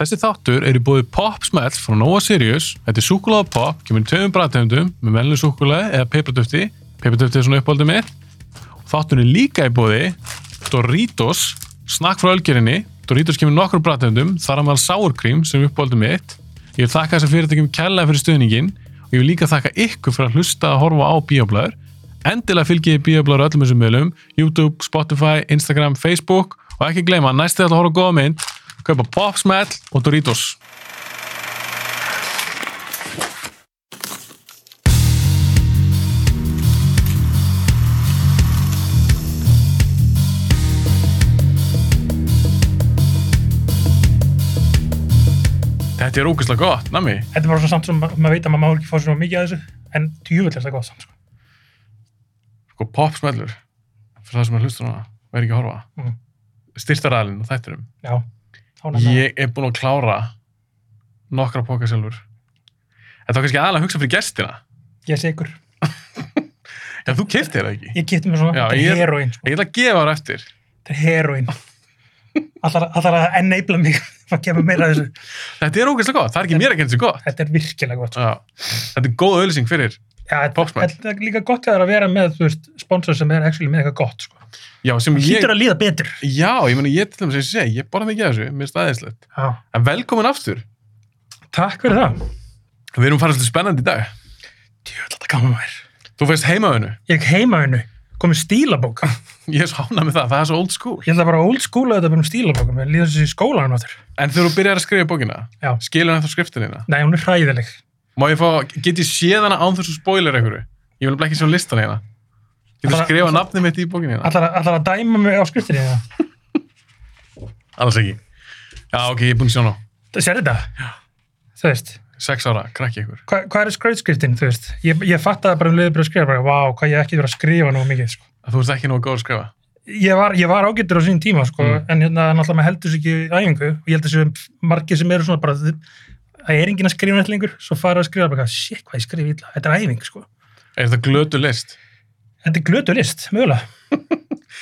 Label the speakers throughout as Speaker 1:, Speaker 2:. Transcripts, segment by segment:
Speaker 1: Þessi þáttur er í búið Popsmell frá Nova Sirius. Þetta er súkulega pop, kemur í tveimum bræðtegundum með melnum súkulega eða peipratöfti. Peipratöfti er svona uppáldið mitt. Þáttur er líka í búið Doritos, snakk frá ölgerinni. Doritos kemur í nokkrum bræðtegundum, þar að maður sárkrím sem er uppáldið mitt. Ég vil þakka þessar fyrirtækjum kærlega fyrir stuðningin og ég vil líka þakka ykkur fyrir að hlusta að horfa á bíoblæður. Endilega fylgjið bíoblæður öllum þessum meðlum, YouTube, Spotify, Instagram, Facebook og ekki gleyma, næstu þetta að horfa á góða mynd, kaupa Popsmell og Doritos. Þetta er ógeðslega gott, nami.
Speaker 2: Þetta er bara svona samt sem ma- maður veit að maður má ekki fá svona mikið að þessu, en djúvill er þetta gott samt, sko.
Speaker 1: Sko Popsmellur, fyrir það sem er hlusta núna, væri ekki að horfa.
Speaker 2: Mhm.
Speaker 1: Styrtaræðin og þætturum.
Speaker 2: Já, þá nefnir
Speaker 1: Ég er búinn að klára nokkra póka sjálfur. Þetta var kannski aðalega að hugsa fyrir gestina.
Speaker 2: Ég sé ykkur.
Speaker 1: Já, þú keftir það ekki.
Speaker 2: Ég geti mér svona,
Speaker 1: Já,
Speaker 2: þetta
Speaker 1: ég-
Speaker 2: er heroín, sko.
Speaker 1: Ég ætla að gefa þar eftir.
Speaker 2: Þetta er heroín. Allar allar að enabla mig að kemur meira að þessu.
Speaker 1: Þetta er ógeðslega gott. Það er ekki mér að kenna þessu gott.
Speaker 2: Þetta er virkilega gott, sko.
Speaker 1: Já. Þetta er góð auðlýsing fyrir.
Speaker 2: Já, þetta
Speaker 1: Popsmell.
Speaker 2: þetta er líka gott að það er að vera með, þú veist, sponsor sem er actually með eitthvað gott, sko.
Speaker 1: Já, sem ég...
Speaker 2: Hýtur að líða betur.
Speaker 1: Já, ég meina, ég til dæmis að segja, ég borða mikið af þessu, mér staðislegt.
Speaker 2: Já.
Speaker 1: En velkomin aftur.
Speaker 2: Takk fyrir það.
Speaker 1: Við erum farið svolítið spennandi í dag.
Speaker 2: Djúvill, þetta gaman mér.
Speaker 1: Þú fæst heimaðinu.
Speaker 2: Ég heima hennu, komið stílabók.
Speaker 1: Ég er svo hánað með það, það er svo old school.
Speaker 2: Ég ætla bara old school að þetta bara um stílabókum, ég líða þessu í skólanum áttur.
Speaker 1: En þegar þú byrjar að skrifa bókina,
Speaker 2: Já.
Speaker 1: skilur hann þá skriftinina?
Speaker 2: Nei, hún er hræðileg.
Speaker 1: Má ég fá, get ég séð hana án þessu spoiler einhverju? Ég vil bara ekki sjá listan hérna. Ég vil
Speaker 2: Alla-
Speaker 1: skrifa nafnið mitt í bókina hérna.
Speaker 2: Allar, allar að dæma mig á skriftinni það.
Speaker 1: Alls ekki. Já, ok, ég er búinn að sjá hana.
Speaker 2: Sér þetta? Já. Þú veist,
Speaker 1: Sex ára, krakki ykkur.
Speaker 2: hvað, hvað er skrautskriftin, þú veist? Ég, ég fatt að það bara um leiðið bara að skrifa, bara, vá, hvað ég hef ekki verið að skrifa nú mikið, sko.
Speaker 1: Að þú ert ekki nógu góð að skrifa.
Speaker 2: Ég var, ég var ágættur á sín tíma, sko,
Speaker 1: Mm.
Speaker 2: en hérna, náttúrulega, maður heldur sér ekki í æfingu og ég held að þessu margir sem eru svona bara, þið- það er enginn að skrifa nætt lengur, svo fara að skrifa bara, eitthvað, shit, hvað ég skrifa illa, þetta er æfing, sko.
Speaker 1: Er þetta glötu list?
Speaker 2: Þetta er glötu list, mögulega.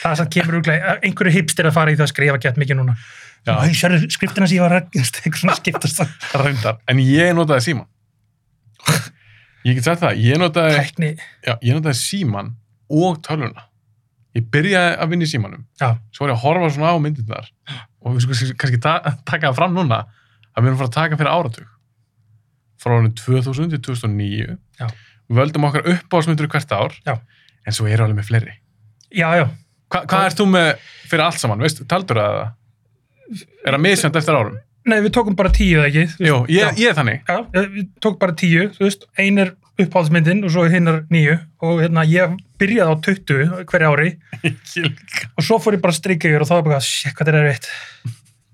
Speaker 2: það sem kemur úrglega, einhverju hipster að fara í það að skrifa gett mikið núna.
Speaker 1: Já.
Speaker 2: Æ, sérðu skriftina sem ég var að eitthvað svona skiptast það.
Speaker 1: Reyndar. En ég notaði síman. Ég get sagt það, ég notaði,
Speaker 2: Tækni,
Speaker 1: já, ég notaði síman og tölvuna. Ég byrjaði að vinna í símanum.
Speaker 2: já.
Speaker 1: svo var ég að horfa svona á myndirnar og við skulum kannski ta taka það fram núna að við erum fara að taka fyrir áratug frá árinu 2000 til 2009
Speaker 2: Já.
Speaker 1: við völdum okkar uppáðsmyndir hvert ár
Speaker 2: Já.
Speaker 1: en svo eru alveg með fleiri
Speaker 2: Já, já,
Speaker 1: Hva, hvað ert þú með fyrir allt saman, veist, taldur það það? Er það misjönd eftir árum?
Speaker 2: nei við tókum bara tíu eða ekki þú veist.
Speaker 1: Jú, ég,
Speaker 2: já.
Speaker 1: ég er þannig.
Speaker 2: Já, eh, við tókum bara tíu, þú veist, ein er uppáhaldsmyndin og svo hinn er nýju og hérna ég byrjaði á 20 hverja ári og svo fór ég bara að strika yfir og þá var bara, shit, hvað þetta er reitt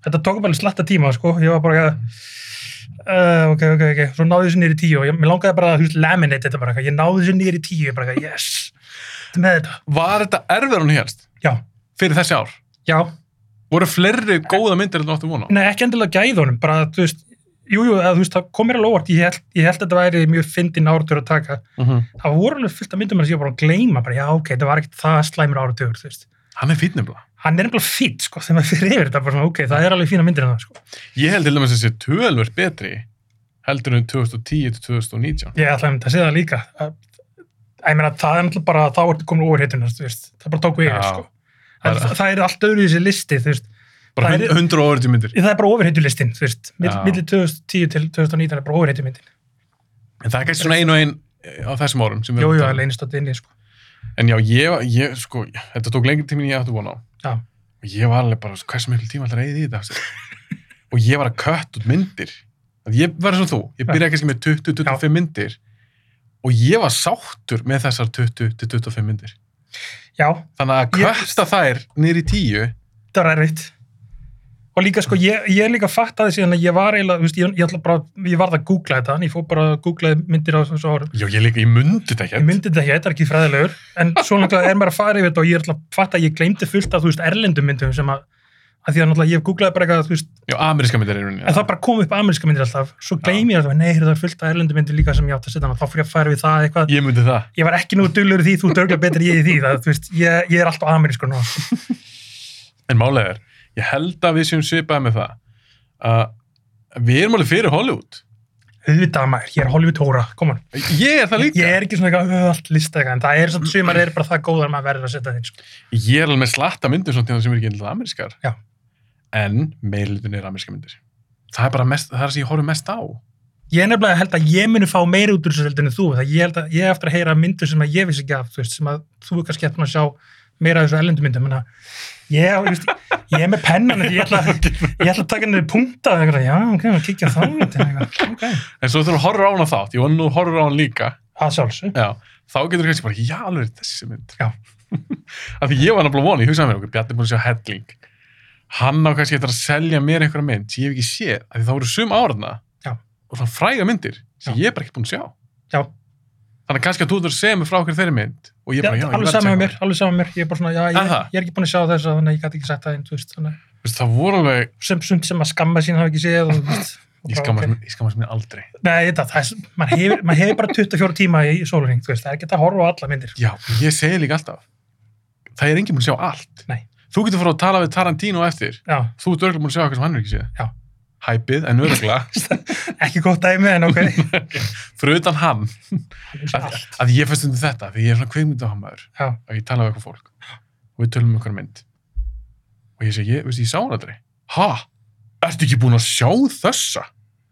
Speaker 2: Þetta tók bara slatta tíma, sko, ég var bara uh, ok, ok, ok, svo náði þessu nýri tíu og ég, mér langaði bara að þú veist, laminate þetta bara, eitthvað. ég náði þessu nýri tíu, ég bara, eitthvað, yes, þetta er með þetta,
Speaker 1: Var þetta erfiðar hún hérst
Speaker 2: já,
Speaker 1: fyrir þessi ár?
Speaker 2: já,
Speaker 1: Voru fleiri góða myndir en þú áttu vona?
Speaker 2: Nei, ekki endilega gæðunum, bara þú veist, jú, jú, eða, þú veist, það kom mér alveg óvart, ég held, ég held að þetta væri mjög fyndin áratugur að taka,
Speaker 1: Mm -hmm.
Speaker 2: það voru alveg fullt af myndum sem ég var bara að gleyma, bara já, ok, þetta var ekkert það slæmur áratugur, þú veist.
Speaker 1: Hann er fínn nefnilega.
Speaker 2: Hann er nefnilega fýtt, sko, þegar maður fyrir yfir þetta, bara svona, ok, það er alveg fína myndir en það, sko.
Speaker 1: Ég held til dæmis að þessi tölvöld betri heldur en 2010 til 2019.
Speaker 2: Ég ætla einmitt að segja það líka, að, að ég meina, það er náttúrulega bara, þá ertu komin óverhittunar, þú veist, það bara tók við yfir,
Speaker 1: Já.
Speaker 2: sko. Það,
Speaker 1: Bara-
Speaker 2: það, það er allt öðru í þessi listi, þú veist,
Speaker 1: Bara
Speaker 2: Það er-
Speaker 1: 100 og 40 myndir.
Speaker 2: það er bara ofurhetjulistin, þú veist, mill-
Speaker 1: Já.
Speaker 2: milli 2010 til 2019 er bara ofurhetjumyndin.
Speaker 1: En það er kannski svona ein og ein eh, á þessum árum sem við
Speaker 2: Jú,
Speaker 1: erum
Speaker 2: jú,
Speaker 1: að
Speaker 2: það
Speaker 1: tala um.
Speaker 2: leynist alltaf inni, sko.
Speaker 1: En já, ég, ég, sko, þetta tók lengri tími en ég átti von á.
Speaker 2: Já.
Speaker 1: Og ég var alveg bara, "Sko, hversu miklu tíma ætlar að eigið í þetta? Axel? og ég var að kött út myndir. Að ég var eins og þú, ég byrjaði kannski með 20-25 myndir og ég var sáttur með þessar 20-25 myndir.
Speaker 2: Já,
Speaker 1: Þannig að
Speaker 2: Ég-
Speaker 1: kötta þær niður í tíu,
Speaker 2: þetta var erfitt og líka sko, ég, ég líka fattaði síðan að ég var eiginlega, þú veist, ég, ég, ætla bara, ég varð að googla þetta, en ég fór bara að googla myndir á þessu árum,
Speaker 1: já, ég líka, ég mundi þetta
Speaker 2: ég
Speaker 1: ekki.
Speaker 2: myndi þetta ekki, þetta er ekki fræðilegur en svo náttúrulega er maður að fara yfir þetta og ég ætla að fatta að ég gleymdi fullt af, þú veist, erlendum myndum sem að, að því að náttúrulega ég googlaði bara eitthvað, þú veist,
Speaker 1: Já, ameríska myndir er rauninni.
Speaker 2: en það bara kom upp ameríska myndir alltaf, svo gleymi ég alltaf, nei, heyrðu, það er fullt af erlendum myndum líka sem ég átt að setja, þannig að þá fór ég að fara við það eitthvað
Speaker 1: Ég mundi það.
Speaker 2: ég var ekki nú dullur í því, þú dörgla betur ég í því það, þú veist, ég, ég er alltaf amerískur nú
Speaker 1: En málega er, ég held að við séum svipaði með það að Við erum alveg fyrir Hollywood.
Speaker 2: Auðvitað maður, ég er Hollywood hóra, koman.
Speaker 1: Ég er það líka.
Speaker 2: Ég er ekki svona eitthvað "Ugh, allt lista eitthvað, en það er svona sumar er bara það góðar að maður verður að setja þeim. Sko.
Speaker 1: Ég er alveg með slatta myndir svona til það sem er ekki alltaf amerískar.
Speaker 2: Já.
Speaker 1: En meilutun er ameríska myndir. Það er bara mest, það er það sem ég horfum mest á.
Speaker 2: Ég er nefnilega held að ég muni fá meira út úr þessu heldur en þú, það ég held að ég er eftir að heyra myndur sem að ég vissi ekki af, þú veist, sem að þú er kannski eftir að sjá meira af þessu ellendu myndum, en að ég, þú veist, ég er með pennan, ég ætla, ég ætla að taka henni punta eða eitthvað, já, ok, maður kíkja þá, ok,
Speaker 1: En svo þú horfur á hana þátt, ég vona nú horfur á hana líka.
Speaker 2: það sjálfsög.
Speaker 1: Já. Þá getur þú kannski bara, já, alveg þessi mynd.
Speaker 2: Já.
Speaker 1: Af því ég var náttúrulega vona, ég hugsaði mér okkur, Bjarni er búin að sjá Helling. Hann á kannski eftir að selja mér einhverja mynd sem ég hef ekki séð, af því þá voru sum árna
Speaker 2: Já.
Speaker 1: og svona fræga myndir sem
Speaker 2: Já.
Speaker 1: ég er bara ekki búin að sjá.
Speaker 2: Já,
Speaker 1: Þannig að kannski að þú þurfur að segja mér frá okkur þeirri mynd og ég
Speaker 2: já,
Speaker 1: bara, já, ég
Speaker 2: alveg
Speaker 1: verð að
Speaker 2: saman með
Speaker 1: segja
Speaker 2: mér, alveg saman með mér, ég er bara svona, já,
Speaker 1: Er
Speaker 2: ég,
Speaker 1: það?
Speaker 2: ég er ekki búin að sjá þess að þannig að ég gæti ekki sagt það, en þú veist, þannig,
Speaker 1: það. Veistu, það voru alveg,
Speaker 2: að- sem, sem, sem að skamma sín hafa ekki séð, og, þú veist, og
Speaker 1: ég
Speaker 2: bara,
Speaker 1: skammast
Speaker 2: ok.
Speaker 1: mér- ég skammast mér aldrei.
Speaker 2: Nei, þetta, það er, mann hefur, man hefur bara 24 tíma í sólurring, þú veist, það er ekki hægt að horfa á alla myndir.
Speaker 1: Já, ég segi líka alltaf. Það er enginn búin að sjá allt.
Speaker 2: Nei.
Speaker 1: Þú getur fara að tala við Tarantino á eftir.
Speaker 2: Já,
Speaker 1: Þú ert örgulega búin að sjá eitthvað sem hann er ekki séð.
Speaker 2: Já.
Speaker 1: Hæpið, en örgulega.
Speaker 2: ekki gott dæmi, en ok.
Speaker 1: Fyrir utan hann. Að,
Speaker 2: Allt.
Speaker 1: að ég fæst undir þetta, því ég er svona kveikmyndahammaður.
Speaker 2: Já,
Speaker 1: Að ég tala við eitthvað fólk. Og við tölum um eitthvað mynd. Og ég segi, ég, veistu, ég sá hann aldrei. Ha? Ertu ekki búin að sjá þessa?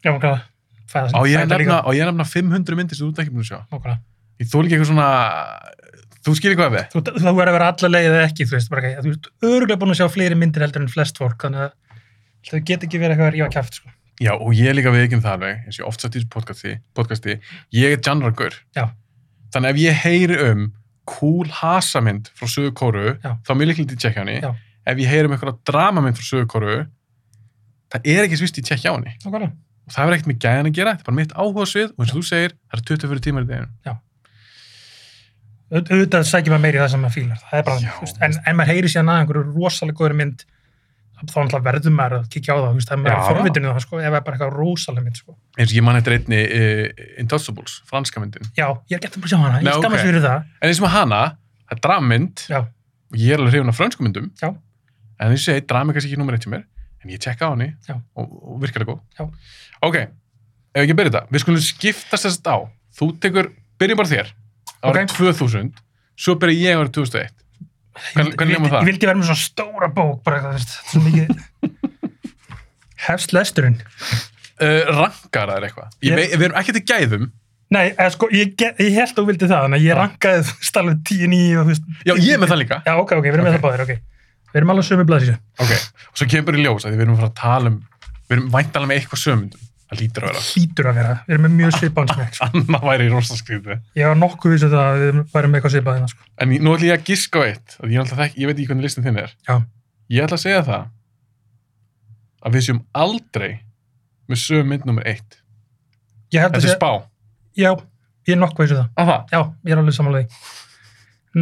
Speaker 2: já, okkur. Það
Speaker 1: Á ég að nefna, á ég að nefna 500 myndir sem þú ert ekki búin að sjá.
Speaker 2: Okkur.
Speaker 1: Ég þóli ekki eitthvað svona... Þú skilir hvað við?
Speaker 2: Þú, þú er að vera alla leið eða ekki, þú veist, bara ekki. Þú ert örgulega búin að sjá fleiri myndir heldur en flest fólk, þannig að þau get ekki verið eitthvað að rífa kæft, sko.
Speaker 1: Já, og ég er líka viðkynna það alveg, eins og ég oft satt í þessu podcasti, podcasti ég er janrargur.
Speaker 2: Já.
Speaker 1: Þannig ef ég heyri um cool hasamynd frá Suðu Kóru,
Speaker 2: Já.
Speaker 1: þá er mjög líklega til tjekkja á henni.
Speaker 2: Já.
Speaker 1: Ef ég heyri um eitthvað dramamynd frá Suðu Kóru, það er ekki svist í tjekkja á henni.
Speaker 2: Okkur.
Speaker 1: Og það er ekkert með gæðan að gera, þetta er bara mitt áhuga svið og eins og þú segir, það er 24 tímar í deginum.
Speaker 2: auðvitað sækir maður meiri það sem maður fílar það er bara,
Speaker 1: Já.
Speaker 2: þú veist, en, en maður heyri síðan að einhverju rosalega góður mynd þá náttúrulega verður maður að kíkja á það þú veist, það er
Speaker 1: Já.
Speaker 2: maður forvitinu það sko, ef það er bara eitthvað rosalega mynd sko.
Speaker 1: Eins og ég man eftir einni uh, Intouchables, franska myndin.
Speaker 2: já, ég er gett að bara sjá hana,
Speaker 1: Nei,
Speaker 2: ég skammast
Speaker 1: ok.
Speaker 2: okay. fyrir það
Speaker 1: En eins og með hana, það er drammynd
Speaker 2: já,
Speaker 1: og ég er alveg hrifin af frönsku myndum.
Speaker 2: Já.
Speaker 1: En eins og ég segi, drama er kannski ekki nummer eitt hjá mér, en ég tjekka á henni
Speaker 2: Já.
Speaker 1: og, og virkar það góð.
Speaker 2: Já.
Speaker 1: Ok, ef ekki byrja þetta, við skulum skiptast þess að á. Þú tekur, byrjum bara þér, árið
Speaker 2: Ok.
Speaker 1: 2000, svo byrja ég árið 2001. Hvern-
Speaker 2: ég,
Speaker 1: Hvernig
Speaker 2: vildi,
Speaker 1: nefnum
Speaker 2: ég
Speaker 1: það?
Speaker 2: vildi vera með svona stóra bók bara eitthvað, þú veist, svo mikið hefst lesturinn
Speaker 1: Uh, rankar það eitthvað? Ég,
Speaker 2: Ég-
Speaker 1: vei- Við erum ekki til gæðum.
Speaker 2: nei, eða, sko, ég, ge- ég held að þú vildi það en ég
Speaker 1: Já.
Speaker 2: rankaði þú veist, alveg 10-9 og, þú veist,
Speaker 1: Já, ég er með það líka.
Speaker 2: já, ok, ok, við erum
Speaker 1: Ok.
Speaker 2: með það báðir, ok við erum alveg sömu blaðsísu
Speaker 1: Ok, og svo kemur bara í ljós að því við erum að fara að tala um, við erum væntalega með eitthvað sömundum. Það lítur að vera.
Speaker 2: hlýtur að vera, við erum með mjög svipan smekk sko.
Speaker 1: Annað væri rosaskriðu.
Speaker 2: Ég var nokkuð vissu það að við værum með eitthvað svipað hérna, sko.
Speaker 1: En nú ætlum ég að giska á eitt, að ég, er alltaf þekki, ég veit ekki hvernig listin þinn er.
Speaker 2: Já.
Speaker 1: Ég ætla að segja það að við séum aldrei með sögum mynd nummer eitt.
Speaker 2: Ég held að
Speaker 1: Þetta er
Speaker 2: sé,
Speaker 1: spá.
Speaker 2: já, ég er nokkuð vissu það.
Speaker 1: Að það?
Speaker 2: Já, ég er alveg samanlega því.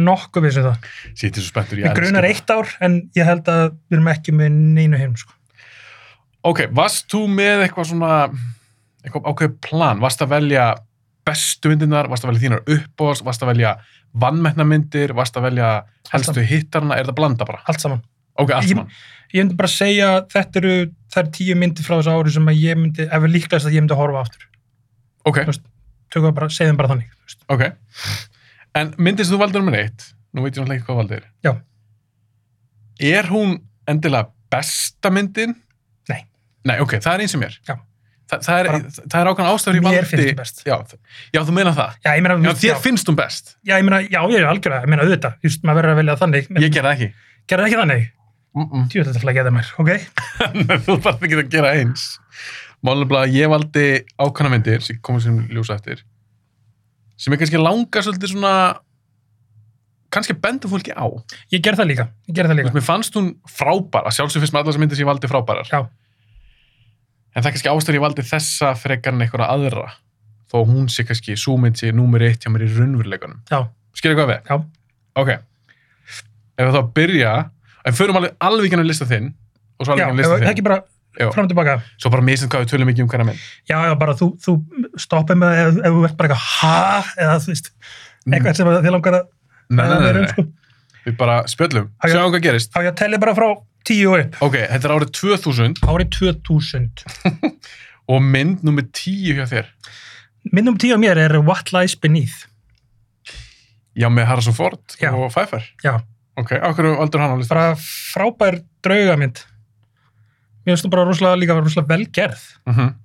Speaker 2: Nokkuð vissu það.
Speaker 1: Sýttir svo spenntur, ég
Speaker 2: Mér grunar
Speaker 1: það.
Speaker 2: eitt ár, en ég held að við erum ekki með neinu hinn, sko.
Speaker 1: Ok, varst þú með eitthvað svona, eitthvað ákveð plan? Varst að velja bestu myndinar? Varst að velja þínar uppbóðs? Varst að velja vannmennamyndir? Varst að velja helstu hittarna? Er það blanda bara?
Speaker 2: Allt saman.
Speaker 1: Ok, allt
Speaker 2: Ég-
Speaker 1: mann.
Speaker 2: Ég myndi bara segja að þetta eru þær tíu myndir frá þessu ári sem að ég myndi, ef við líklegast að ég myndi horfa aftur.
Speaker 1: Ok,
Speaker 2: Tökum það bara, segjum bara þannig. þú veist.
Speaker 1: ok. En myndin sem þú valdur nummer eitt, nú veit ég náttúrulega ekki hvað valdir.
Speaker 2: Já.
Speaker 1: Er hún endilega besta myndin?
Speaker 2: Nei.
Speaker 1: Nei, ok, það er eins sem er.
Speaker 2: Já.
Speaker 1: Þa, það, er,
Speaker 2: Bara-
Speaker 1: það er ákveðan ástæður í valdi.
Speaker 2: Mér finnst það best.
Speaker 1: Já, þ- já, þú meina það.
Speaker 2: Já, ég meina,
Speaker 1: Já,
Speaker 2: já,
Speaker 1: þér finnst hún best.
Speaker 2: já, ég meina, já, ég er algjörlega, ég meina auðvitað, just, maður verður að velja þannig.
Speaker 1: Ég gerði það ekki.
Speaker 2: Gerði ekki þannig?
Speaker 1: Mm
Speaker 2: Jú, þetta er flækjaði mér, ok?
Speaker 1: -mm. þú þarf ekki að gera eins. Málumlega, ég valdi ákveðna myndir sem komum sem ljósa eftir sem ég kannski langar svolítið svona kannski bendur fólki á.
Speaker 2: Ég gerði það líka, ég gerði það
Speaker 1: Þú
Speaker 2: líka.
Speaker 1: veist, mér fannst hún frábær, að sjálfsög finnst mér allar sem myndir sem ég valdi frábærar.
Speaker 2: Já.
Speaker 1: En það er kannski ástæður ég valdi þessa frekar en einhverja aðra. Þó hún sé kannski, sú mynd sé númer eitt hjá mér í raunveruleikunum.
Speaker 2: Já,
Speaker 1: Skilja hvað við?
Speaker 2: já,
Speaker 1: Ok. Ef við þá byrja, en förum alveg alveg ekki hann að lista þinn, og svo alveg ekki
Speaker 2: já,
Speaker 1: hann að
Speaker 2: ef-
Speaker 1: lista þinn.
Speaker 2: ekki bara
Speaker 1: Já.
Speaker 2: fram og tilbaka.
Speaker 1: Svo bara misinn hvað við tölum ekki um hverja mynd.
Speaker 2: Já, já, bara þú, þú stoppið með ef, ef þú ert bara eitthvað ha, eða þú veist, eitthvað sem að þið langar að
Speaker 1: Nei, nei,
Speaker 2: að
Speaker 1: nei,
Speaker 2: vera um,
Speaker 1: nei.
Speaker 2: sko.
Speaker 1: Við bara spjöllum.
Speaker 2: Ok.
Speaker 1: Sjáum hvað gerist.
Speaker 2: Á ég að telli bara frá 10 og upp.
Speaker 1: Ok, þetta er árið 2000
Speaker 2: Árið 2000.
Speaker 1: og mynd nummer 10 hjá þér
Speaker 2: Minnum tíu á mér er What Lies Beneath.
Speaker 1: já með Harrison Ford
Speaker 2: Já.
Speaker 1: og Pfeiffer
Speaker 2: Já,
Speaker 1: ok, á hverju aldur hann á listan?
Speaker 2: bara frábær draugamynd. Mér finnst þú bara rosalega líka rosalega vel gerð.
Speaker 1: Mm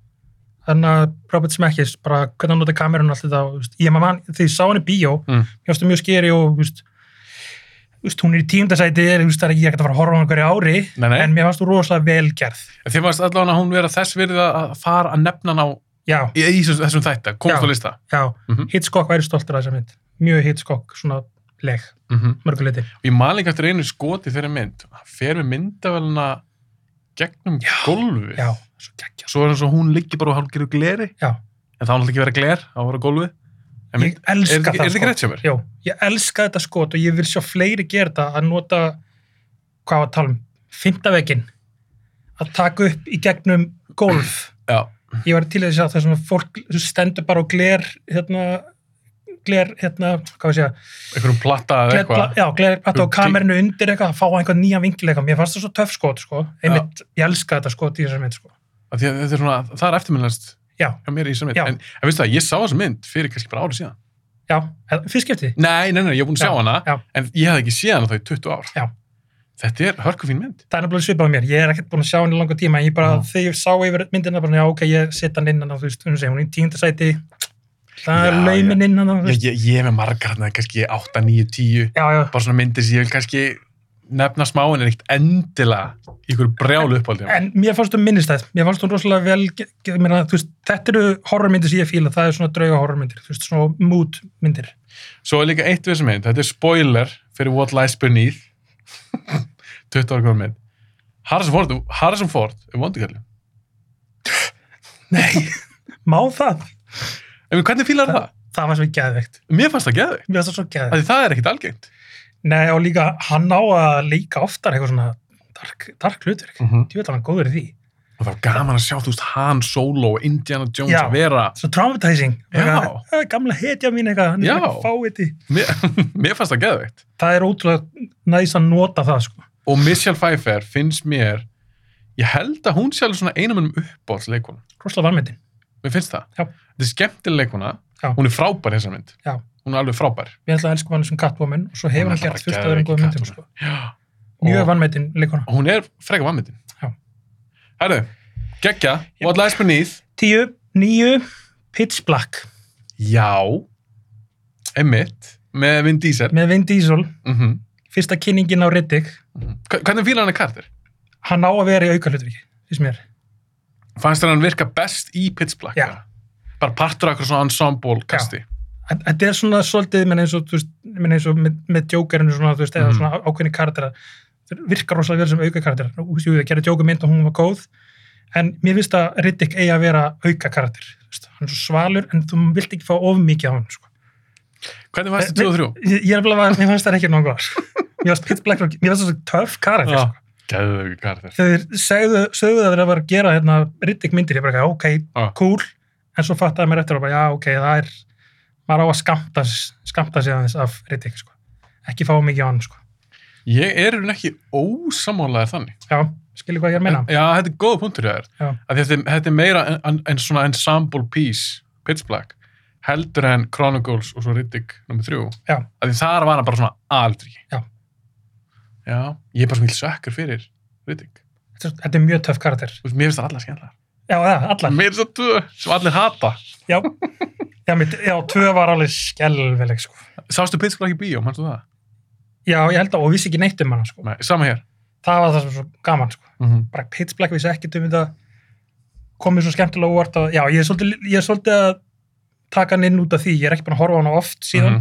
Speaker 2: Þannig að Robert Smekkis, bara hvernig hann nota kamerun og allt þetta. þú veist, Ég maður mann, því ég sá hann í bíó,
Speaker 1: Mm.
Speaker 2: mér finnst það mjög skeri og þú veist, þú veist, hún er í tíundasæti, þú veist, það er ekki hægt að fara að horfa á hann hverju ári,
Speaker 1: Nei, nei.
Speaker 2: en mér fannst þú rosalega vel gerð.
Speaker 1: þið varst allavega að hún vera þess virði að fara að nefna hann á
Speaker 2: Já,
Speaker 1: í, í þessum- þessum þætti, komst
Speaker 2: Já.
Speaker 1: á lista
Speaker 2: já,
Speaker 1: Mhm.
Speaker 2: Hitchcock væri stoltur af þessa mynd. Mjög Hitchcock, svona leg,
Speaker 1: mm -hmm.
Speaker 2: mörguleiti.
Speaker 1: ég mali ekki eftir einu skoti þeirri mynd hann fer með myndavæluna gegnum já, gólfi
Speaker 2: Já, svo geggja.
Speaker 1: svo er eins og hún liggi bara og hálfgerðu gleri
Speaker 2: Já,
Speaker 1: en það var náttúrulega ekki verið gler, það var að gólfi En
Speaker 2: ég
Speaker 1: mynd- er
Speaker 2: elska
Speaker 1: þetta ekki-
Speaker 2: það.
Speaker 1: er þetta
Speaker 2: sko.
Speaker 1: ekki rétt hjá mér?
Speaker 2: Jó, ég elska þetta skot og ég vil sjá fleiri gera þetta að nota, hvað var að tala um, fymtavegin, að taka upp í gegnum golf.
Speaker 1: Já,
Speaker 2: Ég var til í að sjá það sem að fólk sem stendur bara og gler, hérna, gler, hérna, hvað við segja,
Speaker 1: einhverjum platta eða
Speaker 2: gler,
Speaker 1: eitthvað
Speaker 2: já, gler, bara á
Speaker 1: Gl-
Speaker 2: kamerinu undir eitthvað, að fá einhvern nýjan vingil eitthvað. Mér fannst það svo töff skot, sko. Einmitt, ég elska þetta skot í þessari mynd, sko.
Speaker 1: Af því að þetta er svona, það er eftirminnast
Speaker 2: Já,
Speaker 1: hjá mér í þessari mynd,
Speaker 2: Já.
Speaker 1: en, en veistu það, ég sá þessa mynd fyrir kannski bara árið síðan.
Speaker 2: já, eða- fyrst skipti.
Speaker 1: Nei, nei, nei, ég hef búin að
Speaker 2: Já,
Speaker 1: sjá hana
Speaker 2: já.
Speaker 1: en ég hef ekki séð hana þá í 20 ár
Speaker 2: Já.
Speaker 1: Þetta er hörkufín mynd
Speaker 2: það er nefnilega svipað á mér, ég er ekkert búin að sjá hann í langa tíma en ég bara,
Speaker 1: Mhm.
Speaker 2: þegar ég sá yfir myndina bara, já ok, ég setja hann inn hann, þú veist, hún segir, hún er í tíundasæti það er
Speaker 1: Já,
Speaker 2: laumin inn hann, þú
Speaker 1: Ég,
Speaker 2: veist
Speaker 1: ég, ég er með margar hérna, kannski 8, 9, 10
Speaker 2: já, já,
Speaker 1: bara svona myndir sem ég vil kannski nefna smá en er ekkert endilega í ykkur brjálu uppáldi
Speaker 2: en mér fannst þú minnistæð mér fannst þú rosalega vel, ge- ge- ég meina, þú veist þetta eru horrormyndir sem ég fíla, það er svona drauga horrormyndir þú veist, svona mood myndir
Speaker 1: Svo er líka eitt við þessum mynd, þetta er spoiler fyrir What Lies Beneath 20 ára komið mynd Harrison Ford, Harrison Ford er vondikallin
Speaker 2: nei, má það?
Speaker 1: En hvernig fílar það?
Speaker 2: það var svo geðveikt,
Speaker 1: Mér fannst það geðveikt,
Speaker 2: mér fannst það svo
Speaker 1: af
Speaker 2: geðveikt
Speaker 1: því það er ekkert algengt
Speaker 2: nei, og líka, hann á að leika oftar eitthvað svona dark, dark hlutverk,
Speaker 1: mm -hmm.
Speaker 2: ég veit hann góður í því
Speaker 1: og það var gaman að sjá, þú veist, Han Solo og Indiana Jones
Speaker 2: Já.
Speaker 1: að vera
Speaker 2: svo traumatizing
Speaker 1: Já.
Speaker 2: Eitthvað, "Æ, gamla hetja mín eitthvað, hann
Speaker 1: Já.
Speaker 2: er ekki fáiði
Speaker 1: mér, mér fannst það geðveikt
Speaker 2: það er ótrúlega næs að nota það sko.
Speaker 1: og Michelle Pfeiffer finnst mér ég held að hún sé alveg svona einum um uppbóðsleikuna,
Speaker 2: rosalega varmyndin,
Speaker 1: mér finnst það
Speaker 2: Já.
Speaker 1: þetta er skemmtileg leikuna,
Speaker 2: Já.
Speaker 1: hún er frábær þessar mynd,
Speaker 2: Já.
Speaker 1: hún er alveg frábær
Speaker 2: við ætlum að elska hann sem Catwoman og svo hefur
Speaker 1: Hún
Speaker 2: hann
Speaker 1: er
Speaker 2: gert
Speaker 1: bara
Speaker 2: fullt að
Speaker 1: geðveik
Speaker 2: vera góða myndum sko.
Speaker 1: Catwoman. Já.
Speaker 2: mjög
Speaker 1: og
Speaker 2: varmyndin leikona
Speaker 1: og hún er freka vannmyndin
Speaker 2: Já.
Speaker 1: herru, geggja, What Lies Beneath
Speaker 2: 10, 9, Pitch Black
Speaker 1: já einmitt, með Vin Diesel
Speaker 2: með Vin Diesel,
Speaker 1: mm -hmm.
Speaker 2: fyrsta kynningin á Riddick
Speaker 1: Mhm. hvernig fílar hann að kartir?
Speaker 2: hann á að vera í auka hlutverki finnst mér,
Speaker 1: fannst þér hann virka best í Pitch Black
Speaker 2: Já.
Speaker 1: eða? bara partur af eitthvað svona ensemble kasti
Speaker 2: Þa- þetta er svona svolítið menn eins og, þú veist, menn eins og með, með Jokerinu svona, þú veist, eða
Speaker 1: Mhm.
Speaker 2: svona ákveðni karakter virkar rosalega vel sem auka karakter Nú, jú, það gerir Joker mynd og hún var góð en mér finnst að Riddick eigi að vera auka karakter, þú veist, hann er svo svalur en þú vilt ekki fá of mikið á hann sko.
Speaker 1: hvernig fannst
Speaker 2: Eh,
Speaker 1: þér 2 og 3?
Speaker 2: ég, ég er alveg að, mér fannst það ekki nógu góðar mér fannst Pitch Black, mér fannst það svo töff karakter
Speaker 1: Já.
Speaker 2: sko.
Speaker 1: gæðu ekki kartir
Speaker 2: þegar þeir segðu, sögðu að þeir að vera að gera hérna, Riddick myndir, ég bara ok,
Speaker 1: Já.
Speaker 2: cool en svo fattaði mér eftir og bara, já, ok, það er maður á að skamta, skamta sig aðeins af Riddick, sko, ekki fá mikið á hann, sko,
Speaker 1: ég er hún ekki ósamálaðir þannig
Speaker 2: já, skilju hvað ég er að menna
Speaker 1: já, þetta er góða punktur hjá þér
Speaker 2: Já.
Speaker 1: Af því að þetta, þetta er meira en, en, en svona ensemble piece Pitch Black heldur en Chronicles og svo Riddick nummer 3
Speaker 2: Já.
Speaker 1: að því þar var hann bara svona aldrei
Speaker 2: Já.
Speaker 1: já, ég er bara svona sökkur fyrir Riddick
Speaker 2: þetta, er- þetta er mjög töff karakter,
Speaker 1: Þú veist, mér finnst það allar skemmtilega
Speaker 2: já, það, allar
Speaker 1: mér finnst það tvö sem allir hata
Speaker 2: já, já, mitt, já, tvö var alveg skelveleg, sko,
Speaker 1: sástu Pitch Black í bíó, mannstu það?
Speaker 2: já, ég held að, og vissi ekki neitt um hana, sko,
Speaker 1: Nei, sama hér
Speaker 2: það var það sem var svo gaman, sko
Speaker 1: mm -hmm.
Speaker 2: bara Pitch Black vissi ekkert um þetta komið svo skemmtilega óvart að, já, ég er svolítið, ég er svolítið að taka hann inn út af því, ég er ekki búin að horfa á hana oft síðan,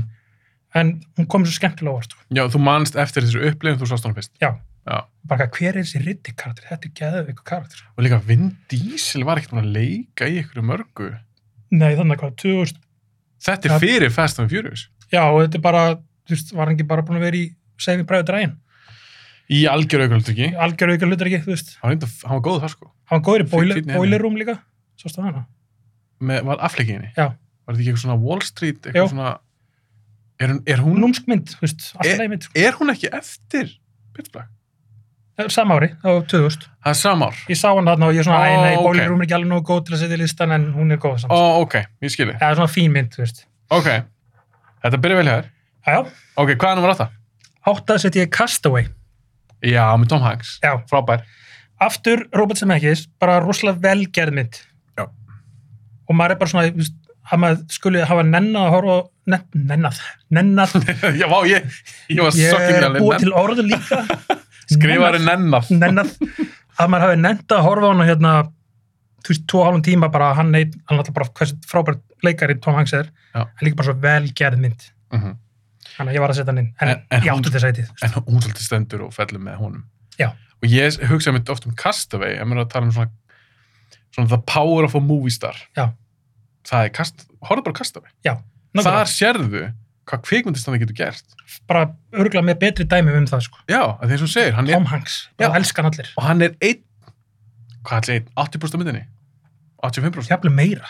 Speaker 2: en hún komið svo skemmtilega óvart sko.
Speaker 1: Mhm. Já, þú manst eftir þessu upplifin, þú sást hana fyrst.
Speaker 2: Já.
Speaker 1: Já.
Speaker 2: bara hvað, hver er þessi riddi karakter, þetta er geðveiku karakter
Speaker 1: Og líka Vin Diesel var ekkert búin að leika í ykkur mörgu.
Speaker 2: nei, þannig að hvað, 2000,
Speaker 1: Þetta er
Speaker 2: Já.
Speaker 1: fyrir Fast and Furious.
Speaker 2: já, og þetta er bara þú veist, var hann ekki bara búin að vera í Saving Private Ryan,
Speaker 1: Í algjör auðvitað ekki.
Speaker 2: algjör auka hlutur ekki, þú veist,
Speaker 1: Hann var, reynda, hann var góð þar sko.
Speaker 2: hann var góður í boiler,
Speaker 1: Fínn í henni.
Speaker 2: boiler room líka, svo stóð hana
Speaker 1: Með, var afleikinni.
Speaker 2: Já.
Speaker 1: Var þetta ekki eitthvað svona Wall Street, eitthvað
Speaker 2: Jú.
Speaker 1: svona... Er hún, er, hún,
Speaker 2: númsk mynd, þú veist,
Speaker 1: E-
Speaker 2: alltaf leið mynd sko. Eh,
Speaker 1: er hún ekki eftir Pitch Black?
Speaker 2: sama ári, á 2000
Speaker 1: Það er samár.
Speaker 2: ég sá hann þarna og ég svona, æ,
Speaker 1: Ó,
Speaker 2: nei,
Speaker 1: ok.
Speaker 2: bólirum er ekki alveg nógu góð til að setja í listan en hún er góð samt
Speaker 1: Ó, ok, ég skilji.
Speaker 2: það er svona fín mynd, þú veist
Speaker 1: Ok, þetta byrja vel hjá þér.
Speaker 2: já,
Speaker 1: Ok, hvað er nummer 8?
Speaker 2: áttað setja ég Castaway
Speaker 1: Já, með Tom Hanks.
Speaker 2: já,
Speaker 1: Frábær.
Speaker 2: aftur Robert Zemeckis, bara rosalega velgerð mynd
Speaker 1: Já.
Speaker 2: og maður er bara svona, þú veist, að maður skuli hafa nennað að horfa á- nenn- nennað, nennað
Speaker 1: Já, vá, ég, ég var
Speaker 2: ég
Speaker 1: sokkin
Speaker 2: er að búa
Speaker 1: alveg.
Speaker 2: til orðu líka
Speaker 1: Skrifari nennað.
Speaker 2: nennað að maður hafi nennað að horfa á hann hérna, þú veist, tvo og hálfum tíma bara að hann neitt, hann alltaf bara hversu frábært leikari Tom Hanks er,
Speaker 1: Já.
Speaker 2: en líka bara svo velgerð mynd
Speaker 1: Mhm.
Speaker 2: þannig að ég var að setja hann inn en,
Speaker 1: En- en
Speaker 2: ég
Speaker 1: hún-
Speaker 2: áttu þess að
Speaker 1: en hún svolítið stendur og fellur með honum
Speaker 2: Já.
Speaker 1: og ég hugsaði mitt oft um Castaway en maður er að tala um svona, svona the power of a movie star
Speaker 2: Já.
Speaker 1: það er kast, horfðu bara á Castaway þar
Speaker 2: þetta
Speaker 1: sérðu hvað kvikmyndistandi getur gert
Speaker 2: bara örgulega með betri dæmi um það sko.
Speaker 1: já, að þeir svo segir, hann er,
Speaker 2: Tom Hanks, bara
Speaker 1: Já.
Speaker 2: elskan allir
Speaker 1: og hann er einn hvað ætli einn, 80% af myndinni 85%
Speaker 2: jafnvel meira,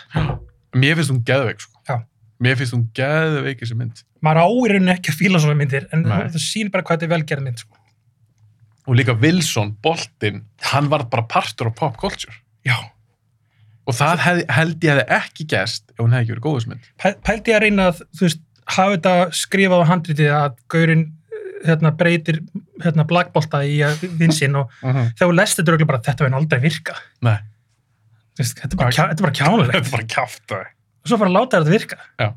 Speaker 1: mér finnst hún geðveik sko.
Speaker 2: Já.
Speaker 1: mér finnst hún geðveik þessi mynd
Speaker 2: maður áirinn ekki að fíla svona myndir en
Speaker 1: Nei.
Speaker 2: það sýnir bara hvað þetta er velgerð mynd sko.
Speaker 1: og líka Wilson, Boltin hann var bara partur á pop culture
Speaker 2: já,
Speaker 1: og það hef, held ég hefði ekki gerst ef hún hefði ekki verið góð þessi mynd
Speaker 2: Pæ- pældi ég að reyna að þú veist, hafa þetta skrifað á handritið að gaurinn hérna, breytir hérna, blackbolta í vinsinn og þegar þú lest þetta örugglega bara þetta verður aldrei virka
Speaker 1: Nei.
Speaker 2: Þú veist, þetta er bara, kjá, þetta er bara kjánulegt
Speaker 1: Þetta er bara kjáftaði.
Speaker 2: og svo bara láta þetta virka
Speaker 1: Já.
Speaker 2: og,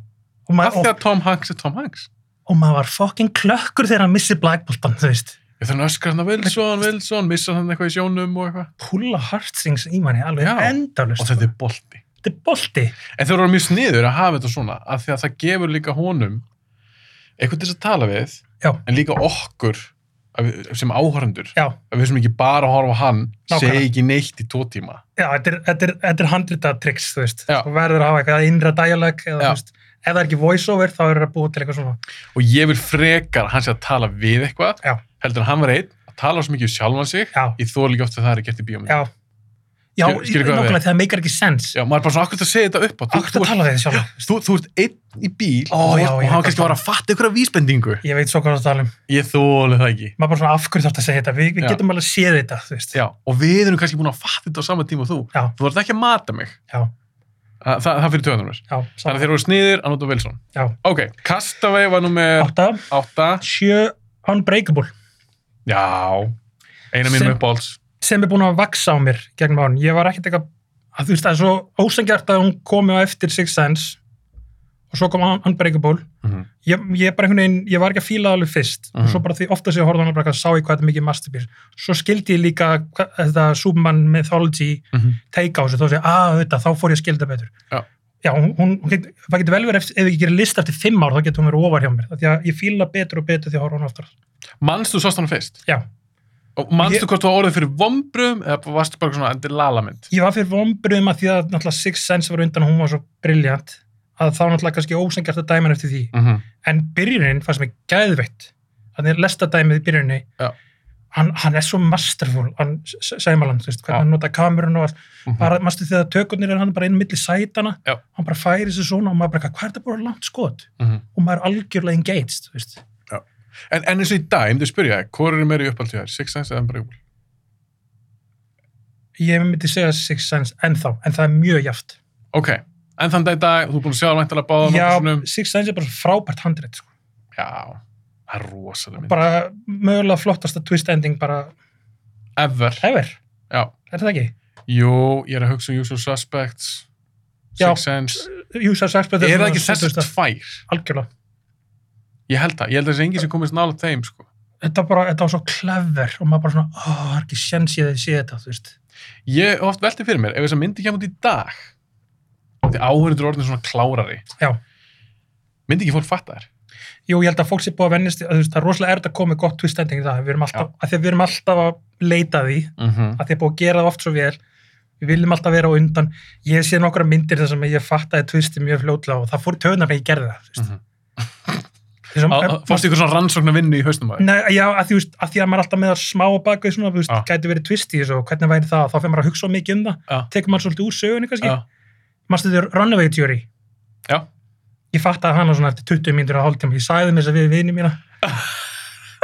Speaker 1: Af
Speaker 2: maður,
Speaker 1: því
Speaker 2: og,
Speaker 1: að Tom Hanks er Tom Hanks.
Speaker 2: og maður var fokkin klökkur þegar hann missi blackboltan þú veist,
Speaker 1: Ég þannig öskar hann að hérna Wilson, Wilson, missa hann eitthvað í sjónum og eitthvað.
Speaker 2: pulla heartstrings í manni alveg
Speaker 1: Já.
Speaker 2: endalust
Speaker 1: Og þetta er bolti.
Speaker 2: þetta er bolti
Speaker 1: En þeir eru mjög sniður að hafa þetta svona, af því að það gefur líka honum eitthvað til þess að tala við,
Speaker 2: Já.
Speaker 1: en líka okkur að við- sem áhörndur.
Speaker 2: já,
Speaker 1: Að við sem ekki bara að horfa á hann,
Speaker 2: Nákvæmlega.
Speaker 1: segi ekki neitt í tvo tíma.
Speaker 2: já, þetta er, þetta er, þetta er handritatricks þú veist,
Speaker 1: Já.
Speaker 2: þú verður að hafa eitthvað innra dialog
Speaker 1: Já.
Speaker 2: eða, þú veist, ef það er ekki voiceover þá er það búið til eitthvað svona
Speaker 1: Og ég vil frekar að hann sé að tala við eitthvað,
Speaker 2: Já.
Speaker 1: heldur en hann var einn að tala svo mikið um sjálfan sig.
Speaker 2: já,
Speaker 1: Ég þóri líka oft að það er gert í bíómið.
Speaker 2: já, já,
Speaker 1: Skil- skilur hvað við?
Speaker 2: nákvæmlega það meikar ekki sens
Speaker 1: Já, maður er bara svona, akkur þetta segir þetta upp á.
Speaker 2: akkur að tala við þið sjálf
Speaker 1: þú, þú ert einn í bíl
Speaker 2: Ó,
Speaker 1: og,
Speaker 2: já,
Speaker 1: og
Speaker 2: ég
Speaker 1: hann
Speaker 2: veit
Speaker 1: kannski
Speaker 2: hvað
Speaker 1: var að fatta ykkur af vísbendingu
Speaker 2: ég veit svo hvað það tala um
Speaker 1: ég þólu það ekki
Speaker 2: maður bara svona af hverju þarf að segja þetta við, við
Speaker 1: Já.
Speaker 2: getum alveg séð þetta þú veist.
Speaker 1: já, og við erum kannski búin að fatta þetta á sama tíma og þú
Speaker 2: Já.
Speaker 1: þú ert ekki að mata mig
Speaker 2: Já.
Speaker 1: Þa, það, það fyrir töðanum
Speaker 2: já,
Speaker 1: þannig að
Speaker 2: saman
Speaker 1: þeir eru sniðir að nota Wilson
Speaker 2: Já.
Speaker 1: ok, Castaway var nummer
Speaker 2: átta,
Speaker 1: 8
Speaker 2: sjö Unbreakable
Speaker 1: já, eina mínum
Speaker 2: Sem-
Speaker 1: uppáhalds
Speaker 2: sem er búin að vaksa á mér gegnum án ég var ekkert eitthvað að þú veist það er svo ósengjart að hún komi á eftir Six Sense og svo kom Un- Unbreakable
Speaker 1: Mhm.
Speaker 2: ég, ég bara einhvern veginn, ég var ekki að fíla það alveg fyrst og
Speaker 1: Mhm.
Speaker 2: svo bara því ofta sem ég horfði á hana bara eitthvað, sá ég hvað þetta er mikið masterpiece svo skildi ég líka hva- þetta Superman mythology
Speaker 1: Mhm.
Speaker 2: take á þessu þá sé ég, að þetta, þá fór ég að skilda betur
Speaker 1: Já.
Speaker 2: Já, hún, hún, hún get, það getur vel verið ef, ef ég gerir list eftir fimm ár, þá getur hún verið ofar hjá mér af því að ég fíla betur og betur því að horfa á hana aftur
Speaker 1: manstu sást hann fyrst?
Speaker 2: Já.
Speaker 1: og manstu
Speaker 2: Ég-
Speaker 1: hvort þú var orðið fyrir vombrum eða varstu bara svona endur lalamynd
Speaker 2: ég var fyrir vonbröðum að því að náttúrulega Six Sense var undan og hún var svo briljant að þá náttúrulega kannski ósengjart að dæma hann eftir því
Speaker 1: mm -hmm.
Speaker 2: en byrjunin fannst mér gæðveitt þannig að lesta dæmið í byrjuninni
Speaker 1: Já.
Speaker 2: hann, hann er svo masterful hann Sæmalan, þú veist,
Speaker 1: Já.
Speaker 2: hvernig hann nota kamerun og allt,
Speaker 1: Mhm.
Speaker 2: bara, mástu þegar tökurnir er hann bara inn milli sætana,
Speaker 1: Já.
Speaker 2: hann bara færi sig svona og maður bara, hvað er þetta bara langt skot og maður er algjörlega engaged, þú veist
Speaker 1: Mhm. En, en eins og í dag, ég myndi að spyrja, þig, hvor eru meiri uppáhalds í þær? Six Sense eða Unbreakable?
Speaker 2: ég myndi segja Six Sense ennþá, en það er mjög jaft
Speaker 1: Ok, en þann dag í dag, þú er búin að sjá væntalega báða
Speaker 2: Já,
Speaker 1: nokkuð sinnum.
Speaker 2: Six Sense er bara svo frábært handrið, sko
Speaker 1: Já, það er rosalega mynd.
Speaker 2: bara mögulega flottasta twist ending bara
Speaker 1: Ever.
Speaker 2: ever,
Speaker 1: Já.
Speaker 2: er það ekki?
Speaker 1: Jú, ég er að hugsa um Usual Suspects, Six
Speaker 2: Já.
Speaker 1: Sense.
Speaker 2: User Suspect
Speaker 1: Er það
Speaker 2: svona-
Speaker 1: ekki þessar
Speaker 2: svona-
Speaker 1: tvær?
Speaker 2: Algjörlega,
Speaker 1: Ég held það. Ég held að þessi engi sem komist nála þeim, sko.
Speaker 2: þetta, bara, þetta var svo clever og maður bara svona, ó, það er ekki sjens ég að sé þetta, þú veist
Speaker 1: Ég hef oft velti fyrir mér, ef þess að myndi kemur út í dag, því áhörundur orðin svona klárari,
Speaker 2: Já.
Speaker 1: myndi ekki fólk fatta þær.
Speaker 2: Jú, ég held að fólk sé búið að vennist, að, þú veist, það er rosalega erfitt að koma með gott twist ending í það, við erum alltaf, að því að við erum alltaf að leita að því,
Speaker 1: Mm -hmm.
Speaker 2: að því að búið að gera það oft svo vel við viljum alltaf vera á undan ég sé nokkra myndir þar sem ég fattaði twisti mjög fljótlega og það fór í töðunar þegar ég gerði það þú veist.
Speaker 1: Mhm.
Speaker 2: Þessum-
Speaker 1: Mm. Fórstu ykkur svona rannsóknar í hausnum að þér?
Speaker 2: Nei, já, að því, þú veist, að því að maður er alltaf með það smá á bakvið svona, þú veist,
Speaker 1: Já.
Speaker 2: gæti verið twist í þessu og hvernig væri það, þá fyrir maður að hugsa of mikið um það
Speaker 1: Já.
Speaker 2: tekur maður svolítið úr sögunni kannski
Speaker 1: Já.
Speaker 2: ja. maður stuður Runaway Theory
Speaker 1: Já.
Speaker 2: ég fatt að hana svona eftir 20 mínútur að hálftíma, ég sæði mér þess að við vinið mína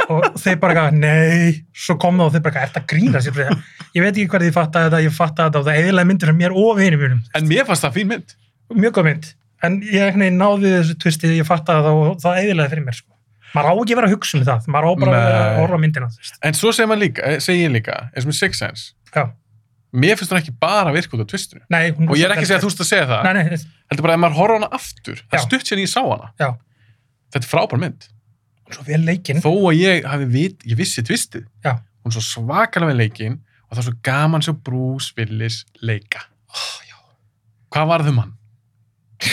Speaker 2: og þeir bara eitthvað, nei svo kom það og þeir bara, eitthvað, ert að grína sér ég veit ekki hverði ég fatt að þetta, ég fatt að þetta og það eðilega myndir sem mér og vinum mínum
Speaker 1: En mér fannst það fín mynd.
Speaker 2: mjög góð mynd, en ég einhvern veginn náði þessu tvisti, ég fatt að það og það eðilega fyrir mér sko. maður á ekki að vera að hugsa um það maður á bara að vera að
Speaker 1: Nei.
Speaker 2: horfa á myndina þú veist.
Speaker 1: En svo segir maður líka, eh, segi ég líka, eins og með Six Sense,
Speaker 2: já,
Speaker 1: mér finnst hún ekki bara virka út af tvistinu.
Speaker 2: nei hún-
Speaker 1: Og ég er ekki að segja að þú veist að segja það.
Speaker 2: nei, nei, nei,
Speaker 1: Heldur bara að maður horfa á hana aftur. Það er
Speaker 2: Já.
Speaker 1: stutt sérna ég sá hana.
Speaker 2: já,
Speaker 1: Þetta er frábær mynd.
Speaker 2: hún er svo vel leikin
Speaker 1: Þó að ég hafi vit, ég vissi tvistið.
Speaker 2: Já.
Speaker 1: Hún er svo svakalega með leikin og það er svo gaman svo Bruce Willis leika.
Speaker 2: Ó, Ah, já.
Speaker 1: Hvað varð um hann?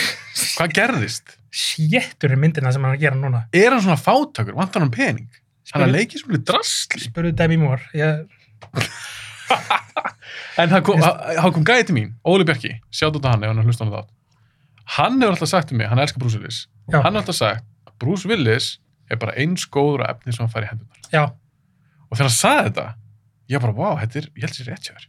Speaker 1: Hvað gerðist?
Speaker 2: séttur er myndina sem hann er að gera núna
Speaker 1: Er hann svona fátökur? Vantar hann pening? Hann er að leiki sem drasli.
Speaker 2: spurðu Demi Moore ég,
Speaker 1: En hann kom, hann hann kom gæði til mín, Óli Bjarki, sjátt út á hann ef hann er hlustan á þátt. Hann hefur alltaf sagt um mig, hann elskar Bruce Willis.
Speaker 2: Já.
Speaker 1: Hann hefur alltaf sagt að Bruce Willis er bara eins góður að efni sem hann fær í hendunar.
Speaker 2: já,
Speaker 1: Og þegar hann sagði þetta, ég bara, vá, þetta er, ég held sér rétt hjá þér.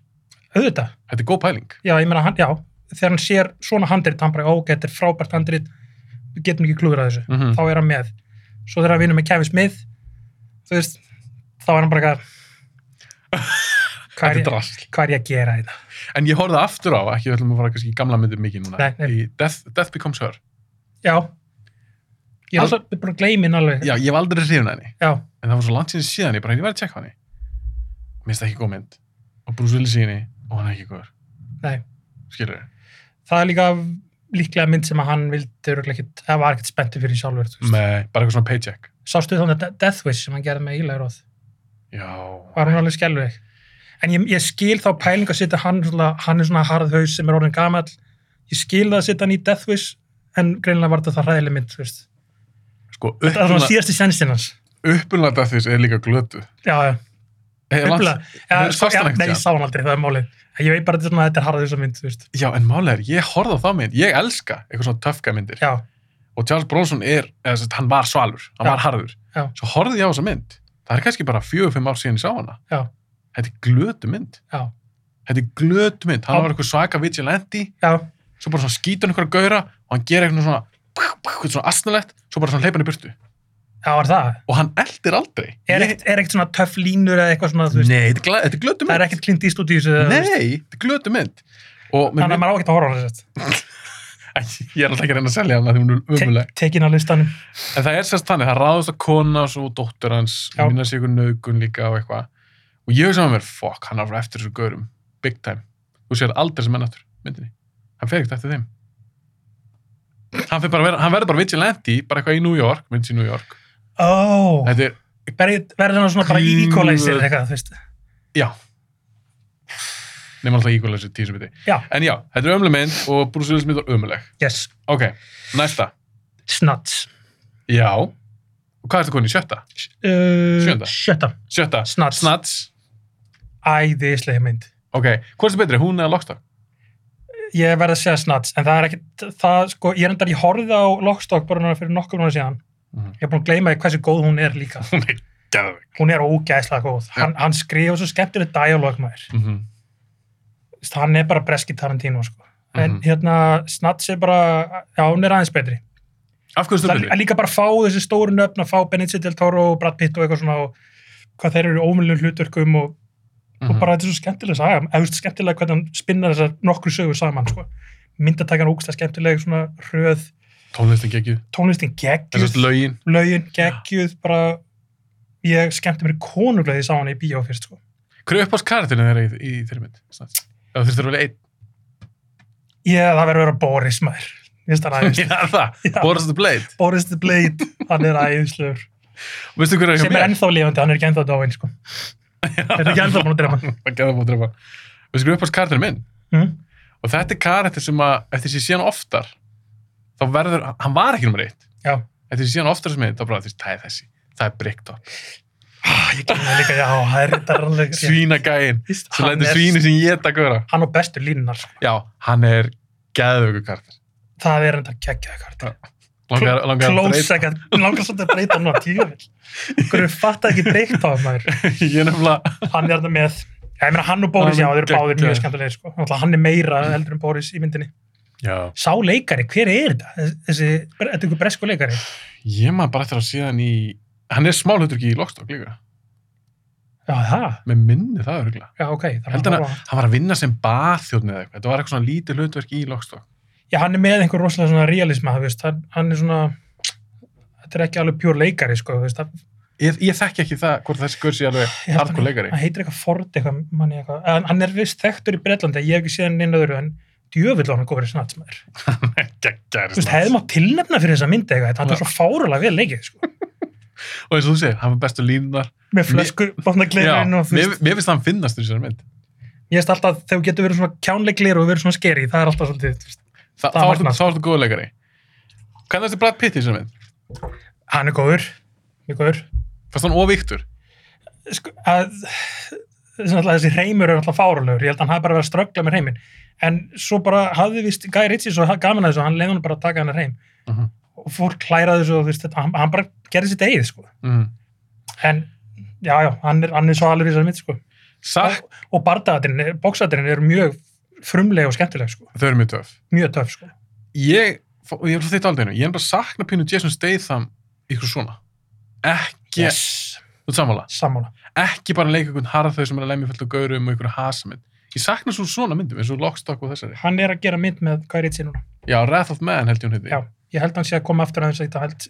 Speaker 2: auðvitað
Speaker 1: Þetta er góð pæling.
Speaker 2: já, ég meina, hann, já, þegar hann sér svona handrit, hann bara, ó, þetta er frábært handrit við getum ekki klúður að þessu
Speaker 1: Mm -hmm.
Speaker 2: þá er hann með, svo þegar hann vinnur með Kevin Smith þú veist, þá er hann bara eitthvað hvað
Speaker 1: Þetta
Speaker 2: er,
Speaker 1: er
Speaker 2: ég,
Speaker 1: drasl.
Speaker 2: hvað er ég að gera hérna?" þetta
Speaker 1: En ég horfði aftur á, ekki við ætlum að fara kannski í gamla myndir mikið núna,
Speaker 2: Nei, nei.
Speaker 1: í Death, Death Becomes Her.
Speaker 2: já ég er
Speaker 1: Al-
Speaker 2: alltaf bara að gleymi hann alveg
Speaker 1: Já, ég var aldrei hrifin að henni,
Speaker 2: já,
Speaker 1: en það var svo langt síðan síðan, ég bara, ég var að tjekka á henni. Mér finnst það ekki góð mynd. Og Bruce Willis í henni, og hann er ekki góður.
Speaker 2: Nei.
Speaker 1: Skilurðu?
Speaker 2: það er líka líklega mynd sem að hann vildi örugglega ekkit, eða var ekkert spenntu fyrir sjálfur þú veist.
Speaker 1: Nei, bara eitthvað svona paycheck.
Speaker 2: sástu þannig að Death Wish sem hann gerði með Ílega Róð
Speaker 1: Já.
Speaker 2: var hún alveg skelvig en ég, ég skil þá pæling að setja hann svona, hann er svona harðhaus sem er orðin gamall ég skil það að setja hann í Death Wish en greinilega var þetta það ræðileg mynd þú veist.
Speaker 1: Sko,
Speaker 2: það var svona
Speaker 1: uppunlega
Speaker 2: síðasti sensin hans
Speaker 1: death wish er líka Eh, glötu.
Speaker 2: já, já,
Speaker 1: Hey,
Speaker 2: upplega ja,
Speaker 1: hefur
Speaker 2: sko,
Speaker 1: sást
Speaker 2: ja,
Speaker 1: hann ekkert
Speaker 2: nei, ég
Speaker 1: síðan?
Speaker 2: sá hann aldrei, það er málið ég veit bara að þetta er harðhaus mynd þú veist.
Speaker 1: já, en málega er, ég horfði á þá mynd, ég elska eitthvað svona töfka myndir.
Speaker 2: já,
Speaker 1: Og Charles Bronson er, eða sett, hann var svalur, hann
Speaker 2: Já.
Speaker 1: var harður.
Speaker 2: Já.
Speaker 1: Svo horfði ég á þessa mynd. Það er kannski bara fjögur, fimm ár síðan ég sá hana.
Speaker 2: Já.
Speaker 1: Þetta er glötu mynd.
Speaker 2: já,
Speaker 1: Þetta er glötu mynd. Hann
Speaker 2: Já.
Speaker 1: var eitthvað svaka vigilante,
Speaker 2: já,
Speaker 1: svo bara svona skýtur hann einhverja gauðra og hann gerir eitthvað svona, eitthvað svona asnalegt, svo bara svona hleypan í burtu.
Speaker 2: já, var það
Speaker 1: Og hann eldir aldrei.
Speaker 2: er
Speaker 1: Ég-
Speaker 2: ekkert er ekkert svona töff línur eða eitthvað svona þú veist.
Speaker 1: Nei, þetta er gla- þetta er glötu mynd.
Speaker 2: það er ekkert klint í stúdíu þannig
Speaker 1: Nei, þetta er glötu mynd og mér,
Speaker 2: að maður á ekkert að horfa á hana, sem sagt.
Speaker 1: Æ, ég er alltaf ekki að reyna að selja hana því hún er umuleg
Speaker 2: Te- tekin á listanum
Speaker 1: en það er sérst þannig, það ráðast að kona svo dóttur hans,
Speaker 2: Já.
Speaker 1: minna sig ykkur nögun líka og eitthvað, og ég hugsa með mér fuck, hann er bara eftir þessu gaurum, big time þú sér aldrei sem ennáttur, myndinni hann fer ekkert eftir þeim hann, fer bara, að vera- hann verður bara vigilante bara eitthvað í New York, mynd í New York
Speaker 2: ó,
Speaker 1: þetta er,
Speaker 2: verður hann svona bara í
Speaker 1: Guð.
Speaker 2: equalizer eitthvað, þú veist
Speaker 1: já nema alltaf íkvæmlega þessu tíu sem viti
Speaker 2: Já.
Speaker 1: en já, þetta er ömuleg mynd og Bruce Willis mynd var ömuleg
Speaker 2: yes,
Speaker 1: ok, næsta
Speaker 2: Snuts
Speaker 1: Já. Og hvað ertu konið? Sjötta?
Speaker 2: uh,
Speaker 1: Sjöunda.
Speaker 2: Sjötta
Speaker 1: Sjötta.
Speaker 2: Snuts.
Speaker 1: Snats.
Speaker 2: Æðislega mynd
Speaker 1: Ok. Hvort er betri? Hún eða Lockstock?
Speaker 2: Ég verð að segja Snuts En það er ekki Það sko Ég er endar Ég horfði á Lockstock bara núna fyrir nokkur núna síðan
Speaker 1: Mhm.
Speaker 2: Ég er búin að gleyma því hversu góð hún er líka
Speaker 1: Hún er gæðvig.
Speaker 2: Hún er ógæðslega góð Hann, hann skrifa svo skemmtileg dialog maður
Speaker 1: Mm -hmm.
Speaker 2: Þess, Hann er bara breski Tarantino sko En
Speaker 1: Mhm.
Speaker 2: hérna Snuts er bara Já hún er aðeins betri
Speaker 1: Af hverju stu
Speaker 2: Það er
Speaker 1: betri?
Speaker 2: líka bara að fá þessi stóru nöfn Að fá Benicio del Toro og Brad Pitt og eitthvað svona og hvað þeir eru ómulun hlutverkum og
Speaker 1: Mhm. Mm.
Speaker 2: og bara þetta er svo skemmtilega saga eða þú veist skemmtilega hvernig hann spinnar þessar nokkru sögur saman sko. myndatakan ógsta skemmtilega svona hröð
Speaker 1: Tónlistin geggjuð.
Speaker 2: tónlistin
Speaker 1: Þessast
Speaker 2: geggjuð,
Speaker 1: lögin.
Speaker 2: lögin geggjuð bara ég skemmti mér konuglega því ég sá hann í bíó fyrst sko.
Speaker 1: Hver er upp á skartinu þeirra í, í þeirri mynd? Snats. Það þurftur að velja einn.
Speaker 2: ég það verður að vera Boris maður Mér finnst hann æðislegur.
Speaker 1: Já, það.
Speaker 2: Já.
Speaker 1: Boris the Blade.
Speaker 2: Boris the Blade, hann er æðislegur
Speaker 1: Og veistu hver er hjá
Speaker 2: sem
Speaker 1: mér?
Speaker 2: er ennþá lifandi, hann er ekki ennþá dáin sko. hann er ekki ennþá búin að drema
Speaker 1: Það geða búið að drefa. Veistu hver er upp á skartinu minn?
Speaker 2: mm?
Speaker 1: Og þetta er karakter sem að, eftir því síðan oftar, þá verður, hann var ekki nummer eitt.
Speaker 2: já,
Speaker 1: Eftir því síðan oftar sem mynd, þá bara, þú veist, það er þessi. Það er Brickton.
Speaker 2: ah, ég kemur það líka já, það er þetta er alveg-
Speaker 1: Svínagæinn. Svo
Speaker 2: Hann
Speaker 1: lætur
Speaker 2: er-
Speaker 1: svíni sem ég þetta góra.
Speaker 2: hann á bestu línunar sko.
Speaker 1: Já, hann er gæðvöku karakter.
Speaker 2: það er enda geggjaði kartur
Speaker 1: Langar, langar að
Speaker 2: Close
Speaker 1: breyta.
Speaker 2: second, langar svolítið að breyta hann á tíuvel. Hverju fatta ekki breykt á maður.
Speaker 1: Ég er nefnilega,
Speaker 2: Hann er þarna með, já, ég meina hann og Boris,
Speaker 1: Hann
Speaker 2: já,
Speaker 1: er
Speaker 2: þeir eru báðir
Speaker 1: geggjaður.
Speaker 2: mjög skemmtilegir, sko. Náttúrulega hann er meira heldur en Boris í myndinni.
Speaker 1: já.
Speaker 2: Sá leikari, hver er þetta? Þessi, þetta er einhver bresku leikari.
Speaker 1: Ég maður bara eftir að sé hann í hann er smálhutur ekki í Lockstock líka
Speaker 2: Já, það.
Speaker 1: með minni það örgulega
Speaker 2: Já, ok. þannig að
Speaker 1: Heldur
Speaker 2: hann var-
Speaker 1: hann var að vinna sem baðþjóðni eða eitthvað, þetta var eitthvað svona lítið hlutverk í Lockstock
Speaker 2: Já, hann er með einhver rosalega svona realisma, þú veist. Hann, hann er svona, þetta er ekki alveg pjór leikari, sko, þú veist. hann-
Speaker 1: ég, ég þekki ekki það hvort þessi gaur sé alveg
Speaker 2: Ég held
Speaker 1: hardcore leikari
Speaker 2: Hann heitir eitthvað Ford, eitthvað, manni eitthvað. En hann er vist þekktur í Bretlandi, ég hef ekki séð hann einu öðru, en djöfull á hann góður í snatsmaður. Þú veist, hefði
Speaker 1: Geggjæðir
Speaker 2: maður tilnefna fyrir þessa myndi eitthvað, þetta
Speaker 1: Já.
Speaker 2: er svo fárulega vel leikið, sko.
Speaker 1: og eins og þú segir, hann var bestu línunar
Speaker 2: Með flösku,
Speaker 1: Já,
Speaker 2: botnagleirinn
Speaker 1: mér,
Speaker 2: og þú veist.
Speaker 1: mér finnst hann finnast í þessari mynd
Speaker 2: Ég veist alltaf, þegar þú getur verið svona kjánleikleir og verið svona skeri, það er alltaf svolítið, þú veist,
Speaker 1: Þa,
Speaker 2: Það
Speaker 1: þá
Speaker 2: er
Speaker 1: ertu-
Speaker 2: magnað.
Speaker 1: þá ertu góð leikari kannast þið Brad Pitt í þessari mynd
Speaker 2: hann er góður, mjög góður.
Speaker 1: fannst hann óvíktur
Speaker 2: sko, að sem alltaf þessi reymur er alltaf fárulegur ég held að hann hafi bara verið að ströggla með reymin en svo bara hafði vist Guy Ritchie svo ha- gaman að þessu, hann leiði hann bara að taka hann að reym
Speaker 1: Mhm.
Speaker 2: og fólk klæraði þessu og þú veist, þetta, hann, hann bara gerði sitt eigið sko.
Speaker 1: mm.
Speaker 2: en já, já, hann er, hann er svo alveg í þessari mitt sko.
Speaker 1: Sakk,
Speaker 2: og, og bardaðatirinn, bóksaðatirinn er mjög frumleg og skemmtileg, sko.
Speaker 1: þau eru mjög töf
Speaker 2: mjög töf sko.
Speaker 1: ég, fó- ég er frá þitt aldrei ég er bara að sakna pínu Jason Statham ykkur svona ekki,
Speaker 2: yes,
Speaker 1: þú ert sammála
Speaker 2: sammála
Speaker 1: ekki bara leika einhvern harð þau sem er að lemja fullt og gaurum og einhverja hasamind ég sakna svo svona myndum eins og Lockstock og þessari
Speaker 2: hann er að gera mynd með Guy Ritchie núna
Speaker 1: já, Wrath of Man held ég hún heiti
Speaker 2: Já, ég held að hann sé að koma aftur aðeins að þetta held,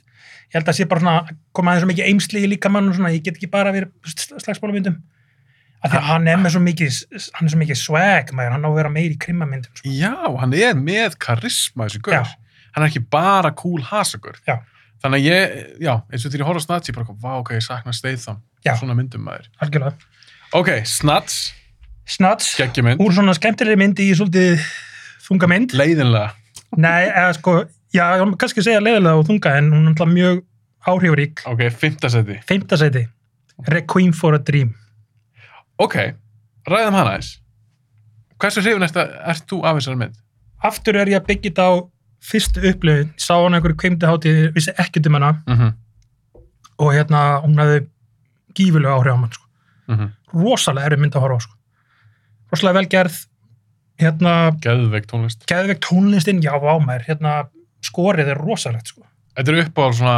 Speaker 2: ég held að sé bara svona að koma aðeins svo mikið eimsli í líkamann og svona, ég get ekki bara verið sl- slagsmálamyndum af því að hann er með svo mikið hann er svo mikið swag, maður, hann á að vera meir í krimmamyndum sko.
Speaker 1: já, hann er með karisma þessi gaur
Speaker 2: Já.
Speaker 1: hann er ekki bara cool hasagur
Speaker 2: Já.
Speaker 1: þannig að ég, já, eins og þegar ég horf á Snatch ég bara, vá, ok, ég sakna Statham
Speaker 2: Já.
Speaker 1: svona myndum maður
Speaker 2: algjörlega.
Speaker 1: ok, Snatch,
Speaker 2: Snats,
Speaker 1: geggjumynd
Speaker 2: úr svona skemmtilegri myndi í svolítið þunga mynd
Speaker 1: leiðinlega
Speaker 2: Nei, eða sko, já, ég var kannski að segja leiðilega og þunga en hún er alltaf mjög áhrifurík
Speaker 1: ok, fimmtasæti
Speaker 2: Feimtasæti, Requiem for a Dream
Speaker 1: Ok, ræðum hana eins. Hversu hrifin ert, ert þú af þessari mynd?
Speaker 2: Aftur er ég að byggja þetta á fyrstu upplöfun, sá hann einhverju kveimdahátið, vissi ekkert um hana
Speaker 1: Mm -hmm.
Speaker 2: og hérna hún hafði gífulega áhrif á mann sko. rosalega erfið mynd að horfa á sko. rosalega velgerð hérna,
Speaker 1: Geðveik tónlist.
Speaker 2: geðveikt tónlistinn já, vá maður, hérna skorið er rosalegt sko.
Speaker 1: Þetta er upp á svona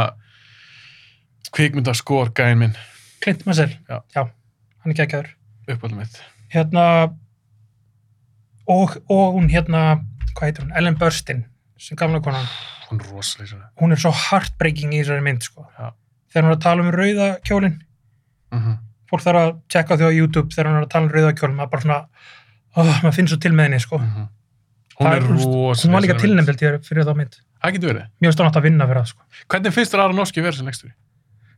Speaker 1: kvikmyndaskor gæin minn,
Speaker 2: Clint Mansell,
Speaker 1: Já.
Speaker 2: hann er geggjaður
Speaker 1: uppáldum mitt.
Speaker 2: hérna og, og hún hérna hvað heitir hún, Ellen Burstyn sem gamla konan,
Speaker 1: Hún er rosalega svona.
Speaker 2: hún er svo heartbreaking í þessari mynd sko.
Speaker 1: Já.
Speaker 2: þegar hún er að tala um rauða kjólinn
Speaker 1: Mm -hmm.
Speaker 2: fólk þarf að tjekka þau á YouTube þegar hún er að tala um rauða kjólinn maður bara svona, ó, maður finnst svo til með henni sko.
Speaker 1: Mhm. Hún
Speaker 2: Það
Speaker 1: er
Speaker 2: er- hún-
Speaker 1: rosalega
Speaker 2: hún var líka
Speaker 1: í þessari mynd.
Speaker 2: tilnæmd held ég, fyrir þá mynd
Speaker 1: Það getur verið.
Speaker 2: mér finnst hann alltaf að vinna fyrir það sko.
Speaker 1: Hvernig finnst þér Aron Norski verið sem leikstjóri?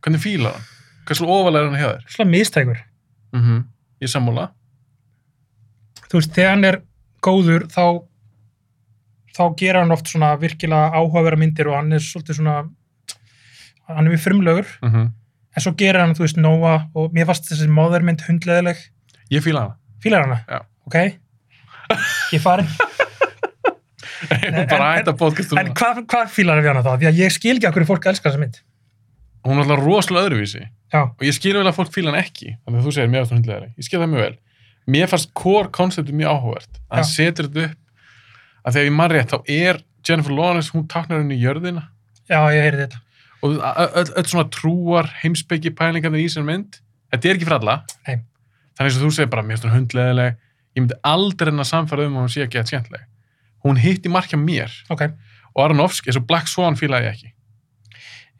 Speaker 1: Hvernig fílar hann? Hversu ofalega er hann hjá þér?
Speaker 2: svona mistækur,
Speaker 1: Mm
Speaker 2: Mhm.
Speaker 1: Ég er sammála.
Speaker 2: þú veist, þegar hann er góður þá þá gera hann oft svona virkilega áhugavera myndir og hann er svolítið svona hann er mjög frumlögur
Speaker 1: Mm
Speaker 2: en svo gera hann, þú veist, Noah og mér fannst þessi móðurmynd hundleðileg
Speaker 1: Ég fíla hana.
Speaker 2: fílar hana,
Speaker 1: Já.
Speaker 2: ok ég er farin,
Speaker 1: Ég er
Speaker 2: En-
Speaker 1: bara að
Speaker 2: en-
Speaker 1: hætta podcastum.
Speaker 2: en hvað hva fílar hann við hana þá því að ég skil ekki að hverju fólk elskar þessa mynd
Speaker 1: Hún er alltaf rosalega öðruvísi.
Speaker 2: já,
Speaker 1: og ég skil vel að fólk fíla hann ekki þannig að þú segir mér að það hundlega ég skil það mjög vel mér fannst core conceptið mjög áhugavert að hann
Speaker 2: Já.
Speaker 1: setur þetta upp að þegar ég man rétt þá er Jennifer Lawrence hún táknar henni í jörðina
Speaker 2: já, ég heyrði þetta
Speaker 1: og ö- ö- öll, öll svona trúar heimsbyggi pælingarnir í sér mynd þetta er ekki fyrir alla
Speaker 2: Nei.
Speaker 1: þannig eins og þú segir bara mér finnst hún hundlegaleg ég myndi aldrei henni að samfæra um að hún sé ekki að skemmtleg hún hitti markja mér
Speaker 2: ok,
Speaker 1: og Aronofsky eins og Black Swan fílaði ég ekki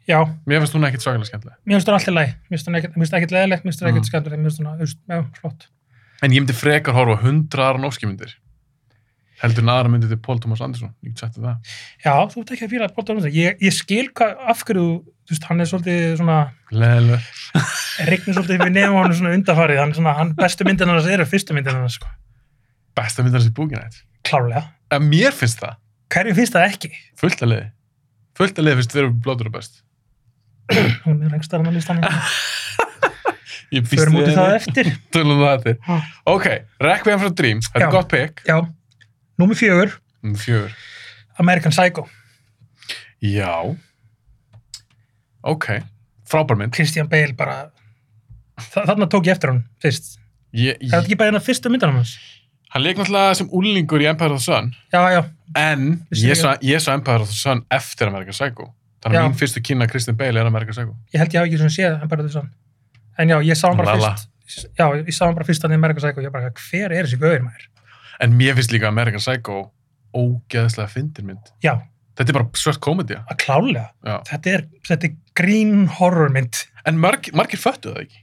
Speaker 2: já,
Speaker 1: mér finnst hún ekkit svakalega skemmtleg
Speaker 2: mér finnst hann alltaf læg mér finnst hann ekkert- mér finnst ekkert leðilegt, mér finnst hann
Speaker 1: Mm.
Speaker 2: ekkert skemmtileg mér finnst hann, þú veist, já, flott
Speaker 1: En ég myndi frekar horfa á 100 Aronofsky myndir. Heldur en aðra myndir til Paul Thomas Anderson. Ég get sagt þér það.
Speaker 2: Já, þú ert ekki að fíla Paul Thomas ég, ég skil hvað, af hverju þú- þú veist, hann er svolítið svona
Speaker 1: Leðileg.
Speaker 2: regnir svolítið við nefum hann svona undafarið hann, svona, hann bestu myndin hans eru fyrstu myndin hans sko.
Speaker 1: Besta myndir hans í búkinætt.
Speaker 2: klárlega,
Speaker 1: En mér finnst það.
Speaker 2: hverju finnst það ekki?
Speaker 1: Fullt að liði. Fullt að liði finnst þér blóður og best.
Speaker 2: hún er rengstar hann að lista hann
Speaker 1: Ég
Speaker 2: fyrir mútið það eftir
Speaker 1: Tölum um það eftir.
Speaker 2: Ha.
Speaker 1: Ok, Requiem for a Dream. Þetta
Speaker 2: Já.
Speaker 1: er gott pick.
Speaker 2: Já, númer fjögur,
Speaker 1: Númer Fjögur.
Speaker 2: American Psycho
Speaker 1: Já. Ok. Frábær mynd.
Speaker 2: Christian Bale bara Þa, þarna tók ég eftir hann fyrst
Speaker 1: Ég,
Speaker 2: er þetta
Speaker 1: ég,
Speaker 2: ekki bara hennar fyrstu myndin hans?
Speaker 1: hann leik náttúrulega sem úlingur í Empire of the Sun.
Speaker 2: Já, já,
Speaker 1: En
Speaker 2: Vissi
Speaker 1: ég
Speaker 2: ég.
Speaker 1: sá, ég sá Empire of the Sun eftir American Psycho. Þannig að
Speaker 2: Já.
Speaker 1: mín fyrstu kynna Kristinn Bale er að merka segu.
Speaker 2: Ég held ég hafi ekki svona séð en bara þessan. En já, ég sá hann bara
Speaker 1: Lala.
Speaker 2: fyrst. Já, ég sá hann bara fyrst hann í America Psycho. Ég bara, hver er þessi gauður maður?
Speaker 1: En mér finnst líka American Psycho ógeðslega fyndin mynd.
Speaker 2: Já,
Speaker 1: Þetta er bara svört komedja.
Speaker 2: að klálega.
Speaker 1: Já.
Speaker 2: Þetta er, þetta er grín horrormynd.
Speaker 1: En marg, margir föttu það ekki.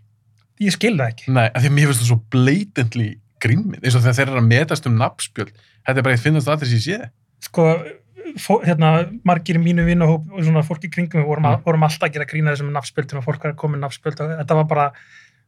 Speaker 2: Ég skil það ekki.
Speaker 1: Nei, af því að mér finnst það svo blatantly grínmynd. Eins og þegar þeir eru að metast um nafnspjöld. Þetta er bara eitt finnast aðrið sem ég sé.
Speaker 2: Sko, fó, hérna, margir í mínu vinahóp og svona fólk í kringum við vorum, að,
Speaker 1: Mm.
Speaker 2: vorum alltaf að gera grína þessum nafnspjöldum og fólk var að koma með nafnspjöld og þetta var bara,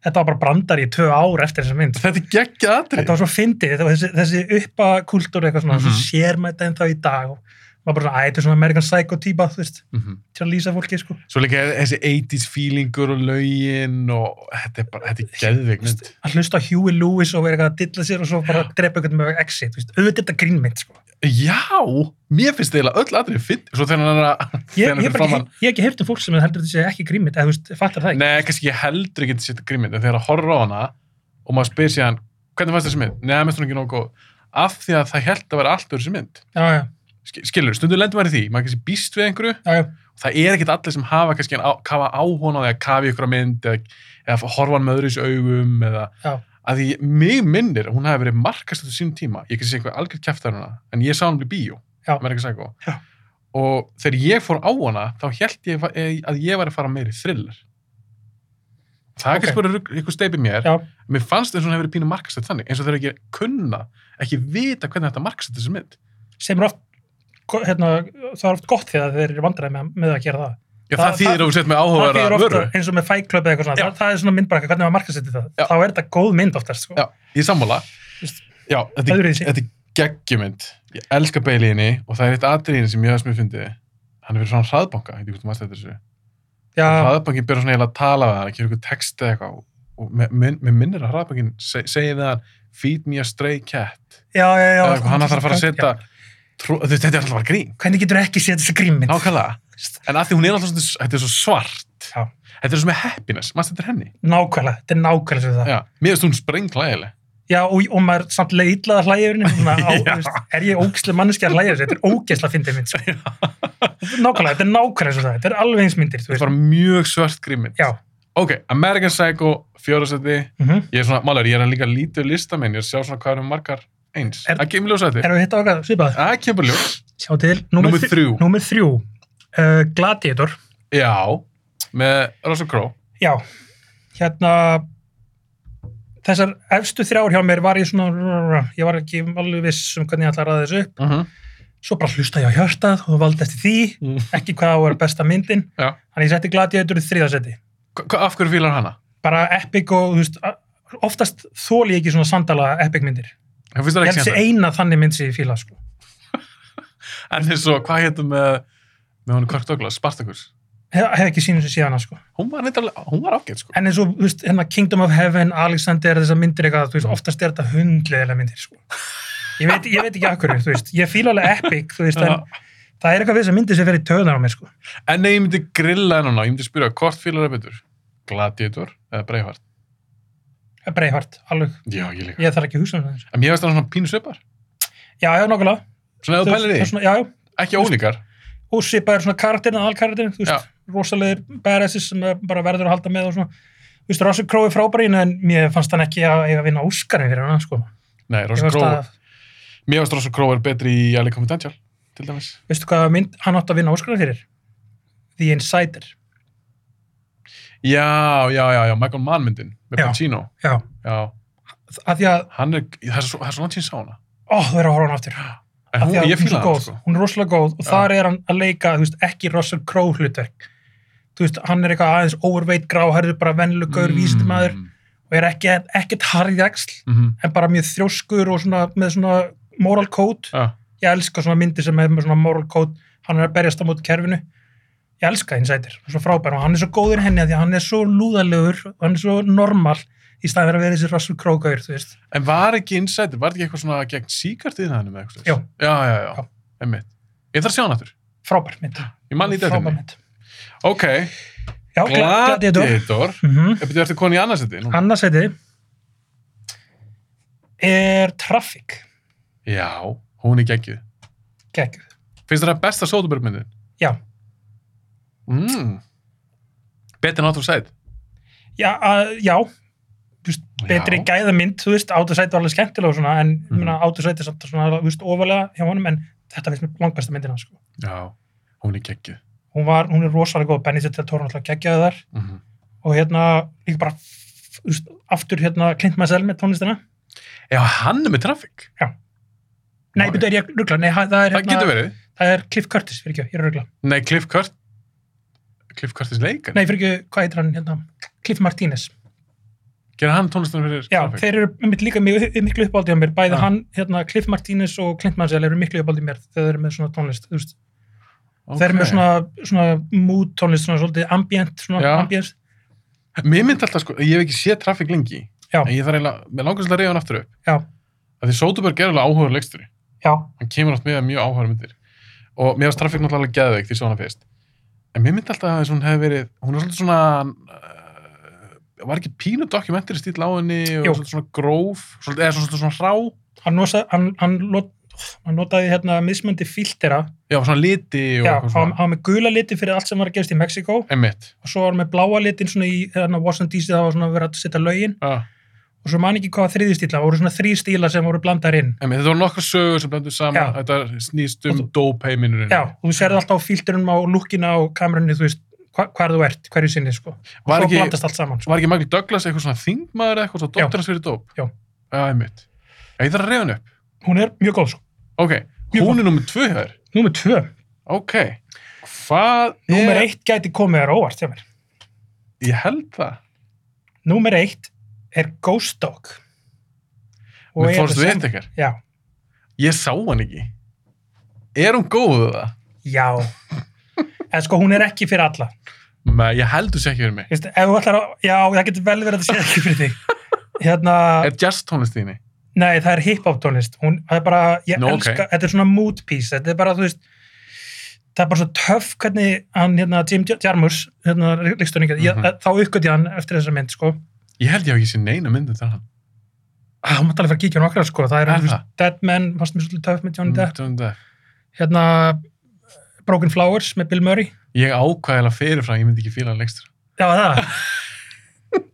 Speaker 2: þetta var bara brandar í tvö ár eftir þessa mynd.
Speaker 1: Þetta er geggja aðrið.
Speaker 2: Þetta var svo fyndið, þetta var þessi, þessi uppakúltúr eitthvað svona, mm
Speaker 1: Mhm.
Speaker 2: sér með þetta en í dag og maður bara svona, æ, þetta er svona American Psycho típa, þú veist,
Speaker 1: Mhm.
Speaker 2: til að lýsa fólki, sko.
Speaker 1: Svo líka er þessi 80s feelingur og lögin og þetta er bara, þetta er geðveik mynd.
Speaker 2: Að hlusta á Huey Lewis og vera eitthvað að dilla sér og svo bara drepa eitthvað með exit, þú veist, auðvitað er þetta grínmynd, sko.
Speaker 1: Já, mér finnst eiginlega öll aðrið fynd. Svo þegar hann er að...
Speaker 2: Ég,
Speaker 1: þegar hann er
Speaker 2: ég, hef
Speaker 1: fyrir
Speaker 2: bara ekki,
Speaker 1: framan-
Speaker 2: heyrt- ég hef ekki heyrt um fólk sem heldur þetta sé ekki grínmynd, eða þú veist, fattar það ekki.
Speaker 1: Nei, kannski ég heldur ekki að setja grímynd, en þegar að horfa á hana og maður spyr sér hann, hvernig fannst þessi mynd? Nei, mér finnst hún ekki nógu góð. Af því að það held að vera allt öðru sem mynd.
Speaker 2: Já, já,
Speaker 1: Sk- Skilur, stundum lendur maður í því, maður kannski býst við einhverju,
Speaker 2: já, já.
Speaker 1: það er ekkert allir sem hafa kannski hann á, kafa áhóna eða kafi ykkur á mynd eða, eða horfa hann með öðru í þessu augum eða
Speaker 2: Já.
Speaker 1: að því mig minnir að hún hafi verið markast á sínum tíma, ég kannski sé einhver algjörð kjæftar hana, en ég sá hann í bíó,
Speaker 2: Já.
Speaker 1: American Psycho
Speaker 2: Já.
Speaker 1: og þegar ég fór á hana þá held ég fa- eh, að ég var að fara meiri thriller það er
Speaker 2: Ok.
Speaker 1: kannski bara rugl- einhver steipi mér
Speaker 2: Já.
Speaker 1: mér fannst eins og hún hefur verið pínu markast þetta þannig eins og þegar ekki kunna, ekki vita hvernig þetta markast þessi mynd
Speaker 2: sem er oft go- hérna, það er oft gott þegar þeir eru vandræði með, með að gera það
Speaker 1: Já, það,
Speaker 2: Það-
Speaker 1: þýðir
Speaker 2: það-
Speaker 1: að þú sett með
Speaker 2: það
Speaker 1: áhugaverða
Speaker 2: er ofta
Speaker 1: vöru
Speaker 2: eins og með Fight Club eða eitthvað svona
Speaker 1: Já.
Speaker 2: það, það er svona myndbarka, hvernig maður markasettir það
Speaker 1: Já.
Speaker 2: þá er þetta góð mynd oftast sko.
Speaker 1: Já, ég er sammála
Speaker 2: Veist,
Speaker 1: Já, þetta, er-
Speaker 2: öðruvísi.
Speaker 1: þetta er geggjumynd Ég elska Bailey í henni og það er eitt atriðin sem ég hafði sem ég fyndi Hann er fyrir svona hraðbanka, ég veit ekki hvort þú maður þessu
Speaker 2: Já,
Speaker 1: Hraðbankin byrjar svona eiginlega að tala við hann, ekki eitthvað text eða eitthvað og mér minn, minn minnir að hraðbankin se, segi við hann Feed me a stray cat
Speaker 2: já, já, já,
Speaker 1: eða eitthvað, hann þarf að fara að setja
Speaker 2: Já.
Speaker 1: trú, þú veist, Þetta er alltaf bara grín
Speaker 2: hvernig getur ekki setja þessa grímmynd
Speaker 1: Nákvæmlega En að því hún er alltaf svona, þetta er svo svart
Speaker 2: Já.
Speaker 1: Þetta er svo með happiness, maður þetta er henni
Speaker 2: nákvæmlega, þetta er nákvæmlega sem það já,
Speaker 1: Já, mér finnst hún sprengklægileg
Speaker 2: og, og maður samt leið illa að hlæja yfir henni, svona, á,
Speaker 1: Já.
Speaker 2: þú veist, er ég ógæslega manneskja að hlæja þessu, þetta er ógæslega fyndið mynd sko. nákvæmlega, þetta er nákvæmlega sem það þetta er alveg eins myndir, þú
Speaker 1: Þetta er
Speaker 2: veist
Speaker 1: bara mjög svört grímynd
Speaker 2: já,
Speaker 1: Ok, American Psycho, fjórasætti
Speaker 2: mm
Speaker 1: Ég er svona, málur, ég er líka lítið listamenn Ég er að sjá svona hvað eru margar eins
Speaker 2: Er-
Speaker 1: Það kemur ljós að þetta
Speaker 2: erum við hitt á okkar svipað?
Speaker 1: Það kemur ljós
Speaker 2: Sjá til,
Speaker 1: Númer
Speaker 2: þr-
Speaker 1: þrjú.
Speaker 2: Númer þrjú, uh, Gladiator
Speaker 1: Já, með Russell Crowe
Speaker 2: Já, hérna Þessar efstu þrjár hjá mér var ég svona Ég var ekki alveg viss um hvernig ég ætla að ræða þessu upp
Speaker 1: uh -huh.
Speaker 2: Svo bara hlusta ég á hjartað og valdi eftir því
Speaker 1: Mm.
Speaker 2: Ekki hvað á að vera besta myndin
Speaker 1: Já.
Speaker 2: Þannig ég setti Gladiator í þriðasetti
Speaker 1: Af hverju fílar hana?
Speaker 2: Bara epic og, þú veist a- Oftast þóli ég ekki svona sandala epic myndir
Speaker 1: Ég finnst það ekki
Speaker 2: Ég held
Speaker 1: sem
Speaker 2: þessi eina þannig mynd sem ég fíla sko.
Speaker 1: það En eins og, hvað hétum með Með honum Kirk Douglas, Spartacus
Speaker 2: Hef, hef ekki sínum sem síðan sko.
Speaker 1: Hún var, reyndar alveg- hún var ágætt sko
Speaker 2: En eins og, þú veist, hérna Kingdom of Heaven, Alexander, þessar myndir eitthvað, þú veist,
Speaker 1: Mm.
Speaker 2: oftast er þetta hundleðilega myndir, sko. Ég veit, ég veit ekki akkur, þú veist, ég fíla alveg epic, þú veist,
Speaker 1: Já.
Speaker 2: en það er eitthvað við þessar myndir sem fer í töðan á mér, sko.
Speaker 1: En nei, ég myndi grilla henn hana Ég myndi spyrja, hvort fílar það betur? Gladiator eða Breivart?
Speaker 2: Það er Breihart, alveg,
Speaker 1: Já, ég líka
Speaker 2: ég þarf ekki að hugsa um það.
Speaker 1: En mér finnst það svona pínu svipar
Speaker 2: Já, já, nokkulega.
Speaker 1: Svona ef þú pælir
Speaker 2: Það er
Speaker 1: því,
Speaker 2: svona- Já, já,
Speaker 1: ekki ólíkar
Speaker 2: og svipaður svona karakterin, aðalkarakterin, þú veist, rosalegir badasses sem er bara verður að halda með og svona. Þú veist, Russell Crowe er frábærin, en mér fannst hann ekki að eiga að vinna Óskarinn fyrir hann, sko.
Speaker 1: Nei,
Speaker 2: Ég
Speaker 1: Russell
Speaker 2: fannst
Speaker 1: Crowe
Speaker 2: að-
Speaker 1: Mér finnst Russell Crowe er betri í Alec Confidential Til dæmis
Speaker 2: Veistu hvað mynd hann átti að vinna Óskarinn fyrir? The Insider.
Speaker 1: Já, já, já, já, Michael Mann myndin með
Speaker 2: Já.
Speaker 1: Pacino,
Speaker 2: Já,
Speaker 1: já,
Speaker 2: að því að
Speaker 1: hann er, það er svo, það er svo langt sín sá hana,
Speaker 2: ó, þú er að horfa á hann aftur
Speaker 1: en
Speaker 2: Af
Speaker 1: hún,
Speaker 2: því að
Speaker 1: ég fíla
Speaker 2: hún er svo
Speaker 1: hann,
Speaker 2: góð,
Speaker 1: sko.
Speaker 2: hún er rosalega góð og
Speaker 1: Já.
Speaker 2: þar er hann að leika, þú veist, ekki Russell Crowe hlutverk þú veist, hann er eitthvað aðeins overweight gráhærður, bara venlugur mm. vísindumæður og er ekki, ekkert harðið axl
Speaker 1: Mhm.
Speaker 2: en bara mjög þrjóskur og svona með svona moral code,
Speaker 1: Já,
Speaker 2: ég elska svona myndir sem er með svona moral code, hann er að berjast á móti kerfinu, ég elska Insider hann er svo frábær og hann er svo góður henni af því að hann er svo lúðalegur og hann er svo normal í staðan fyrir að vera þessi Russell Crowe gaur, þú veist,
Speaker 1: en var ekki insider, var ekki eitthvað svona gegn síkartið hann með eitthvað?
Speaker 2: Já.
Speaker 1: svoleiðis? Já, já, já,
Speaker 2: Já.
Speaker 1: einmitt. Ég þarf að sjá hann aftur,
Speaker 2: frábær mynd
Speaker 1: ég man lítið eftir
Speaker 2: frábær
Speaker 1: henni.
Speaker 2: mynd
Speaker 1: Ok,
Speaker 2: Já, Gladiator.
Speaker 1: Gladiator, Eh,
Speaker 2: Mm -hmm.
Speaker 1: ég byrju eftir koni í annarsætti, nú.
Speaker 2: Annarsæti er Traffic.
Speaker 1: Já, hún er geggjuð.
Speaker 2: Gekkuð.
Speaker 1: Finnst þér það besta Soderbergh myndin?
Speaker 2: Já.
Speaker 1: Mm. Betur en átt og sæt.
Speaker 2: já, að, já þú veist, betri
Speaker 1: Já.
Speaker 2: gæðamynd, þú veist, átursæti var alveg skemmtilega og svona, en mm.
Speaker 1: Mhm.
Speaker 2: myrna, átursæti samt svona, þú veist, ofalega hjá honum, en þetta finnst mér langbæsta myndina, sko.
Speaker 1: Já, hún er geggjuð.
Speaker 2: Hún var, hún er rosalega góð, Benny Zetta Tóra náttúrulega geggjaði þar
Speaker 1: Mm -hmm.
Speaker 2: og hérna, líka bara, þú veist, aftur hérna, Clint Mansell með tónlistina.
Speaker 1: Já, hann er með traffic.
Speaker 2: Nei,
Speaker 1: Ok.
Speaker 2: betur, er ég að ruggla, nei, ha- það er
Speaker 1: Það getur
Speaker 2: hérna,
Speaker 1: verið.
Speaker 2: það er Cliff Curtis, fyrir ekki, ég er að ruggla.
Speaker 1: Nei, Cliff Curt. Cliff Curtis leikar.
Speaker 2: Nei, fyrir ekki, hvað heitir hann, hérna, Cliff Martínez.
Speaker 1: Gerða hann tónlistina fyrir
Speaker 2: Já,
Speaker 1: traffic?
Speaker 2: þeir eru einmitt líka mjög- miklu uppáldið á mér, bæði
Speaker 1: Ah.
Speaker 2: hann, hérna, Cliff Martínez og Clint Mansell eru miklu uppáldið mér þegar þeir eru með svona tónlist, þú veist.
Speaker 1: Ok.
Speaker 2: þeir eru með svona, svona mood tónlist, svona svolítið ambient, svona
Speaker 1: Já.
Speaker 2: ambient.
Speaker 1: Mér myndi alltaf sko, ég hef ekki séð traffic lengi.
Speaker 2: Já.
Speaker 1: En ég þarf eiginlega, mér langar svolítið að reyða hann aftur upp.
Speaker 2: Já.
Speaker 1: Af því Soderbergh er alveg áhugaður leikstjóri.
Speaker 2: Já,
Speaker 1: Hann kemur átt með mjög áhugaður myndir. Og mér varst traffic náttúrulega alveg geðveik því ég sá hana fyrst. En mér myndi alltaf að hún hefði verið, hún er svolítið svona, uh, var ekki pínu dokumentari stíl á henni og
Speaker 2: Jú.
Speaker 1: svolítið svona gróf, svolítið, eða svolítið svona hrá.
Speaker 2: hann, nosa, hann, hann, lot, hann notaði hérna mismöndi filtera,
Speaker 1: Já, svona liti og
Speaker 2: já,
Speaker 1: eitthvað
Speaker 2: hann hann var með gula liti fyrir allt sem var að gerast í Mexiko
Speaker 1: Einmitt.
Speaker 2: og svo var hann með bláa litin svona í hérna, Washington DC það var svona verið að setja lögin
Speaker 1: Já.
Speaker 2: og svo man ekki hvað þriði stíla, það voru svona þrý stíla sem voru blandar inn.
Speaker 1: Einmitt, þetta voru nokkra sögur sem blendur saman,
Speaker 2: Já.
Speaker 1: þetta snýst um
Speaker 2: Og
Speaker 1: dópeiminurinn.
Speaker 2: Já, og þú sérði alltaf á filterunum á lukkina og kamerunni, þú veist, hva, hvar þú ert, hverju sinni, sko. Og
Speaker 1: Var
Speaker 2: svo
Speaker 1: ekki,
Speaker 2: blandast allt saman, sko.
Speaker 1: var ekki Michael Douglas eitthvað svona þingmaður eða eitthvað, svo
Speaker 2: Já.
Speaker 1: dóttir hans fyrir dóp?
Speaker 2: Já.
Speaker 1: Já, einmitt. Já, ég þarf að reyða hann upp.
Speaker 2: Hún er mjög góð, sko.
Speaker 1: Ok,
Speaker 2: Mjög
Speaker 1: hún er nummið tvö hér.
Speaker 2: Númer tvö.
Speaker 1: Ok, hvað
Speaker 2: Númer
Speaker 1: er...
Speaker 2: eitt gæti komið þér á óvart, hjá mér.
Speaker 1: Ég held það.
Speaker 2: Númer eitt er Ghost Dog.
Speaker 1: Og Með
Speaker 2: er
Speaker 1: Forrest
Speaker 2: það sem-
Speaker 1: Whitaker.
Speaker 2: Já,
Speaker 1: Ég sá hann ekki. Er hún góð eða?
Speaker 2: já. En sko, hún er ekki fyrir alla.
Speaker 1: Nei, ég heldur sér ekki fyrir mig.
Speaker 2: Veistu, ef þú ætlar að, já, það getur vel verið að það sé ekki fyrir þig. Hérna,
Speaker 1: Er jazz tónlist þínu?
Speaker 2: nei, það er hip-hop tónlist. Hún, það er bara, ég
Speaker 1: Nú,
Speaker 2: elska, þetta er svona mood piece. Þetta er bara, þú veist, það er bara svo töff hvernig hann, hérna, Jim Jar- Jarmus, hérna, líkstunninga, mm
Speaker 1: Mhm.
Speaker 2: þá uppgöti ég hann eftir þessa mynd, sko.
Speaker 1: Ég held ég hef ekki sér neina myndið til hann.
Speaker 2: Ah, hún mátt alveg fara að kíkja hún okkar, sko. Það er,
Speaker 1: Er
Speaker 2: þú veist,
Speaker 1: það?
Speaker 2: Dead Man, fannst mér svolítið töff með Johnny Depp.
Speaker 1: Johnny Depp.
Speaker 2: hérna Broken Flowers með Bill Murray
Speaker 1: Ég ákvæðilega fyrirfram, ég myndi ekki fíla hann leikstur.
Speaker 2: já það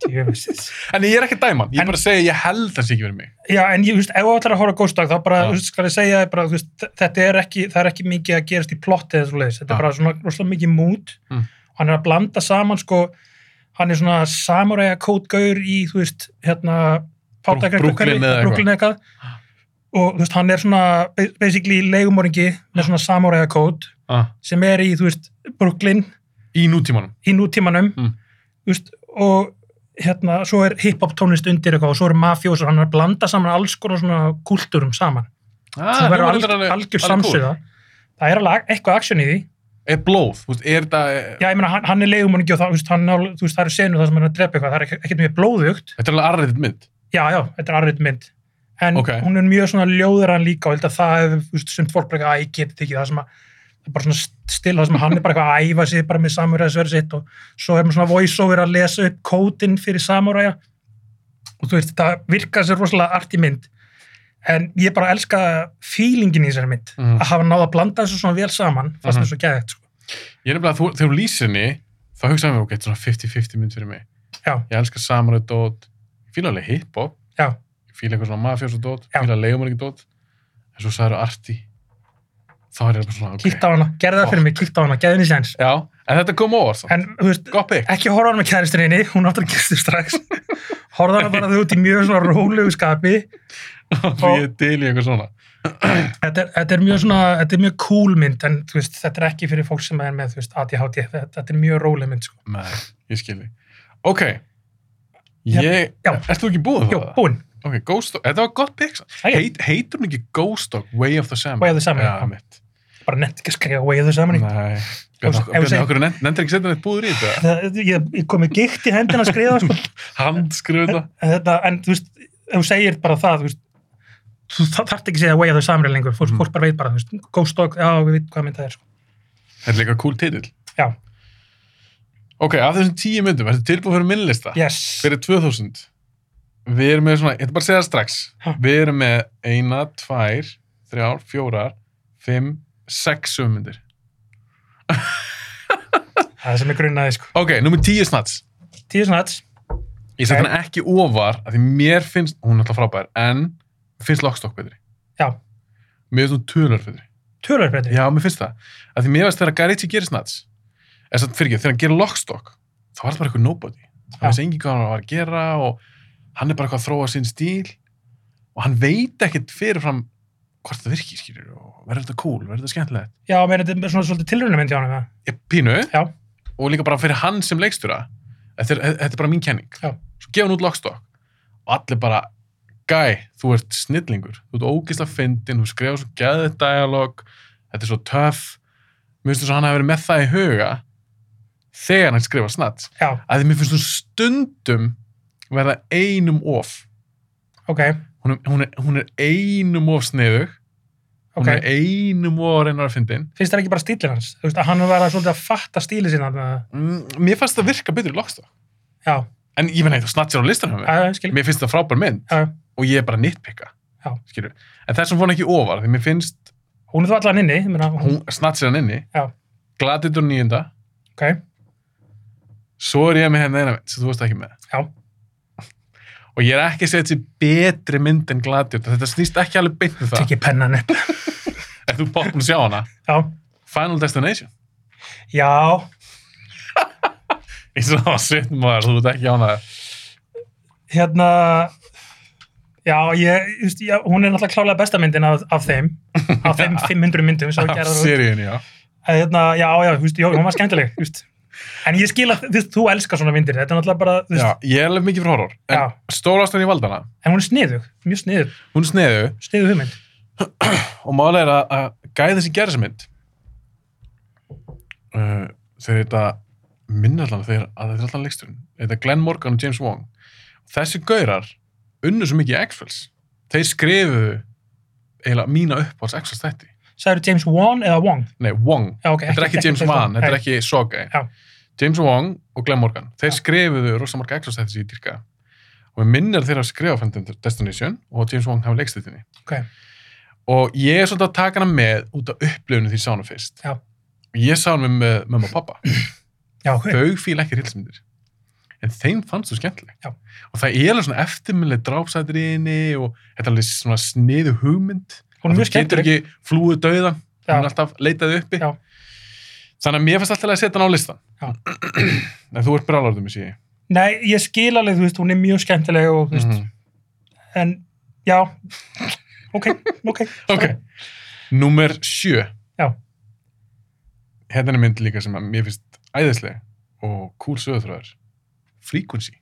Speaker 2: Djöfisins.
Speaker 1: En ég er ekki dæman, ég
Speaker 2: En-
Speaker 1: bara segi ég held það sé ekki fyrir mig.
Speaker 2: já en ég þú veist ef þú ætlar að horfa á Ghost Dog þá bara
Speaker 1: Já.
Speaker 2: þú veist skal ég segja þér bara þú veist þ- þetta er ekki það er ekki mikið að gerast í plotti eða svo leiðis þetta
Speaker 1: Já.
Speaker 2: er bara svona rosalega mikið mút
Speaker 1: Mm.
Speaker 2: hann er að blanda saman sko hann er svona samuræja kótgaur í þú veist hérna fátækrahverfi-
Speaker 1: Brooklyn eða eitthvað.
Speaker 2: Brooklyn eitthvað og þú veist hann er svona ba- basically leigumoringi með svona samuræja kót
Speaker 1: Ah.
Speaker 2: sem er í þú veist Brooklyn
Speaker 1: Í nútímanum.
Speaker 2: í nútímanum
Speaker 1: Mm.
Speaker 2: þú veist, og hérna, svo er hip-hop tónlist undir eitthvað og svo er mafjós og hann er að blanda saman alls konar svona kultúrum saman
Speaker 1: Ah,
Speaker 2: það verður
Speaker 1: hljómar
Speaker 2: algjör,
Speaker 1: reyndar alveg-
Speaker 2: algjör
Speaker 1: alveg cool.
Speaker 2: samsöða það er alveg eitthvað aksjón í því
Speaker 1: er blóð, þú veist, er það
Speaker 2: já, ég meina, hann, hann er leigumann ekki og það, þú veist, hann, nál- þú veist, það eru senu það sem hann er að drepa eitthvað það er ekk- ekkert mjög blóðugt
Speaker 1: þetta er alveg arræðið mynd
Speaker 2: já, já, þetta er arrið mynd en
Speaker 1: Ok.
Speaker 2: hún er mjög svona ljóðrann líka og ég held að það hefur, þú veist, sumt fólk bara eitthvað, "Æ, ég get þetta ekki, það sem að það er bara svona st- still, það sem að hann er bara eitthvað að æfa sig bara með samuræðisverð sitt og svo er maður svona voiceover að lesa upp kódinn fyrir samuræja og þú veist, það virkar sér rosalega arti mynd en ég bara elska feelingin í þessari mynd
Speaker 1: Mhm.
Speaker 2: að hafa náða að blanda þessu svona vel saman fast
Speaker 1: Mhm.
Speaker 2: þessu gæðið, sko.
Speaker 1: ég er nefnilega að þú, þegar þú lýsir henni þá hugsaðum við, ok, þetta er svona 50-50 mynd fyrir mig
Speaker 2: Já.
Speaker 1: ég elska samanlega dót ég fíla alveg hiphop,
Speaker 2: Já.
Speaker 1: ég fíla eitthvað svona mafjós og dót,
Speaker 2: Já.
Speaker 1: ég fíla leiðumar ekki dót en svo sagður arti þá er ég bara svona, ok
Speaker 2: kíkt á hana, gerði það fyrir mig, kíkt á hana, gæðinni séns
Speaker 1: Já, en þetta kom óvart samt.
Speaker 2: en, þú veist,
Speaker 1: gott bygg,
Speaker 2: ekki horfa á hana með kæristinni, hún áttur að gista strax horfa á hana bara þau út í mjög svona rólegu skapi
Speaker 1: því ég til í eitthvað svona
Speaker 2: þetta er, þetta er mjög svona, þetta er mjög cool mynd en þú veist, þetta er ekki fyrir fólk sem er með þú veist, ADHD, þetta, þetta er mjög róleg mynd sko.
Speaker 1: nei, ég skil þig ok, ég
Speaker 2: Já.
Speaker 1: ert þú ekki búið
Speaker 2: Jó,
Speaker 1: það?
Speaker 2: búinn,
Speaker 1: ok, Ghost Dog, þetta var gott bygg
Speaker 2: Jæja.
Speaker 1: Heit, heitur hún ekki Ghost Dog, Way of the Salmon
Speaker 2: Way of the Salmon,
Speaker 1: já,
Speaker 2: já.
Speaker 1: mitt
Speaker 2: bara nefnt ekki að skrifa way of the Samurai
Speaker 1: Nei,
Speaker 2: Ef þú
Speaker 1: Bjarni,
Speaker 2: segir-
Speaker 1: okkur nefndir ekki setja neitt búður í þetta
Speaker 2: Það- ég, ég kom með gikt í hendina að skrifa sko.
Speaker 1: Handskrifa þetta
Speaker 2: en, þetta, en þú veist, ef þú segir bara það þú veist, þú þa- þarft ekki að segja way of the Samurai lengur, fólk,
Speaker 1: Mm.
Speaker 2: fólk bara veit bara þú veist, ghost dog, já, við veit hvað mynd það er sko.
Speaker 1: Þetta er líka cool titill
Speaker 2: Já.
Speaker 1: Ok, af þessum tíu myndum, ertu tilbúið fyrir minnlista
Speaker 2: yes,
Speaker 1: Fyrir 2000 Við erum með svona, ég ætla bara að segja það strax
Speaker 2: Ha.
Speaker 1: Við erum með eina, tvær, þrjár, fjórar, fimm, sex sögmyndir
Speaker 2: Það er sem er grunnaði, sko.
Speaker 1: Ok, nummer 10 snats.
Speaker 2: Tíu snats.
Speaker 1: Ég set
Speaker 2: Ok.
Speaker 1: hana ekki ofar af því mér finnst, hún er alltaf frábær, en mér finnst Lockstock betri.
Speaker 2: Já.
Speaker 1: Mér finnst hún tunar betri.
Speaker 2: Tölur breytir.
Speaker 1: Já, mér finnst það. Af því mér finnst þegar Garici gerir snats, eða satt fyrir ekki, þegar hann gerir Lockstock, þá var það bara eitthvað nobody.
Speaker 2: Já.
Speaker 1: Það finnst engin hvað hann var að gera og hann er bara eitthvað að þróa sinn stíl og hann veit ekkit fyrirfram hvort það virkir, skilur, og verður þetta cool, verður þetta skemmtilegt.
Speaker 2: Já, meina þetta er svona svolítið tilrunum mynd hjá hann.
Speaker 1: Ég pínu,
Speaker 2: Já.
Speaker 1: og líka bara fyrir hann sem leikstjóra þetta er, þetta er bara mín kenning
Speaker 2: Já.
Speaker 1: svo gefa hann út Lockstock og allir bara gæ, þú ert snillingur þú ert ógisla fyndin, þú skrifa svo geðið dialog, þetta er svo töff mér finnst þess að hann hafi verið með það í huga þegar hann skrifa snatt
Speaker 2: Já,
Speaker 1: að því mér finnst þú stundum verða einum of
Speaker 2: ok,
Speaker 1: hún er, hún er, hún er einum of sniðug hún
Speaker 2: ok.
Speaker 1: er einum of reynar að fyndin
Speaker 2: Finnst það ekki bara stílinn hans? Þú veist, að hann var að svolítið að fatta stíli sinna. þarna.
Speaker 1: mm, mér fannst það virka betur í Lockstock
Speaker 2: Já,
Speaker 1: en ég meina, þú snattir á listanum
Speaker 2: já, já, skil.
Speaker 1: mér finnst það frábær mynd
Speaker 2: Já, já.
Speaker 1: og ég er bara nitpikka
Speaker 2: Já.
Speaker 1: skilur, en þessum fór hann ekki ofar því mér finnst,
Speaker 2: Hún er þá allan inni, ég meina, hún,
Speaker 1: hún snatsir hann inni
Speaker 2: Já.
Speaker 1: gladitur nýjunda
Speaker 2: ok,
Speaker 1: svo er ég með henni eina mynd sem þú veist ekki með
Speaker 2: já,
Speaker 1: og ég er ekki að segja þetta sé betri mynd en gladitur þetta snýst ekki alveg beint um það
Speaker 2: tekið pennan upp.
Speaker 1: ef þú bótt um að sjá hana
Speaker 2: Já,
Speaker 1: Final Destination
Speaker 2: já,
Speaker 1: eins og það var sitt maður, þú veist ekki ána
Speaker 2: hérna, já, ég, þú veist, já, hún er náttúrulega klálega besta myndin af, af þeim, af þeim 500 myndum sem
Speaker 1: af
Speaker 2: gerðar út.
Speaker 1: seríun, já
Speaker 2: að hérna, já, já, þú veist, já, hún var skemmtileg, þú veist. En ég skil að, þú veist, þú elskar svona myndir, þetta er náttúrulega bara, þú
Speaker 1: Já,
Speaker 2: veist,
Speaker 1: ég er alveg mikið frá horror
Speaker 2: já,
Speaker 1: en stólastan í valdana,
Speaker 2: en hún er sniðug, mjög sniðug,
Speaker 1: hún er sniðu
Speaker 2: sniðug hugmynd.
Speaker 1: og málega er að, að gæðin sem gerir þessa mynd uh, þegar þetta minna allan þegar að þetta er allan leiksturinn þetta er Glenn Morgan og James Wong þessi gaurar unnu svo mikið í X-Files þeir skrifuðu eiginlega mína uppáhalds X-Files þætti
Speaker 2: Sæður James Wan eða Wong?
Speaker 1: nei, Wong,
Speaker 2: Já, ok.
Speaker 1: þetta er ekki James Wan þetta er
Speaker 2: Nei.
Speaker 1: ekki Sogai
Speaker 2: Já.
Speaker 1: James Wong og Glenn Morgan þeir
Speaker 2: Já.
Speaker 1: skrifuðu rosa marga X-Files þætti sem ég dyrka og við minnir þeirra að skrifa Phantom Destination og James Wong hafa leikstættinni
Speaker 2: Ok,
Speaker 1: og ég er svolítið að taka hana með út af upplifinu því ég sá hana fyrst
Speaker 2: Já.
Speaker 1: og ég sá hana með mamma og pappa
Speaker 2: já, ok.
Speaker 1: þau fíla ekki hilsmyndir en þeim fannst þú skemmtileg
Speaker 2: Já.
Speaker 1: og það er alveg svona eftirminnileg drápsætriðinni og þetta er alveg svona sniðu hugmynd
Speaker 2: Hún er
Speaker 1: Að
Speaker 2: mjög
Speaker 1: getur
Speaker 2: skemmtileg.
Speaker 1: ekki flúið dauðan
Speaker 2: Já.
Speaker 1: hún er alltaf leitaði uppi
Speaker 2: Já.
Speaker 1: þannig að mér fannst alltaf að setja hana á listan
Speaker 2: Já.
Speaker 1: en þú ert brálarðum í síði
Speaker 2: Nei, ég skil alveg, þú veist, hún er mjög skemmtileg og,
Speaker 1: Mhm.
Speaker 2: þú veist, en, já, ok, ok.
Speaker 1: ok, númer sjö
Speaker 2: Já.
Speaker 1: hérna er mynd líka sem að mér finnst æðislega og cool sögurþröður Frequency,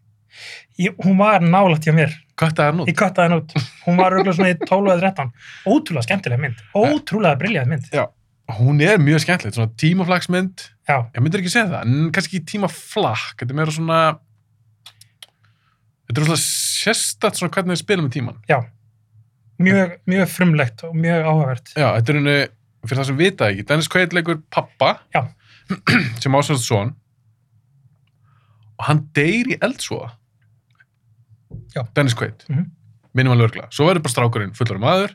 Speaker 2: Ég, hún var nálægt hjá mér,
Speaker 1: hvað það er nú?
Speaker 2: ég kattaði henn út. Hún var auðvitað svona í 12 eða 13. Ótrúlega skemmtileg mynd, ótrúlega briljant mynd.
Speaker 1: hún er mjög skemmtilegt, svona tímaflagsmynd
Speaker 2: Já,
Speaker 1: ég myndir ekki segja það, en kannski ekki tímaflag þetta er meira svona þetta er svona sérstætt svona hvernig við spilum með tíman
Speaker 2: mjög, mjög frumlegt og mjög áhugavert.
Speaker 1: já, þetta er henni, fyrir það sem vita ekki Dennis Quaid leikur pappa
Speaker 2: Já.
Speaker 1: sem ásvæðast son og hann deyr í eldsvoða
Speaker 2: Já.
Speaker 1: Dennis Quaid
Speaker 2: Mhm.
Speaker 1: minnum hann lögla, svo verður bara strákurinn fullur maður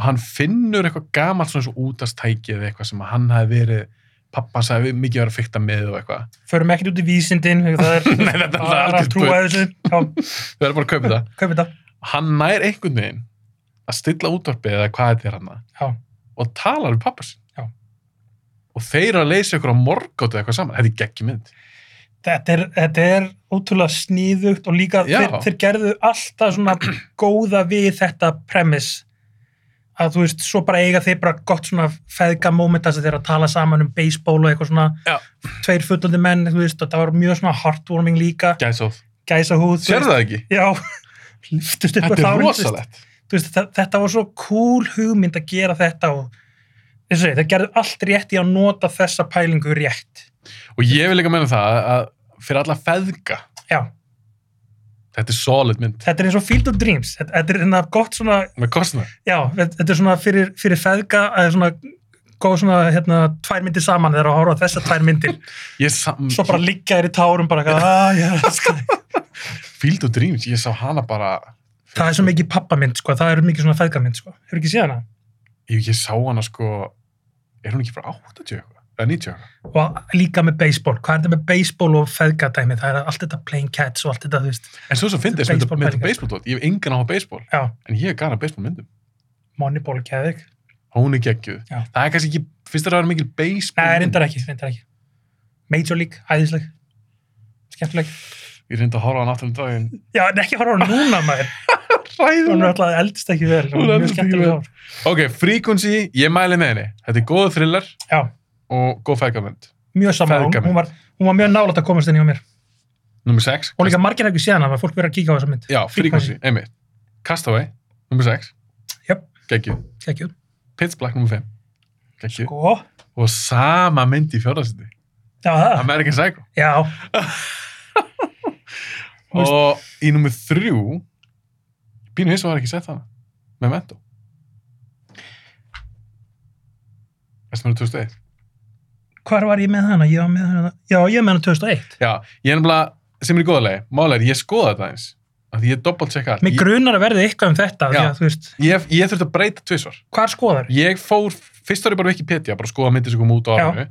Speaker 1: og hann finnur eitthvað gamalt svona eins og útastæki eða eitthvað sem að hann hafi verið pappa hans hafi mikið verið að fykta með og eitthvað
Speaker 2: Förum ekkert út í vísindin, það er
Speaker 1: Nei, þetta er
Speaker 2: bara
Speaker 1: algjört
Speaker 2: að trúa
Speaker 1: bull.
Speaker 2: þessu. Já,
Speaker 1: Við erum bara að kaupa það.
Speaker 2: kaupið það.
Speaker 1: Hann nær einhvern veginn að stilla útvarpið eða hvað þetta er hann
Speaker 2: Já.
Speaker 1: og talar við pappa sinn.
Speaker 2: Já.
Speaker 1: Og þeir eru að leysa ykkur á morgóti eða eitthvað saman. Þetta er geggjum mynd.
Speaker 2: þetta er, þetta er ótrúlega sníðugt og líka
Speaker 1: Já.
Speaker 2: þeir, þeir gerðu alltaf svona góða við þetta premiss að þú veist, svo bara eiga þeir bara gott svona feðga mómenta sem þeir eru að tala saman um baseball og eitthvað svona
Speaker 1: Já.
Speaker 2: tveir fullandi menn, þú veist, og það var mjög svona heartwarming líka,
Speaker 1: Gæsóð.
Speaker 2: gæsa húð
Speaker 1: Sér það ekki?
Speaker 2: Já, lyftust upp á
Speaker 1: Þetta er
Speaker 2: tánum, þú veist.
Speaker 1: rosalegt.
Speaker 2: Þú veist, þetta, þetta var svo cool hugmynd að gera þetta og þessu, það gerðu allt rétt í að nota þessa pælingu rétt
Speaker 1: Og ég vil líka meina það að fyrir alla feðga,
Speaker 2: Já,
Speaker 1: þetta er solid mynd.
Speaker 2: þetta er eins og Field of Dreams þetta, þetta er hérna gott svona,
Speaker 1: Með kostnað.
Speaker 2: já, þetta þetta er svona fyrir, fyrir feðga að svona góð svona hérna tvær myndir saman þegar að horfa á þessar tvær myndir
Speaker 1: Ég sam...
Speaker 2: svo bara liggja þér í tárum bara eitthvað, "Ah, ég elska þig."
Speaker 1: Field of Dreams, ég sá hana bara...
Speaker 2: það er svo mikið pappamynd sko, það er mikið svona feðgamynd sko, hefur ekki séð hana?
Speaker 1: Ég, ég sá hana sko... Er hún ekki frá 80 eitthvað? eða 90 ára.
Speaker 2: og líka með baseball, hvað er þetta með baseball og feðgatæmi, það er allt þetta playing cats og allt þetta, þú veist,
Speaker 1: En svo sem fyndist með
Speaker 2: Baseball
Speaker 1: þetta
Speaker 2: pælingar.
Speaker 1: baseballdótt, ég hef engan á að baseball,
Speaker 2: já,
Speaker 1: en ég er gara baseball myndum.
Speaker 2: Moneyball geðið ekki,
Speaker 1: Hún er geggjuð.
Speaker 2: Já.
Speaker 1: Það er kannski ekki, fyrst að það er mikil baseball.
Speaker 2: neða, reyndar ekki, reyndar ekki Major League, æðisleg skemmtileg,
Speaker 1: Ég reyndi að horfa á hann aftur um daginn.
Speaker 2: já, en ekki fara á hana núna maður, hún er
Speaker 1: Ræðum.
Speaker 2: alltaf eldist ekki vel,
Speaker 1: Hún
Speaker 2: hún er mjög
Speaker 1: eldist ekki
Speaker 2: skemmtileg
Speaker 1: vel.
Speaker 2: ár,
Speaker 1: Ok, Frequency, ég mæli með henni. Þetta er góð thriller
Speaker 2: já,
Speaker 1: og góð fækamönd.
Speaker 2: mjög saman, hún,
Speaker 1: Feðgamynd.
Speaker 2: hún, var, hún var mjög nálægt að komast inn í á mér,
Speaker 1: Númer 6.
Speaker 2: og líka margir hafa ekki séðan að fólk verið að kíka á þessa mynd,
Speaker 1: Já, Frequency, einmitt. Castaway, númer 6.
Speaker 2: Jöp.
Speaker 1: Geggjuð.
Speaker 2: Gekkjum.
Speaker 1: Pitch Black, númer 5. Geggjuð.
Speaker 2: sko, Ah.
Speaker 1: Og sama mynd í fjórðarsindi.
Speaker 2: já, það,
Speaker 1: American Psycho.
Speaker 2: já, Þú veist-
Speaker 1: Og í númer 3, Bínu Hissum var ekki sett hana. Memento. Þessum er 2001.
Speaker 2: hvar var ég með hana, ég var með hana, já, ég var með hana 2001,
Speaker 1: Já, ég er nefnilega, sem er í góðalegi, málega er, ég skoða þetta eins, af því ég doppelt checka allt.
Speaker 2: mig grunar að verði eitthvað um
Speaker 1: Já.
Speaker 2: þetta, því að, þú veist,
Speaker 1: Ég, ég, ég þurfti að breyta tvisvar.
Speaker 2: hvar skoðar,
Speaker 1: Ég fór, fyrst var ég bara Wikipedia, bara að skoða myndir sem kom út á
Speaker 2: Já.
Speaker 1: árinu,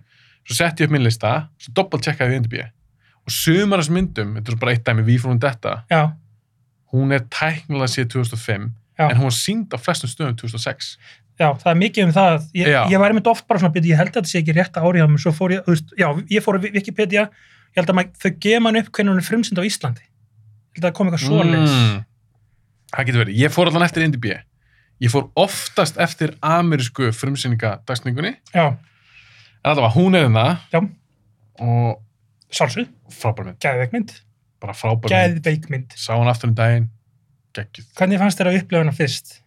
Speaker 1: svo setti ég upp minn lista, svo doppelt checkaði ég NDB. Og sumar þessu myndum, þetta er bara eitt dæmi, við fórum þetta,
Speaker 2: já,
Speaker 1: hún er tæknilega séð 2005,
Speaker 2: Já.
Speaker 1: en hún var sínd á flestum stöðum 2006.
Speaker 2: já, það er mikið um það, ég,
Speaker 1: Já.
Speaker 2: ég væri mynd oft bara svona, byrja, ég held að þetta sé ekki rétt árið á mér, svo fór ég, þú veist, já, ég fór á Wikipedia, ég held að maður, þau gefa hann upp hvernig hún er frumsind á Íslandi, ég held að það kom eitthvað svoleiðis,
Speaker 1: Mm. Það getur verið. Ég fór allan eftir NDB. Ég fór oftast eftir amerísku frumsýningadagsningunni,
Speaker 2: já,
Speaker 1: en allavega hún er það
Speaker 2: já,
Speaker 1: og
Speaker 2: sálsvið,
Speaker 1: frábær mynd,
Speaker 2: gæðveikmynd,
Speaker 1: bara frábær mynd
Speaker 2: gæðveikmynd,
Speaker 1: sá hann aftur um daginn, geggjuð
Speaker 2: hvernig fannst þér að upplifa hana fyrst,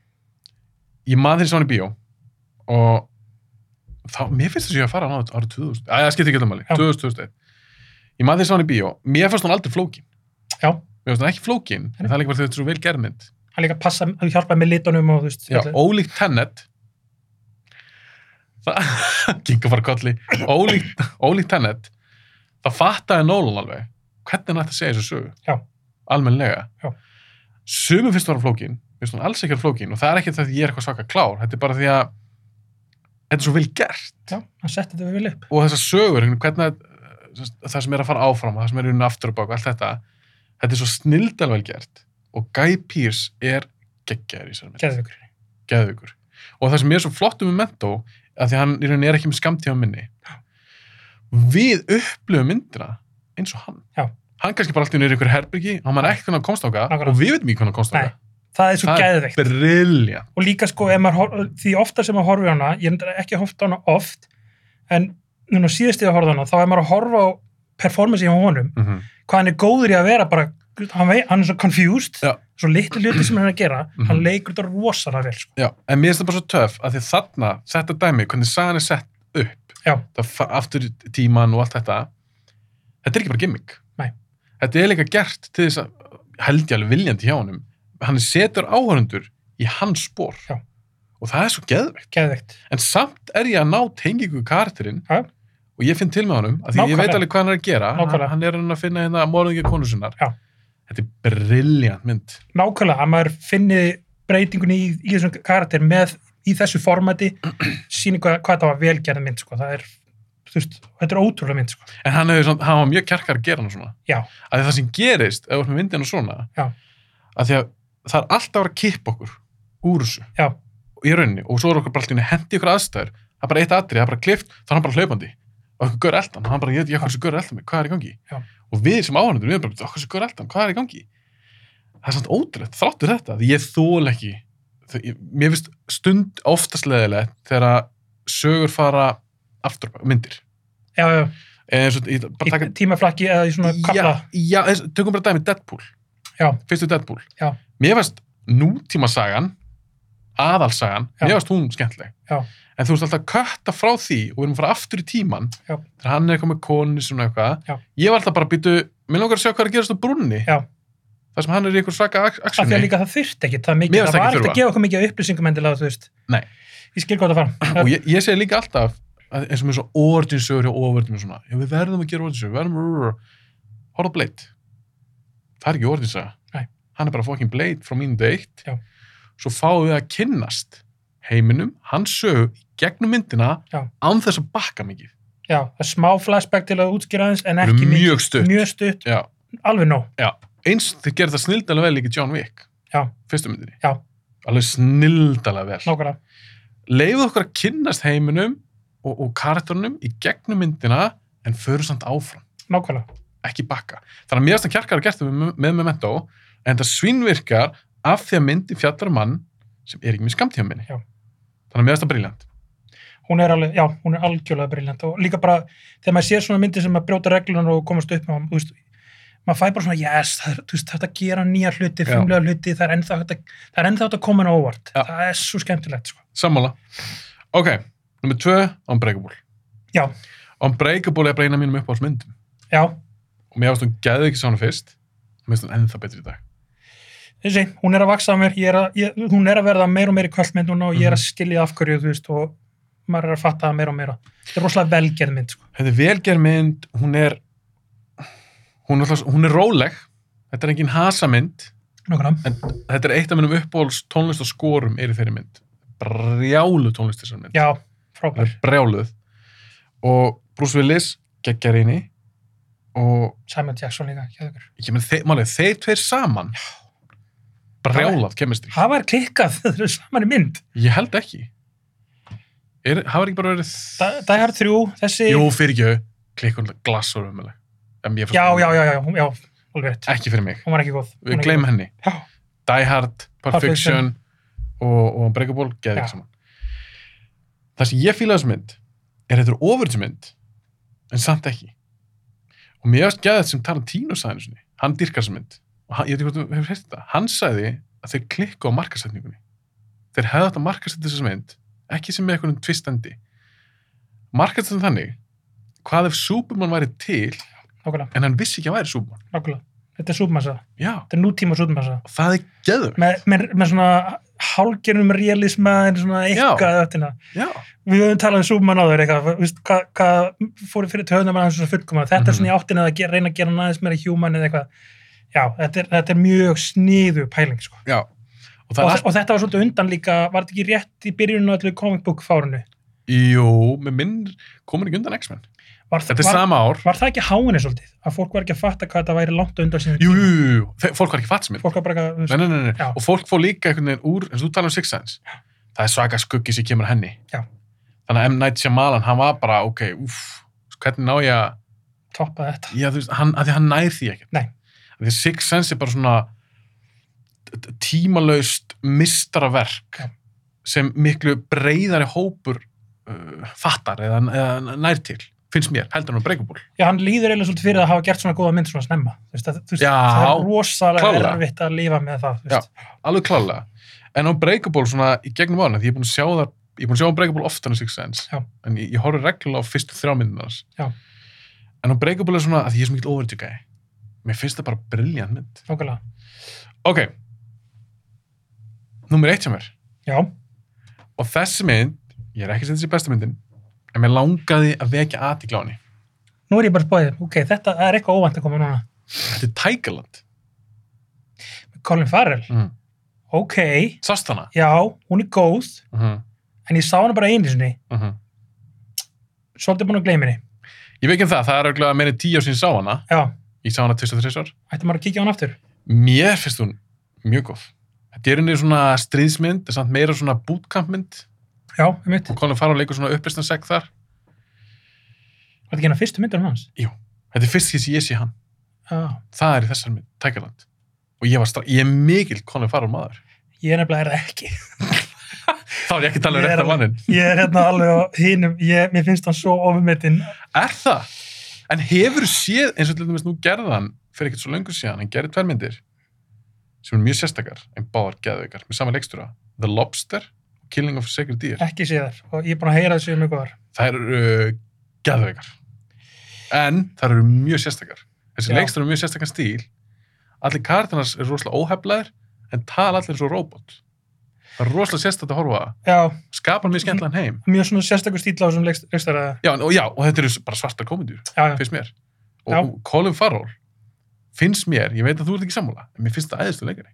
Speaker 1: ég maður þess að hann í bíó og þá, mér finnst þess að ég að fara hann ára 2000, að það skiptir ekki alltaf máli
Speaker 2: Já.
Speaker 1: 2000-2001, ég maður þess að hann í bíó mér fannst hann aldrei flókin,
Speaker 2: já,
Speaker 1: mér fannst hann ekki flókin en það er líka bara þegar þetta er svo vel gerð mynd
Speaker 2: hann líka passa, hann hjálpaði með litunum og, þú veist,
Speaker 1: Já,
Speaker 2: öllu.
Speaker 1: ólíkt Tenet það gengur fara kolli ólíkt, ólíkt Tenet það fattaði Nolan alveg hvernig hann ætti að segja þessu sögu
Speaker 2: Já.
Speaker 1: almenlega
Speaker 2: Já.
Speaker 1: sumum finnst það flókin, finnst hann alls ekki vera flókin og það er ekki það að ég er eitthvað svaka klár þetta er bara því að þetta er svo vel gert
Speaker 2: já, hann setti þetta vel upp,
Speaker 1: og þessar sögur, hvernig eh, það sem er að fara áfram, það sem er í rauninni aftur á bak og allt þetta, þetta er svo snildalvel gert og Guy Pearce er geggjaður í sér mynd
Speaker 2: gæðveikur,
Speaker 1: geðveikur. Og það sem er svo flott um Memento, að því að hann í rauninni er ekki með skamtíma minni, við upplöfum myndina eins og hann.
Speaker 2: Já.
Speaker 1: Hann kannski bara alltaf nýri ykkur herbyrgi, hann man ekki hvernig hann komst áka
Speaker 2: Nákvæmlega.
Speaker 1: og við veitum ekki hvernig hann komst áka.
Speaker 2: Nei, það er svo gæðveikt.
Speaker 1: Það er brilljant.
Speaker 2: og líka sko ef maður, hor- því ofta sem maður horfi á hana ég er reyndar ekki að horfa á hana oft en núna síðast ég að horfa á hana þá er maður að horfa á performance í honum
Speaker 1: Mm -hmm.
Speaker 2: hvað hann er góður í að vera bara hann, vei, hann er svo confused
Speaker 1: Já.
Speaker 2: svo litlu hluti sem hann er að gera
Speaker 1: Mhm.
Speaker 2: hann leikur þetta rosalega vel sko.
Speaker 1: Já, en mér finnst það bara svo töff að því þarna, þetta dæmi, hvernig sagan er sett upp,
Speaker 2: Já.
Speaker 1: það fa- aftur í tíman og allt þetta, þetta er ekki bara gimmick.
Speaker 2: Nei.
Speaker 1: Þetta er líka gert til þess að, held ég alveg viljandi hjá honum, hann setur áhörundur í hans spór.
Speaker 2: Já.
Speaker 1: Og það er svo geðveikt.
Speaker 2: geðveikt
Speaker 1: En samt er ég að ná tengingu karakterinn
Speaker 2: Já.
Speaker 1: og ég finn til með honum, að því ég
Speaker 2: Nákvæmlega.
Speaker 1: veit alveg hvað hann er að gera,
Speaker 2: Nákvæmlega.
Speaker 1: hann er að reyna að finna hérna morðingi konu sinnar.
Speaker 2: Já.
Speaker 1: Þetta er briljant mynd.
Speaker 2: nákvæmlega að maður finni breytingunni í, í þessum karakter með í þessu formati síni hvað, hvað það var velgerð mynd sko. það er þú veist, þetta er ótrúlega mynd sko.
Speaker 1: En hann, hefur, samt- hann var mjög kjarkar að gera hann svona.
Speaker 2: Já.
Speaker 1: Af því það sem gerist, ef þú ert með myndina svona,
Speaker 2: Já.
Speaker 1: að því að það er alltaf að vera að kippa okkur úr þessu.
Speaker 2: Já.
Speaker 1: Í rauninni, og svo er okkur bara alltaf hendi ykkur aðstæður, það er bara eitt atrið, það er bara klift, þá er hann bara hlaupandi. Og okkur gaur eldan, hann bara, ég veit ekki okkur sem gaur eldan mig, hvað er í gangi?
Speaker 2: Já.
Speaker 1: Og við sem áhörnundur, við erum bara, okkur sem gaur eldan, hvað er í gangi? Það er samt ótrúlegt, þráttur þetta, því ég þól ekki, þau- ég- mér finnst stund oftast leðilegt þegar að sögur fara aftur, á bak- myndir.
Speaker 2: já, já,
Speaker 1: Eða eins og, ég, bara taka
Speaker 2: í tímaflakki eða í svona kapla
Speaker 1: Já, já þess, tökum bara dæmi Deadpool.
Speaker 2: Já.
Speaker 1: Fyrstu Deadpool.
Speaker 2: Já.
Speaker 1: Mér varst nútímasagan, aðalsagan,
Speaker 2: Já.
Speaker 1: mér varst hún skemmtileg.
Speaker 2: Já.
Speaker 1: En þú veist alltaf að kötta frá því og við erum að fara aftur í tíman
Speaker 2: Já.
Speaker 1: þegar hann er eitthvað með konu svona eitthvað.
Speaker 2: Já.
Speaker 1: Ég var alltaf bara að býtu, mér langar að sjá hvað er að gerast á brunni.
Speaker 2: Já.
Speaker 1: Það sem hann er í ykkur svaka ak-
Speaker 2: af því að
Speaker 1: aksjunni.
Speaker 2: líka það þurft ekki það,
Speaker 1: Mér
Speaker 2: mikið,
Speaker 1: fannst
Speaker 2: það
Speaker 1: ekki
Speaker 2: var ekkert
Speaker 1: þurfa.
Speaker 2: að gefa okkur mikið af upplýsingum endilega þú veist
Speaker 1: Nei.
Speaker 2: ég skil gott að fara
Speaker 1: Og ég, ég segi líka alltaf, að, eins og með svo orðinsögur og oförðum og svona, já við verðum að gera orðinsögur, við verðum að horfa á Blade. Það er ekki orðinsaga.
Speaker 2: Nei.
Speaker 1: Hann er bara fucking Blade frá mínu deitt.
Speaker 2: Já.
Speaker 1: Svo fáum við að kynnast heiminum, hans sögu, í gegnum myndina,
Speaker 2: Já.
Speaker 1: án þess að bakka mikið.
Speaker 2: já, það er smá flashback til að útskýra aðeins en
Speaker 1: Eru
Speaker 2: ekki mikið.
Speaker 1: mjög stutt.
Speaker 2: mjög stutt,
Speaker 1: Já,
Speaker 2: alveg nóg
Speaker 1: já. Eins, þeir gerðu það snildalega vel líka í John Wick,
Speaker 2: já,
Speaker 1: fyrstu myndinni.
Speaker 2: Já.
Speaker 1: Alveg snildalega vel.
Speaker 2: nákvæmlega,
Speaker 1: Leifðu okkur að kynnast heiminum og, og karakterunum í gegnum myndina en förum samt áfram.
Speaker 2: nákvæmlega
Speaker 1: ekki bakka. Þannig að mér finnst að kjarkar að gert það með, með Memento, en það svínvirkar af því að myndi fjallar um mann sem er ekki með skamtíðaminni.
Speaker 2: Já.
Speaker 1: Þannig að mér finnst það briljant.
Speaker 2: hún er alveg, já, hún er algjörlega briljant og líka bara, þegar maður sér svona myndir sem að brjóta reglunar og komast upp með, þú veist, maður fæ bara svona, yes, það er, þú veist, þetta gera nýja
Speaker 1: Já.
Speaker 2: hluti, frumlega hluti, það er ennþá þetta, það er ennþá þetta komin á óvart,
Speaker 1: Já.
Speaker 2: það er svo skemmtilegt, sko.
Speaker 1: Sammála. Ok, nummer tvö, Unbreakable.
Speaker 2: Já.
Speaker 1: Unbreakable er bara eina af mínum uppáhaldsmyndum.
Speaker 2: Já,
Speaker 1: Og mér finnst hún geði ekki svona fyrst, og mér finnst hún ennþá betri í dag.
Speaker 2: þessi, hún er að vaksa á mér, ég er að, ég, hún er að verða meir og meir í kvöldmynd núna og
Speaker 1: Mhm.
Speaker 2: ég er að skilja af hverju, þú veist, og maður er að fatta það meir og meira. Þetta er rosalega velgerð mynd, sko.
Speaker 1: Þetta er velgerð mynd, hún er, hún er, alltaf- hún er róleg, þetta er engin hasamynd,
Speaker 2: Nákvæmlega.
Speaker 1: en þetta er eitt af minnum uppáhalds tónlist og skorum er í þeirri mynd. Brjálu tónlist þessar mynd.
Speaker 2: Já,
Speaker 1: Hún er
Speaker 2: frábær.
Speaker 1: brjáluð og Bruce Willis geggar inni og
Speaker 2: Simon Jackson líka, geðveikur.
Speaker 1: ég menn þeir, málið, þeir tveir saman brjálað kemistri
Speaker 2: Hafa er klikkað, þau eru saman í mynd.
Speaker 1: ég held ekki er, hafa ekki bara verið
Speaker 2: Da- Die Hard 3, þessi...
Speaker 1: jú fyrir ekki klikkun glass og umuleg
Speaker 2: Já, já, já, já, hún- já, alveg rétt.
Speaker 1: ekki fyrir mig,
Speaker 2: Hún var ekki góð. Hún
Speaker 1: við
Speaker 2: er ekki
Speaker 1: gleym henni
Speaker 2: góð. Já,
Speaker 1: Die Hard, Pulp
Speaker 2: Pulp Fiction.
Speaker 1: Fiction og, og Breakable geði
Speaker 2: Já.
Speaker 1: ekki saman það sem ég fíla þessu mynd er þetta er ofurðsmynd en samt ekki og mér hefst geðið sem Tarantino sagði einu sinni. hann dýrkar þessu mynd og hann, ég veit ekki hvort þú hefur hérst þetta hann sagði að þeir klikku á markasetningunni þeir hefði átt að markasetja þessu mynd ekki sem með einhvern tvistendi markasetja þannig hvað ef Superman væri til
Speaker 2: nákvæmlega,
Speaker 1: en hann vissi ekki að hann væri Superman
Speaker 2: nákvæmlega. Þetta er súpmassa.
Speaker 1: já,
Speaker 2: Þetta er nútíma súpmassa.
Speaker 1: og það er geður
Speaker 2: Með, með, með svona hálgjörnum realisma en svona eitthvað öttina.
Speaker 1: já,
Speaker 2: Við höfum talað um súpmann á þér eitthvað, þú veist, hvað hva fóru fyrir töðunum að hans svona fullkomana. Þetta er
Speaker 1: Mhm.
Speaker 2: svona í áttina að gera, reyna að gera hann aðeins meira human eða eitthvað. Já, þetta er, þetta er mjög sniðu pæling, sko.
Speaker 1: já og það
Speaker 2: Og,
Speaker 1: er
Speaker 2: og þetta var svolítið undan líka, var þetta ekki rétt í byrjunum á öllu comic book fárunu?
Speaker 1: Jú, með minn komin ekki undan X-Men.
Speaker 2: Var,
Speaker 1: Þetta er
Speaker 2: var,
Speaker 1: sama ár.
Speaker 2: var það ekki háinni svolítið? Að fólk var ekki að fatta hvað þetta væri langt undan sinni
Speaker 1: Jú, jú, jú, jú, Þe- fólk var ekki fatt sem minn.
Speaker 2: fólk var bara eitthvað, þú
Speaker 1: Nei,
Speaker 2: veist,
Speaker 1: nei, nei, nei.
Speaker 2: Já.
Speaker 1: Og fólk fór líka einhvern veginn úr, eins og þú talar um Six Sense. Það er svaka skuggi sem kemur að henni.
Speaker 2: Já.
Speaker 1: Þannig að M. Night Shyamalan, hann var bara, ok, uff, hvernig ná ég að,
Speaker 2: toppa þetta
Speaker 1: já, þú veist, hann, að því hann nær því ekkert.
Speaker 2: Nei.
Speaker 1: Af Því að Six Sense er bara svona t- t- tímalaust mistaraverk
Speaker 2: Já.
Speaker 1: sem miklu breyðari hópur uh, fattar eða, eða nær til, finnst mér, heldur hann að breyka
Speaker 2: Já, hann líður eiginlega svolítið fyrir að hafa gert svona góða mynd svona snemma. Þú veist, það, þú veist,
Speaker 1: Já,
Speaker 2: það er rosalega
Speaker 1: klárlega.
Speaker 2: erfitt að lifa með það. þú veist.
Speaker 1: alveg klálega en á Breakable svona í gegnum ána því ég er búin að sjá það ég er búin að sjá á Breakable ofta en Six Sense
Speaker 2: Já.
Speaker 1: en ég, ég horfði reglulega á fyrstu þrjá myndinars
Speaker 2: Já.
Speaker 1: en á Breakable er svona að því ég er svo mikill overage guy mér finnst það bara briljant mynd
Speaker 2: Nákvæmlega.
Speaker 1: ok nummer eitt sem er
Speaker 2: Já,
Speaker 1: og þessi mynd ég er ekki sem þessi besta myndin en mér langaði að vekja aðtíkla á henni
Speaker 2: nú er ég bara spóðið. Ok, þetta er eitthvað óvænt að koma núna.
Speaker 1: þetta er Tigerland
Speaker 2: Colin Farrell.
Speaker 1: mm.
Speaker 2: Ok,
Speaker 1: sást hana
Speaker 2: já, hún er góð,
Speaker 1: uh -huh.
Speaker 2: en ég sá hana bara einu sinni. Svolítið búin að gleyma henni.
Speaker 1: ég veit ekki um það það er auðvitað meira en tíu ár sín sá hana
Speaker 2: Já,
Speaker 1: ég sá hana 23 ár
Speaker 2: ætti maður að kíkja á hann aftur.
Speaker 1: Mér finnst hún mjög góð. Þetta er henni svona stríðsmynd, en samt meira svona bootcampmynd
Speaker 2: Já, um mitt.
Speaker 1: og Colin Farrell leikur svona uppreisnarsegg þar.
Speaker 2: Var þetta ekki hennar fyrstu myndur hans?
Speaker 1: Þetta er fyrst því sem ég sé hann.
Speaker 2: Já.
Speaker 1: Það er í þessar mynd, Tækjaland. Og ég, var stra- ég er mikill Colin Farrell maður.
Speaker 2: Ég er nefnilega er það ekki.
Speaker 1: Þá er ég ekki að tala um
Speaker 2: Ég er
Speaker 1: réttar mannin.
Speaker 2: Ég er hérna alveg á hinum. Ég, mér finnst hann svo ofumetinn.
Speaker 1: Er það? En hefur séð, eins og til dæmis nú gerðan fyrir ekkert svo löngu síðan, hann gerði tvær myndir sem eru mjög sérstakar, en báðar geðveikar, með sama leikstúra. The Lobster og Killing of a Sacred Deer.
Speaker 2: Ekki séðar. Og ég er búin að heyra þessu mjög góðar.
Speaker 1: þær eru uh, geðveikar en þær eru mjög sérstakar þessi
Speaker 2: Já.
Speaker 1: leikstur eru mjög sérstakann stíl allir kartinars eru rosalega óheflaðir en tala allir eins og robot það er rosalega sérstakt að horfa á það.
Speaker 2: Já,
Speaker 1: skapar mjög skemmtilegan heim
Speaker 2: mjög svona sérstakur stíl á þessum leikstara
Speaker 1: já og, já, og þetta eru s- bara svarta komendjur
Speaker 2: já, já,
Speaker 1: finnst mér
Speaker 2: Já.
Speaker 1: og Colin Farrell finnst mér, ég veit að þú ert ekki sammála en mér finnst það æðistu leikari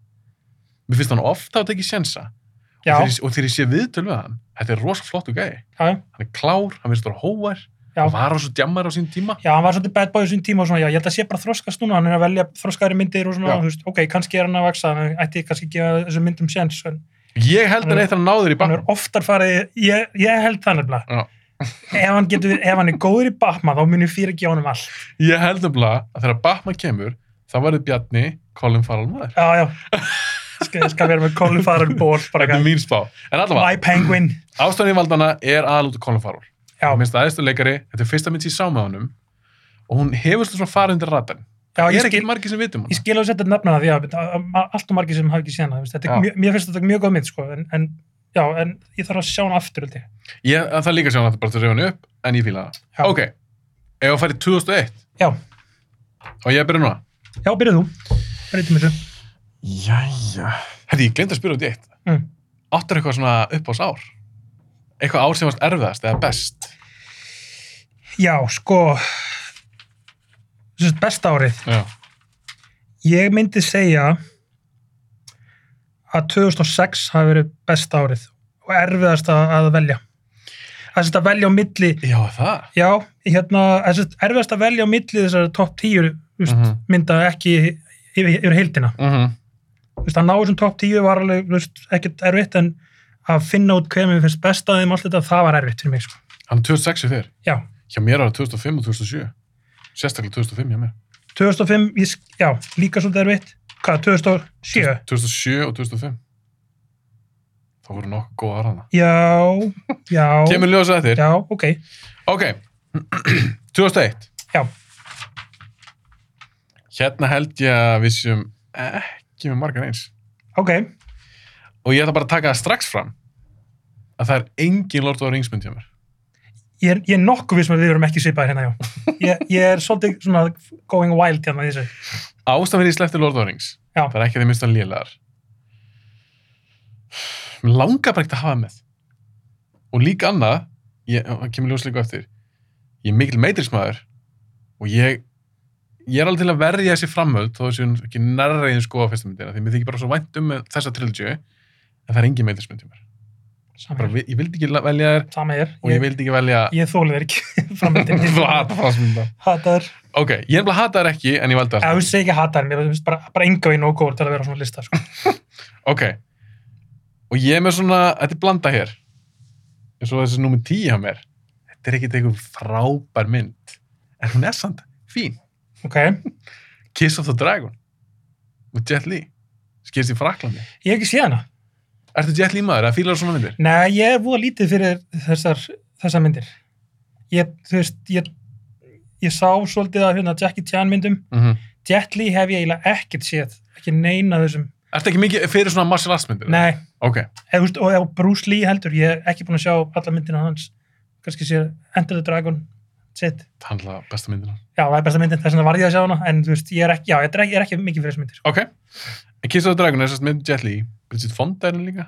Speaker 1: mér finnst hann ofta að teki sjensa og
Speaker 2: já,
Speaker 1: þegar ég- og þegar ég sé viðtöl við hann þetta er rosalega flottu gæi
Speaker 2: já,
Speaker 1: hann er klár, hann verðist að vera hóvar
Speaker 2: Já.
Speaker 1: og var á svo djammar á sín tíma
Speaker 2: Já, hann var svolítið bad boy á sín tíma og svona, já, ég held að sé bara að þroskast núna, hann er að velja þroskaðri myndir og svona,
Speaker 1: Já.
Speaker 2: þú veist, ok, kannski er hann að vaksa, hann ætti kannski að gefa þessum myndum séns, en
Speaker 1: ég held
Speaker 2: Hann
Speaker 1: hann
Speaker 2: er-
Speaker 1: eitt að náður í
Speaker 2: hann er
Speaker 1: bakk
Speaker 2: oftar farið, ég, ég held það nefnilega.
Speaker 1: Já.
Speaker 2: Ef hann, getur, ef hann er góður í Batman, þá mun ég fyrir að gefa honum allt.
Speaker 1: ég held um að þegar Batman kemur þá verður Bjarni Colin Farrell maður
Speaker 2: Já, já, skal, skal vera með Colin Farrell ból, bara
Speaker 1: þetta er
Speaker 2: eitthvað,
Speaker 1: mín spá en allavega,
Speaker 2: my penguin.
Speaker 1: ástæðan í valdana er aðalútu Colin Farrell
Speaker 2: Já,
Speaker 1: minnst aðeinstur leikari, þetta er fyrsta mynd sem ég sá með honum og hún hefur svona farið undir ratan
Speaker 2: já,
Speaker 1: ég
Speaker 2: ég
Speaker 1: er ekki
Speaker 2: skil,
Speaker 1: margir sem um vitum
Speaker 2: ég
Speaker 1: hann
Speaker 2: skil á þetta nefna það, já, að- að- að- allt og margir sem hafa ekki séð hana, þú veist, þetta
Speaker 1: Já.
Speaker 2: er, mjög- mér finnst þetta mjög góð mynd, sko, en, en já, en ég þarf að sjá hana aftur, held ég.
Speaker 1: ég, að það er líka sjá hann bara til að reyfa hann upp en ég fíla það,
Speaker 2: Já.
Speaker 1: ok ef að farið 2001
Speaker 2: Já.
Speaker 1: og ég byrja núna
Speaker 2: Já, byrjuð þú, breytum þessu.
Speaker 1: Jæja. Herri, ég glemt að spyrja út í eitt.
Speaker 2: Mm.
Speaker 1: Áttur eitthvað svona upp ás ár? Eitthvað ár sem varst erfiðast eða best?
Speaker 2: Já, sko, þessu besta árið,
Speaker 1: Já.
Speaker 2: ég myndi segja að 2006 hafi verið besta árið og erfiðast að, að velja. Það er að velja á milli
Speaker 1: Já, það.
Speaker 2: Já, hérna, þessi erfiðast að velja á milli þessar topp 10 úst,
Speaker 1: Mhm.
Speaker 2: mynda ekki yfir, yfir heildina.
Speaker 1: Mm -hmm.
Speaker 2: Þú veist, að ná þessum topp 10 var alveg þú veist, ekkert erfitt en að finna út hver mér finnst besta þeim allt þetta, það var erfitt fyrir mig. Sko.
Speaker 1: Hann er 2006 er þér.
Speaker 2: Já,
Speaker 1: Hjá mér var það 2005 og 2007. Sérstaklega 2005 hjá mér.
Speaker 2: 2005, ég, sk- já, líka svolítið erfitt. Hvað, 2007?
Speaker 1: 2007 og 2005. Það voru nokkuð góð ára hana.
Speaker 2: Já, já,
Speaker 1: Kemur ljósa eftir.
Speaker 2: já, ok.
Speaker 1: Ok. 2001.
Speaker 2: Já,
Speaker 1: Hérna held ég að við séum ekki með margar eins.
Speaker 2: ok,
Speaker 1: Og ég ætla bara að taka það strax fram að það er engin Lord of the Rings mynd hjá mér.
Speaker 2: ég er, ég er nokkuð við sem við erum ekki svipaðir hérna, já. Ég, ég er svolítið svona going wild hérna í þessu.
Speaker 1: ástæðan fyrir ég sleppti Lord of the Rings
Speaker 2: Já.
Speaker 1: það er ekki að þeim minnst að lélegar mér langar bara ekkert að hafa það með og líka annað ég, það kemur ljós líka á eftir ég er mikil meitrismæður og ég ég er alveg til að verja þessi framöld þó þessi ekki nærriðin sko á fyrsta myndina því mér þykir bara svo vænt um þessa trilogy en það er engin meitrismynd hjá mér bara,
Speaker 2: Sama
Speaker 1: vi- ég vildi ekki la- velja þér
Speaker 2: er,
Speaker 1: og ég, vildi ekki velja
Speaker 2: ég þólið er ekki framöndin
Speaker 1: Þú hatar frásmynda.
Speaker 2: hataður
Speaker 1: ok, ég er bara að hata þær ekki en ég valdi það
Speaker 2: eða þú segir ekki hataður, mér finnst bara, bara enga veginn og góður til að vera á svona lista sko.
Speaker 1: Ok. Og ég er með svona, þetta er blanda hér. Eins og þessi númur 10 hjá mér. Þetta er ekkit eitthvað frábær mynd. En hún er samt fín.
Speaker 2: ok,
Speaker 1: Kiss of the Dragon. Með Jet Li. Skýrst í Fraklandi.
Speaker 2: ég hef ekki séð hana
Speaker 1: Ertu Jet Li maður? Það fílar svona myndir.
Speaker 2: nei, ég er voða lítið fyrir þessar þessar myndir ég, þú veist, ég ég sá svolítið að hérna Jackie Chan myndum
Speaker 1: Mm -hmm.
Speaker 2: Jet Li hef ég eiginlega ekkert séð ekki neina af þessum,
Speaker 1: Ertu ekki mikið fyrir svona martial arts myndir?
Speaker 2: nei
Speaker 1: Ok.
Speaker 2: eða, þú veist, og, og Bruce Lee heldur, ég er ekki búin að sjá alla myndina hans, kannski séð Enter the Dragon, sitt
Speaker 1: Það handla besta myndina.
Speaker 2: já, það er besta myndin, þess vegna varð ég að sjá hana en þú veist, ég er ekki, já, ég er ekki, ég er ekki mikið fyrir þessar myndir sko.
Speaker 1: Ok. En Kiss of the Dragon er sérst mynd Jet Li. Bridget Fonda er henni líka.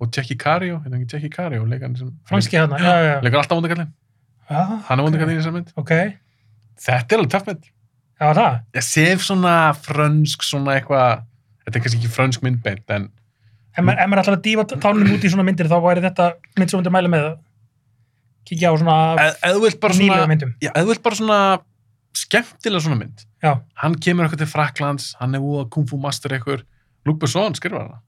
Speaker 1: Og Jackie Cario. Hérna ekki Jackie Cario. Leikarni sem...
Speaker 2: franski hana, já, já, já.
Speaker 1: Leikur alltaf vondakallin.
Speaker 2: Ah,
Speaker 1: Hann er
Speaker 2: ok.
Speaker 1: vondakallin í þessar mynd.
Speaker 2: Ok,
Speaker 1: Þetta er alveg töff mynd.
Speaker 2: já það.
Speaker 1: ég sef svona frönsk svona eitthvað, þetta er kannski ekki frönsk myndbeint en
Speaker 2: Ef maður, ef maður ætlar að dífa tánum út í svona myndir þá væri þetta mynd sem myndir mæla með að kíkja á svona
Speaker 1: eð- eða þú vilt Eh, bara
Speaker 2: nýlega
Speaker 1: svona
Speaker 2: myndum.
Speaker 1: já, eða þú vilt bara svona skemmtilega svona mynd
Speaker 2: Já,
Speaker 1: hann kemur eitthvað til Fraklands, hann er úða Kung Fu Master eitthvað, Luke Besson skrifa hana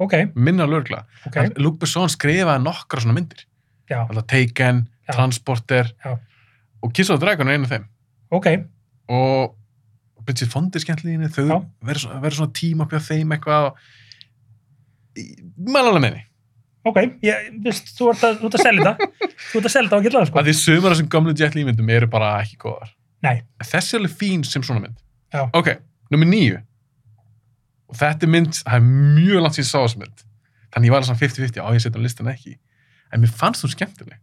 Speaker 2: ok,
Speaker 1: minna lögla,
Speaker 2: ok,
Speaker 1: okay. Luke Besson skrifaði nokkra svona myndir,
Speaker 2: já,
Speaker 1: alltaf Taken
Speaker 2: Já.
Speaker 1: Transporter
Speaker 2: Já.
Speaker 1: og Kiss of the Dragon er einu af þeim
Speaker 2: ok,
Speaker 1: og Bridget Fond er skemmtilega í henni,
Speaker 2: Já.
Speaker 1: þau verður svona, verður svona tíma upp hjá þeim eitthvað og... mælalega með henni
Speaker 2: ok, ég, veist, þú ert að, þú ert að selja þetta, þú ert að selja þetta og gilla það
Speaker 1: sko.
Speaker 2: sko.
Speaker 1: að því sumar af þessum gamlu Jet Li myndum eru bara ekki góðar
Speaker 2: Nei.
Speaker 1: En þessi er alveg fín sem svona mynd
Speaker 2: Já.
Speaker 1: ok, nummer nýju og þetta er mynd, það er mjög langt síðan ég sá þessu mynd þannig ég var alveg svona 50-50 á ég setja listan ekki en mér fannst þú skemmtileg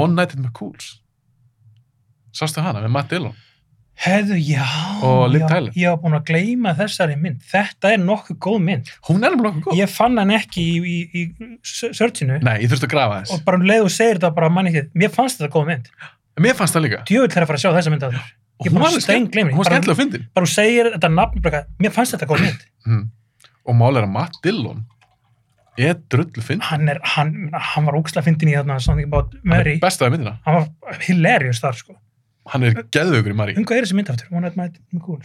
Speaker 1: One Night at McCool's sástu hana með Matt Dillon
Speaker 2: Hefðu, já,
Speaker 1: Og Liv
Speaker 2: já,
Speaker 1: Tyler.
Speaker 2: ég hafa búin að gleyma þessari mynd. Þetta er nokkuð góð mynd.
Speaker 1: hún er alveg nokkuð góð
Speaker 2: Ég fann hann ekki í, í, í searchinu
Speaker 1: nei, ég þurfti að grafa þess
Speaker 2: og bara um leið og segir þetta bara mann ekki, mér fannst þetta góð mynd.
Speaker 1: en mér fannst það líka
Speaker 2: Djöfull er að fara að sjá þessa mynd að þér.
Speaker 1: Og
Speaker 2: Ég
Speaker 1: hún
Speaker 2: bara
Speaker 1: var alveg skemmt-
Speaker 2: steingleymi.
Speaker 1: hún var
Speaker 2: Bara- um-
Speaker 1: skemmtilega að fyndin Hmm.
Speaker 2: bara þú segir þetta nafn bara, eitthvað, mér fannst þetta góð mynd
Speaker 1: mm. og málega er að Matt Dillon Ég er drullu finn.
Speaker 2: hann, er, hann, hann var ógæslega fyndin í þarna something about Mary
Speaker 1: Bestaði myndina.
Speaker 2: hann var hilarious þar sko
Speaker 1: Hann er geðvögur í Mari.
Speaker 2: um hvað er þessi mynd aftur? One Night Might in Cool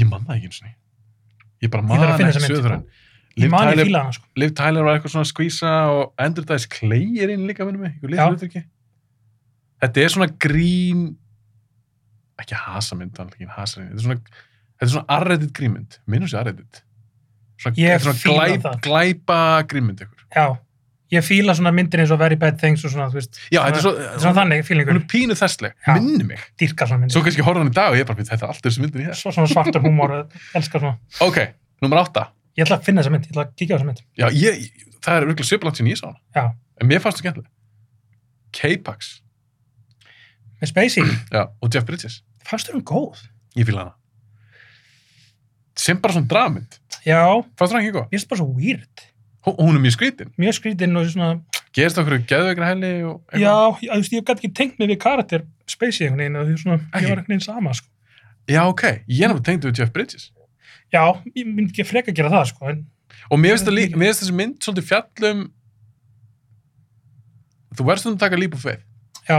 Speaker 1: Ég man það ekki eins og ný. Ég bara
Speaker 2: Ég
Speaker 1: man
Speaker 2: þarf að finna
Speaker 1: ekki
Speaker 2: þessa mynd.
Speaker 1: söður hann.
Speaker 2: ég
Speaker 1: Liv
Speaker 2: man ég
Speaker 1: Tyler,
Speaker 2: fíla hana sko
Speaker 1: Liv Tyler var eitthvað svona að skvísa og Andrew Dice Clay er inn líka minnum mig. Ykkur
Speaker 2: Já.
Speaker 1: litur hlutverki. Þetta er svona grín, ekki hasa mynd, það er ekki hasa mynd. Þetta er svona, þetta er svona arreddit grínmynd. Minnum sér arreddit. Svona,
Speaker 2: Ég
Speaker 1: þetta er svona
Speaker 2: fíla
Speaker 1: glæp,
Speaker 2: það.
Speaker 1: glæpa grínmynd ykkur.
Speaker 2: já ég fíla svona myndir eins og Very Bad Things og svona þú veist
Speaker 1: Já, þetta er svo,
Speaker 2: þetta er svona þannig
Speaker 1: hún
Speaker 2: fílingur
Speaker 1: er pínu þessleg,
Speaker 2: Já.
Speaker 1: minni mig.
Speaker 2: dýrka svona myndir
Speaker 1: Svo kannski horfði hann í dag og ég bara, "Bíddu, þetta er allt þessu myndin í þess.
Speaker 2: svo svona svartur húmór elskar svona
Speaker 1: Ok, nummer átta.
Speaker 2: ég ætla að finna þessa mynd ég ætla að kíkja á þessa mynd
Speaker 1: Já, ég, það er virkulega svipalátt sem ég sá hana.
Speaker 2: Já.
Speaker 1: En mér fannst það skemmtileg. K-Pax,
Speaker 2: með Spacey
Speaker 1: já, og Jeff Bridges.
Speaker 2: fannst þú hún góð?
Speaker 1: Ég fíla hana. Sem bara svona dramind.
Speaker 2: já mér
Speaker 1: Fannst það ekki góð?
Speaker 2: finnst bara svo weird
Speaker 1: Hú- Hún er mjög skrítin.
Speaker 2: mjög skrítinn og svona
Speaker 1: Gerist okkur geðveikra helli og
Speaker 2: já ég, þú veist, ég gæti ekki tengt mig við karakter Spacey einhvern veginn og því svona
Speaker 1: Ekki?
Speaker 2: ég var einhvern veginn sama sko
Speaker 1: Já, ok. Ég er náttúrulega tengd við Jeff Bridges.
Speaker 2: já ég myndi ekki freka að gera það sko en
Speaker 1: Og mér finnst það lí- mér finnst þessi mynd svolítið fjallum þú verðst um að taka líp og feið.
Speaker 2: já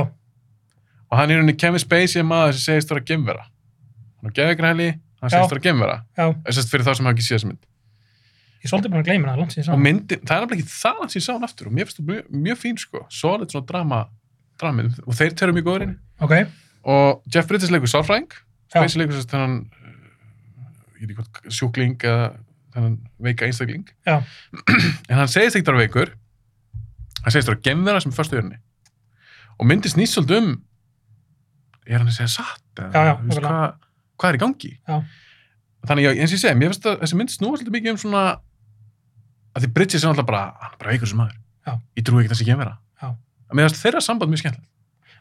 Speaker 1: Og hann er henni Kevin Spacey er maður sem segist það að gemvera. Hann er geðveikra helli, hann segist
Speaker 2: Já.
Speaker 1: það að gemvera.
Speaker 2: já
Speaker 1: Þessast fyrir þá sem hafa ekki séð þessi mynd.
Speaker 2: ég er svolítið búin að gleyma það langt sér
Speaker 1: og
Speaker 2: saman
Speaker 1: myndin, það er nefnilega ekki það sem ég sá hann aftur og mér finnst þú mjög, mjög fín sko solid svona drama, drama og þeir törðu mjög góðurinn
Speaker 2: ok
Speaker 1: og Jeff Bridges leikur sálfræðing
Speaker 2: Já.
Speaker 1: Spacey leikur sérst þennan uh, ég veit ekki hvað, sjúkling eða þennan veika einstakling
Speaker 2: Já.
Speaker 1: en hann segist ekkert að vera veikur hann segist að vera gemvera sem er föstu örinni og myndin snýst svolítið um er hann að segja satt eða,
Speaker 2: Já, já,
Speaker 1: þú veist,
Speaker 2: nákvæmlega.
Speaker 1: hvað, hvað er í gangi
Speaker 2: Já.
Speaker 1: þannig já, eins og ég segi, mér finnst að þessi mynd snúa svolítið mikið um svona að því Bridges er alltaf bara, hann er bara veikur sem maður
Speaker 2: Já.
Speaker 1: ég trúi ekki þessi gemvera
Speaker 2: Já.
Speaker 1: Að mér finnst þeirra samband mjög skemmtilegt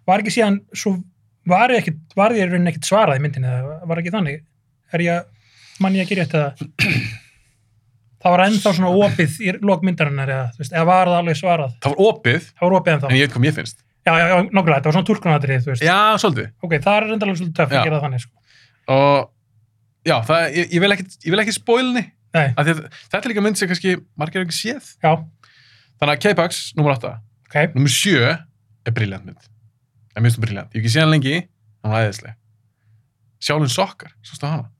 Speaker 2: var ekki síðan svo var ég ekkit, var ég raunin ekkit svarað í myndinni eða var ekki þannig er ég mann ég ekki rétt eða það var ennþá svona opið í lok myndarinnar eða, þú veist, eða var það alveg svarað
Speaker 1: það var opið,
Speaker 2: það var opið ennþá
Speaker 1: en ég veit hvað mér finnst
Speaker 2: já, já, já, nokkulega, það var svona túlkunatrið þú veist,
Speaker 1: já, svolítið
Speaker 2: ok, það er reyndarlega svolítið töff
Speaker 1: Já.
Speaker 2: að gera það þannig, sko,
Speaker 1: og já, það, ég, ég vil ekki, ég vil ekki spóilni
Speaker 2: nei,
Speaker 1: þetta er líka mynd sem kannski margir hafa ekki séð
Speaker 2: já,
Speaker 1: þannig að K-Pax, nummer 8
Speaker 2: ok
Speaker 1: nummer 7 er briljant mynd það er mjög stund briljant, ég hef ekki séð hann lengi hann var æðisleg Sjálfinn Sokkar, svo stáð hana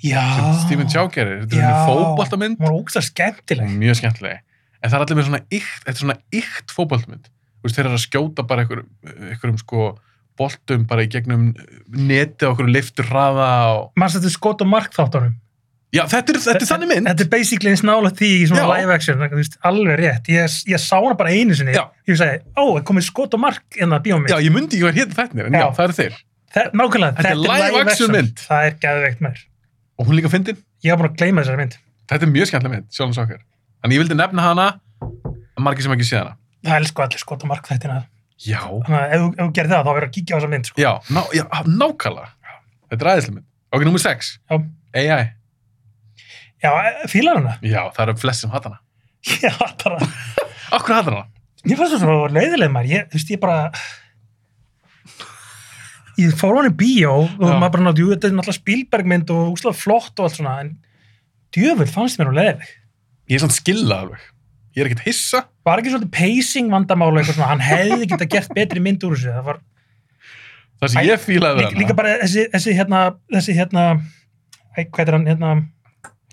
Speaker 1: sem
Speaker 2: já,
Speaker 1: Stephen Chow gerir, þetta er
Speaker 2: Ah. Já.
Speaker 1: henni fótboltamynd
Speaker 2: hún var ógstað skemmtileg
Speaker 1: og mjög skemmtileg en það er allir með svona ykt, þetta er svona ykt fótboltamynd Þú veist, þeir eru að skjóta bara einhverjum, einhverjum sko boltum bara í gegnum eh, neti og okkur leiftur hraða og...
Speaker 2: mannst þetta er skot og mark þáttunum
Speaker 1: Já, þetta er, þetta er þannig mynd
Speaker 2: þetta er basically eins nála því í svona
Speaker 1: Já.
Speaker 2: live action þú veist, alveg rétt, ég, ég sá hana bara einu sinni
Speaker 1: Já.
Speaker 2: ég sagði, ó, það komið skot og mark en það bíómið,
Speaker 1: Já, ég myndi ekki hvað hétt þetta er, en já,
Speaker 2: Já.
Speaker 1: það eru þeir.
Speaker 2: Þe- nákvæmlega,
Speaker 1: Þetta er live action mynd.
Speaker 2: það er geðveikt mér,
Speaker 1: Og hún líka fyndin.
Speaker 2: ég var búin að gleyma þessari mynd
Speaker 1: Þetta er mjög skemmtileg mynd, sjálfum okkar. Þannig ég vildi nefna hana, en margir sem ekki séð hana.
Speaker 2: það elsku allir skot og mark þættina
Speaker 1: Já.
Speaker 2: þannig að ef, þú- ef þú gerir það, þá verður að kíkja á þessa mynd sko.
Speaker 1: Já, ná, já nákvæmlega. Þetta er aðeinslega mynd. Ok, nummer 6.
Speaker 2: Já.
Speaker 1: AI.
Speaker 2: já, e, fílar hana
Speaker 1: Já, það eru flest sem hatar hana.
Speaker 2: ég hattar það,
Speaker 1: Okkur hatar hana?
Speaker 2: ég fannst það svo leiðileg mér ég, þú veist, ég bara ég fór á hann í bíó og
Speaker 1: Já.
Speaker 2: maður bara nátt, jú, þetta er náttúrulega Spielbergmynd og úslega flott og allt svona en djöfull fannst mér hún leiðileg
Speaker 1: Ég er svona skilla alveg. Ég er ekkert hissa.
Speaker 2: var ekki svolítið pacing vandamála eitthvað svona, hann hefði geta gert betri mynd úr þessu, það var
Speaker 1: Það sem
Speaker 2: Æ,
Speaker 1: ég fílaði við
Speaker 2: líka,
Speaker 1: hana.
Speaker 2: líka bara þessi, þessi hérna, þessi hérna æ, hvað er hann, hérna,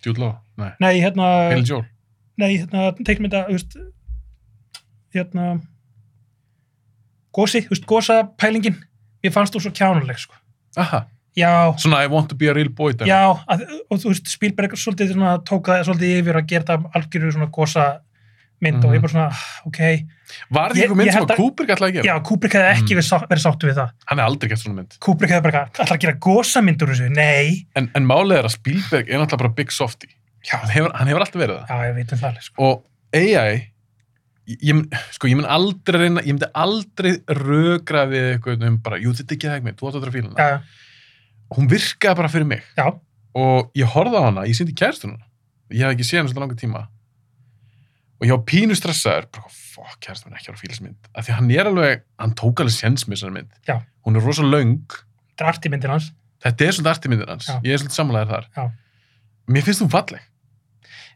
Speaker 1: Jude Law. Nei.
Speaker 2: nei, hérna
Speaker 1: Haley Joel.
Speaker 2: nei, hérna, teiknmynda, þú veist hérna gósi, þú veist, gósa pælingin mér fannst þú svo kjánuleg, sko
Speaker 1: Aha.
Speaker 2: já,
Speaker 1: Svona I want to be a real boy. dæmi.
Speaker 2: já, að, og þú veist, Spielberg svolítið svona, tók það svolítið yfir að gera það algjöru svona gósa mynd og
Speaker 1: Mhm.
Speaker 2: ég bara svona, "Ah, ok,
Speaker 1: Var það
Speaker 2: Ég-
Speaker 1: ekki einhver mynd sem
Speaker 2: ég held
Speaker 1: að
Speaker 2: að-
Speaker 1: Kubrick ætlaði að
Speaker 2: já,
Speaker 1: gera?
Speaker 2: Kubrick hefði ekki
Speaker 1: Mhm.
Speaker 2: verið sá- verið sáttu við það
Speaker 1: Hann er aldrei gert svona mynd.
Speaker 2: Kubrick hefði bara alltaf að gera gósamyndur úr þessu, nei
Speaker 1: En, en málið er að Spielberg er náttúrulega bara big softy.
Speaker 2: já,
Speaker 1: Hann hefur, hann hefur alltaf verið það.
Speaker 2: já ég veit um það alveg, sko.
Speaker 1: og AI ég, ég mun- sko, ég mun aldrei reyna, ég myndi aldrei rögra við eitthvað um bara, jú þetta er ekki það ekki þú átt að þetta fíluna,
Speaker 2: já,
Speaker 1: hún virkaði bara fyrir mig
Speaker 2: já,
Speaker 1: og ég horfði á hana, ég sýndi kærstuna ég hafði ekki séð hann svolítið langa tíma og ég var pínu stressaður bara, fuck, kærstun er ekki að fílismynd af því að hann er alveg, hann tók alveg séns með þessari mynd,
Speaker 2: Já.
Speaker 1: hún er rosa löng
Speaker 2: þetta er arti myndir hans
Speaker 1: þetta er svolítið artimyndir hans
Speaker 2: Já.
Speaker 1: ég er svolítið samlæðir þar
Speaker 2: Já.
Speaker 1: mér finnst hún falleg,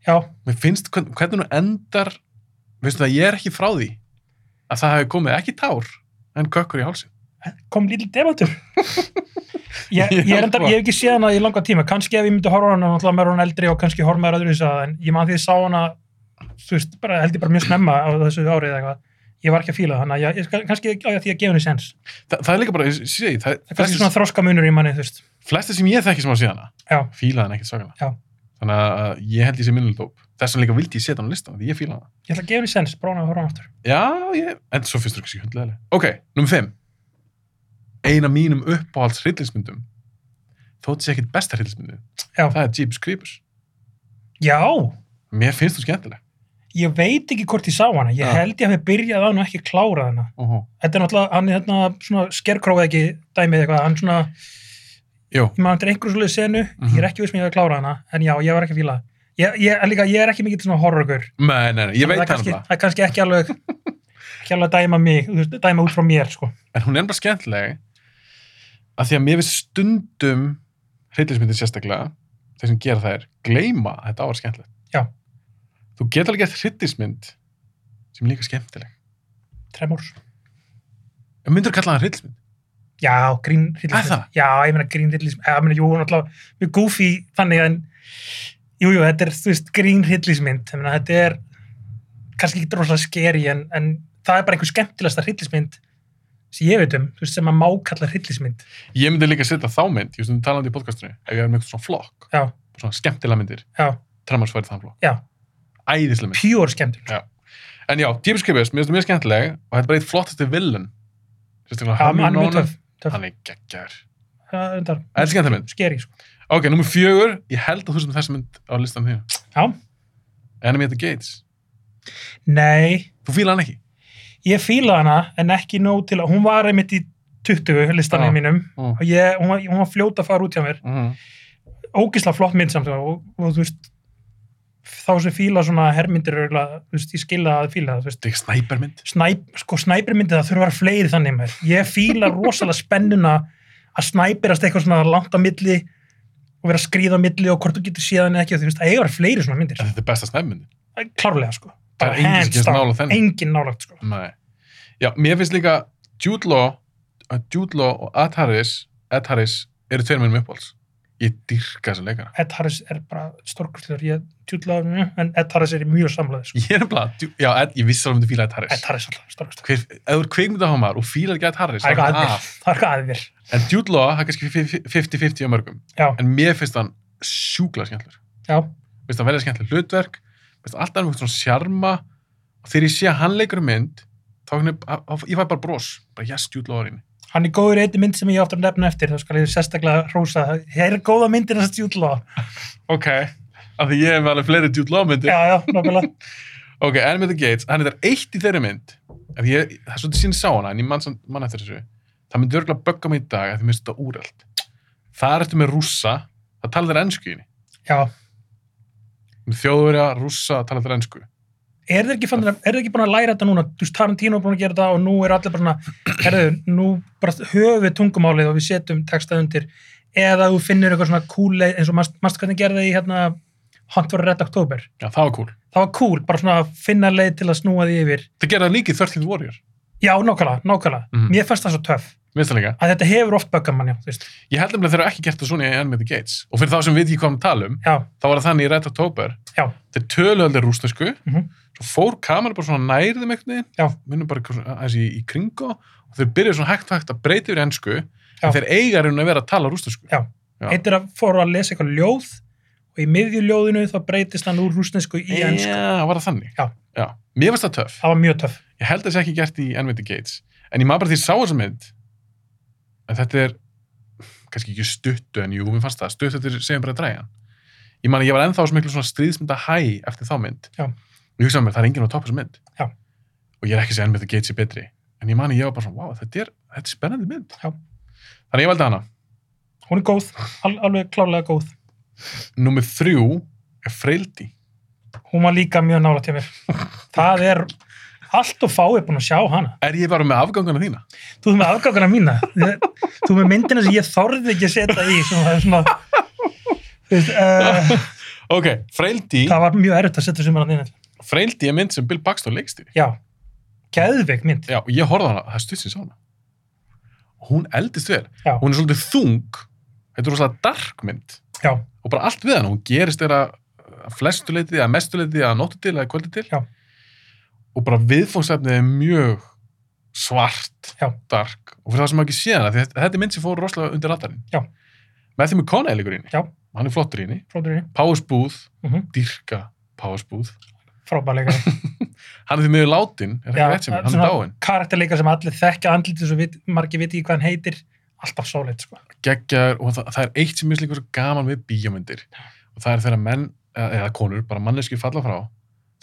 Speaker 2: já,
Speaker 1: mér finnst hvern- hvernig hún endar veistu það, ég er ekki frá því að það hefði komið ekki tár en kökkur í hálsin
Speaker 2: kom lítill debattur ég, ég,
Speaker 1: Já,
Speaker 2: er endar,
Speaker 1: sko.
Speaker 2: ég hef ekki séð hana í langa tíma kannski ef ég myndi horfa á hana, náttúrulega mér hún eldri og kannski horfa mér öðru þess að en ég man því að ég sá hana þú veist, bara, held ég bara mjög snemma á þessu árið eða eitthvað ég var ekki að fíla þannig að ég, ég skal- kannski á ég því að gefa henni sens
Speaker 1: Þa, það er líka bara, ég sé því það-
Speaker 2: það er kannski
Speaker 1: flestir,
Speaker 2: svona þroskamunur í manni, þú veist
Speaker 1: flestir sem ég þekki sem á síðana
Speaker 2: já,
Speaker 1: fílaði hann ekkert svakalega
Speaker 2: Já.
Speaker 1: þannig að ég held ég sé minnildóp þess vegna líka vildi ég setja hann á listan því ég fílaði hann
Speaker 2: ég ætla að gefa henni sens, brána að horfa á hana aftur
Speaker 1: já, ég, en svo finnst þú ekki hundlega ok, nummer 5 eina mínum uppáhalds hryllingsmyndum þótt sé ekkert besta hryllingsmyndu
Speaker 2: Já.
Speaker 1: það er Jeeps Creepers
Speaker 2: já,
Speaker 1: mér finnst þú skemmtileg
Speaker 2: ég veit ekki hvort ég sá hana ég
Speaker 1: Já.
Speaker 2: held ég að við byrjaði á hana og ekki klárað hana
Speaker 1: Óhó.
Speaker 2: þetta er náttúrulega, hann er hérna svona skerkróið ekki dæmið eitthvað, hann svona
Speaker 1: Jú.
Speaker 2: ég maður til einhverjum svolítið senu
Speaker 1: Mhm.
Speaker 2: ég er ekki viss með ég að klára hana, en já, ég var ekki að fíla það. ég, ég, en líka, ég er ekki mikill svona horrorgur
Speaker 1: nei, nei, nei, ég veit
Speaker 2: það
Speaker 1: hann
Speaker 2: er kannski,
Speaker 1: alveg
Speaker 2: það er kannski ekki alveg ekki alveg að dæma mig, þú veist, dæma út frá mér sko.
Speaker 1: en hún er bara skemmtileg að því að mér finnst stundum hryllismyndir sérstaklega þeir sem gera þær, gleyma að þetta ára skemmtilegt
Speaker 2: Já.
Speaker 1: þú getur alveg gett hryllismynd sem er líka skemmtileg
Speaker 2: tremors,
Speaker 1: en myndur kalla það hryllismynd
Speaker 2: já, grín hryllismynd.
Speaker 1: Er það?
Speaker 2: já, ég meina grín hryllismynd. Já, ég meina, jú, hún er alltaf mjög goofy þannig en jú, jú, þetta er, þú veist, grín hryllismynd ég meina, þetta er kannski ekki rosalega skeri en, en það er bara einhver skemmtilegasta hryllismynd sem ég veit um, þú veist, sem að má kalla hryllismynd
Speaker 1: ég myndi líka setja þá mynd, ég stundum talandi í podcastinu ef ég er með eitthvað svona flokk,
Speaker 2: já,
Speaker 1: svona skemmtilega myndir
Speaker 2: já,
Speaker 1: tremmars færi þann flokk,
Speaker 2: já,
Speaker 1: æðislega mynd
Speaker 2: pure skemmtun
Speaker 1: en já, Deep Skipers, mér finnst það mjög skemmtileg og þetta er bara eitt flottasti villun
Speaker 2: Já, hann er mjög töff, töff.
Speaker 1: hann er geggjær,
Speaker 2: Það er reyndar
Speaker 1: þetta er skemmtileg mynd
Speaker 2: skeri sko.
Speaker 1: Ok, nummer fjögur, ég held að þú sem þessa mynd á listan þínu.
Speaker 2: Já.
Speaker 1: Enemy at the Gates.
Speaker 2: Nei,
Speaker 1: Þú fíla hann ekki?
Speaker 2: ég fílaði hana en ekki nóg til að hún var einmitt í 20 listanum
Speaker 1: Já.
Speaker 2: mínum
Speaker 1: Mm.
Speaker 2: og ég, hún, var, hún var fljóta að fara út hjá mér
Speaker 1: Mm.
Speaker 2: ógislega flott mynd samt og, og þú veist þá sem fíla svona hermyndir eru örugglega, þú veist, ég skilja að fíla það, þú veist
Speaker 1: Þetta er ekki snæpermynd.
Speaker 2: Snæp, sko snæpirmyndið það þurfa að vera fleiri þannig mér ég fíla rosalega spennuna að snæpirast eitthvað svona langt á milli og vera að skríða á milli og hvort þú getur síðan ekki og þú veist, það eiga að vera fleiri svona myndir
Speaker 1: En þetta er besta snæpermyndin.
Speaker 2: klárlega sko
Speaker 1: Það er engin sem kemst nálægt henni.
Speaker 2: engin nálagt sko
Speaker 1: Nei. Já, mér finnst líka Jude Law, að Jude Law og Ed Harris, Ed Harris eru tveir minnum uppáhalds. Ég dyrka þessa leikara.
Speaker 2: Ed Harris er bara stórkurslur ég tjúla af henni, en Ed Harris er í mjög samlega sko.
Speaker 1: Ég er bara, djú- já, Ed, ég vissi alveg myndi fíla Ed Harris.
Speaker 2: Ed Harris er alltaf stórkurslur
Speaker 1: Hver, ef þú er kveikmyndahámar og fílar ekki Ed Harris,
Speaker 2: það er
Speaker 1: þá
Speaker 2: eitthvað að
Speaker 1: að.
Speaker 2: þér það er eitthvað að þér
Speaker 1: En Jude Law, það er kannski 50-50 á mörgum.
Speaker 2: já,
Speaker 1: En mér finnst hann sjúkla skemmtlur.
Speaker 2: já,
Speaker 1: Mér finnst það velja skemmtileg hlutverk mér finnst alltaf einhvern svona sjarma og þegar ég sé að hann leikur um mynd þá hann, ég fæ bara bros bara yes, Jude Law er inni
Speaker 2: hann er góður í einni mynd sem ég áttur að nefna eftir þá skal ég sérstaklega hrósa hér er góða myndin að tjúla
Speaker 1: ok, af því ég hef alveg fleiri Jude Law myndir
Speaker 2: já, já, nokkulega
Speaker 1: ok, Enemy of the Gates, hann er þar eitt í þeirri mynd af því ég, það er svolítið sín sá hana en ég mann, samt- mann eftir þessu það myndi örgulega bögga mig í dag af því mér finnst þetta úrælt það er eftir með rússa það tala þeir ennsku í
Speaker 2: já,
Speaker 1: henni þjóðverja, rússa, tala þeir ennsku
Speaker 2: er þeir ekki, fann, er þeir ekki búin að læra þetta núna þú veist, Tarantino er búin að gera þetta og nú er allir bara svona, herðu, nú bara höfum við tungumálið og við setjum texta undir eða þú finnir eitthvað svona cool leið- eins og mannst manstu hvernig gerði í hérna Hunt for Red October
Speaker 1: já, það var cool
Speaker 2: það var cool, bara svona að finna leið til að snúa því yfir
Speaker 1: það gerði það líka í 13th Warrior
Speaker 2: já, nákvæmlega, nákvæmlega,
Speaker 1: Mhm.
Speaker 2: mér fannst það svo töff
Speaker 1: Mér finnst það líka.
Speaker 2: að þetta hefur oft böggað mann, já, þú veist
Speaker 1: Ég held nefnilega að þeir eru ekki gert það svona í Enemy of the Gates. Og fyrir þá sem við ekki komum að tala um,
Speaker 2: já,
Speaker 1: þá var það þannig í Red October.
Speaker 2: Já.
Speaker 1: Þeir töluhaldir rúsnesku,
Speaker 2: Mhm.
Speaker 1: svo fór kameran bara svona nærðum einhvern veginn,
Speaker 2: Já.
Speaker 1: minnum bara eitthvað svona aðeins í, í kringu og þeir byrjuðu svona hægt og hægt að breyta yfir í ensku,
Speaker 2: Já.
Speaker 1: en þeir eiga raunin að vera að tala rúsnesku.
Speaker 2: Já.
Speaker 1: Já.
Speaker 2: heitir að fóru að lesa eitthvað ljóð og í miðjuljóðinu þá breytist hann úr rúsnesku í ennsku,
Speaker 1: Já, var það þannig?
Speaker 2: Já.
Speaker 1: Mér finnst það töff.
Speaker 2: það var mjög töff
Speaker 1: Ég held að það sé ekki gert í Enemy of the Gates. En ég maður bara því að ég sá þessa mynd, að þetta er, kannski ekki stuttu, en jú, mér fannst það, stuttu eftir segjum bara að dræja. Ég man að ég var ennþá sem miklu svona stríðsmynda hæ eftir þá mynd.
Speaker 2: Já.
Speaker 1: Og ég hugsaði mér, það er enginn á topp þessu mynd.
Speaker 2: Já.
Speaker 1: Og ég er ekki að segja Enemy of the Gates er betri. En ég man að ég var bara svona, wow, þetta er, þetta er spennandi mynd.
Speaker 2: Já.
Speaker 1: Þannig ég valdi hana.
Speaker 2: hún er góð, al alveg klárlega góð
Speaker 1: Númer þrjú er freildi.
Speaker 2: hún var líka mjög nála til mér það er allt og fáið búin að sjá hana
Speaker 1: Er ég bara með afgangana þína?
Speaker 2: þú ert með afgangana mína Ég- þú ert með myndina sem ég þorði ekki að setja í sem það er svona þú veist, uh,
Speaker 1: Ok, Freildi,
Speaker 2: það var mjög erfitt að setja sem hann inn
Speaker 1: Freildi er mynd sem Bill Baxter leikstýri.
Speaker 2: já, geðveik mynd
Speaker 1: Já, og ég horfði á hana, það stutt sem sá hana. Hún eldist vel.
Speaker 2: Já.
Speaker 1: Hún er svolítið þung. Þetta er rosalega dark mynd.
Speaker 2: já,
Speaker 1: Og bara allt við hana, hún gerist þeirra að flestu leitið, að mestu leitið, að nóttu til, að kvöldu til.
Speaker 2: Já.
Speaker 1: Og bara viðfónsefnið er mjög svart,
Speaker 2: Já.
Speaker 1: dark. Og fyrir það sem hafa ekki séð hana, því þetta þetta er mynd sem fór rosalega undir ratarinn.
Speaker 2: Já.
Speaker 1: Með þeim er Conneil ykkur inni.
Speaker 2: Já.
Speaker 1: Hann er flottur í henni.
Speaker 2: fróður í
Speaker 1: Páðsbúð,
Speaker 2: mm -hmm.
Speaker 1: dýrka Páðsbúð.
Speaker 2: frábærleika
Speaker 1: Hann er því miður látin, er það ekki rétt sem hann er dáin.
Speaker 2: karakterleika sem allir þekkja andlitið svo vit, margir viti ekki hvað hann heitir alltaf sóleit sko.
Speaker 1: geggjaður og það, það er eitt sem mér líka svo gaman við bíómyndir og það er þegar menn, eða, eða konur, bara manneskir falla frá,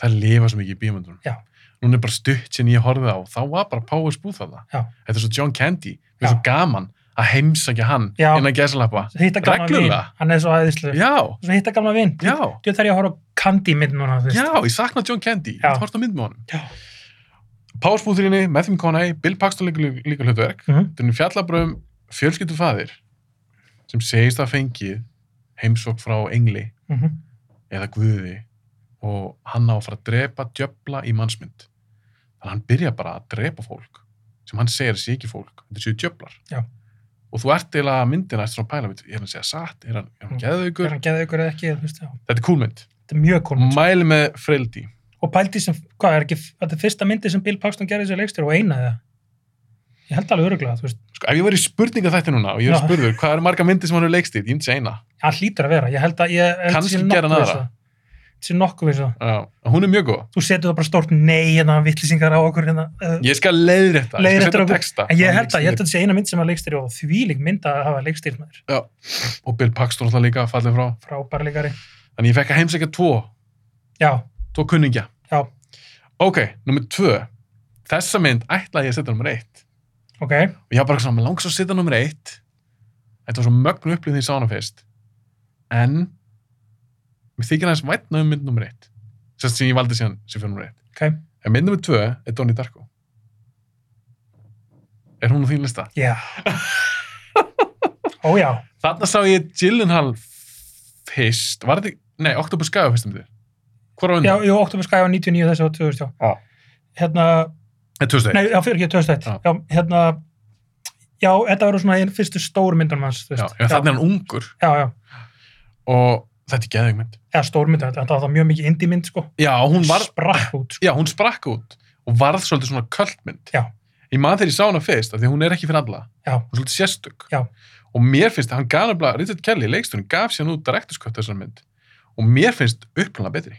Speaker 1: það lifa svo mikið í bíómyndunum.
Speaker 2: Já.
Speaker 1: Núna er bara stutt sem ég horfið á, þá var bara Powers búð þarna.
Speaker 2: Já.
Speaker 1: Þetta er svo John Candy, það er
Speaker 2: Já.
Speaker 1: svo gaman að heimsækja hann
Speaker 2: Já.
Speaker 1: innan gæsalappa.
Speaker 2: hitta gamla vin,
Speaker 1: Reglulega?
Speaker 2: hann er svo aðeinslu
Speaker 1: Já,
Speaker 2: hitta gamla vin,
Speaker 1: já,
Speaker 2: þú þarf ég að horfa á Candy mynd núna þú veist.
Speaker 1: já, ég sakna John Candy,
Speaker 2: Já.
Speaker 1: ég hort á mynd með honum.
Speaker 2: Já.
Speaker 1: Powers búðurinni, Matthew McConaughey, Bill Paxton líka, líka hlutverk,
Speaker 2: Mhm.
Speaker 1: Þetta er fjallabröðum fjölskyldufaðir sem segist að fengið heimsók frá engli
Speaker 2: Mhm.
Speaker 1: eða guði og hann á að fara að drepa djöfla í mannsmynd. Þannig að hann byrja bara að drepa fólk sem hann segir að sé ekki fólk, þetta séu djöflar.
Speaker 2: Já.
Speaker 1: Og þú ert eiginlega myndina eftir svona pæla, veit, er hann að segja satt, er hann, er hann
Speaker 2: Mm.
Speaker 1: geðaukur?
Speaker 2: er hann geðveikur eða ekki þú veist, já.
Speaker 1: Þetta er kúlmynd.
Speaker 2: þetta er mjög cool mynd, sko.
Speaker 1: Mæli með freildi.
Speaker 2: og pældi sem, hvað er ekki þetta er fyrsta myndi sem Bill Paxton gerði sér leikstur og eina það ég held alveg öruglega, þú veist,
Speaker 1: Sko, ef ég var í spurninga þetta núna og ég er
Speaker 2: Já.
Speaker 1: spurður, hvað eru marga myndi sem hann er leikstýrt? Ég myndi segja eina.
Speaker 2: hann hlýtur að vera ég held að, ég held
Speaker 1: Kannski
Speaker 2: sé
Speaker 1: gera hann aðra.
Speaker 2: nokkuð viss það. sé nokkuð við það
Speaker 1: Já, Hún er mjög góð.
Speaker 2: þú setur það bara stórt nei hérna vittlýsingar á okkur hérna uh,
Speaker 1: Ég skal leiðrétta, ég skal
Speaker 2: Leiðrétta
Speaker 1: setja
Speaker 2: okkur.
Speaker 1: texta.
Speaker 2: en ég
Speaker 1: Hann
Speaker 2: held að, ég
Speaker 1: leikstýrir.
Speaker 2: held að þetta sé eina mynd sem að leikstýri og þvílík mynd að hafa leikstýrt maður
Speaker 1: og Bill Paxton alltaf líka fallið frá
Speaker 2: frábærleikari,
Speaker 1: þannig ég fekk að heimsækja tvo,
Speaker 2: já,
Speaker 1: tvo kunningja
Speaker 2: já,
Speaker 1: ok, nummer tvö þessa mynd ætlaði ég að setja nummer eitt
Speaker 2: ok
Speaker 1: og ég var bara svona, mér langs að setja nummer eitt þetta var svo mögnu upplýð því ég sá hana fyrst en mér þykir aðeins vætna um mynd nummer eitt sem, sem ég valdi síðan sem fyrir nummer eitt
Speaker 2: ok,
Speaker 1: en mynd nummer tvö er Donnie Darko er hún á þín lista?
Speaker 2: já ó já,
Speaker 1: þarna sá ég Gyllenhaal fyrst, var þetta, nei, Octopus Gaga fyrst um því, hvora
Speaker 2: já,
Speaker 1: undan?
Speaker 2: jú, Octopus Guy var 99 þessi var 2000, já
Speaker 1: Já.
Speaker 2: hérna,
Speaker 1: Nei, 2001.
Speaker 2: nei, já, fyrir ekki 2001
Speaker 1: Já.
Speaker 2: já, hérna já, þetta var svona einn fyrstu stóru myndunum hans, þú
Speaker 1: Já,
Speaker 2: veist
Speaker 1: já, þannig er hann ungur
Speaker 2: já, já,
Speaker 1: og þetta er geðveik mynd.
Speaker 2: eða stóru myndunum, þetta var það mjög mikið indie mynd, sko
Speaker 1: Já, hún, var,
Speaker 2: sprakk út, sko,
Speaker 1: já, hún sprakk út og varð svolítið svona kvöldmynd.
Speaker 2: Já.
Speaker 1: Ég man þegar ég sá hana fyrst, af því að hún er ekki fyrir alla.
Speaker 2: Já.
Speaker 1: Hún er svolítið sérstök.
Speaker 2: Já.
Speaker 1: Og mér finnst að hann gaf nefnilega, Richard Kelly, leikstunni, gaf sér nú direkturskött þessar mynd. Og mér finnst upplanlega betri.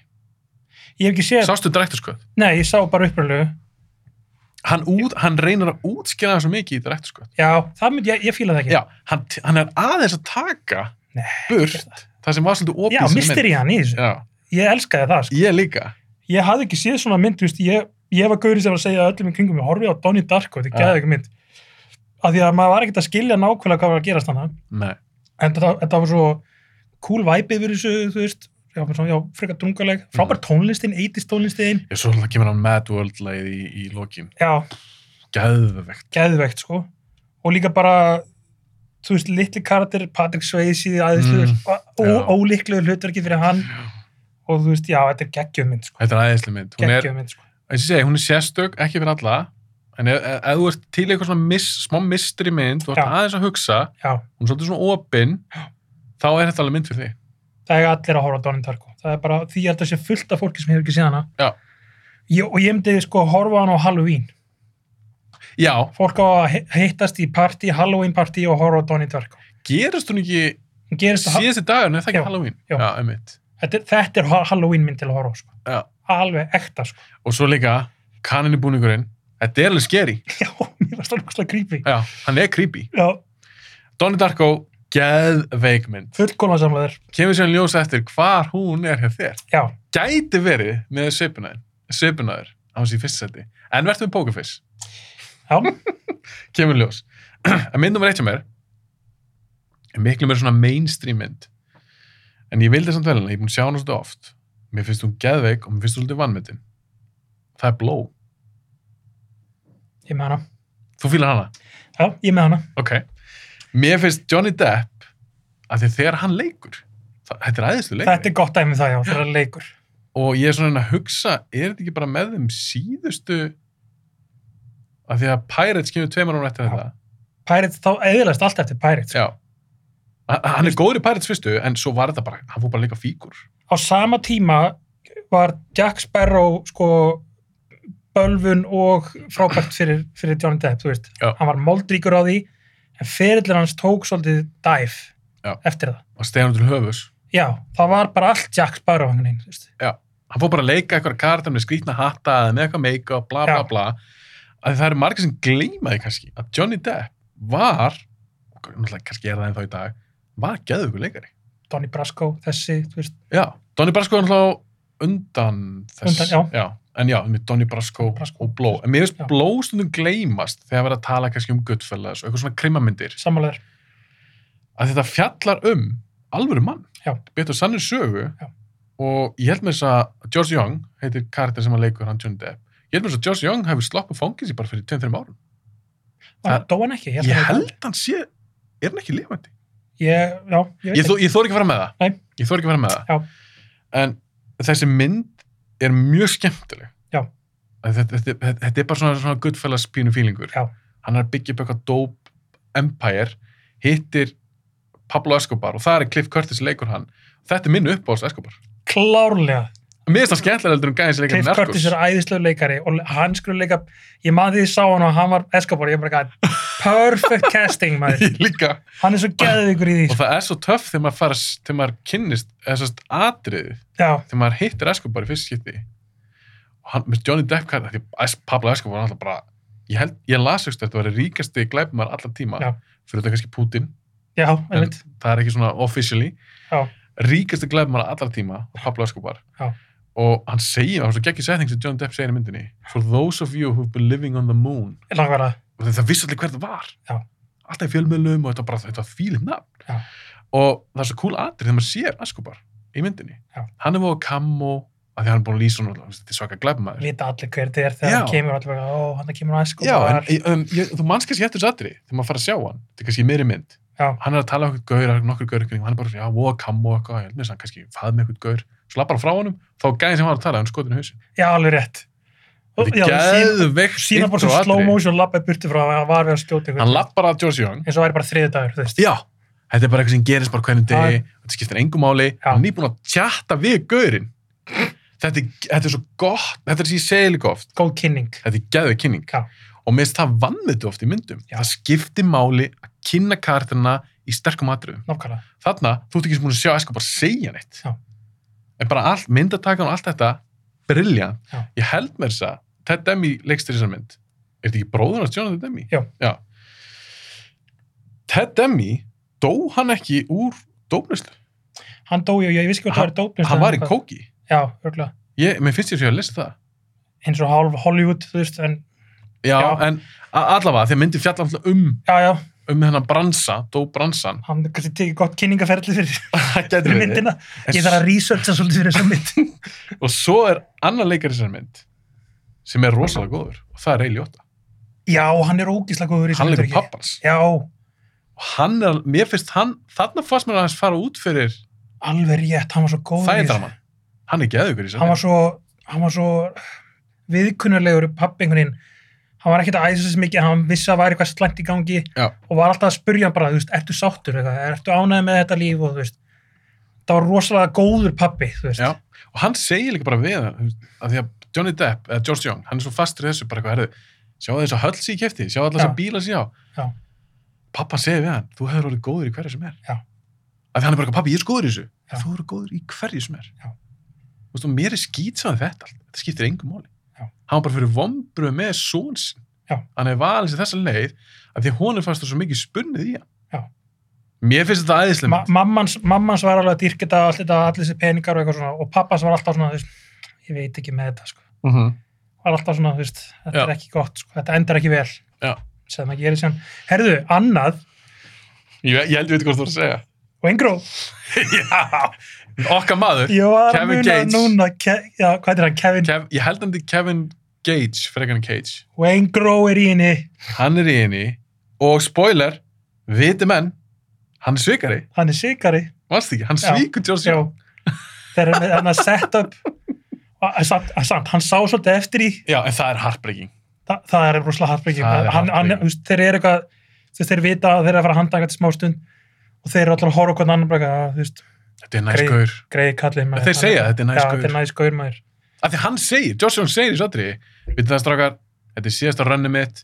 Speaker 2: ég hef ekki séð
Speaker 1: Sástu direkturskött?
Speaker 2: nei, ég sá bara uppröðlegu
Speaker 1: Hann, út, hann reynir að útskýra það svo mikið í direkturskött.
Speaker 2: já, það myndi, ég, ég fíla það ekki
Speaker 1: Já, hann, hann er aðeins að taka
Speaker 2: Nei,
Speaker 1: burt það sem var svolítið opið
Speaker 2: já
Speaker 1: í þessari mynd.
Speaker 2: mistir í hann í þessu,
Speaker 1: Já,
Speaker 2: ég elskaði það, sko
Speaker 1: ég líka.
Speaker 2: ég hafði ekki séð svona mynd, þú veist, ég, ég var gaurið sem var að segja öllum í kringum, ég horfi á Donnie Darko, þetta
Speaker 1: Já.
Speaker 2: er geðið ekki mynd. Af því að maður var ekkert að skilja nákvæmlega hvað var að gerast hana,
Speaker 1: Nei.
Speaker 2: en þetta, þetta var svo cool vibe yfir þessu, þú veist, já, bara svona, já frekar drungaleg, frábær tónlistin, 80s tónlistin,
Speaker 1: Ég svo hann kemur hann Mad World leið í, í lokin.
Speaker 2: já,
Speaker 1: Geðvegt.
Speaker 2: geðvegt, sko, og líka bara, þú veist, litli karakter, Patrick Swayze, aðeins,
Speaker 1: já.
Speaker 2: mm. ólíklegur hlutverki fyrir hann, og þú veist, já, þetta er geggjum mynd, sko,
Speaker 1: Þetta er aðeinsli mynd. Hún er,
Speaker 2: geggjum mynd, sko,
Speaker 1: eins og ég segi, hún er sérstök, ekki fyrir alla. En ef, ef- ef þú ert til í eitthvað svona miss, smá mystery mynd, þú ert
Speaker 2: Já.
Speaker 1: aðeins að hugsa,
Speaker 2: já.
Speaker 1: hún er svolítið svona opinn, þá er þetta alveg mynd fyrir þig.
Speaker 2: það er allir að horfa á Donnie Darko það er bara, því ég held að sé fullt af fólki sem hefur ekki séð hana
Speaker 1: Já.
Speaker 2: ég, og ég myndi sko að horfa á hana á Halloween
Speaker 1: Já,
Speaker 2: fólk á að hi- hittast í partí, Halloween partí og horfa á Donnie Darko
Speaker 1: gerist hún ekki
Speaker 2: Hún gerist að,
Speaker 1: síðasti dagur, en það er
Speaker 2: Já,
Speaker 1: ekki Halloween.
Speaker 2: já.
Speaker 1: Já, einmitt.
Speaker 2: þetta, er- þetta er ha- Halloween mynd til að horfa á sko.
Speaker 1: Já.
Speaker 2: alveg ekta sko.
Speaker 1: Og svo líka, kaninubúningurinn, þetta er alveg skeri.
Speaker 2: já, mér var stórkostlega creepy
Speaker 1: Já, hann er creepy.
Speaker 2: já,
Speaker 1: Donnie Darko, geðveik mynd.
Speaker 2: fullkóla samleður
Speaker 1: Kemur sér ljós eftir hvar hún er hjá þér.
Speaker 2: já,
Speaker 1: Gæti verið með sveipunaður, sveipunaður, á hans í fyrsta seti. En verður með Pokerface.
Speaker 2: já,
Speaker 1: kemur í ljós að mynd nummer eitt hjá mér er miklu mér svona mainstream mynd en ég vildi samt vel hana, ég er búin að sjá hana svolítið oft mér finnst hún geðveik og mér finnst hún svolítið vannmyndin það er bló,
Speaker 2: ég með hana
Speaker 1: þú fýlar hana
Speaker 2: já, ég með hana,
Speaker 1: ok, mér finnst Johnny Depp að því þegar hann leikur Þa- Þetta er aðeinslu leik.
Speaker 2: Þetta er gott dæmi um það, já, það er leikur.
Speaker 1: og ég er svona að hugsa, er þetta ekki bara með þeim síðustu af því að Pirates kemur tveimur ára eftir
Speaker 2: Já.
Speaker 1: þetta
Speaker 2: Pirates, þá eðilegst allt eftir Pirates.
Speaker 1: já H- hann er góður í Pirates fyrstu en svo var þetta bara, hann fór bara líka fíkur
Speaker 2: Á sama tíma var Jack Sparrow, sko, bölvun og frábært fyrir, fyrir Johnny Depp, þú veist.
Speaker 1: Já.
Speaker 2: Hann var moldríkur á því, en ferillin hans tók svolítið dæf
Speaker 1: Já.
Speaker 2: eftir það.
Speaker 1: að stegja hann til höfus
Speaker 2: Já, það var bara allt Jack Sparrow hann einn, þú veist.
Speaker 1: hann fór bara að leika eitthvað karta með skrýtna hatta eða með eitthvað meika og bla bla
Speaker 2: Já.
Speaker 1: bla að það eru margir sem gleymaði kannski að Johnny Depp var og náttúrulega kannski er það ennþá í dag var geðugur leikari
Speaker 2: Donnie Brasco, þessi, þú veist,
Speaker 1: já, Donnie Brasco er náttúrulega undan þess
Speaker 2: Undan,
Speaker 1: já. en já, með Donnie Brasco,
Speaker 2: Brasco.
Speaker 1: og Blow en mér finnst
Speaker 2: Já.
Speaker 1: Blow stundum gleymast þegar verið að tala kannski um Goodfellas og eitthvað svona krimamyndir
Speaker 2: sammálaður.
Speaker 1: að þetta fjallar um alvöru mann
Speaker 2: Já.
Speaker 1: betur sannir sögu
Speaker 2: Já.
Speaker 1: og ég held með þess að George Young heitir karakter sem að leikur hann Johnny Depp ég held með þess að George Young hefur sloppið fangins í bara fyrir 2-3 árum Það-
Speaker 2: Dó hann ekki?
Speaker 1: ég,
Speaker 2: hann var-
Speaker 1: held hann sé, er hann ekki lifandi
Speaker 2: Ég, já, ég veit
Speaker 1: ég, þó, ég þór ekki að fara með það
Speaker 2: Nei.
Speaker 1: ég þór ekki að fara með það en þessi mynd er mjög skemmtileg
Speaker 2: Já.
Speaker 1: Að þetta, þetta, þetta, þetta er bara svona, svona guttfælas pínu fílingur
Speaker 2: Já.
Speaker 1: hann er að byggja upp eitthvað dope empire hittir Pablo Escobar og það er Cliff Curtis leikur hann þetta er minn uppáðast Escobar
Speaker 2: klárlega.
Speaker 1: mér finnst það skemmtilega heldur um gæðins leikar
Speaker 2: Cliff Curtis er æðislegu leikari og hann skulle leika, ég maður því ég sá hann og hann var Escobar, ég bara gæði perfect casting maður,
Speaker 1: líka
Speaker 2: hann er svo geðvigur í því
Speaker 1: og það er svo töff þegar maður, fara, þegar maður kynnist þessast atriði
Speaker 2: já,
Speaker 1: þegar maður hittir Escobar í fyrst skipti og hann, með Johnny Depp kært, því Es- Pablo Escobar var alltaf bara ég, held, ég las ekki þetta var ríkasti glæpumar allar tíma,
Speaker 2: Já.
Speaker 1: fyrir þetta kannski Putin
Speaker 2: já, einmitt
Speaker 1: það er ekki svona officially
Speaker 2: Já.
Speaker 1: ríkasti glæpumar allar tíma, Pablo Escobar
Speaker 2: Já.
Speaker 1: og hann segir, hann svo geggjur setning sem Johnny Depp segir í myndinni for those of you who've been living on the moon
Speaker 2: langvara,
Speaker 1: og það vissi allir hver það var
Speaker 2: Já.
Speaker 1: alltaf í fjölmiðlum og þetta var bara þetta var fílum nafn
Speaker 2: Já.
Speaker 1: og það er svo cool atrið þegar maður sér Escobar í myndinni
Speaker 2: Já.
Speaker 1: hann er voða kammo af því að hann er búin að lýsa hann þetta er svaka glæpmaður
Speaker 2: vita allir hver þið er þegar
Speaker 1: Já.
Speaker 2: hann kemur og allir bara, ó, hann er kemur á
Speaker 1: Já, Sko, en,
Speaker 2: Escobar
Speaker 1: en, ég, þú manns kannski eftir þessu atrið þegar maður fara að sjá hann, þetta er kannski í meiri mynd
Speaker 2: Já.
Speaker 1: hann er að tala um eitthvað gaur, það er nokkur gaur ykkur, hann er bara, svona, já, voða kammo og eitthvað, ég held með þess að hann kannski faði með eitthvað gaur svo lappar hann frá honum, þá gæði sem hann var að tala hann skotinu hausin,
Speaker 2: já, alveg rétt Og-
Speaker 1: þetta
Speaker 2: já,
Speaker 1: er
Speaker 2: sína-
Speaker 1: geðveikt
Speaker 2: sína bara svo
Speaker 1: intro
Speaker 2: slow
Speaker 1: atriði.
Speaker 2: motion lappa burti frá að hann var við að skjóta ykkur
Speaker 1: hann lappar að George Young
Speaker 2: eins og væri bara þriði dagur, þú veist
Speaker 1: Já, þetta er bara eitthvað sem gerist bara hvernig degi,
Speaker 2: Já.
Speaker 1: þetta skiptir engum máli,
Speaker 2: Já.
Speaker 1: hann er nýbúin að tjatta við gaurinn. Þetta er, þetta er svo gott, þetta er sem ég segi líka oft,
Speaker 2: góð kynning,
Speaker 1: þetta er geðveik kynning.
Speaker 2: Já.
Speaker 1: Og mér finnst það vannmötu oft í myndum.
Speaker 2: Já.
Speaker 1: Það skiptir máli að kynna karakterina í sterkum atriðum.
Speaker 2: nákvæmlega
Speaker 1: Þarna, þú ert ekki sem búin að sjá Esko bara segja neitt.
Speaker 2: Já.
Speaker 1: En bara allt, myndatakan og allt þetta, briljant.
Speaker 2: Já.
Speaker 1: Ég held mér þess að, Ted Demi leikstir þessar mynd. Er þetta ekki bróðun að Jonathan Demi?
Speaker 2: Já.
Speaker 1: Já. Ted Demi, dó hann ekki úr dópnuslu?
Speaker 2: hann dói og ég vissi ekki hvað það
Speaker 1: Hann-
Speaker 2: var dópnust
Speaker 1: Hann var í kóki.
Speaker 2: já, örgulega,
Speaker 1: Ég, mér finnst ég sér að lesa það.
Speaker 2: eins og hálf Hollywood, þú veist, en
Speaker 1: Já,
Speaker 2: Já.
Speaker 1: en a- allavega, þegar myndi fjalla alltaf um,
Speaker 2: já, já,
Speaker 1: um hennan bransa, dó bransan.
Speaker 2: hann kannski tekið gott kynningaferðli fyrir,
Speaker 1: það getur
Speaker 2: fyrir
Speaker 1: verið.
Speaker 2: myndina
Speaker 1: En
Speaker 2: ég þarf að researcha svolítið fyrir þessa mynd
Speaker 1: Og svo er annar leikari í þessari mynd sem er rosalega góður og það er Ray Liotta.
Speaker 2: já, hann er ógíslega góður í þessu
Speaker 1: Hann leikur
Speaker 2: hlutverki.
Speaker 1: pappans.
Speaker 2: já,
Speaker 1: Og hann er, mér finnst hann, þarna fannst mér að hans fara út fyrir
Speaker 2: alveg rétt, hann var svo góður í þessu.
Speaker 1: þægindraman. Hann er geðugur í þessari
Speaker 2: hann var svo, hann var svo viðkunnulegur pappi einhvern veginn hann var ekkert að æsa þessi mikið, hann vissi að það væri eitthvað slæmt í gangi
Speaker 1: Já.
Speaker 2: og var alltaf að spurja hann bara, þú veist, ertu sáttur eitthvað, ertu ánægð með þetta líf og þú veist það var rosalega góður pappi, þú veist
Speaker 1: Já. Og hann segir líka bara við hann, þú veist, að því að Johnny Depp, eða George Young, hann er svo fastur í þessu, bara eitthvað herðu, sjá þess að höll sér í kefti, sjá allar
Speaker 2: Já.
Speaker 1: þess að bíla sér á.
Speaker 2: Já.
Speaker 1: Pappa segir við hann, þú hefur orðið góður í hverju sem er.
Speaker 2: Já.
Speaker 1: Af því hann er bara, eitthvað, pappi, ég er svo góður í þessu.
Speaker 2: Já.
Speaker 1: Þú hefur góður í hverju sem er.
Speaker 2: Já.
Speaker 1: Þú veist, og mér er skýt þetta allt. Þetta skiptir engum máli.
Speaker 2: Já.
Speaker 1: Hann var bara fyrir vombru með són sinn.
Speaker 2: Já.
Speaker 1: Hann hefur valið sér þessa leið af því að honum fannst það svo mikið spunnið í hann.
Speaker 2: Já.
Speaker 1: Mér finnst þetta æðislega
Speaker 2: Ma mammans, mammans var alveg að dýrka þetta allir, þetta, allir þessi peningar og eitthvað svona og pappans var alltaf svona, þú veist, ég veit ekki með þetta sko.
Speaker 1: mm -hmm.
Speaker 2: var alltaf svona, þú veist, þetta
Speaker 1: Já.
Speaker 2: er ekki gott sko. þetta endar ekki vel
Speaker 1: Já.
Speaker 2: sem það gerir sem, herðu, annað
Speaker 1: ég, ég held við veit hvað þú ert að segja.
Speaker 2: Wengró,
Speaker 1: Já, okkar maður
Speaker 2: ég var að
Speaker 1: Kevin
Speaker 2: muna
Speaker 1: Gates.
Speaker 2: núna ke, já, hvað er hann, Kevin
Speaker 1: Kev, ég held hann til Kevin Gage frekar en Cage,
Speaker 2: Wengró er í henni,
Speaker 1: hann er í henni og spoiler, viti menn hann er svikari,
Speaker 2: hann er sigari
Speaker 1: Varst ekki? Hann
Speaker 2: Já.
Speaker 1: svíkur George
Speaker 2: Já, þegar hann- hann að set up að- að samt, að samt, hann sá svolítið eftir í
Speaker 1: Já, en það er heartbreaking.
Speaker 2: það, það er rosalega hartbyggjum
Speaker 1: Það er
Speaker 2: hann, hann,
Speaker 1: heartbreaking.
Speaker 2: þú veist, þeir eru eitthvað þú veist, þeir vita að þeir eru að fara að handa eitthvað smá stund og þeir eru allir að horfa okkur annan bara eitthvað, þú veist,
Speaker 1: Þetta er næst
Speaker 2: Greið.
Speaker 1: gaur.
Speaker 2: greiði kallið maður
Speaker 1: Þeir segja, þetta er næs
Speaker 2: Já,
Speaker 1: gaur.
Speaker 2: þetta er næs gaur maður
Speaker 1: Af því hann segir, Josh Jones segir í sattriði, við það strákar, þetta er síðasta runni mitt,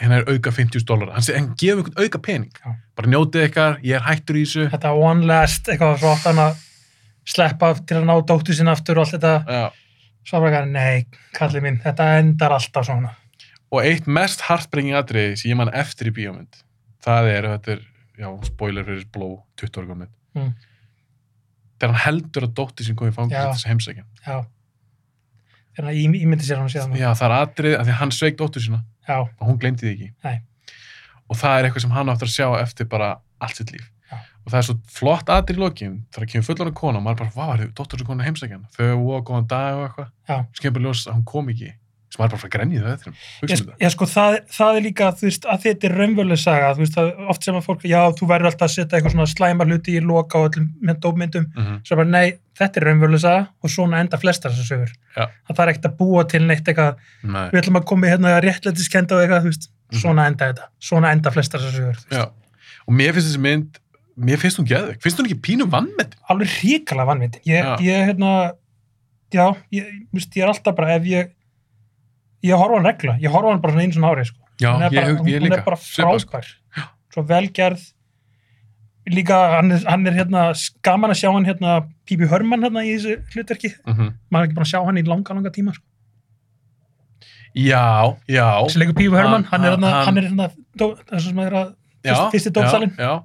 Speaker 1: hérna er auka 50 dólar. Hann segir, en gefum einhvern auka pening.
Speaker 2: Já.
Speaker 1: Bara njótið ykkar, ég er hættur í þessu.
Speaker 2: þetta one last, eitthvað svo átt hann að sleppa af til að ná dóttu sinna aftur og allt þetta,
Speaker 1: Já.
Speaker 2: svo bara eitthvað nei, kallið mín, þetta endar alltaf svona
Speaker 1: Og eitt mest heartbreaking atriði sem ég man eftir í bíómynd, það er, þetta er, já, spoiler fyrir bló 20 ára gómið,
Speaker 2: Mm.
Speaker 1: þegar hann heldur að dótti sem kom í fangir
Speaker 2: Já.
Speaker 1: þess að heimsækja.
Speaker 2: já þannig að ég myndi sér hann síðan
Speaker 1: Já, það er atriði að því að hann sveik dóttur sína
Speaker 2: já,
Speaker 1: og hún glemdi því ekki.
Speaker 2: Nei.
Speaker 1: Og það er eitthvað sem hann áttur að sjá eftir bara allt sitt líf.
Speaker 2: Já.
Speaker 1: Og það er svo flott atrið í lokin, þegar kemur fullan kona og maður bara, vá, er dóttur sem kom í heimsækjan, þau og góðan dag og eitthvað.
Speaker 2: Já.
Speaker 1: Svo kemur bara í ljós að hún kom ekki, sem maður bara frá grænið það eftir
Speaker 2: Ég,
Speaker 1: um.
Speaker 2: já, sko, það, það er líka, þú veist, að þetta er raunveruleg saga, þú veist, það, oft sem að fólk, já, þú verður alltaf að setja eitthvað svona slæma hluti í loka á öllum með dópmyndum,
Speaker 1: Mm -hmm.
Speaker 2: svo bara, nei, þetta er raunveruleg saga og svona enda flestar sem sögur.
Speaker 1: Já.
Speaker 2: Að það er ekkert að búa til neitt eitthvað,
Speaker 1: Nei.
Speaker 2: við ætlum að koma í hérna réttlætiskenda og eitthvað, þú veist,
Speaker 1: Mhm.
Speaker 2: svona enda þetta, svona enda flestar sem sögur. þú veist.
Speaker 1: Já, og mér finnst þessi mynd, mér finnst hún geðveik, finnst hún ekki pínu vannmett?
Speaker 2: Alveg ríkala vannmynd. Ég,
Speaker 1: Já.
Speaker 2: ég, hérna, já, ég, þú veist, ég er alltaf bara, ef ég, ég horfa á hann regla, ég horfa á hann bara svona einu svona ári, sko.
Speaker 1: Já,
Speaker 2: hún er,
Speaker 1: ég,
Speaker 2: bara,
Speaker 1: ég,
Speaker 2: hún,
Speaker 1: ég
Speaker 2: hún
Speaker 1: líka.
Speaker 2: er bara
Speaker 1: Svipað, sko.
Speaker 2: frábær svo velgerð líka hann er, hann er hérna gaman að sjá hann hérna Pípi Hörmann hérna í þessu hlutverki
Speaker 1: Mhm.
Speaker 2: maður er ekki búin að sjá hann í langa langa tíma sko.
Speaker 1: Já, já.
Speaker 2: þessi leikur Pípi Hörmann, hann, er
Speaker 1: hann-
Speaker 2: hérna
Speaker 1: hann-
Speaker 2: hann er hérna, dó- það sem er að
Speaker 1: já,
Speaker 2: fyrst- fyrsti dópsalinn.
Speaker 1: Já, já.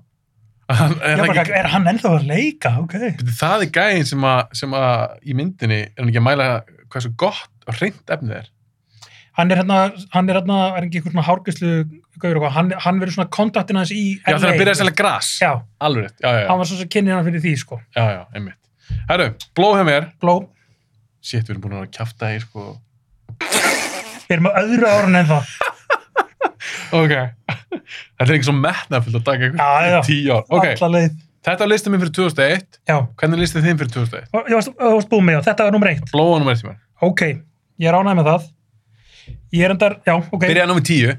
Speaker 1: Hann, er
Speaker 2: Já,
Speaker 1: það,
Speaker 2: bara,
Speaker 1: ekki,
Speaker 2: er hann ennþá að leika, ok
Speaker 1: það er gæðin sem, að, sem að í myndinni er hann ekki að mæla hversu gott og hreint efnið er.
Speaker 2: hann er hérna, hann er hérna er ekki eitthvað svona hárgæslu gaur og hvað, hann, hann verður svona kontaktin hans í
Speaker 1: Já, þegar hann byrjaði að
Speaker 2: já,
Speaker 1: selja gras.
Speaker 2: hann
Speaker 1: Alveg rétt, já, já, já,
Speaker 2: var svo sem kynnið hann fyrir því sko.
Speaker 1: já, já, einmitt. Herru, blóð hjá mér.
Speaker 2: Bló,
Speaker 1: Sétt, við erum búin að kjafta hér, sko.
Speaker 2: við erum á öðru árun ennþá
Speaker 1: Ok. Þetta er ekki svo metnafyllt að taka eitthvað.
Speaker 2: Já, já.
Speaker 1: Tíu ár. Ok,
Speaker 2: alla leið
Speaker 1: þetta er listið minn fyrir 2001.
Speaker 2: Já,
Speaker 1: Hvernig listið þinn fyrir 2001?
Speaker 2: og- ég varst, ég varst búið með það, þetta var nummer eitt
Speaker 1: Blóa nummer tíma.
Speaker 2: Ok, ég er ánægð með það. Ég er endar, já, ok.
Speaker 1: Byrjaði nummer tíu.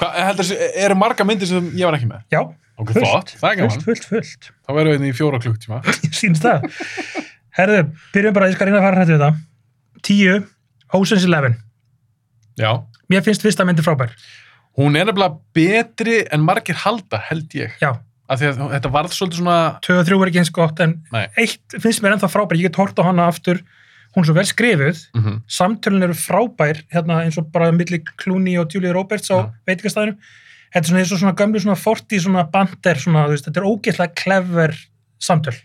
Speaker 1: Hva, heldur, þessi- eru marga myndir sem ég var ekki með?
Speaker 2: Já,
Speaker 1: Ok, flott. Það er
Speaker 2: fullt,
Speaker 1: gaman.
Speaker 2: fullt, fullt.
Speaker 1: Þá verðum við hérna í fjóra klukktíma.
Speaker 2: Ég sýnst það. Herðu, byrjum bara, ég skal reyna að fara hættu við það. Tíu, Ocean's Eleven.
Speaker 1: Já.
Speaker 2: Mér finnst fyrsta myndi frábær.
Speaker 1: Hún er nefnilega betri en margir halda, held ég.
Speaker 2: Já,
Speaker 1: Af því að þetta varð svolítið svona...
Speaker 2: tvö og þrjú er ekki eins gott, en
Speaker 1: Nei.
Speaker 2: eitt finnst mér ennþá frábær. Ég get hort á hana aftur. Hún er svo vel skrifuð.
Speaker 1: Mm
Speaker 2: Samtölun eru frábær, hérna eins og bara milli Clooney og Julia Roberts
Speaker 1: Já.
Speaker 2: á veitingastæðinu. Þetta er svona eins og svona gömlu svona 40 svona bander svona, þú veist, þetta er ógeðslega clever samtöl.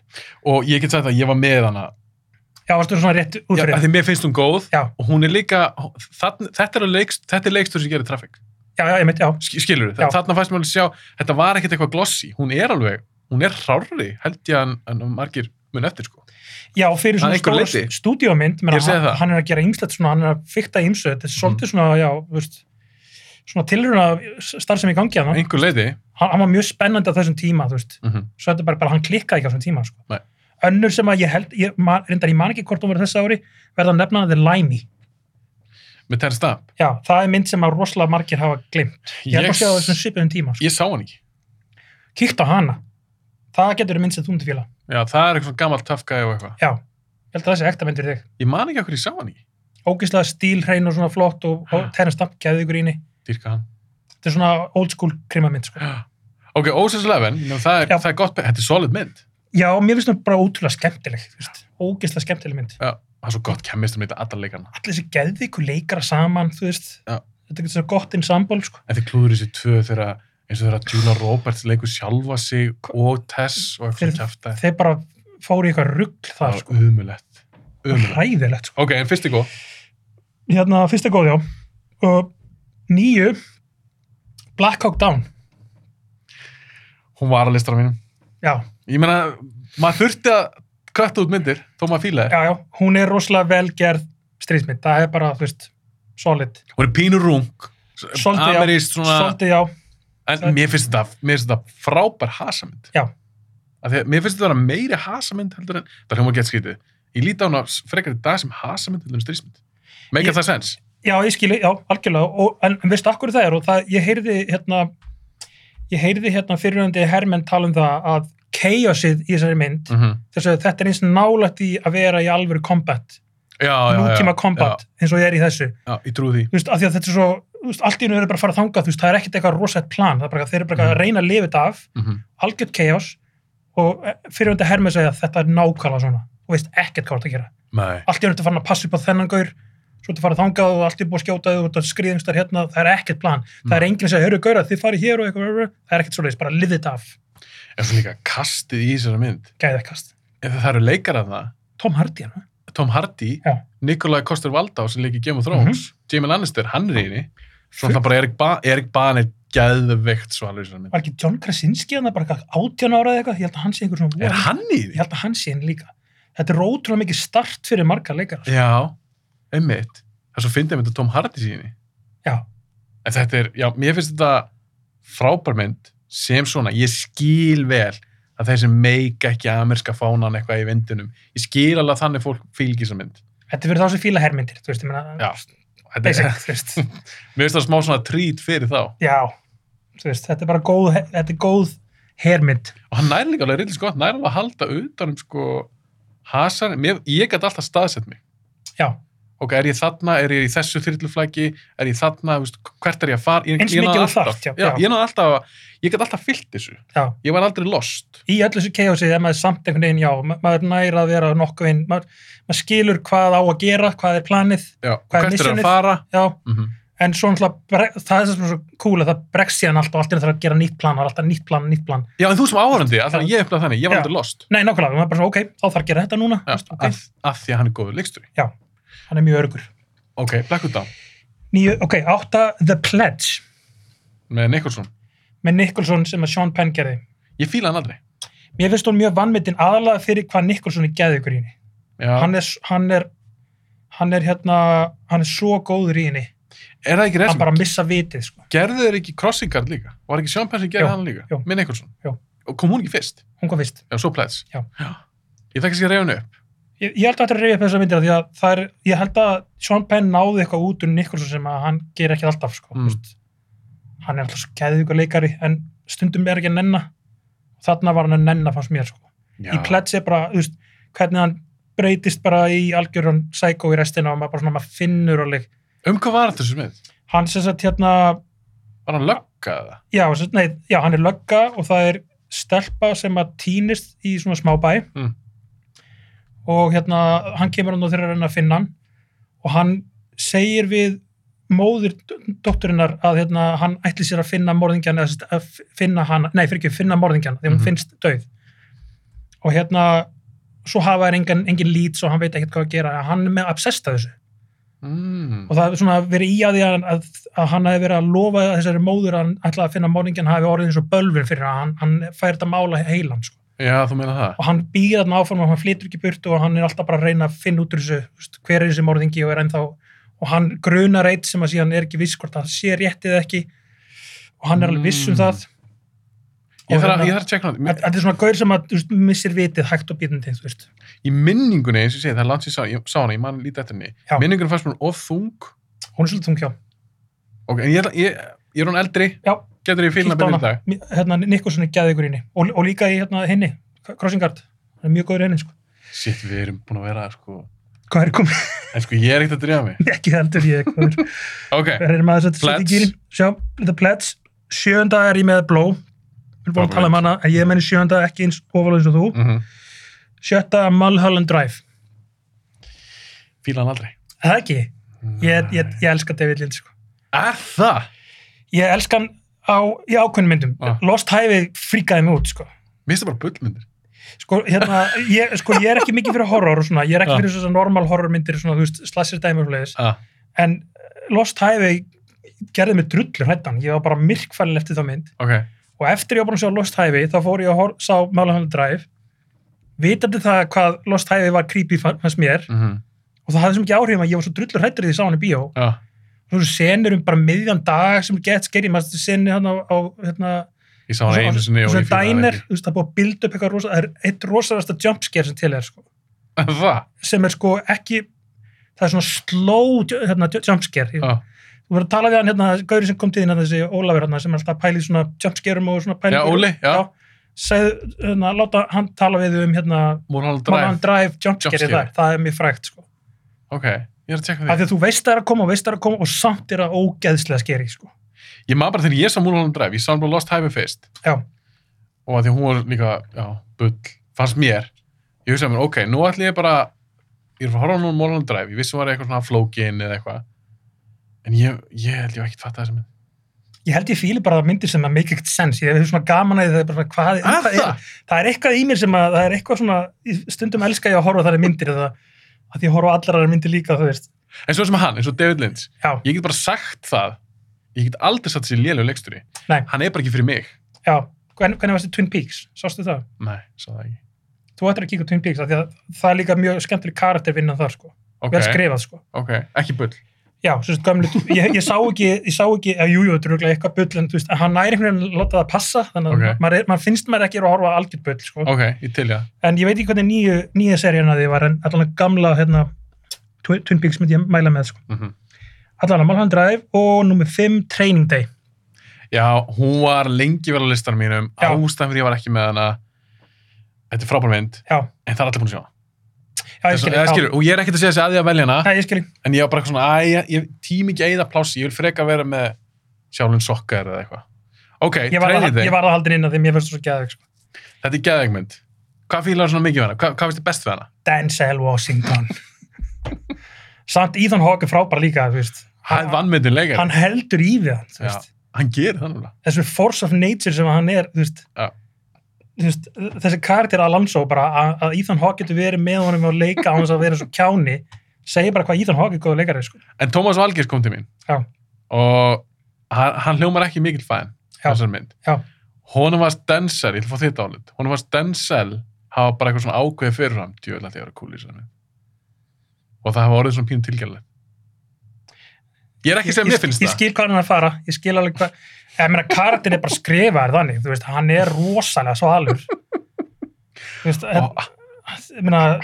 Speaker 1: Og ég get sagt að ég var með hana.
Speaker 2: Já, varstu svona rétt út
Speaker 1: Já,
Speaker 2: fyrir.
Speaker 1: af því mér finnst hún góð.
Speaker 2: Já,
Speaker 1: Og hún er líka... Þann, þetta, er leikst, þetta er leikstur sem gerir traffic.
Speaker 2: já, já, ég mitt, já.
Speaker 1: Skilur
Speaker 2: Já.
Speaker 1: þið? Þarna fannst mér alveg sjá... Þetta var ekkert eitthvað glossy. Hún er alveg... Hún er hrárri, held ég en, en margir mun eftir, sko.
Speaker 2: Já,
Speaker 1: Að
Speaker 2: fyrir svona
Speaker 1: einhverju
Speaker 2: stóra
Speaker 1: leyti.
Speaker 2: stúdíómynd, menna,
Speaker 1: Ég segi það. Mhm.
Speaker 2: hann, hann er að gera ýmslegt svona, hann er að fykta ýmsu, þetta er svolítið svona, já, þú veist, svona tilruna starfsemi í gangi hann.
Speaker 1: Einhver leiti.
Speaker 2: hann, hann var mjög spennandi á þessum tíma, þú veist,
Speaker 1: Mm
Speaker 2: svo þetta er bara, bara hann klikkaði ekki á þessum tíma, sko.
Speaker 1: Nei.
Speaker 2: Önnur sem að ég held, ég, man, reyndar ég man ekki hvort hún verið þessu ári, verða að nefna hann The Limey.
Speaker 1: Með Terry Stamp.
Speaker 2: Já, það er mynd sem að rosalega margir hafa glimt. Ég held að sjá á þessum svipiðum tíma, sko.
Speaker 1: ég sá hann ekki.
Speaker 2: Kíkt á hana. Það getur verið mynd sem þú myndir fíla.
Speaker 1: Já, það er eitthvað svona gammal tough guy og eitthvað.
Speaker 2: Já, ég held að það sé ekta mynd fyrir þig.
Speaker 1: Ég man ekki okkur ég sá hann ekki.
Speaker 2: ógeðslega stílhrein og svona flott og, og Terence Stamp gæði ykkur íni.
Speaker 1: Dýrka hann.
Speaker 2: Þetta er svona old school krimamind, sko.
Speaker 1: Ok, Ocean's Eleven, ná, það, er,
Speaker 2: Já.
Speaker 1: það er gott, þetta er solid mynd.
Speaker 2: Já, mér finnst það bara ótrúlega skemmtileg, þú veist. Ógeðslega skemmtileg mynd.
Speaker 1: Já, það er svo gott kemist um þetta allar leikana.
Speaker 2: Allir þessi gæði ykkur leikara saman, þú veist.
Speaker 1: Já.
Speaker 2: Þetta er svo gott inn sambol, sko.
Speaker 1: En þið klúður þessi tvö þegar eins og þegar Juno Roberts leikur sjálfa sig og Tess og eitthvað
Speaker 2: Þeir-
Speaker 1: kæfta.
Speaker 2: Þeir bara fóru í eitthvað rugl
Speaker 1: Það
Speaker 2: þar,
Speaker 1: er
Speaker 2: sko.
Speaker 1: sko umulett. Umulett.
Speaker 2: Ræðilegt, sko.
Speaker 1: Ok, en fyrst ykkur.
Speaker 2: Hérna, fyrsta góð, já. Og nýju, Black Hawk Down.
Speaker 1: Hún var að listra mínum.
Speaker 2: Já,
Speaker 1: Ég meina, maður þurfti að kvætta út myndir, þó maður fíla þér.
Speaker 2: já, já. Hún er rosalega velgerð stríðsmynd. Það er bara, þú veist, solid.
Speaker 1: Hún er pínur rung.
Speaker 2: Svolítið, já.
Speaker 1: Amerískt svona...
Speaker 2: Solid, já.
Speaker 1: En mér finnst þetta, mér finnst þetta frábær hasamynd.
Speaker 2: Já.
Speaker 1: af því að mér finnst þetta vera meiri hasamynd heldur en það er hljóma að geta skritið ég líti á hana frekar í dag sem hasamynd heldur en strísmynd make
Speaker 2: Ég-
Speaker 1: ég... það sense
Speaker 2: Já, ég skil, já, algjörlega og, en, en veistu akkur það er og það, ég heyrði hérna, ég heyrði hérna fyrirhundi hermenn tala um það að chaosið í þessari mynd
Speaker 1: mm -hmm.
Speaker 2: þess að þetta er eins nálægt í að vera í alvöru combat,
Speaker 1: já, já, já,
Speaker 2: nútíma combat eins og ég er í þessu,
Speaker 1: já, já, ég trú því
Speaker 2: þú veist, af því að þetta er svo þú veist, allt í hennu eru bara að fara að þanga, þú veist, það er ekkert eitthvað rosett plan, það er bara, þeir eru bara
Speaker 1: Mhm.
Speaker 2: eitthvað að reyna að lifa þetta af,
Speaker 1: mm -hmm.
Speaker 2: algjört chaos og e, fyrirhundi hermenn segja að þetta er nákvæmlega svona, þú veist ekkert hvað þú ert að gera
Speaker 1: nei,
Speaker 2: allt í einu ertu farin að passa upp á þennan gaur svo ertu farin að þangað og allt er búið að skjóta þig út að skriðingstar hérna, það er ekkert plan það
Speaker 1: Mhm.
Speaker 2: er enginn að segja, hörru gaur að þið farið hér og eitthvað rr, rr." það er ekkert svoleiðis, bara liðið þetta af
Speaker 1: en svo líka kastið í þessari mynd
Speaker 2: gæðekast,
Speaker 1: ef það eru leikar af það
Speaker 2: Tom Hardy hérna.
Speaker 1: Tom Hardy,
Speaker 2: Já. Mhm.
Speaker 1: Nikolai Koster-Valdau sem leikir Game of Thrones, Jamie Lannister, hann er í henni svo hann bara Erik, ba Erik Bahn er geðveikt svalur í þessari mynd
Speaker 2: var ekki John Krasinski hann bara eitthvað 18 ára eða eitthvað, ég held að hann sé einhver svona
Speaker 1: er
Speaker 2: voða-
Speaker 1: hann í
Speaker 2: ég
Speaker 1: henni?
Speaker 2: held að hann sé henni líka þetta er ótrúlega mikið start fyrir marga leikar
Speaker 1: Já, einmitt það er svo fyndið mynd að Tom Hardy sé í henni
Speaker 2: já,
Speaker 1: en þetta er, já, mér finnst þetta frábær mynd sem svona, ég skil vel að þeir sem meika ekki amerska fánan eitthvað í vindunum, ég skil alveg að þannig fólk fylgir þessar mynd
Speaker 2: þetta er fyrir þá sem fíla hermyndir þú veist, ég meina,
Speaker 1: Já, Þetta
Speaker 2: basic,
Speaker 1: er,
Speaker 2: þú veist
Speaker 1: mér finnst það smá svona trít fyrir þá
Speaker 2: já, þú veist, þetta er bara góð, þetta er góð hermynd
Speaker 1: og hann næri líka alveg reyndis gott, næri alveg að halda utan um sko hasan, mér, ég gæti alltaf staðsett mig
Speaker 2: já,
Speaker 1: ok, er ég þarna, er ég í þessu þyrluflæki er ég þarna, veist, hvert er ég að fara ég,
Speaker 2: Eins
Speaker 1: ég náði
Speaker 2: mikið og
Speaker 1: alltaf-
Speaker 2: þarft, já,
Speaker 1: já,
Speaker 2: já.
Speaker 1: ég náði alltaf, að- ég gæti alltaf fyllt þessu
Speaker 2: já
Speaker 1: ég var aldrei lost
Speaker 2: í öllu þessu chaosi er maður samt einhvern veginn já, ma- maður nær að vera nokkuð veginn maður, maður skilur hvað á að gera, hvað er planið
Speaker 1: já, og
Speaker 2: Hvað er
Speaker 1: hvert er
Speaker 2: missionið?
Speaker 1: að fara
Speaker 2: já,
Speaker 1: mm
Speaker 2: en svo náttúrulega bre- það er sem er svo cool að það bregst síðan alltaf allt í einu þarf að gera nýtt plan, það er alltaf nýtt plan, nýtt plan
Speaker 1: já, en þú sem áhörandi, alltaf ég upplega þannig ég var
Speaker 2: Já.
Speaker 1: aldrei lost
Speaker 2: nei, nákvæmlega, maður bara svona, ok, þá þarf að gera þetta núna
Speaker 1: já,
Speaker 2: veist, ok,
Speaker 1: að, að því að hann er góður leiksturi
Speaker 2: hann er mjög örugur
Speaker 1: ok, Black Widow,
Speaker 2: Nýju, ok, átta The Pledge
Speaker 1: með Nicholson
Speaker 2: með Nicholson sem að Sean Penn gerði
Speaker 1: ég fíla hann aldrei
Speaker 2: mér finnst hún mjög vannmyndin aðalega fyrir hvað Nicholson er geði ykkur í henni
Speaker 1: já.
Speaker 2: hann er, hann er hann er hérna, hann er svo góður í henni
Speaker 1: er það ekki
Speaker 2: hann
Speaker 1: reysum,
Speaker 2: bara missa vitið, sko
Speaker 1: gerðu þeir ekki Crossing Guard líka var ekki Sean Penn sem gerði
Speaker 2: Jú,
Speaker 1: hann líka
Speaker 2: jú.
Speaker 1: með Nicholson,
Speaker 2: Jú.
Speaker 1: og kom hún ekki fyrst
Speaker 2: hún kom fyrst
Speaker 1: Já, svo plats.
Speaker 2: Já.
Speaker 1: Ég þekki sér reyðinu upp.
Speaker 2: Ég, ég held að þetta er reyfið upp þessar myndir af því að það er, ég held að Sean Penn náði eitthvað út úr Nicholson sem að hann ger ekki alltaf sko,
Speaker 1: Mm.
Speaker 2: mm. hann er alltaf svo gæðið ykkur leikari en stundum er ekki að nenna þarna var hann að nenna fannst mér sko.
Speaker 1: Já.
Speaker 2: í pledge er bara, þú veist, hvernig hann breytist bara í algjörun psycho í restina og maður bara svona, maður finnur alveg
Speaker 1: Um hvað var þetta sem við?
Speaker 2: hann sem sagt hérna,
Speaker 1: Var hann lögga eða?
Speaker 2: já, sem, sagt, nei, já hann er lögga og það er stelpa sem að týnist í svona smábæ
Speaker 1: Mm.
Speaker 2: og hérna hann kemur hann og þeirra reyna að finna hann og hann segir við móðir dótturinnar að hérna, hann ætli sér að finna morðingjan eða sem sagt, að f- finna hann, nei fyrir ekki finna morðingjan því hún
Speaker 1: Mhm.
Speaker 2: finnst dauð og hérna svo hafa þær engin, engin lít svo hann veit ekkert hvað að gera hann er með að obsesta þessu
Speaker 1: Mm.
Speaker 2: og það er svona verið í að því að, að, að hann hefði verið að lofa þessari móður að hann ætlaði að finna morningin hafi orðið eins og bölvin fyrir hann, hann fær þetta mála heilan sko.
Speaker 1: Já, þú meina það.
Speaker 2: og hann býða þarna áfram og hann flytur ekki burt og hann er alltaf bara að reyna að finna út úr þessu þú veist, hver er þessi morðingi og er ennþá og hann grunar eitt sem að síðan er ekki viss hvort það sé réttið ekki og hann er alveg viss um
Speaker 1: Mm.
Speaker 2: það
Speaker 1: Ég
Speaker 2: og
Speaker 1: þarf, að-
Speaker 2: hérna-
Speaker 1: ég þarf að checka hann.
Speaker 2: Þetta þetta er svona gaur sem að þú veist, missir vitið hægt og býtandi þú veist
Speaker 1: Í minningunni, eins og ég segi, það er langt sér sá, ég sá hana, ég man lítið eftir henni.
Speaker 2: Já.
Speaker 1: Minningunni fannst mér of þung.
Speaker 2: hún er svolítið þungjá
Speaker 1: Ok, en ég, ætla- ég, ég er hún eldri,
Speaker 2: já,
Speaker 1: getur ég fílna
Speaker 2: kíktu á
Speaker 1: betur í
Speaker 2: hana.
Speaker 1: dag.
Speaker 2: Mi- hérna, Nikkursson er gæðið ykkur inni og, og líka í hérna, henni, Crossingard hann er mjög góður í henni sko.
Speaker 1: Sitt, við erum búin að vera, sko.
Speaker 2: hvað er komið,
Speaker 1: En sko, ég er ekkert að drífa mig.
Speaker 2: ekki heldur ég hvað er,
Speaker 1: Ok,
Speaker 2: er maður að setja setja í
Speaker 1: Pledge.
Speaker 2: gýrin sjá, The Pledge, sjönda er ég með Blow við erum búin að tala um hana en ég meni sjönda ekki eins ofalega eins og þú
Speaker 1: mm -hmm.
Speaker 2: sjötta Mulholland Drive,
Speaker 1: fíla hann aldrei.
Speaker 2: er það ekki ég, ég, ég elska David Lynch sko.
Speaker 1: Er það?
Speaker 2: ég elska hann á, í ákveðnum myndum
Speaker 1: Ah.
Speaker 2: Lost Highway fríkaði mig út sko.
Speaker 1: Mér finnst það bara bullmyndir.
Speaker 2: Sko, hérna, ég, sko, ég er ekki mikið fyrir horror og svona, ég er ekki
Speaker 1: Ah.
Speaker 2: fyrir svona normal horrormyndir svona, þú veist, slassir dæmur og leiðis
Speaker 1: Ah.
Speaker 2: en eh, Lost Highway gerði mig drullur hættan, ég var bara myrkfælin eftir þá mynd
Speaker 1: Ok,
Speaker 2: og eftir ég var búin að sjá Lost Highway þá fór ég að hor- sá Mulholland Drive vitandi það hvað Lost Highway var creepy fann- fannst mér
Speaker 1: mm -hmm.
Speaker 2: og það hafði svo mikið áhrifum að ég var svo drullur hættur því ég sá hann í bíó
Speaker 1: já.
Speaker 2: og svo senur um bara miðjan dag sem er gett skeri, maður senur hann á, á hérna,
Speaker 1: Ég sá hann einu sinni og
Speaker 2: Svo
Speaker 1: ég fílaði hann
Speaker 2: dænir, þú veist, það er búið að bilda upp eitthvað rosa, það er eitt rosalasta jumpscare sem til er, sko.
Speaker 1: ekki. Það?
Speaker 2: Sem er sko ekki, það er svona slow ju- hérna, ju- jumpscare. Ég-
Speaker 1: Já.
Speaker 2: Þú voru að tala við hann, hérna, gauri sem kom til þín, hérna, þessi Ólafur, hérna, sem er alltaf pælið svona jumpscareum og svona pælið.
Speaker 1: Já, Óli, já.
Speaker 2: Segðu, hérna, láta hann tala við þig um, hérna,
Speaker 1: Mulholland Drive.
Speaker 2: Mulholland Drive jumpscare í
Speaker 1: Jumpscare.
Speaker 2: þær. Það er mjög frægt, sko.
Speaker 1: Ok, ég er að tjekka
Speaker 2: Af
Speaker 1: því.
Speaker 2: því að þú veist það er að koma og veist það er að koma og samt er það ógeðslega skeri, sko.
Speaker 1: Ég maður bara þegar ég sá Mulholland Drive, ég sá hann bara Lost Highway fyrst.
Speaker 2: Já.
Speaker 1: Og að því að hún var líka, já, bull, fannst mér. Ég hugsaði mér, ok, nú ætli ég bara, ég er að fara að horfa á núna Mulholland Drive, ég vissi hún var eitthvað svona flókin eða eitthvað. En ég, ég held ég hef ekkert fatt að þessa mynd.
Speaker 2: Ég held ég fíli bara að myndir sem að make it sense. Ég hef svona gaman að því það er bara svona hvað,
Speaker 1: Ah,
Speaker 2: hvað er,
Speaker 1: það?
Speaker 2: það er eitthvað í mér sem að, það er eitthvað svona, í- stundum elska ég að horfa á þannig myndir eða að því ég horfa á allar aðrar myndir líka, þú veist.
Speaker 1: En svo sem hann, eins og David Lynch,
Speaker 2: Já,
Speaker 1: ég get bara sagt það, ég get aldrei satt sér lélegu leiksturi.
Speaker 2: Nei.
Speaker 1: Hann er bara ekki fyrir mig.
Speaker 2: já. Hvernig, hvernig varstu Twin Peaks? Sástu það?
Speaker 1: Nei, sá það ekki.
Speaker 2: Þú ættir að kíka á Twin Peaks af því að það er líka mjög skemmtileg karakter vinnan þar, sko.
Speaker 1: Ok,
Speaker 2: Vel skrifað, sko.
Speaker 1: ok, ekki bull.
Speaker 2: Já, sem sagt gamlu, ég, ég sá ekki, ég sá ekki, að jújú, þetta er auðvitað eitthvað bull, en þú veist, að hann næri einhvern veginn að láta það passa, þannig að
Speaker 1: Ok.
Speaker 2: maður, er, maður finnst maður ekki er að horfa á algjörð bull, sko.
Speaker 1: Ok, ég til ég
Speaker 2: en ég veit ekki hvernig nýju, nýja serían að því var en allan gamla hérna, Twi- Twin Peaks myndi ég mæla með sko.
Speaker 1: mm -hmm.
Speaker 2: allan Malhan Drive og nummer 5 Training Day
Speaker 1: Já, hún var lengi vel á listanum mínum
Speaker 2: Já.
Speaker 1: ástæðan fyrir ég var ekki með hana Þetta er frábær mynd
Speaker 2: já,
Speaker 1: en það er allir búin að sjá hana.
Speaker 2: já ég
Speaker 1: Þess,
Speaker 2: skil
Speaker 1: eða, skilur, og ég er ekkert að segja þessi að ég að velja hana
Speaker 2: Nei, ég skil
Speaker 1: en ég var bara eitthvað svona, æ, ég, ég tím ekki að eða plási ég vil freka vera með sjálfinn sokkar eða eitthvað Ok,
Speaker 2: ég var,
Speaker 1: treynið
Speaker 2: að,
Speaker 1: þig,
Speaker 2: ég var að haldin inn að því mér finnst þú svo gæðið sko.
Speaker 1: þetta er geðegmynd Hvað fílar svona mikið við hana? Hva, hvað finnst þið best við hana?
Speaker 2: Denzel Washington samt Ethan Hawke er frábær líka þú veist.
Speaker 1: Hann vann myndin leikar
Speaker 2: hann heldur í við hann þú
Speaker 1: Já,
Speaker 2: veist.
Speaker 1: hann gerir það núna
Speaker 2: þessu force of nature sem hann er þú veist,
Speaker 1: Já.
Speaker 2: Þú veist, þessi karakter Alonso bara að- að Ethan Hawke getur verið með honum og leika á hans að vera svo kjáni segir bara hvað Ethan Hawke er góð leikari sko.
Speaker 1: En Tómas Valgeirs kom til mín
Speaker 2: Já.
Speaker 1: og hann, hann hljómar ekki mikil fæn
Speaker 2: Já.
Speaker 1: þessar mynd
Speaker 2: Já.
Speaker 1: honum varst Denzel, ég ætla að fá þitt álit honum varst Denzel hafa bara eitthvað svona ákveði fyrirfram djöðlega að ég var að kúli þessar mynd og það hafa orðið svona pínu tilgjörlega ég er ekki sem mér finnst
Speaker 2: ég, ég skil hvað hann er að fara ég skil alveg hvað ég meina karakterin er bara skrifaður þannig þú veist hann er rosalega svalur þú veist
Speaker 1: það
Speaker 2: en,
Speaker 1: og, ah,
Speaker 2: ég meina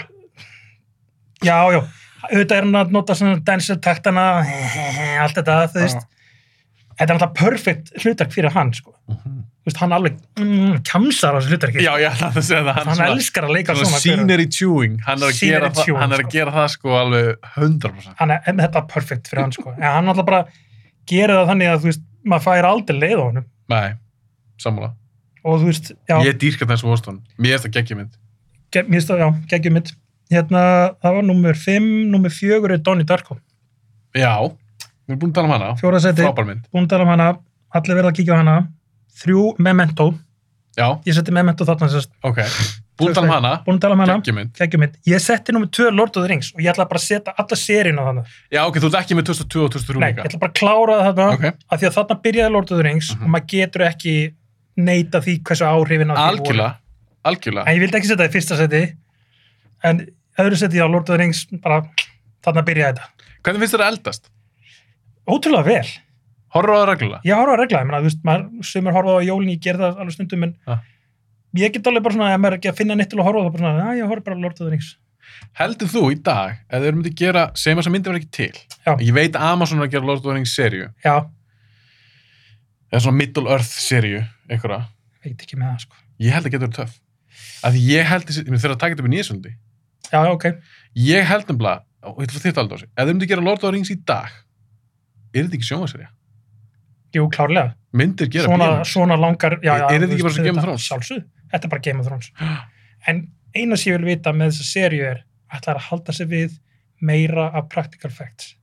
Speaker 2: já já auðvitað er hann að nota svona dansa taktana allt þetta þú veist þetta er alltaf perfect hlutverk fyrir hann sko
Speaker 1: Mhm.
Speaker 2: þú veist hann alveg mm, kjamsar á þessu hlutverki
Speaker 1: já, ég ætla að segja það
Speaker 2: hann elskar að leika
Speaker 1: svona
Speaker 2: svona gaur.
Speaker 1: scenery chewing hann er að
Speaker 2: Scenery
Speaker 1: gera, það,
Speaker 2: chewing,
Speaker 1: hann er
Speaker 2: sko.
Speaker 1: að gera það sko alveg 100%
Speaker 2: hann er, en þetta er perfect fyrir hann sko en hann alltaf bara gerir það þannig að þú veist maður fær aldrei leið á honum
Speaker 1: nei, sammála
Speaker 2: og þú veist já
Speaker 1: ég dýrka þessu Woston, mér er það geggjumynd
Speaker 2: Ge- mér finnst það, já, geggjum mitt hérna, það var nummer 5, nummer 4 er Donnie Darko,
Speaker 1: já, við erum búin að tala um hana
Speaker 2: fjóraðsæti
Speaker 1: frábær mynd,
Speaker 2: búin að tala um hana, allir verða að kíkja á hana þrjú, Memento,
Speaker 1: já,
Speaker 2: ég setti Memento þarna sérst,
Speaker 1: ok búin að tala um hana,
Speaker 2: búin að tala um hana,
Speaker 1: geggjumynd
Speaker 2: geggjum mitt ég setti nummer 2 Lord of the Rings og ég ætla bara að setja alla serín á hana,
Speaker 1: já, ok, þú ert ekki með 2002 og
Speaker 2: nei,
Speaker 1: 2003
Speaker 2: ég
Speaker 1: líka
Speaker 2: ætla bara að klára þarna,
Speaker 1: ok,
Speaker 2: af því að þarna byrjaði Lord of the Rings
Speaker 1: Mhm.
Speaker 2: og maður getur ekki neita því hversu áhrifin af því voru.
Speaker 1: algjörlega algjörlega,
Speaker 2: en ég vildi ekki setja það í fyrsta seti en öðru seti á Lord of the Rings bara, þarna byrjaði þetta
Speaker 1: hvernig finnst þér að eldast?
Speaker 2: ótrúlega vel
Speaker 1: horror á það reglulega?
Speaker 2: ég horfa að regla, ég meina, þú veist, maður sumir horfa á jólin, ég ger það alveg stundum, en
Speaker 1: Ah.
Speaker 2: ég get alveg bara svona, ef maður er ekki að finna neitt til að horfa, þá bara svona, að ég horfa bara á Lord of the Rings.
Speaker 1: heldur þú í dag, eða þau myndi gera sem þess að myndi vera ekki til,
Speaker 2: Já.
Speaker 1: ég veit að Amazon er að gera Lord of the Rings seríu,
Speaker 2: Já,
Speaker 1: eða svona Middle Earth seríu einhverja,
Speaker 2: veit ekki með það, sko.
Speaker 1: ég held að getur töff að ég held, þessi- ég þurfa að taka þetta upp í nýjasundi
Speaker 2: Já, já, ok.
Speaker 1: ég held nefnilega, og þetta var þitt aldrei ef þau myndi gera Lord of the Rings í dag er þetta ekki sjónvaserja?
Speaker 2: Jú, klárlega.
Speaker 1: myndir gera
Speaker 2: Svona,
Speaker 1: bíómynd.
Speaker 2: svona langar, já, já.
Speaker 1: Er- er þetta
Speaker 2: þú
Speaker 1: ekki bara
Speaker 2: veist,
Speaker 1: svo Game of
Speaker 2: þetta-
Speaker 1: Thrones?
Speaker 2: Sjálfsögðu, þetta er bara Game of Thrones. En eina sem ég vil vita með þessa serju er, ætlar að halda sig við meira af practical facts.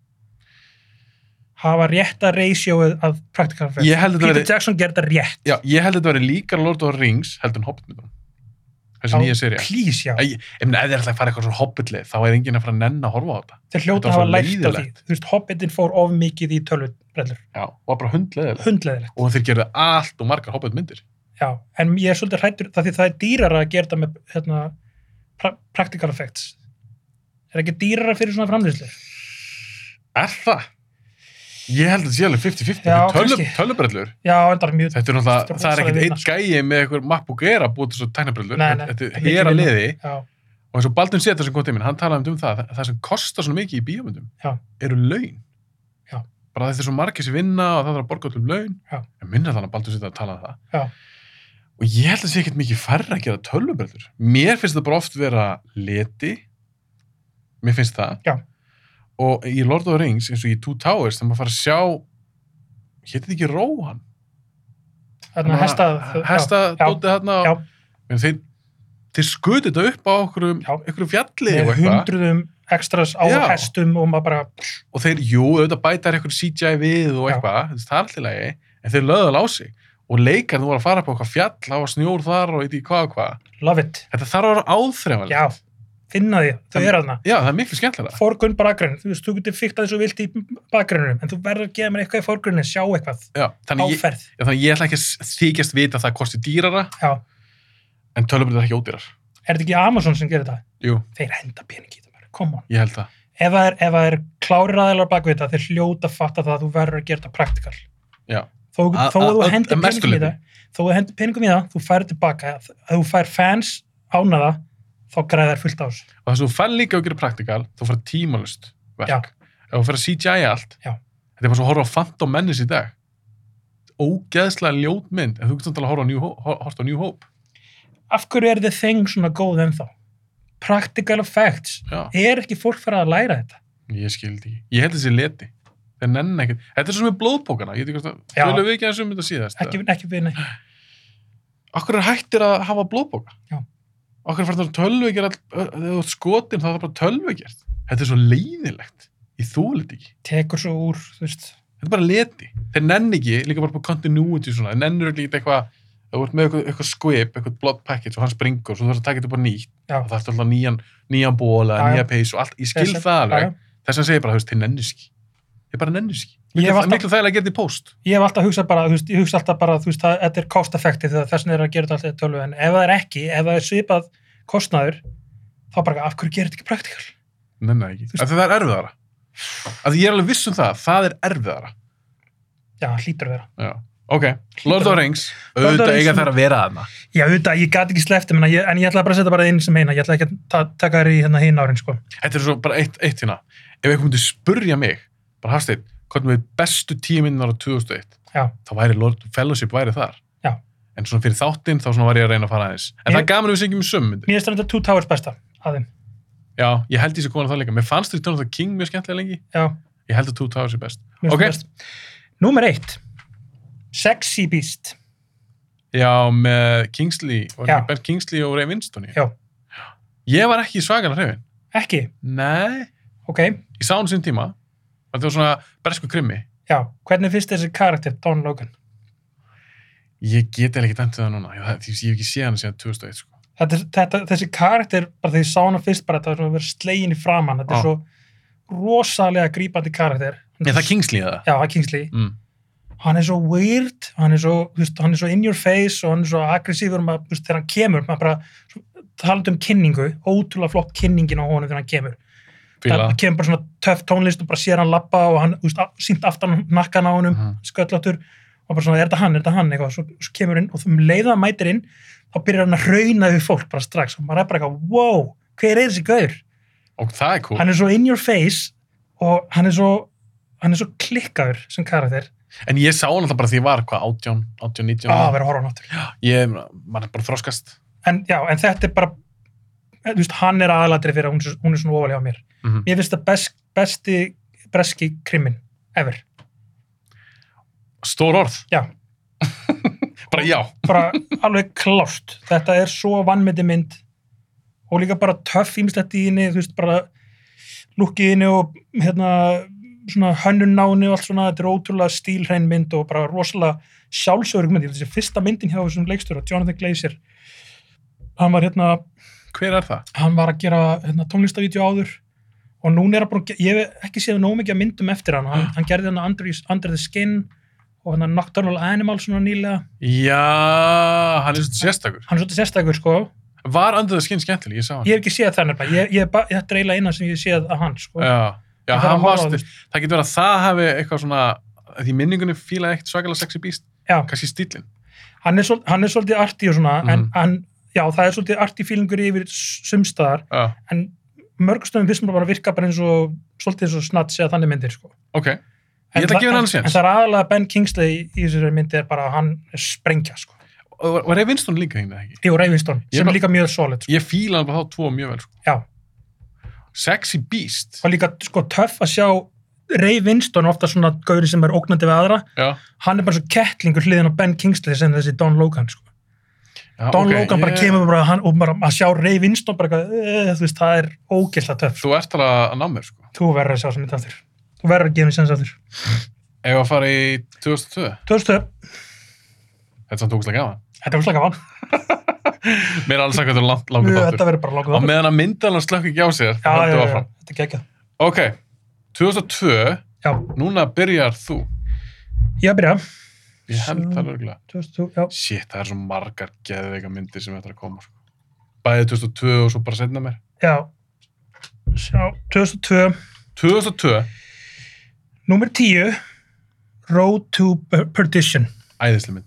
Speaker 2: Hafa rétta ratioið af practical facts.
Speaker 1: Ég held að þetta
Speaker 2: Peter
Speaker 1: verði-
Speaker 2: Jackson gerði þetta rétt.
Speaker 1: Já, ég held að þetta verið líka Lord of the Rings heldur en Hobbitmyndunum. Þessi
Speaker 2: Já,
Speaker 1: nýja serið.
Speaker 2: Please, já.
Speaker 1: Ég ég meina, ef þið ætla að fara eitthvað svona Hobbitleið, þá er enginn að fara að nenn að horfa á þetta.
Speaker 2: þeir hljóta
Speaker 1: Þetta
Speaker 2: að
Speaker 1: var
Speaker 2: hafa
Speaker 1: svo
Speaker 2: lært á því
Speaker 1: leiðilegt.
Speaker 2: þú veist, Hobbitin fór of mikið í tölvubrellur
Speaker 1: Já, og bara hundleðilegt.
Speaker 2: hundleðilegt,
Speaker 1: Og þeir gerðu allt og margar Hobbitmyndir.
Speaker 2: já, en ég er svolítið hrættur það því það er dýrara að gera það með hérna, pra practical effects er ekki dýrara fyrir svona framlýslu
Speaker 1: Er það? Ég held að þetta sé alveg 50-50.
Speaker 2: Já,
Speaker 1: Þetta er
Speaker 2: kannski.
Speaker 1: Tölubrellur.
Speaker 2: Já, endar mjög
Speaker 1: Þetta er
Speaker 2: Þetta er
Speaker 1: náttúrulega, það er ekkit
Speaker 2: rosalega
Speaker 1: einn gæi með eitthvað MacBook Air að búa til svo tæknabrellur.
Speaker 2: Nei, nei,
Speaker 1: Þetta
Speaker 2: þetta er
Speaker 1: er hera
Speaker 2: mikið
Speaker 1: liði.
Speaker 2: Já,
Speaker 1: Og eins og Baldin Setar sem kom til minn, hann talaði um það, það sem kostar svona mikið í bíómyndum
Speaker 2: Já.
Speaker 1: eru laun.
Speaker 2: Já.
Speaker 1: Bara þetta er svo margir sem vinna og það þarf að borga allum laun.
Speaker 2: Já.
Speaker 1: Ég minna þannig að Baldin Setar talaði um það.
Speaker 2: já,
Speaker 1: Og ég held að það sé ekkert mikið færra að gera tölvubrellur. Mér finnst það bara oft vera leti. Mér finnst það.
Speaker 2: Já.
Speaker 1: Og í Lord of the Rings, eins og í Two Towers, þegar maður fara að sjá, hétt þetta ekki Róhan?
Speaker 2: þannig
Speaker 1: Hérna,
Speaker 2: að hesta hérna, já,
Speaker 1: Hesta
Speaker 2: já,
Speaker 1: dótið þarna.
Speaker 2: já.
Speaker 1: hérna En þeir, þeir skutu þetta upp á okkur,
Speaker 2: Já.
Speaker 1: okkur fjalli
Speaker 2: með
Speaker 1: og eitthvað.
Speaker 2: hundruðum extras á
Speaker 1: Já.
Speaker 2: hestum og maður bara pff,
Speaker 1: Og þeir, jú, auðvitað bætar eitthvað CGI við og
Speaker 2: Já.
Speaker 1: eitthvað. Það er alltaf lagi. En þeir löðu alveg á sig. Og leikarnir voru að fara upp á eitthvað fjall, það var snjór þar og eitthvað hvað og hvað.
Speaker 2: love it
Speaker 1: Þetta þarf að vera áþrefanlega.
Speaker 2: já, finna því, þau
Speaker 1: Það-
Speaker 2: eru aðna
Speaker 1: Já, það er miklu skemmtilega.
Speaker 2: forgrunn bakgrunn, þú veist, þú getur fyrkt að þessu vilt í bakgrunnum, en þú verður að gefa mér eitthvað í forgrunnin sjá eitthvað,
Speaker 1: Já, þannig ég,
Speaker 2: áferð
Speaker 1: já, þannig ég ætla ekki að s- þykjast vita að það kosti dýrara,
Speaker 2: já,
Speaker 1: en tölvubrið er ekki ódýrar.
Speaker 2: er þetta ekki Amazon sem gerir þetta?
Speaker 1: Jú,
Speaker 2: þeir henda peningi í þetta bara, come on
Speaker 1: ég held það.
Speaker 2: ef það er, ef það er klárir aðeinar bakvið þetta, þeir hljóta að fatta það að þú verður að gera þetta praktikal
Speaker 1: Já.
Speaker 2: þó,
Speaker 1: A-
Speaker 2: þó
Speaker 1: að-
Speaker 2: að þú
Speaker 1: að-
Speaker 2: hendir
Speaker 1: að mestu
Speaker 2: peningum í
Speaker 1: leyti.
Speaker 2: það þó að þú hendir peningum í það, þú færir tilbaka að þú fær fans ánaða þá græðar fullt ás
Speaker 1: Og þess að þú fær líka að gera praktikal, þú fær tímalust verk. Ef þú fær að CGI allt,
Speaker 2: Já.
Speaker 1: þetta er bara svo að horfa á Phantom Menace í dag. Ógeðslega ljótmynd, en þú getur samt alveg að horfa á New Hope. hor- horft á New Hope.
Speaker 2: af hverju er þið þeng svona góð ennþá practical effects
Speaker 1: Já,
Speaker 2: er ekki fólk fyrir að læra þetta
Speaker 1: ég skildi ekki. Ég held þessi leti. Þeir nenni ekkert. Þetta er svo sem er blóðbókana. Ég veit ekki hvort að,
Speaker 2: Já.
Speaker 1: tölum við ekki aðeins um þetta síðast.
Speaker 2: ekki, ekki við neitt,
Speaker 1: Akkur er hættir að hafa blóðbóka?
Speaker 2: Já.
Speaker 1: Akkur er fært að um tölvegir all, þegar þú ert skotin þá er það bara tölvegjert. Þetta er svo leiðilegt. Ég þúlit ekki.
Speaker 2: tekur svo úr þú veist,
Speaker 1: Þetta er bara leti. Þeir nenn ekki, líka bara på continuity svona, þeir nennur ekki eitthvað, þú ert með eitthvað, eitthvað skvip, eitthvað blood package og hann springur og svo þú þarfst að taka þetta bara nýtt
Speaker 2: já,
Speaker 1: og það ert alltaf nýjan, nýjan bóla,
Speaker 2: Já, já.
Speaker 1: nýja peys og allt, ég skil
Speaker 2: Þessi-
Speaker 1: það alveg.
Speaker 2: já, já.
Speaker 1: Þess að segja bara, þú veist, þeir nennir ekki. Þeir bara nennir ekki.
Speaker 2: Ég
Speaker 1: Miklu,
Speaker 2: hef alltaf-
Speaker 1: miklu þægilega að gera þetta í post.
Speaker 2: ég hef alltaf hugsað bara, þú veist, ég hugsa alltaf bara, þú veist, það, þetta er cost effective þegar þessin er að gera þetta alltaf í tölvu en ef það er ekki, ef það er svipað kostnaður, þá bara af hverju gerir þetta ekki praktikal?
Speaker 1: Nennar ekki. Af því það er erfiðara. Af því ég er alveg viss um það, það er erfiðara.
Speaker 2: Já, það hlýtur að vera.
Speaker 1: Já, ok. Lord of the Rings,
Speaker 2: Lord of the
Speaker 1: auðvitað
Speaker 2: Rings-
Speaker 1: eiga þær að vera þarna.
Speaker 2: Já, auðvitað, ég gat ekki slefti, menna, ég, en ég ætla bara að setja bara inn sem eina, ég ætla ekki að ta taka þér í hérna hinn árin, sko.
Speaker 1: Þetta er svo bara eitt, eitt hérna. Ef einhver myndi spurja mig, bara Hafsteinn, hvernig við bestu tíu minnar á 2001,
Speaker 2: Já,
Speaker 1: þá væri Lord Fellowship væri þar.
Speaker 2: Já.
Speaker 1: En svona fyrir þáttinn, þá svona var ég að reyna að fara aðeins. En
Speaker 2: Ég-
Speaker 1: það er gaman að við syngjum sum myndir.
Speaker 2: mér finnst þetta Two Towers besta, aðeim.
Speaker 1: Já, ég held ég sé konar það líka. Mér fannst þér tónum það King mjög skemmtilega lengi.
Speaker 2: Já,
Speaker 1: Ég held að Two Towers er best.
Speaker 2: mér finnst
Speaker 1: Ok.
Speaker 2: þetta best. Númer eitt, Sexy Beast.
Speaker 1: Já, með Kingsley, var
Speaker 2: Já.
Speaker 1: ekki Ben Kingsley og Ray Winston í.
Speaker 2: Já,
Speaker 1: Ég var ekki svagalega hrifin.
Speaker 2: ekki,
Speaker 1: Nei.
Speaker 2: ok,
Speaker 1: Ég sá hann sín tíma. Þetta var svona bresku krimmi.
Speaker 2: já, hvernig finnst þessi karakter, Don Logan?
Speaker 1: Ég get eða ekki dæmt við það núna. Ég, það, því, ég hef ekki séð hann síðan 2001, sko.
Speaker 2: þetta, er- þetta, þessi karakter, bara þegar ég sá hana fyrst bara, þetta var svona að vera slegin í framann þetta
Speaker 1: Já.
Speaker 2: er svo rosalega grípandi karakter
Speaker 1: Er það Kingsley eða?
Speaker 2: Já, Kingsley,
Speaker 1: Mm.
Speaker 2: hann er svo weird hann er svo, þú veist, hann er svo in your face og hann er svo aggressífur, maður, þú veist, þegar hann kemur maður bara, svo- talandi um kynningu ótrúlega flott kynningin á honum þegar hann kemur
Speaker 1: Fíla.
Speaker 2: það kemur bara svona töff tónlist og bara sér hann lappa og hann, þú veist, a- sýnt aftan nakkan á honum
Speaker 1: Mhm.
Speaker 2: sköllóttur og bara svona, er þetta hann, er þetta hann eitthvað, svo, svo kemur inn og þú leiða hann mætir inn þá byrjar hann að rauna við fólk bara strax og maður er bara eitthvað, wow, hver er þessi gaur
Speaker 1: Og það er cool.
Speaker 2: hann er svo in your face og hann er svo hann er svo klikkaður sem karakter
Speaker 1: En ég sá hann alltaf bara því ég var, hvað, 18, 18, 19?
Speaker 2: Ah, að vera að horfa á náttur
Speaker 1: Ég, mann er bara þroskast.
Speaker 2: en já, en þetta er bara eh, þú veist, hann er aðalatri fyrir að hún, er- hún er svona ofalega á mér
Speaker 1: Mhm.
Speaker 2: mér finnst það best, besti breski krimmin ever,
Speaker 1: Stór orð.
Speaker 2: já
Speaker 1: Bara já.
Speaker 2: bara alveg klárt þetta er svo vannmyndi mynd og líka bara töff ímislegt í henni þú veist bara lukkið henni og hérna svona hönnunnáni og allt svona, þetta er ótrúlega stílhrein mynd og bara rosalega sjálfsögur mynd, ég held að þessi fyrsta myndin hjá þessum leikstur Jonathan Glazer hann var hérna,
Speaker 1: Hver er það?
Speaker 2: hann var að gera hérna, tónlistavídeó áður og núna er hann búin að ge- ég hef ekki séð nóg mikið af myndum eftir hann hann, hann gerði hann Under, Under the Skin og hann Nocturnal Animal svona nýlega
Speaker 1: Já, hann er svona sérstakur.
Speaker 2: hann er svolítið sérstakur sko
Speaker 1: Var andrið að skinn skemmtileg, ég sá hann.
Speaker 2: ég hef ekki séð það nefnilega ég, ég, er ba- þetta er eiginlega eina sem ég hef séð að hann sko.
Speaker 1: Já. Já,
Speaker 2: Ég þarf að
Speaker 1: hann
Speaker 2: horfa
Speaker 1: varst,
Speaker 2: á þig.
Speaker 1: það getur verið að það hafi eitthvað svona, að því minningunni fílaði ekkert svakalega sexy beast,
Speaker 2: Já.
Speaker 1: kannski stílinn.
Speaker 2: hann er, svol, hann er svolítið arti og svona en,
Speaker 1: Mhm.
Speaker 2: en já, það er svolítið arti fílingur yfir sumstaðar
Speaker 1: Já,
Speaker 2: en mörgstöðum finnst mér bara að virka bara eins og svolítið eins og snatt segja þannig myndir sko.
Speaker 1: ok.
Speaker 2: en,
Speaker 1: Ég ætla að gefa
Speaker 2: það-
Speaker 1: henni alveg
Speaker 2: en, en
Speaker 1: séns.
Speaker 2: það er aðalega Ben Kingsley í þessari myndi er bara að hann er sprengja sko.
Speaker 1: Og var- Var Ray Winston líka hingað ekki?
Speaker 2: Jú, Reyvinstón,
Speaker 1: Ég
Speaker 2: sem
Speaker 1: bara-
Speaker 2: er líka mjög solid sko.
Speaker 1: Ég fíla hann bara þá tvo mjög vel, sko.
Speaker 2: já,
Speaker 1: Sexy beast.
Speaker 2: og líka sko töff að sjá Reyvinstón ofta svona gauri sem er ógnandi við aðra
Speaker 1: Já.
Speaker 2: hann er bara svo kettlingur hliðin á Ben Kingsley sem þessi Don Logan sko.
Speaker 1: Já,
Speaker 2: Don
Speaker 1: Ah, ok,
Speaker 2: Logan bara
Speaker 1: ég-
Speaker 2: kemur bara, hann, og bara að sjá Reyvinstón bara eitthvað, eh, þú veist, það er ógæsla töff
Speaker 1: Þú ert alveg að ná mér, sko.
Speaker 2: Þú verður að sjá sem þetta aftur. Þú verður að gefa mér sens aftur.
Speaker 1: Ef að fara í 2002,
Speaker 2: 2000,
Speaker 1: þetta er samt tókislega gaman.
Speaker 2: þetta var slaka van.
Speaker 1: Mér er alveg sagt að þetta er langt, langt
Speaker 2: Þetta
Speaker 1: þáttur.
Speaker 2: verður bara
Speaker 1: Á
Speaker 2: lokuð aftur.
Speaker 1: meðan að myndalann slökk ekki á sér, þá
Speaker 2: Já, já,
Speaker 1: höldum
Speaker 2: já,
Speaker 1: við
Speaker 2: já,
Speaker 1: áfram.
Speaker 2: þetta er geggjað.
Speaker 1: Ok, 2002,
Speaker 2: Já,
Speaker 1: núna byrjar þú.
Speaker 2: ég að byrja.
Speaker 1: Ég held
Speaker 2: Svo-
Speaker 1: það örgulega.
Speaker 2: 2000, já.
Speaker 1: Shit, það er svo margar geðveika myndir sem þetta er að koma. sko. Bæði 2002 og svo bara setna mér.
Speaker 2: Já. Sjá, 2002,
Speaker 1: 2002,
Speaker 2: númer 10, Road to Per- Perdition.
Speaker 1: æðislega mynd.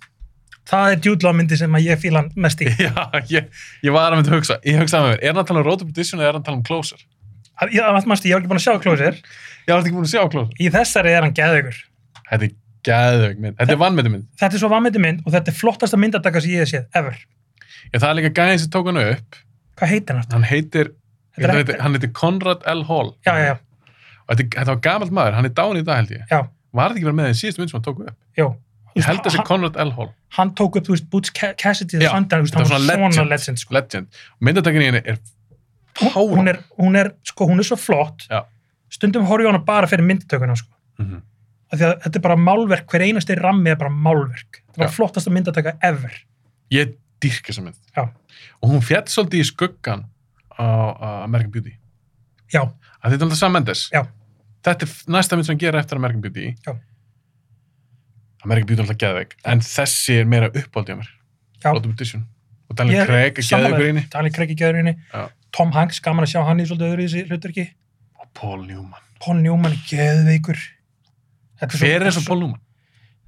Speaker 2: Það er djúdlámyndi sem að ég fíla hann mest í.
Speaker 1: Já, ég, ég var að mynda að hugsa. Ég hugsaði með mér, er hann að tala um Road to Perdition eða er hann að tala um Closer?
Speaker 2: Það ég- það var mannstu, ég var ekki búin að sjá klósir.
Speaker 1: Ég var ekki búin að sjá Closer.
Speaker 2: Í þessari er hann geðugur.
Speaker 1: Þetta er geðveik mynd. Þetta er vannmyndi mynd.
Speaker 2: Þetta er svo vanmyndi mynd og þetta er flottasta myndataka sem ég hef séð, ever.
Speaker 1: Ég, það er líka gæðin sem tók hann upp.
Speaker 2: Hvað heitir hann? aftur?
Speaker 1: Hann heitir,
Speaker 2: Þetta
Speaker 1: hann
Speaker 2: er-
Speaker 1: heitir, hann heitir Conrad L. Hall.
Speaker 2: Já, já, já,
Speaker 1: Og Þetta, þetta var gamalt maður, hann er dán í dag held ég.
Speaker 2: já,
Speaker 1: Var þetta ekki verið með þeim síðustu mynd sem hann tók upp?
Speaker 2: já.
Speaker 1: Ég held þessi Conrad L. Hall.
Speaker 2: hann tók upp, þú veist, Butch Ca- Cassidy
Speaker 1: Já,
Speaker 2: og Sandar, þú veist,
Speaker 1: þetta
Speaker 2: hann
Speaker 1: var
Speaker 2: var
Speaker 1: svona
Speaker 2: svona legend,
Speaker 1: legend.
Speaker 2: sko.
Speaker 1: Legend. Myndatakinn í henni er
Speaker 2: Hún- hún, er, hún er, sko, hún er svo flott
Speaker 1: Já.
Speaker 2: stundum horf ég á hana bara fyrir myndatökuna sko.
Speaker 1: Mhm.
Speaker 2: af því að þetta er bara málverk hver einasti rammi er bara málverk það var
Speaker 1: Já.
Speaker 2: flottasta myndataka ever
Speaker 1: ég dyrka þessa mynd
Speaker 2: Já.
Speaker 1: og hún fjall svolítið í skuggan á, á American Beauty
Speaker 2: já,
Speaker 1: að þetta er alltaf sammendis
Speaker 2: Já.
Speaker 1: þetta er næsta mynd sem hann gera eftir American Beauty
Speaker 2: Já.
Speaker 1: American Beauty er alltaf geðveik en þessi er meira uppáldið á mér
Speaker 2: Já.
Speaker 1: Road to Perdition og Daniel
Speaker 2: Ég-
Speaker 1: Craig er geðveikur í henni
Speaker 2: Daniel Craig í gæðurinni
Speaker 1: Já.
Speaker 2: Tom Hanks, gaman að sjá hann í svolítið öðru í þessi hluturki
Speaker 1: og Paul Newman
Speaker 2: Paul Newman, geðveikur Þetta
Speaker 1: hver er svo Paul Newman?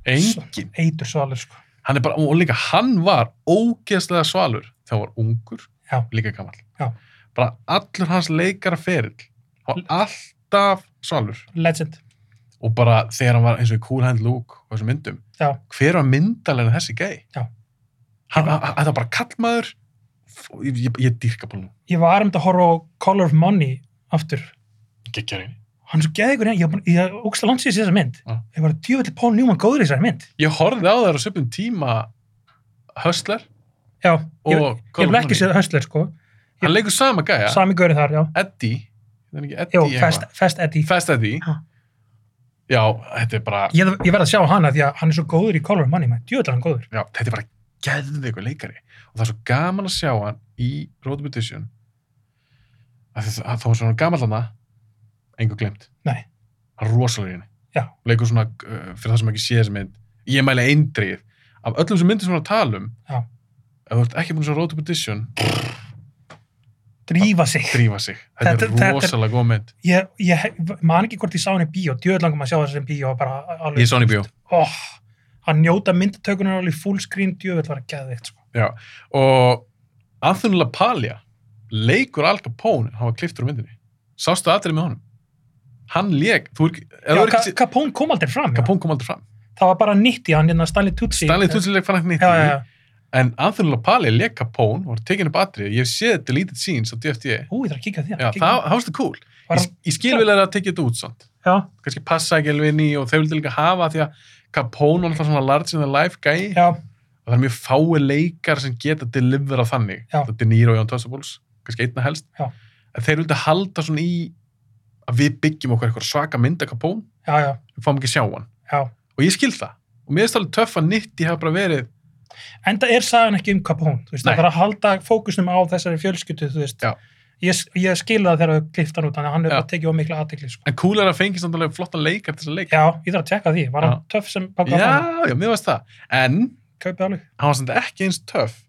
Speaker 2: Svo-
Speaker 1: engin
Speaker 2: eitur svo alveg sko.
Speaker 1: hann er bara, og líka hann var ógeðslega svalur þegar hann var ungur,
Speaker 2: Já.
Speaker 1: líka gammal
Speaker 2: Já.
Speaker 1: bara allur hans leikara ferill og alltaf svalur
Speaker 2: legend
Speaker 1: og bara þegar hann var eins og í Cool Hand Luke og þessum myndum,
Speaker 2: já,
Speaker 1: hver var myndalegin þessi gæi?
Speaker 2: Já.
Speaker 1: Hann, hann, hann var bara kallmaður f- ég, ég, ég dýrka bara nú,
Speaker 2: ég var um þetta að horfa á Color of Money aftur
Speaker 1: geggjari
Speaker 2: hann er svo geðigur ég, var búinn- ég ógst að langt sér þessar mynd
Speaker 1: Já.
Speaker 2: ég var djúvillig Paul Newman góður í þessari mynd
Speaker 1: ég horfði á þær á söpum tíma Hustler
Speaker 2: já,
Speaker 1: og
Speaker 2: ég, ég vil ekki
Speaker 1: sér
Speaker 2: séð höstler sko
Speaker 1: hann leikur sama gæja,
Speaker 2: sami gaurið þar, já,
Speaker 1: Eddie það er ekki Eddie
Speaker 2: Jó,
Speaker 1: eitthvað.
Speaker 2: fast, fast Eddie
Speaker 1: Fast Eddie
Speaker 2: Ha.
Speaker 1: já, þetta er bara
Speaker 2: ég, ég verð að sjá hana því að hann er svo góður í Color of Money man. djúvillig er hann góður
Speaker 1: já, þetta er bara geðveikur leikari og það er svo gaman að sjá hann í Road to Petition að það, að það var svona gaman hann engu glemt
Speaker 2: Nei.
Speaker 1: hann er rosalega í henni
Speaker 2: Já.
Speaker 1: leikur svona, uh, fyrir það sem ekki sé þessi mynd ég mæli eindrið af öllum sem myndir sem við erum að tala um
Speaker 2: Já.
Speaker 1: ef þú ert ekki búin að sjá Road to Petition
Speaker 2: drífa sig,
Speaker 1: drífa sig, þetta,
Speaker 2: Þetta- þetta
Speaker 1: er
Speaker 2: er-
Speaker 1: rosalega góð mynd
Speaker 2: ég, ég man ekki hvort ég sá hann í bíó djúvillig langum að sjá þessari bíó og bara alveg,
Speaker 1: ég sá hann í bíó
Speaker 2: oh, að njóta myndatökunar alveg í full screen djúvillig var geðvikt sko.
Speaker 1: og Anthony LaPaglia leikur Al Capone hann var kliftur á myndinni sástu aðrið með honum hann leik þú er, ef
Speaker 2: já,
Speaker 1: þú er
Speaker 2: Ka
Speaker 1: ekki séð-
Speaker 2: Capone kom aldrei fram já.
Speaker 1: Capone kom aldrei fram
Speaker 2: það var bara nýtt í hann hérna Stanley Tutsi
Speaker 1: Stanley Tucci leik fann ekki nýtt
Speaker 2: já,
Speaker 1: í
Speaker 2: já,
Speaker 1: því,
Speaker 2: já.
Speaker 1: en Anthony LaPaglia leik Capone var tekin upp aðrið ég hef séð deleted scenes á DFT E. já,
Speaker 2: Ú, ég þarf að kíka því
Speaker 1: það, það var þetta cool
Speaker 2: Var
Speaker 1: ég,
Speaker 2: hann-
Speaker 1: ég skil vel að það tekið þetta út samt
Speaker 2: já,
Speaker 1: kannski passa ekki alveg inn í og þau vildi líka hafa því að Capone var alltaf svona large in the life gæi
Speaker 2: já,
Speaker 1: og það er mjög fái leikar sem geta delivera þannig,
Speaker 2: Já.
Speaker 1: það er De Niro og Jón Tossabols kannski einna helst
Speaker 2: Já.
Speaker 1: en þeir vildi halda svona í að við byggjum okkur eitthvað svaka mynda kapón
Speaker 2: já, já,
Speaker 1: við fáum ekki að sjá hann
Speaker 2: já.
Speaker 1: og ég skil það og mér er stálega töff að Nitti hafa bara verið
Speaker 2: enda er sagan ekki um Capone þú veist,
Speaker 1: Nei.
Speaker 2: það þarf að halda fókusnum á þessari fjölskyldu þú veist,
Speaker 1: Já.
Speaker 2: ég, ég skil það þegar við kliftan út þannig að hann er
Speaker 1: Já.
Speaker 2: bara tekið of mikla aðtekli sko.
Speaker 1: en cool er að fengi samt alveg flottan leikar til þess að leika
Speaker 2: já, ég þarf að tjekka því, var
Speaker 1: Já.
Speaker 2: hann töff sem
Speaker 1: já,
Speaker 2: bakað hann,
Speaker 1: já, mér varst það en
Speaker 2: kaupið alveg
Speaker 1: hann var samt ekki eins töff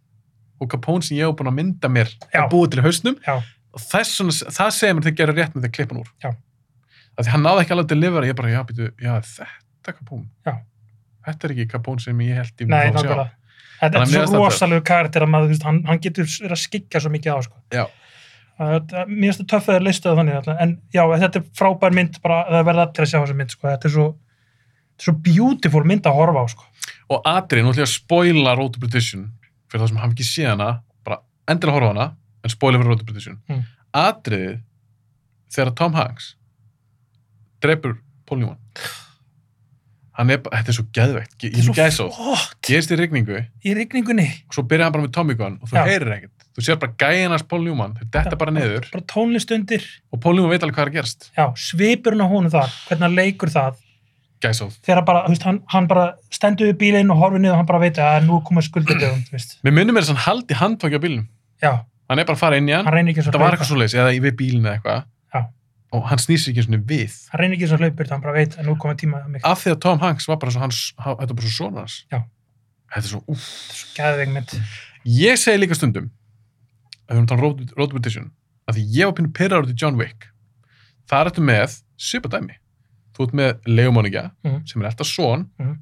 Speaker 1: og kapón sem ég hef búin að mynda mér
Speaker 2: Já.
Speaker 1: að búið til í hausnum
Speaker 2: já,
Speaker 1: og þess, svona, það segir mér þeir gera rétt með þeir klippan úr
Speaker 2: Já.
Speaker 1: að því hann náði ekki alveg að delivera ég bara, já, býtu, já, þetta er kapón
Speaker 2: Já.
Speaker 1: þetta er ekki kapón sem ég held ég myndi
Speaker 2: Nei,
Speaker 1: fá að sjá.
Speaker 2: nákvæmlega. Þetta
Speaker 1: Þannig að mér
Speaker 2: er
Speaker 1: finnst
Speaker 2: svo
Speaker 1: þetta-
Speaker 2: rosalegu karakter að maður, þú veist, hann, hann getur verið að skikja svo mikið á, sko.
Speaker 1: Já.
Speaker 2: Það er- það- Mér finnst þetta töff að þeir listu það þannig, alltaf. en já, þetta er frábær mynd, bara það verða allir að sjá þessa mynd, sko. Þetta er svo, þetta er svo beautiful mynd að horfa á, sko.
Speaker 1: og Adri, nú ætlum ég að spoila Road to Perdition fyrir það sem hafa ekki séð hana bara endilega horfa á hana en spoila fyrir Road to Perdition
Speaker 2: Mm.
Speaker 1: Adrið þegar Tom Hanks drepur Paul Newman hann er bara, þetta er svo geðveikt ég ég er svo gæsóð,
Speaker 2: flott
Speaker 1: gerist í rigningu og
Speaker 2: í rigningunni,
Speaker 1: svo byrja hann bara með Tommy Gun og þú
Speaker 2: Já.
Speaker 1: heyrir ekkert, þú sér bara gæjan hans Paul Newman þau detta bara niður
Speaker 2: bara tónlist undir,
Speaker 1: og Paul Newman veit alveg hvað er að gerast
Speaker 2: já, svipurinn á honum þar, hvernig hann leikur það,
Speaker 1: gæsóð,
Speaker 2: þegar bara, þú veist, hann, hann bara stendur við bílinn og horfir niður og hann bara veit að nú koma skuldadöfum, þú veist,
Speaker 1: mér minnum er þess að hann haldi handfangja bílnum,
Speaker 2: já,
Speaker 1: hann er bara að fara inn í hann
Speaker 2: hann reynir ekki eins og
Speaker 1: þetta var eitthvað svoleiðis, eða í við bílinn eða
Speaker 2: Já.
Speaker 1: eitthvað og hann snýsir ekki svona við
Speaker 2: hann reynir ekki eins og hlaupur, hann bara veit að nú koma tíma að mig,
Speaker 1: af því að Tom Hanks var bara svo hans hann- þetta var bara svo svona hans
Speaker 2: Já.
Speaker 1: þetta er svo, úff
Speaker 2: þetta er svo gæðveik mynd, ég
Speaker 1: ég segi líka stundum að við erum talað um Road- Road to Perdition að því ég var pínu pyrrar út í John Wick það er þetta með svipa dæmi þú ert með leigumóningja
Speaker 2: Mhm.
Speaker 1: sem er alltaf svon
Speaker 2: Mhm.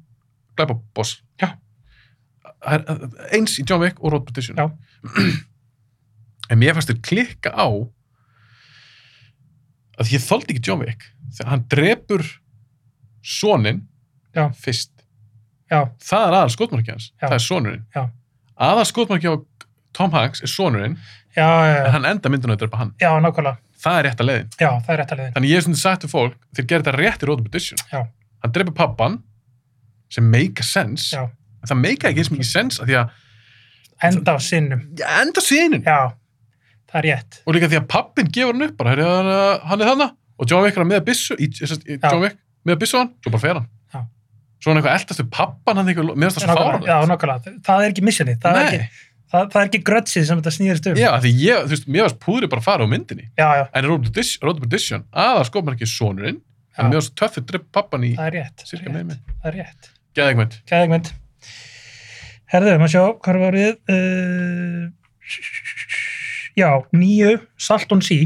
Speaker 1: glæpa boss
Speaker 2: Já.
Speaker 1: eh, eins í John Wick og Road to Perdition
Speaker 2: Já.
Speaker 1: en mér fannst þér klikka á að ég þoldi ekki John Wick þegar hann drepur sonin
Speaker 2: Já.
Speaker 1: fyrst
Speaker 2: já,
Speaker 1: það er aðal skotmarki hans,
Speaker 2: Já.
Speaker 1: það er sonurinn
Speaker 2: Já.
Speaker 1: aðal skotmarki á Tom Hanks er sonurinn,
Speaker 2: já, já,
Speaker 1: en
Speaker 2: já,
Speaker 1: hann enda myndinu að drepa hann,
Speaker 2: já, nákvæmlega,
Speaker 1: það er rétta leiðin
Speaker 2: já, það er rétt að leiðin,
Speaker 1: þannig ég hef svona sagt til fólk, þeir gerir þetta rétt í Road to Perdition
Speaker 2: Já.
Speaker 1: hann drepa pappan sem make a sense
Speaker 2: Já.
Speaker 1: en það make ekki eins mikið sense af því að
Speaker 2: enda á sinnum,
Speaker 1: Já, enda sínin
Speaker 2: já, það er rétt,
Speaker 1: og líka því að pappin gefur hann upp bara, heyrðu, hann, uh, hann er þarna og John Wick er að með byssu í, í, í,
Speaker 2: Já.
Speaker 1: John Wick með byssu á hann, svo bara fer hann
Speaker 2: Já.
Speaker 1: svo er hann eitthvað eldastu pappan hann eitthvað, mér finnst það svo
Speaker 2: nákvæmlega, já,
Speaker 1: fáranlegt
Speaker 2: nákvæmlega, það er ekki missionið, það er
Speaker 1: Nei.
Speaker 2: ekki, það, það er ekki grötsið sem þetta snýðist um,
Speaker 1: Já, af því ég, þú veist, mér varst púðri bara að fara á myndinni
Speaker 2: já, já,
Speaker 1: En Road to Perdition- Road to Perdition, aða skopmarkið sonurinn, en
Speaker 2: já,
Speaker 1: mér varst töffið drepp pappan í
Speaker 2: það er rétt,
Speaker 1: cirka
Speaker 2: rétt,
Speaker 1: með mig.
Speaker 2: það er rétt.
Speaker 1: Geðegmynd.
Speaker 2: Gæðegmynd. Herðu, maður sjá, hvað var við? Uh, já, nýju Salt on Sea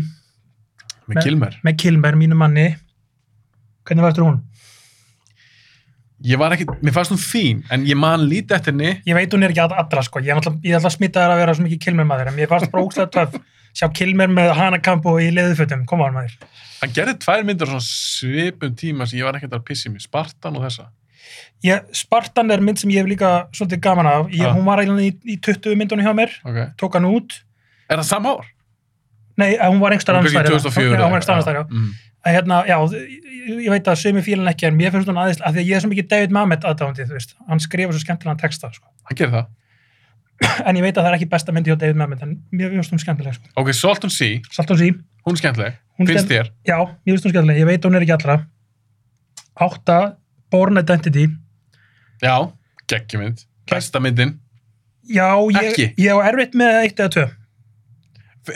Speaker 1: Með
Speaker 2: Með-
Speaker 1: Kilmer.
Speaker 2: með Kilmer, mínu manni. Hvernig var eftir hún?
Speaker 1: Ég var ekki, mér fannst hún fín, en ég man lítið eftir henni.
Speaker 2: Ég veit hún er ekki að- allra, sko. Ég er alltaf, ég er alltaf smitaður að vera svo mikið Kilmer maður, en mér varst bara ógstæða töf. Sjá Kilmer með hanakamp og í leðufötum. Koma hann maður.
Speaker 1: Hann gerði tvær myndir á svona svipum tíma sem ég var ekkert að pissi mig. Spartan og þessa.
Speaker 2: Ég, Spartan er mynd sem ég hef líka svolítið gaman af. Ég,
Speaker 1: Ah.
Speaker 2: Hún var eiginlega í, í 20 myndunum hjá mér.
Speaker 1: Ok.
Speaker 2: Tók hann út.
Speaker 1: Er það sama ár?
Speaker 2: Nei, eh, hún var einhverstað
Speaker 1: Hún kannski 2004
Speaker 2: Hún var
Speaker 1: eða-
Speaker 2: einhverstað annars þar, já.
Speaker 1: Mm.
Speaker 2: að hérna, já, ég- ég veit að sömu fílan ekki, en mér finnst hún aðeins, af því að ég er svo mikið David Mamet aðdáðandi, þú veist, hann skrifur svo skemmtilegan texta, sko,
Speaker 1: Hann gerði það.
Speaker 2: en ég veit að það er ekki besta myndi hjá David Mamet, en mér finnst hún skemmtileg, sko,
Speaker 1: Ok, Salt and Sea,
Speaker 2: salt og sí,
Speaker 1: hún er skemmtileg.
Speaker 2: Hún er
Speaker 1: Finnst þér?
Speaker 2: já, mér finnst hún skemmtileg, ég veit að hún er ekki allra, átta, Born Identity,
Speaker 1: Já. Geggjumynd. Besta myndin.
Speaker 2: já, ég,
Speaker 1: Ekki. Ah.
Speaker 2: ég á erfitt með eitt eða tvö,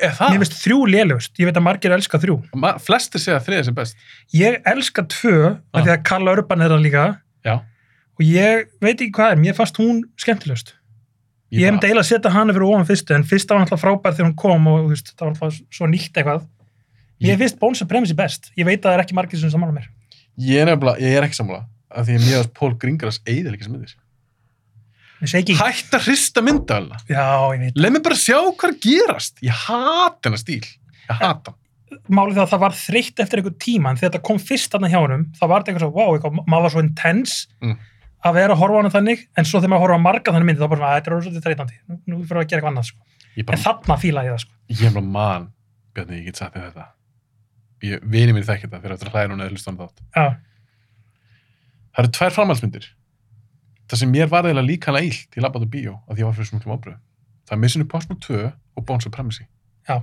Speaker 1: Er
Speaker 2: mér
Speaker 1: það?
Speaker 2: finnst þrjú lélugst, ég veit að margir elska þrjú,
Speaker 1: Ma- Flestir segja þriðið sem best.
Speaker 2: ég elska tvö,
Speaker 1: Ah.
Speaker 2: af því að Karl Urban er það líka,
Speaker 1: Já.
Speaker 2: og ég veit ekki hvað er, mér fannst hún skemmtilegust. Ég hef
Speaker 1: bara-
Speaker 2: deil að setja hana fyrir ofan fyrstu en fyrsta var alltaf frábær þegar hún kom og þú veist, það var alltaf svo nýtt eitthvað Ég
Speaker 1: Ég-
Speaker 2: finnst Bones and Premises best Ég veit að það er ekki margir sem samanlega mér
Speaker 1: Ég er nefnilega, ég er ekki sammála. Af því að mér varst Pól Gringras eiðilegis myndir.
Speaker 2: Ég segi ekki
Speaker 1: Hætt að hrista myndavælina.
Speaker 2: Já, ég veit
Speaker 1: Leð mig bara sjá hvað er að gerast. Ég hata hennar stíl. Ég hata hann.
Speaker 2: Málið það að það var þreytt eftir einhver tíma en þegar þetta kom fyrst þarna hjá honum þá var þetta eitthvað svo, wow, eitthvað, maður var svo intense
Speaker 1: Mm.
Speaker 2: að vera að horfa á hana þannig en svo þegar maður horfa á marga þannig myndi þá bara svona, "Æ, þetta er orðið svolítið þreytandi Nú, nú fyrir að gera eitthvað annað sko.
Speaker 1: Ég
Speaker 2: En
Speaker 1: bara,
Speaker 2: þarna fílaði ég það sko.
Speaker 1: ég er bara mann, Bjarni, ég get sagt þér þetta. Ég, vini mér þekkir þetta fyrir eftir að hlæða núna eða hlusta hann þátt.
Speaker 2: Já,
Speaker 1: Það eru tvær framhaldsmyndir. Það sem mér var eða líka hana illt í labbaðu bíó að ég var fyrir svo miklum ábröðu. Það er Mission Impossible 2 og Bones of Premisi.
Speaker 2: Já.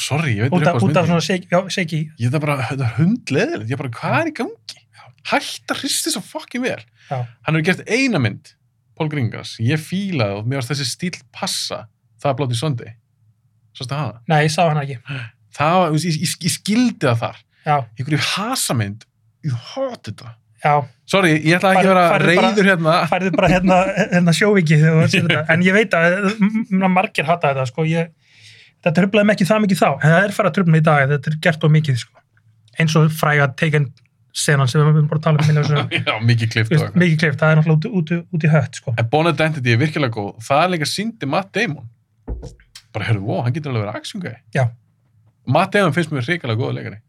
Speaker 1: Sorry, ég veit
Speaker 2: út
Speaker 1: ekki
Speaker 2: af,
Speaker 1: hvað
Speaker 2: út af
Speaker 1: myndir.
Speaker 2: svona segi, já, segi
Speaker 1: Ég þetta bara, þetta er hundleðilegt. Ég bara, hvað er í gangi? Hætt að hristi svo fokkin vel.
Speaker 2: Já.
Speaker 1: Hann hefur gert eina mynd, Paul Gringas, ég fílaði og mér varst þessi stíl passa, það er blátt í söndi. Svo stið hana.
Speaker 2: Nei, ég sá hana ekki
Speaker 1: Það, var- þú veist, ég, ég, ég skildi það þar.
Speaker 2: Já,
Speaker 1: Ykkur í hasamynd, ég hóti þetta.
Speaker 2: já,
Speaker 1: Sorry, ég ætla ekki
Speaker 2: Farðu-
Speaker 1: að vera
Speaker 2: farðu bara-
Speaker 1: reyður hérna.
Speaker 2: færðu bara hérna, hérna sjóviki þegar þú sér þetta. en ég veit að m- m- margir hata þetta sko. ég, þetta tröflaði mig ekki það mikið þá en það er farið að tröfla mig í dag þetta er gert of mikið sko. eins og fræga taken senan sem við erum bara að tala um minna þessu,
Speaker 1: Já, mikið klift og
Speaker 2: þú veist,
Speaker 1: eitthvað.
Speaker 2: mikið klift, það er náttúrulega út, út, út í hött sko.
Speaker 1: En Bon Identity er virkilega góð. Það er líka síndi Matt Damon. Bara, herru, wow, hann getur alveg verið action guy.
Speaker 2: Já.
Speaker 1: Matt Damon finnst mér hrikalega góð leikari.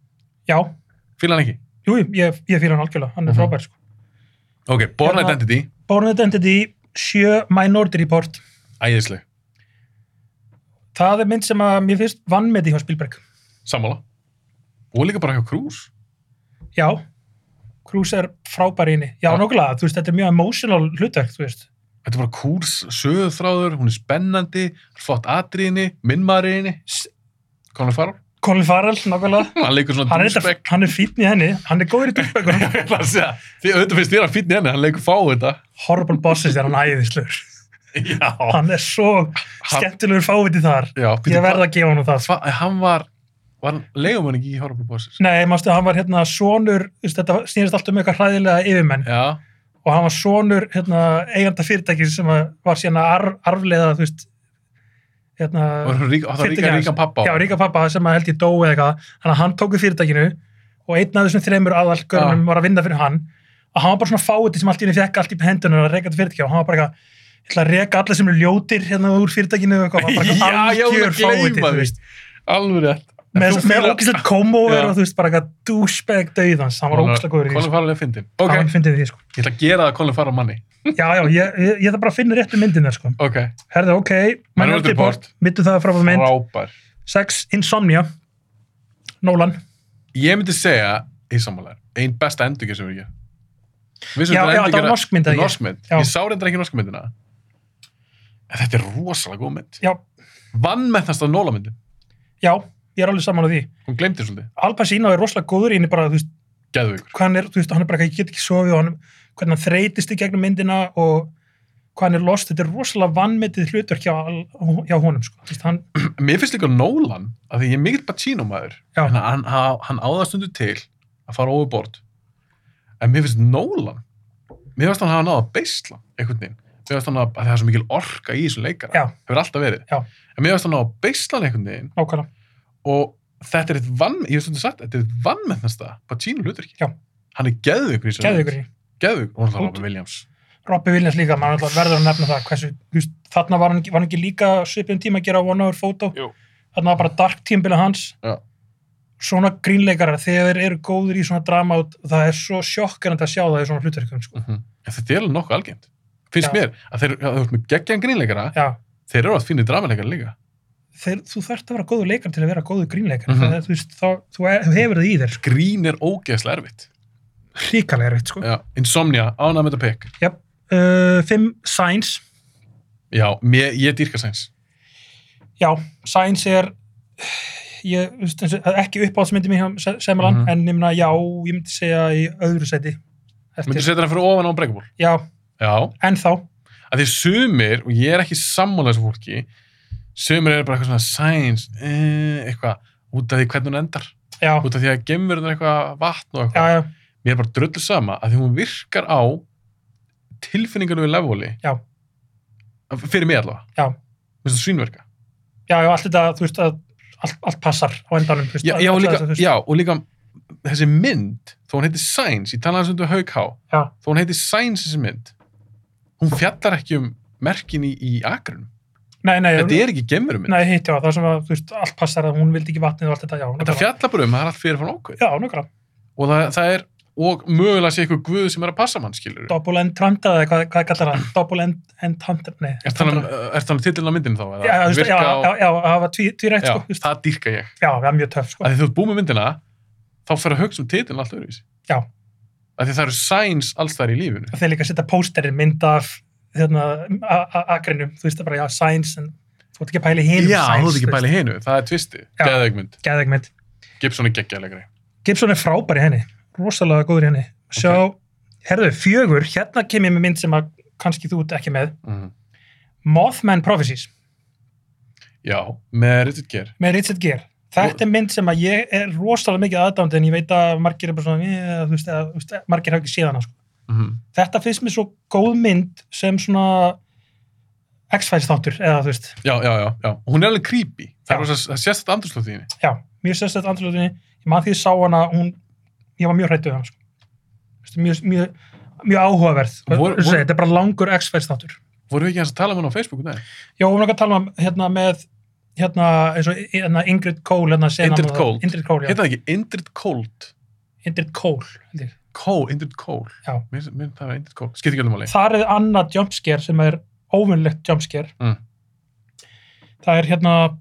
Speaker 2: já,
Speaker 1: Fýla hann ekki?
Speaker 2: jú, jú, ég, ég fyrir hann algjörlega hann er
Speaker 1: Mhm.
Speaker 2: frábær sko.
Speaker 1: Ok, Bon
Speaker 2: Hérna-
Speaker 1: Identity,
Speaker 2: Born Identity 7 Minority Report
Speaker 1: æðisleg.
Speaker 2: það er mynd sem að mér finnst vannmeti hjá Spielberg
Speaker 1: Sammála. Og líka bara hjá Cruise.
Speaker 2: já, Cruise er frábær í henni já,
Speaker 1: Já.
Speaker 2: nokkulega, þú veist, þetta er mjög emotional hlutverk, þú veist
Speaker 1: Þetta er bara kúrs, sögurþráður, hún er spennandi, flott atriðinni, minnmariðinni. Conor Farrell,
Speaker 2: Colin Farrell, nokkulega
Speaker 1: Hm, hann leikur svona
Speaker 2: hann er, þetta-
Speaker 1: dúsbæk.
Speaker 2: hann er fínn í henni, hann er góður í dúsbækunum
Speaker 1: Ég ætla að segja, Því auðvitað finnst þér að fýtni henni, hann leikur fá þetta.
Speaker 2: horrible bosses er hann æðislur
Speaker 1: Já.
Speaker 2: hann er svo skemmtilegur fáviti þar
Speaker 1: Já,
Speaker 2: ég verð að gefa hann það
Speaker 1: Hva, eh, hann var, var hann leigumann ekki í Horrible Bosses?
Speaker 2: nei, mástu, hann var hérna sonur þú veist, þetta snýrist allt um eitthvað hræðilega yfirmenn
Speaker 1: Já,
Speaker 2: og hann var sonur hérna, eiganda fyrirtækis sem að var síðan að arf, arfleða þú veist hérna,
Speaker 1: og hann rík, átti hann
Speaker 2: fyrirtæki
Speaker 1: ríka,
Speaker 2: hans.
Speaker 1: ríkan pappa. á.
Speaker 2: já, ríka pappa sem að held ég dói eða eitthvað þannig að hann tók við fyrirtækinu og einn af þessum þreymur aðalgörnum var að vinna fyrir hann og hann var bara svona fáið sem allt í henni fekk allt í hendunar að reyka þetta fyrirtæki og hann var bara eitthvað ég ætla að reyka alla sem eru ljótir hérna úr fyrirtækinu og eitthvað, hann var bara
Speaker 1: Já,
Speaker 2: eitthvað
Speaker 1: ég var að
Speaker 2: algjör fáviti,
Speaker 1: gleyma
Speaker 2: þú
Speaker 1: því.
Speaker 2: veist.
Speaker 1: Alveg rétt.
Speaker 2: með, með ógislegt komóver
Speaker 1: Já.
Speaker 2: og þú veist bara eitthvað douchebag döiðans, hann var ógislega góður í því
Speaker 1: Colin
Speaker 2: sko.
Speaker 1: Farrell er fyndin.
Speaker 2: okay.
Speaker 1: Ok,
Speaker 2: hann fyndið því sko.
Speaker 1: ég ætla að gera það Colin Farrell manni.
Speaker 2: já, já, ég, ég, ég þarf bara að finna réttu myndin þar sko.
Speaker 1: Ok,
Speaker 2: herðu, ok,
Speaker 1: Minority
Speaker 2: Minority Report
Speaker 1: Report.
Speaker 2: myndu það frábæð mynd,
Speaker 1: frábær.
Speaker 2: 6, Insomnia Nolan,
Speaker 1: Ég myndi segja, í sammálega, einn besta endurgerð sem við erum ekki.
Speaker 2: Já, já, þetta var norsk mynd, eða ekki?
Speaker 1: Norskmynd.
Speaker 2: Já.
Speaker 1: Ég sá reyndar ekki norskmyndina. En þetta er rosalega góð mynd.
Speaker 2: já,
Speaker 1: Vannmettast af nólamyndin.
Speaker 2: já ég er alveg saman á því
Speaker 1: Hún glemdi svolítið.
Speaker 2: Al Pacino er rosalega góður í henni bara, þú veist,
Speaker 1: Gæðveikur.
Speaker 2: hvað hann er, þú veist, hann er bara eitthvað, ég get ekki sofið og hann, hvernig hann þreytist í gegnum myndina og hvað hann er lost, þetta er rosalega vannmetið hlutverk hjá, Al- hjá honum, sko, þú veist, hann,
Speaker 1: Mér finnst líka Nólan, að því ég er mikill Pacino maður,
Speaker 2: Já.
Speaker 1: en hann, hann, hann áðastundu til að fara overboard. En mér finnst Nólan, mér finnst hann hafa náða beisla, einhvern veginn. Mér finnst hann að, að það er svo mikil orka í þessum leikara.
Speaker 2: Já.
Speaker 1: Hefur alltaf verið.
Speaker 2: Já.
Speaker 1: En mér finnst hann hafa beislan einhvern veginn
Speaker 2: nákvæmlega
Speaker 1: og þetta er eitt vann, ég hef stundið sagt, þetta er eitt vannmennasta Pacino hlutverki.
Speaker 2: Já.
Speaker 1: Hann er geðveikur í þessum.
Speaker 2: geðugur í
Speaker 1: Geðveikur. Og hann
Speaker 2: Út-
Speaker 1: er Robin Williams.
Speaker 2: Robby Williams líka, maður náttúrulega verður að nefna það hversu, þú veist, þarna var hann, var hann ekki líka svipum tíma að gera one hour photo
Speaker 1: Jú.
Speaker 2: þarna var bara dark tímbila hans
Speaker 1: Já.
Speaker 2: svona grínleikarar, þegar þeir eru góður í svona drama út, það er svo sjokkerandi að sjá það í svona hlutverkum sko.
Speaker 1: Mhm. En þetta er alveg nokkuð algengt. Finnst
Speaker 2: Já.
Speaker 1: mér að þeir, að þú ert með geggjan grínleikara,
Speaker 2: Já,
Speaker 1: þeir eru að finna dramaleikara líka.
Speaker 2: þeir, þú þarft að vera góður leikar til að vera góður grínleikar
Speaker 1: Mhm.
Speaker 2: mm þú, veist, þá, þú er- þú hefur það í þér sko.
Speaker 1: grín er ógeðslega erfitt
Speaker 2: ríkalega reitt sko.
Speaker 1: já. Insomnia, ánægð með þetta pekk
Speaker 2: uh, Fimm, Sainz
Speaker 1: Já, mér, ég dýrka sæns
Speaker 2: Já, Sainz er ég, þú veist, eins og- ekki uppáhaldsmyndi mér hjá Se- Semelan,
Speaker 1: Mhm.
Speaker 2: en ég myndi já, ég myndi segja í öðru seti
Speaker 1: Myndu setja hann fyrir ofan á breakaból
Speaker 2: Já,
Speaker 1: Já,
Speaker 2: en þá,
Speaker 1: að því sumir og ég er ekki sammála þessu fólki sumir eru bara eitthvað svona sæns eh, eitthvað, út af því hvernig hún endar
Speaker 2: já,
Speaker 1: út af því að gemur hún eitthvað vatn og
Speaker 2: já,
Speaker 1: eitthvað
Speaker 2: já,
Speaker 1: Mér er bara drullu sama að því hún virkar á tilfinningunum við levoli
Speaker 2: Já.
Speaker 1: Fyrir mig allavega
Speaker 2: Já.
Speaker 1: Mér finnst það svínverka
Speaker 2: já, já, allt þetta, þú veist að allt, allt passar á endanum, þú veist
Speaker 1: já,
Speaker 2: allt-
Speaker 1: já, og
Speaker 2: allt
Speaker 1: líka,
Speaker 2: þetta, þú veist.
Speaker 1: já, og líka þessi mynd, þó hún heitir Sainz ég talaði þessu um haughá,
Speaker 2: Já.
Speaker 1: þó hún heitir Sainz þessi mynd, hún fjallar ekki um merkin í, í agrunum
Speaker 2: Nei, nei,
Speaker 1: þetta er ekki gemverum mynd,
Speaker 2: nei, hitt, já, það sem að, þú veist, allt passar að hún vildi ekki vatnið og allt þetta, já,
Speaker 1: þetta fjallar bara um að það er allt fyrir frá okkur
Speaker 2: Já, nokkra,
Speaker 1: og það, það er, og mögulega sé eitthvað guð sem er að passa mann, skilur við
Speaker 2: double entranda eða hvað, hvað kallar það, double end, entranda, nei
Speaker 1: Er það um titilin á myndinu þá? eða
Speaker 2: Já, þú veist, já,
Speaker 1: virka á-
Speaker 2: já, já, það var tví- tvírætt,
Speaker 1: já,
Speaker 2: sko, þú veist,
Speaker 1: það dýrka ég.
Speaker 2: já, það er mjög töff, sko
Speaker 1: Af því þú ert búið með myndina, þá fer að hugsa um titilin alltaf öðruvísi.
Speaker 2: Já.
Speaker 1: Af því það eru sæns alls þar í lífinu.
Speaker 2: og þeir líka setja pósterinn mynd af hérna, a- a- akrinum þú veist það bara, já, Sainz en þú ert ekki að pæli
Speaker 1: Já,
Speaker 2: hinum
Speaker 1: þú ert ekki bæli hinu, það er tvisti.
Speaker 2: Já.
Speaker 1: Geðegmynd.
Speaker 2: Geðveikmynd.
Speaker 1: Gibson er geggjaðlegri.
Speaker 2: Gibson er frábær í henni, rosalega góður í henni sjá, herðu, fjögur hérna kem ég með mynd sem að kannski þú ert ekki með
Speaker 1: Mm.
Speaker 2: Mothman Prophecies
Speaker 1: Já, með Richard Gere.
Speaker 2: með Richard Gere þetta er mynd sem að ég er rosalega mikið aðdánd en ég veit að margir er bara svona eh, þú veist, eða, þú veist, margir hafa ekki séð hana sko.
Speaker 1: Mm.
Speaker 2: þetta finnst mér svo góð mynd sem svona X-Files þáttur eða þú veist
Speaker 1: Já, já, já, já. Hún er alveg creepy. Það,
Speaker 2: Já.
Speaker 1: er rosa- það sést þetta andurslótt í henni.
Speaker 2: Já, mjög sérstætt andrlöðinni. ég maður því ég sá hana hún, ég var mjög hrættu um hana sko. Veistu, mjög, mjög, mjög áhugaverð
Speaker 1: Vor-
Speaker 2: vor,
Speaker 1: vor-
Speaker 2: þetta er bara langur X-Files þáttur
Speaker 1: Vorum við ekki hans að tala um hann á Facebook? Nei,
Speaker 2: já, við erum ekki að tala um hérna með hérna, eins og hérna, Ingrid Cole hérna, senan
Speaker 1: Ingrid
Speaker 2: og það.
Speaker 1: Cole.
Speaker 2: Ingrid Cole, já.
Speaker 1: hérna ekki, Indrid Cold
Speaker 2: Ingrid Cole held ég.
Speaker 1: Cole, Indrid Cole
Speaker 2: Já.
Speaker 1: Mér mér- það var Indrid Cole, skipt ekki öllum áli
Speaker 2: þar er annað jumpscare sem er óvinnlegt jumpscare
Speaker 1: Mm.
Speaker 2: það er hérna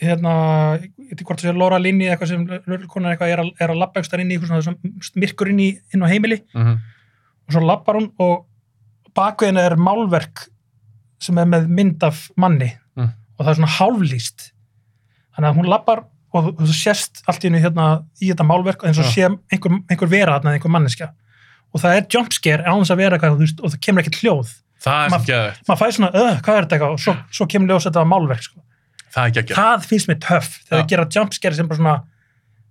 Speaker 2: hérna, ég veit hvort það sé Laura Linney eða eitthvað sem lörgulkonan eitthvað er að, er að labba eitthvað inn í eitthvað svona myrkur inn í inn á heimili
Speaker 1: mm -hmm.
Speaker 2: og svo labbar hún og bakveðina er málverk sem er með mynd af manni
Speaker 1: Mm.
Speaker 2: og það er svona hálflýst þannig að hún labbar og þú- þú sést allt í henni hérna í þetta málverk eins og
Speaker 1: Já.
Speaker 2: sé einhver, einhver vera þarna, einhver manneskja og það er jumpscare án þess að vera eitthvað þú veist, og það kemur ekkert hljóð
Speaker 1: Það er
Speaker 2: Ma-
Speaker 1: sem geðvægt,
Speaker 2: maður fæði svona, öð, hvað er þetta eitthvað og svo, svo kemur ljós að þetta var málverk sko.
Speaker 1: það er geggja
Speaker 2: það finnst mér töff þegar
Speaker 1: Já.
Speaker 2: það gera jumpscare sem bara svona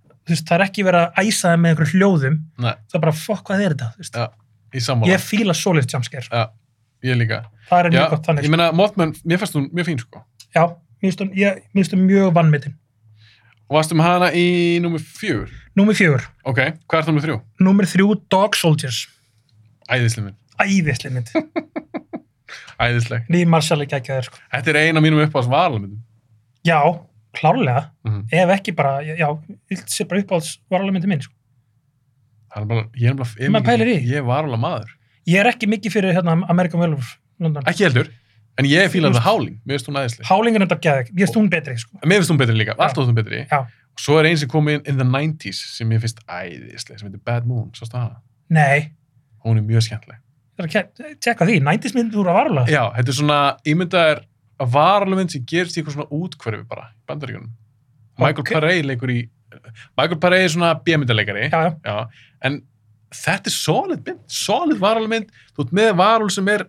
Speaker 2: þú veist, það er ekki verið að æsa það með einhver hljóðum
Speaker 1: Nei,
Speaker 2: það er bara, fokk, hvað er þetta? þú veist.
Speaker 1: Já. í sammála,
Speaker 2: ég fíla svoleiðt jumpscare sko.
Speaker 1: Já, ég líka
Speaker 2: það er
Speaker 1: Já,
Speaker 2: mjög gott þannig sko.
Speaker 1: ég meina, Mothman, mér fannst hún mjög fín sko
Speaker 2: Já, mér finnst hún- ég- mér finnst hún mjög vannmetinn.
Speaker 1: Og varstu með hana í númer fjögur
Speaker 2: Númer fjögur.
Speaker 1: Ok, hvað er það númer þrjú?
Speaker 2: Númer þrjú, Dog Soldiers.
Speaker 1: Æðisleg minn,
Speaker 2: Æðislega mynd.
Speaker 1: æðisleg
Speaker 2: Lee Marshall er gækjaður. Sko.
Speaker 1: Þetta er eina mínum uppáðs varalmyndum
Speaker 2: Já, klárlega.
Speaker 1: mm -hmm.
Speaker 2: Ef ekki bara, já, þetta sé bara uppáhalds varalmyndi minn. Sko.
Speaker 1: Það er bara, ég er bara
Speaker 2: Maður pælir í.
Speaker 1: Ég er varala maður
Speaker 2: Ég er ekki mikið fyrir hérna, American Werewolf London.
Speaker 1: Ekki heldur, en ég fíla
Speaker 2: Þú
Speaker 1: þetta háling Mér finnst hún æðisleg
Speaker 2: Hálingin er þetta gæðið. Mér finnst hún betri. Sko.
Speaker 1: Mér finnst hún betri líka, alltaf hún betri
Speaker 2: Já.
Speaker 1: Og svo er eins sem kom inn in the 90s sem mér finnst æðisleg, sem heitir Bad Moon, sástu hana
Speaker 2: Nei,
Speaker 1: Hún er mjög skemmtileg
Speaker 2: það er ekki að tjekka því. Næntismynd úr að varala.
Speaker 1: Já, þetta er svona, ímyndaðar að varalmynd sem gerist í eitthvað svona útkverfi bara, í bandaríkunum. Michael
Speaker 2: Ok.
Speaker 1: Parey leikur í, Michael Parey er svona bjömyndaleikari,
Speaker 2: Já, já.
Speaker 1: en þetta er solid mynd, solid varalmynd, þú ert með varul sem er,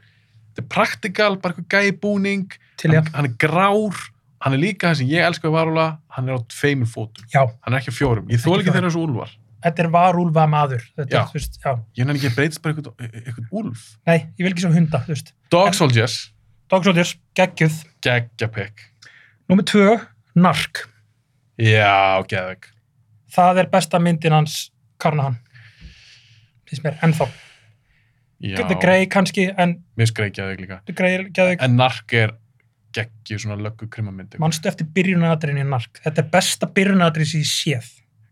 Speaker 1: þetta er praktikal, bara eitthvað gæbúning,
Speaker 2: Til ég.
Speaker 1: hann, hann er grár, hann er líka það sem ég elska við varula, hann er á tveimur fótum,
Speaker 2: Já,
Speaker 1: hann er ekki á fjórum, ég þól
Speaker 2: Ekki
Speaker 1: ekki
Speaker 2: fjórum.
Speaker 1: þeirra þessu úlvar,
Speaker 2: þetta er varúlva maður. Þetta
Speaker 1: Já.
Speaker 2: er, þú veist, já.
Speaker 1: ég hann ekki að breytast bara eitthvað, e- eitthvað úlf.
Speaker 2: Nei, ég vil ekki sjá hunda, þú veist.
Speaker 1: Dog
Speaker 2: En-
Speaker 1: Soldiers,
Speaker 2: Dog Soldiers, geggjuð.
Speaker 1: geggjapekk,
Speaker 2: Númer tvö, Nark.
Speaker 1: já, geðvegg.
Speaker 2: það er besta myndin hans Karnahan finnst mér, ennþá The Grey kannski, en
Speaker 1: Mér finnst Grey geðveik líka.
Speaker 2: The Grey er geðveik
Speaker 1: En Nark er geggju svona löggu krimamyndi.
Speaker 2: manstu eftir byrjunadrin í nark þetta er besta byrjunadrin sem ég séð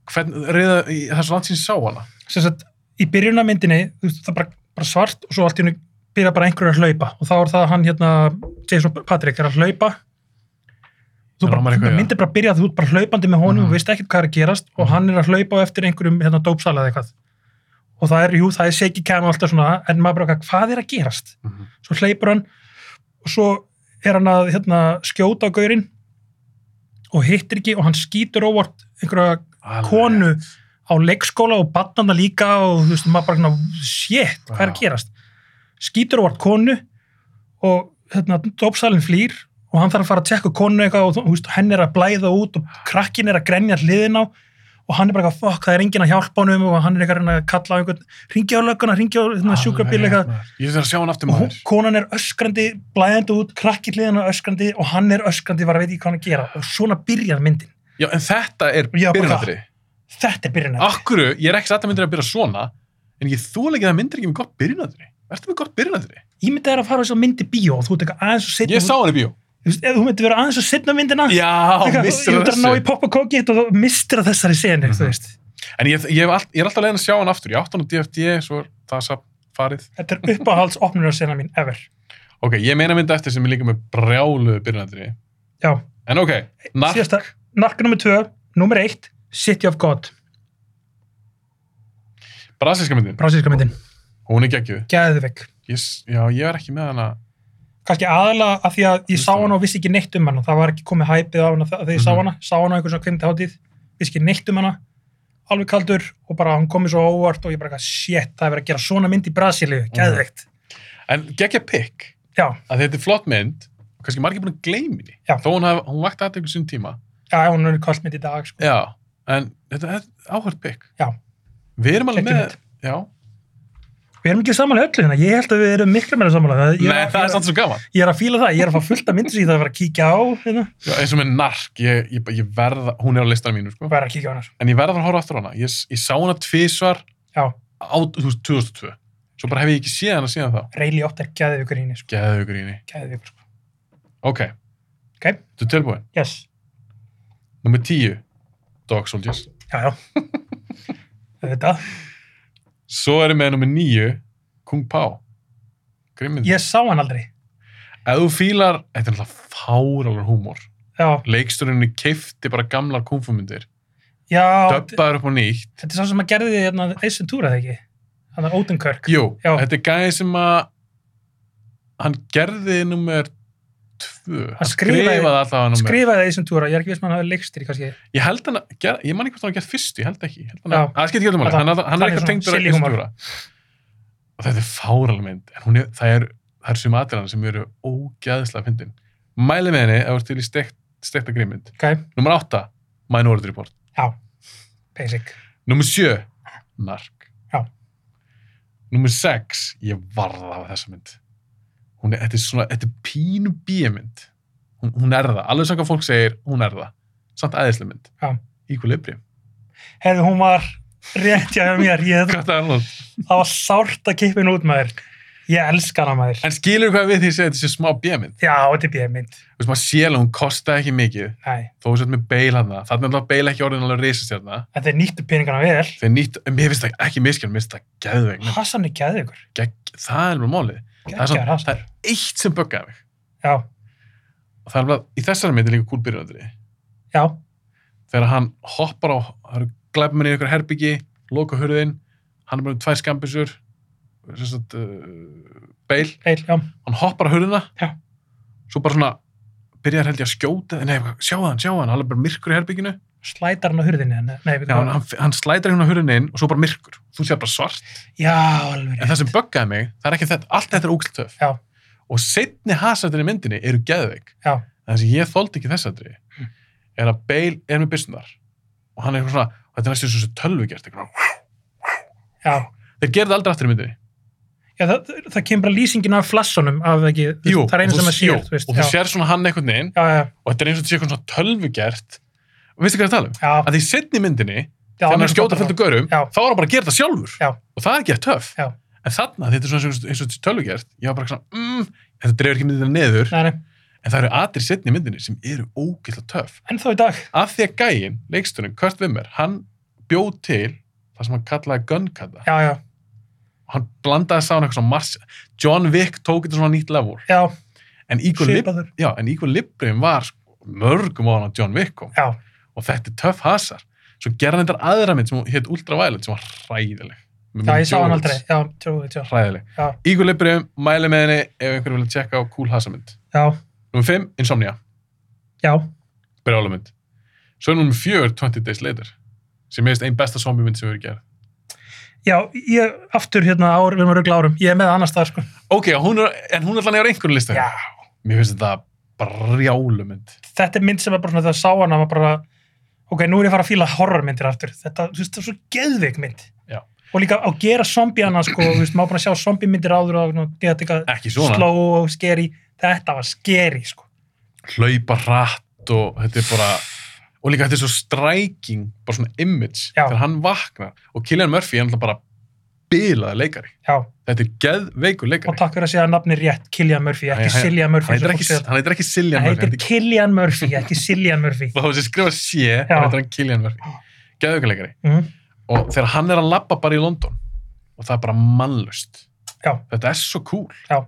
Speaker 1: Hvern, reyða, í, það er svo langt sín sá hana.
Speaker 2: sem sagt, í byrjunamyndinni þú veist, það er bara, bara svart og svo allt í hennu byrja bara einhverju að hlaupa og þá er það hann hérna, Jason Patrick er að hlaupa þú
Speaker 1: Það
Speaker 2: bara,
Speaker 1: rámar
Speaker 2: þú
Speaker 1: eitthvað,
Speaker 2: bara
Speaker 1: já.
Speaker 2: myndir bara byrja að þú ert bara hlaupandi með honum
Speaker 1: Mhm.
Speaker 2: og veist ekkert hvað er að gerast og
Speaker 1: Mhm.
Speaker 2: hann er að hlaupa á eftir einhverjum hérna, dópsala eða eitthvað og það er, jú, það er segi kæma alltaf svona en maður bara, hvað er að gerast?
Speaker 1: Mhm.
Speaker 2: svo hleypur hann og svo er hann að hérna, skjóta á gaurinn og hittir ekki og hann skýtur óvart einhverja
Speaker 1: Alveg.
Speaker 2: konu á leikskóla og bannana líka og þú veist, maður bara svona, shit, hvað er að
Speaker 1: Já.
Speaker 2: gerast skýtur óvart konu og hérna, dópsalinn flýr og hann þarf að fara að tekka konu eitthvað og þú veist, henn er að blæða út og krakkin er að grenja hliðin á og hann er bara eitthvað, fuck, það er enginn að hjálpa honum og hann er eitthvað að reyna að kalla á einhvern ringi á lögguna, ringi á hérna,
Speaker 1: Alveg,
Speaker 2: sjúkrabíl eitthvað
Speaker 1: maður. Ég þarf að sjá hann aftur
Speaker 2: og hún,
Speaker 1: maður.
Speaker 2: konan er öskrandi, blæðandi út krakki hliðan er öskrandi og hann er öskrandi var að veit ekki hvað hann að gera og svona byrjar myndin
Speaker 1: Já, en þetta er
Speaker 2: Já, bara
Speaker 1: byrjunatri.
Speaker 2: þetta er byrjunar
Speaker 1: Akkuru, ég er ekki satt að myndir að byrja svona, en ég þól ekki að það myndir ekki með gott byrjunatri. Ertu með gott byrjunatri?
Speaker 2: ég myndi að fara á þess að myndi bíó og þú ert eitthvað aðeins og
Speaker 1: Ég sá
Speaker 2: setna
Speaker 1: hann í bíó.
Speaker 2: eða þú myndi vera aðeins og setna myndina
Speaker 1: Já,
Speaker 2: Eitthvað,
Speaker 1: missir
Speaker 2: þú ert að ná í
Speaker 1: þessu.
Speaker 2: popp og kóki og þú mistir að þessari senu
Speaker 1: Mhm.
Speaker 2: þú veist,
Speaker 1: En ég, ég, hef all, ég er alltaf leiðin að sjá hann aftur. Ég átt hann á DFD, svo er það samt farið.
Speaker 2: þetta er uppáhalds opnunarsena mín ever,
Speaker 1: Ok, ég meina mynd eftir sem er líka með brjáluðu byrjunatri.
Speaker 2: já,
Speaker 1: En ok, nark,
Speaker 2: síðasta nark nummer 2, nummer 1 City of God,
Speaker 1: brasíska myndin.
Speaker 2: brásíska myndin
Speaker 1: Hún er geggjuð.
Speaker 2: Geðvik,
Speaker 1: Ég, s- já, ég er ekki með hana.
Speaker 2: kannski aðalega af því að ég sá hana og vissi ekki neitt um hana það var ekki komið hæpið á hana þa- þegar ég sá
Speaker 1: Mhm.
Speaker 2: hana sá hana á einhvern svona kvimtahátíð vissi ekki neitt um hana alveg kaldur og bara hann komið svo óvart og ég bara shit, það er verið að gera svona mynd í Brasilíu geðveikt,
Speaker 1: En geggja pikk,
Speaker 2: já,
Speaker 1: að þetta er flott mynd, og kannski margir búin að gleymi henni.
Speaker 2: Já.
Speaker 1: Þó hún, haf, hún vakti aðteklu sín tíma.
Speaker 2: já, hún er kallt mynd í dag sko.
Speaker 1: Já. En þetta er áhört pikk.
Speaker 2: Já.
Speaker 1: Við erum alveg
Speaker 2: Geggjuð
Speaker 1: með, já,
Speaker 2: Við erum ekki samanlega öllu hérna. Ég held að við erum miklu meira samanlega. Ég,
Speaker 1: Nei,
Speaker 2: að
Speaker 1: það er
Speaker 2: fíla-
Speaker 1: samt svo gaman.
Speaker 2: ég er að fíla það. Ég er að fá fullt af myndir sem ég þarf að vera að kíkja á. Hérna.
Speaker 1: Já, eins og með nark, ég, ég, ég verð, hún er á listanum mínu, sko.
Speaker 2: Bara að kíkja á hennar.
Speaker 1: En ég verð að fara að horfa aftur á hana. Ég, ég sá hana tvísvar
Speaker 2: Já,
Speaker 1: á, þú veist, 2002. Svo bara hef ég ekki séð hana síðan þá.
Speaker 2: Rayleigh 8 er gæðvíkur hínni, sko.
Speaker 1: Geðu gríni.
Speaker 2: Gæðvíkur, sko.
Speaker 1: Ok.
Speaker 2: Ok.
Speaker 1: Þú er tilbúin.
Speaker 2: Yes.
Speaker 1: Númer 10. Dog Soldiers.
Speaker 2: Já, já. Þetta.
Speaker 1: Svo erum við númer 9. Kung Pao. Grimmindi.
Speaker 2: Ég sá hann aldrei.
Speaker 1: Ef þú fílar, þetta er alltaf fáralur húmor.
Speaker 2: Já.
Speaker 1: Leiksturinn keifti bara gamlar kungfumyndir.
Speaker 2: Já.
Speaker 1: Döbbaður upp á nýtt.
Speaker 2: Þetta er sá sem að gerði því hérna Ace Ventura, þegar ekki? Þannig að Odenkirk.
Speaker 1: Jú,
Speaker 2: Já.
Speaker 1: þetta er gæði sem að hann gerði nummer tvö, hann
Speaker 2: skrifaði-
Speaker 1: skrifaði alltaf hann númer,
Speaker 2: Skrifaði Ace Ventura, ég er ekki viss maður að hafa leikstir í kannski.
Speaker 1: ég held hann, að- ger, ég man ekki hvort hann gerði fyrstu, ég held ekki ég held hann,
Speaker 2: Já.
Speaker 1: að, að skipti ekki öllum
Speaker 2: Þetta-
Speaker 1: alveg, hann, hann er
Speaker 2: það er
Speaker 1: eitthvað
Speaker 2: svona
Speaker 1: tengdur að
Speaker 2: silly humor.
Speaker 1: Íslandjúra og þetta er fáralmynd en hún er, það er, það er sum aðriðan sem eru ógæðislega fyndin mæli með henni ef þú ert til í stekt, stekta grímynd
Speaker 2: Ok.
Speaker 1: nummer átta, Minority Report
Speaker 2: Já. Basic.
Speaker 1: nummer sjö, Nark
Speaker 2: Já.
Speaker 1: nummer sex, ég varða af þessa mynd hún er, þetta er svona, þetta er pínu bíjamynd hún, hún er það, alveg sem hvað fólk segir hún er það, samt æðislega mynd
Speaker 2: Já.
Speaker 1: Equilibrium,
Speaker 2: Herðu, hún var rétt hjá mér. Ég,
Speaker 1: hvað það er annars
Speaker 2: það var sárt að kippa henn út, maður. Ég elska hana, maður.
Speaker 1: en skilur hvað við því að segja þetta sé smá bíjamynd
Speaker 2: Já, þetta er bíðmynd.
Speaker 1: þú veist maður séla, hún kostaði ekki mikið
Speaker 2: Nei,
Speaker 1: þó þú sett með beil hann það, þannig að beil ekki orðin alveg risastjarna
Speaker 2: þetta er nýttu peningana vel.
Speaker 1: þegar nýtt, en mér finnst það ekki miskjörn mér finnst það geðveik, mynd.
Speaker 2: Hassan er gæðið ykkur.
Speaker 1: Gegg- það er alveg málið það er,
Speaker 2: Gæðið
Speaker 1: svona, það
Speaker 2: Hassan.
Speaker 1: er eitt sem böggaði mig
Speaker 2: Já,
Speaker 1: og það er alveg, í þessari mynd er líka kúl byrjunandri
Speaker 2: já,
Speaker 1: þegar hann hoppar á, það eru glæpmenn í einhver herbyggi, loka hurðin, hann er bara um tvær skambisur, sem sagt, uh, beil,
Speaker 2: eil, já.
Speaker 1: hann hoppar á hurðina,
Speaker 2: Já.
Speaker 1: svo bara svona, byrjar held ég að skjóta, nei, sjáu hann, sjáu hann, hann er bara myrkur í herbygginu,
Speaker 2: Slætar hann á hurðinni. en- Nei, við
Speaker 1: já, hann, hann, hann slætar hérna hurðina inn og svo bara myrkur, þú sé bara svart,
Speaker 2: Já, alveg.
Speaker 1: en
Speaker 2: rétt.
Speaker 1: það sem böggaði mig, það er ekki þetta, allt þetta er ógiltöf.
Speaker 2: Já.
Speaker 1: Og setni hasættinni í myndinni eru geðveik.
Speaker 2: Já,
Speaker 1: En það sem ég þóldi ekki þess aðri
Speaker 2: Mm.
Speaker 1: er að Bale er með byssunar og hann er eitthvað svona, þetta er næstu þessu tölvu gert eitthvað.
Speaker 2: já.
Speaker 1: þeir gerði aldrei aftur í myndinni
Speaker 2: já það, það kemur bara lýsingin af flassunum af ekki. þú veist, það er einu
Speaker 1: og þú-
Speaker 2: sem að
Speaker 1: jú,
Speaker 2: sér, þú veist.
Speaker 1: og þú
Speaker 2: Já,
Speaker 1: sér svona hann einhvern veginn
Speaker 2: já, já.
Speaker 1: og þetta er eins og þetta sé eitthvað svona tölvu gert og veistu hvað ég er að tala um?
Speaker 2: já,
Speaker 1: að því setni myndinni,
Speaker 2: já,
Speaker 1: þegar hann er
Speaker 2: mér
Speaker 1: að skjóta
Speaker 2: finnst
Speaker 1: fullt af görum
Speaker 2: Já.
Speaker 1: þá er hann bara að gera þetta sjálfur
Speaker 2: Já.
Speaker 1: og það er ekki að töff
Speaker 2: Já.
Speaker 1: en þarna, þetta er svona eins og- eins og þetta tölvu gert ég var bara svona, mm, þetta dreifur ekki myndina neður
Speaker 2: Nei, nei,
Speaker 1: en það eru aðri setni myndinni sem eru ógætla töff
Speaker 2: en þá í dag.
Speaker 1: af því að gæinn, leikstunum, Kurt Wimmer, hann bjóð til það sem hann kallaði gunkata.
Speaker 2: Já, já,
Speaker 1: Og hann blandaði saman eitthvað svona mars... John Wick tók þetta svona nýtt level.
Speaker 2: já,
Speaker 1: En Equilib-
Speaker 2: svipaður.
Speaker 1: já, en Equilibrium var sko, mörgum ára John Wick kom.
Speaker 2: Já,
Speaker 1: Og þetta er töff hasar. Svo gerði hann þetta aðra mynd sem hétt Ultraviolet sem var hræðileg. Með
Speaker 2: já,
Speaker 1: Mick
Speaker 2: ég sá hann
Speaker 1: Jones.
Speaker 2: aldrei. Já, trúið, trúið.
Speaker 1: Hræðileg.
Speaker 2: Já.
Speaker 1: Equilibrium, mæli með henni ef einhverju vilja tjekka á cool hasarmynd.
Speaker 2: Já,
Speaker 1: Númer 5, Insomnia,
Speaker 2: já,
Speaker 1: brjálumynd. Svo er númer 4, 20 Days Later, sem er einn besta zombie mynd sem við erum gerð.
Speaker 2: já, ég aftur hérna ár, við erum að ruggla árum. Ég er með annars það, sko.
Speaker 1: Ok, hún er, en hún er allan yfir einhvern listu.
Speaker 2: Já,
Speaker 1: Mér finnst þetta brjálumynd.
Speaker 2: þetta er mynd sem er bara svona þegar ég sá hana var bara, ok, nú er ég að fara að fíla horrormyndir aftur, þetta, þú veist, það er svo geðveik mynd
Speaker 1: Já.
Speaker 2: og líka á gera zombiana sko, þú veist, maður búin að sjá zombimyndir áður og nú geta eitthvað
Speaker 1: Ekki svona.
Speaker 2: slow og skeri, þetta var skeri sko,
Speaker 1: Hlaupa hratt og þetta er bara... Og líka þetta er svo striking, bara svona image,
Speaker 2: Já.
Speaker 1: þegar hann vaknar. Og Killian Murphy er náttúrulega bara bilaði leikari.
Speaker 2: já,
Speaker 1: Þetta er geðveikur
Speaker 2: og
Speaker 1: leikari.
Speaker 2: takk fyrir að segja nafni rétt, Killian Murphy,
Speaker 1: Nei,
Speaker 2: ekki
Speaker 1: hann-
Speaker 2: Cillian Murphy
Speaker 1: Hann heitir
Speaker 2: eins og
Speaker 1: ekki,
Speaker 2: fólk segir.
Speaker 1: hann heitir ekki Cillian
Speaker 2: hann
Speaker 1: Murphy.
Speaker 2: heitir
Speaker 1: Heitir,
Speaker 2: Killian Murphy, ekki Cillian Murphy
Speaker 1: þá þessi skrifa sé, þá
Speaker 2: Já.
Speaker 1: heitir hann Killian Murphy. Geðveikur leikari.
Speaker 2: mm,
Speaker 1: Og þegar hann er að labba bara í London og það er bara mannlust.
Speaker 2: já,
Speaker 1: Þetta er svo cool.
Speaker 2: Já.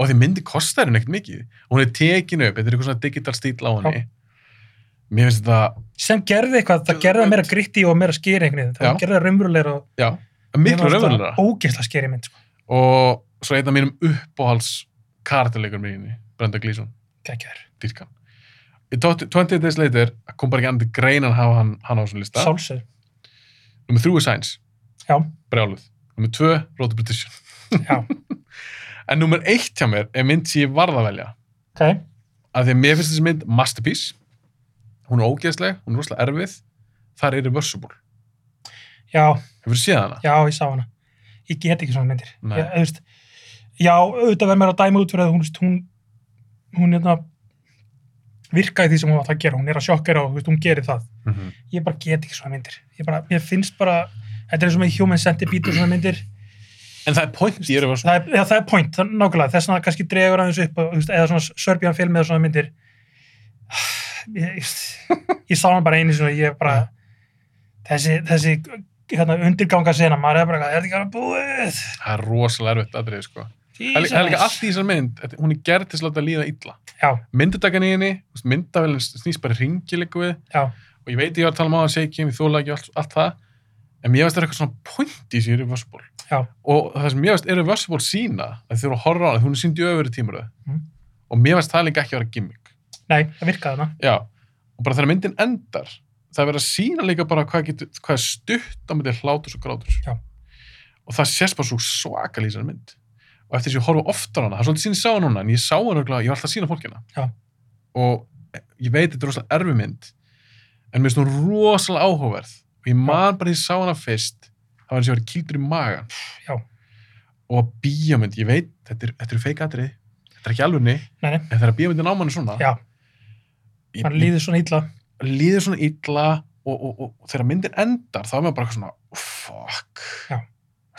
Speaker 1: Og því myndi kostar henni ekkert mikið. Hún er tekin upp, þetta er eitthvað svona digital stíl á henni. Mér finnst þetta,
Speaker 2: sem gerði eitthvað, það gerði það meira gritti og meira skeri einhvern veginn,
Speaker 1: Já.
Speaker 2: það gerði það raunverulegra og
Speaker 1: já, miklu raunverulega.
Speaker 2: ógeðsla skeri mynd sko,
Speaker 1: Og svo einn af mínum uppáhalds karakterleikur minni, Brenda Gleeson,
Speaker 2: geggjaður,
Speaker 1: dýrkan. Í 20 20 days later kom bara ekki andir grein að hafa hann, hann á þessum lista.
Speaker 2: sálsöð
Speaker 1: Númer þrjú er Sainz,
Speaker 2: já,
Speaker 1: brjáluð. Númer tvö, Road to Petition.
Speaker 2: já,
Speaker 1: En númer eitt hjá mér er mynd sem ég varð að velja.
Speaker 2: ok
Speaker 1: Af því að mér finnst þessi mynd masterpiece. Hún er ógeðsleg, hún er rosalega erfið. Það er irreversible.
Speaker 2: Já,
Speaker 1: Hefur séð hana?
Speaker 2: já, ég sá hana. ég get ekki svona myndir
Speaker 1: Nei.
Speaker 2: ég, þú veist, já, auðvitað verður mér að dæma út fyrir að hún, þú veist, hún, hún hérna, virka í því sem hún átt að gera hún er að sjokkera og þú veist, hún gerir það
Speaker 1: Mm -hmm.
Speaker 2: ég bara get ekki svona myndir ég bara, mér finnst bara, þetta er eins og með human centipede og svona myndir
Speaker 1: En það er point Ég er bara svona
Speaker 2: það er, já, það er point, það er nákvæmlega þess að kannski dregur aðeins upp og, þú veist, eða svona Serbian film eða svona myndir ég, ég, ég sá hann bara einu sinni og ég bara þessi, þessi hérna, undirganga sena, maður er bara eitthvað, er þetta ekki að búið
Speaker 1: Það er rosalega erfitt aðrið sko Það er-
Speaker 2: Jesus.
Speaker 1: það er líka allt í þessar mynd þetta- Hún er gerð til að láta líða illa
Speaker 2: já,
Speaker 1: Myndutakan í henni, þú veist, myndavélin snýst bara ringi líka við
Speaker 2: já,
Speaker 1: og ég veit ég var að tala um á að segja ekki, ég þóla ekki og allt, allt það en mér veist það er eitthvað svona point í þessu irreversible
Speaker 2: Já.
Speaker 1: og það sem mér veist irreversible sína að þau eru að horfa á hana, hún er sínd í öfri tímur
Speaker 2: Mm.
Speaker 1: og mér veist það líka ekki að vera gimmick
Speaker 2: nei, það virkaði þarna
Speaker 1: já, og bara þegar myndin endar það er verið að sína líka bara hvað, getur, hvað er stutt á myndi hlátus og grátus
Speaker 2: Já.
Speaker 1: og það sést bara svo svakal í þessari mynd og eftir þess að ég horfa oftar á hana það er svolítið sín ég sá hana núna, en ég sá hana örugglega- ég var alltaf að sína fólkina
Speaker 2: Já.
Speaker 1: og ég veit þetta er rosalega erfi mynd en mér finnst hún rosalega áhugaverð og ég man bara því ég sá hana fyrst það var eins og ég var kildur í magan
Speaker 2: Já.
Speaker 1: og bíómynd, ég veit þetta er, þetta er feik atrið, þetta er ekki alvegni
Speaker 2: Nei, nei.
Speaker 1: en þegar bíómyndin á manni svona
Speaker 2: já,
Speaker 1: ég,
Speaker 2: maður líður svona illa
Speaker 1: líður svona illa og, og, og, og þegar myndin endar þá er maður bara eitthvað svona "Oh, fuck
Speaker 2: Já.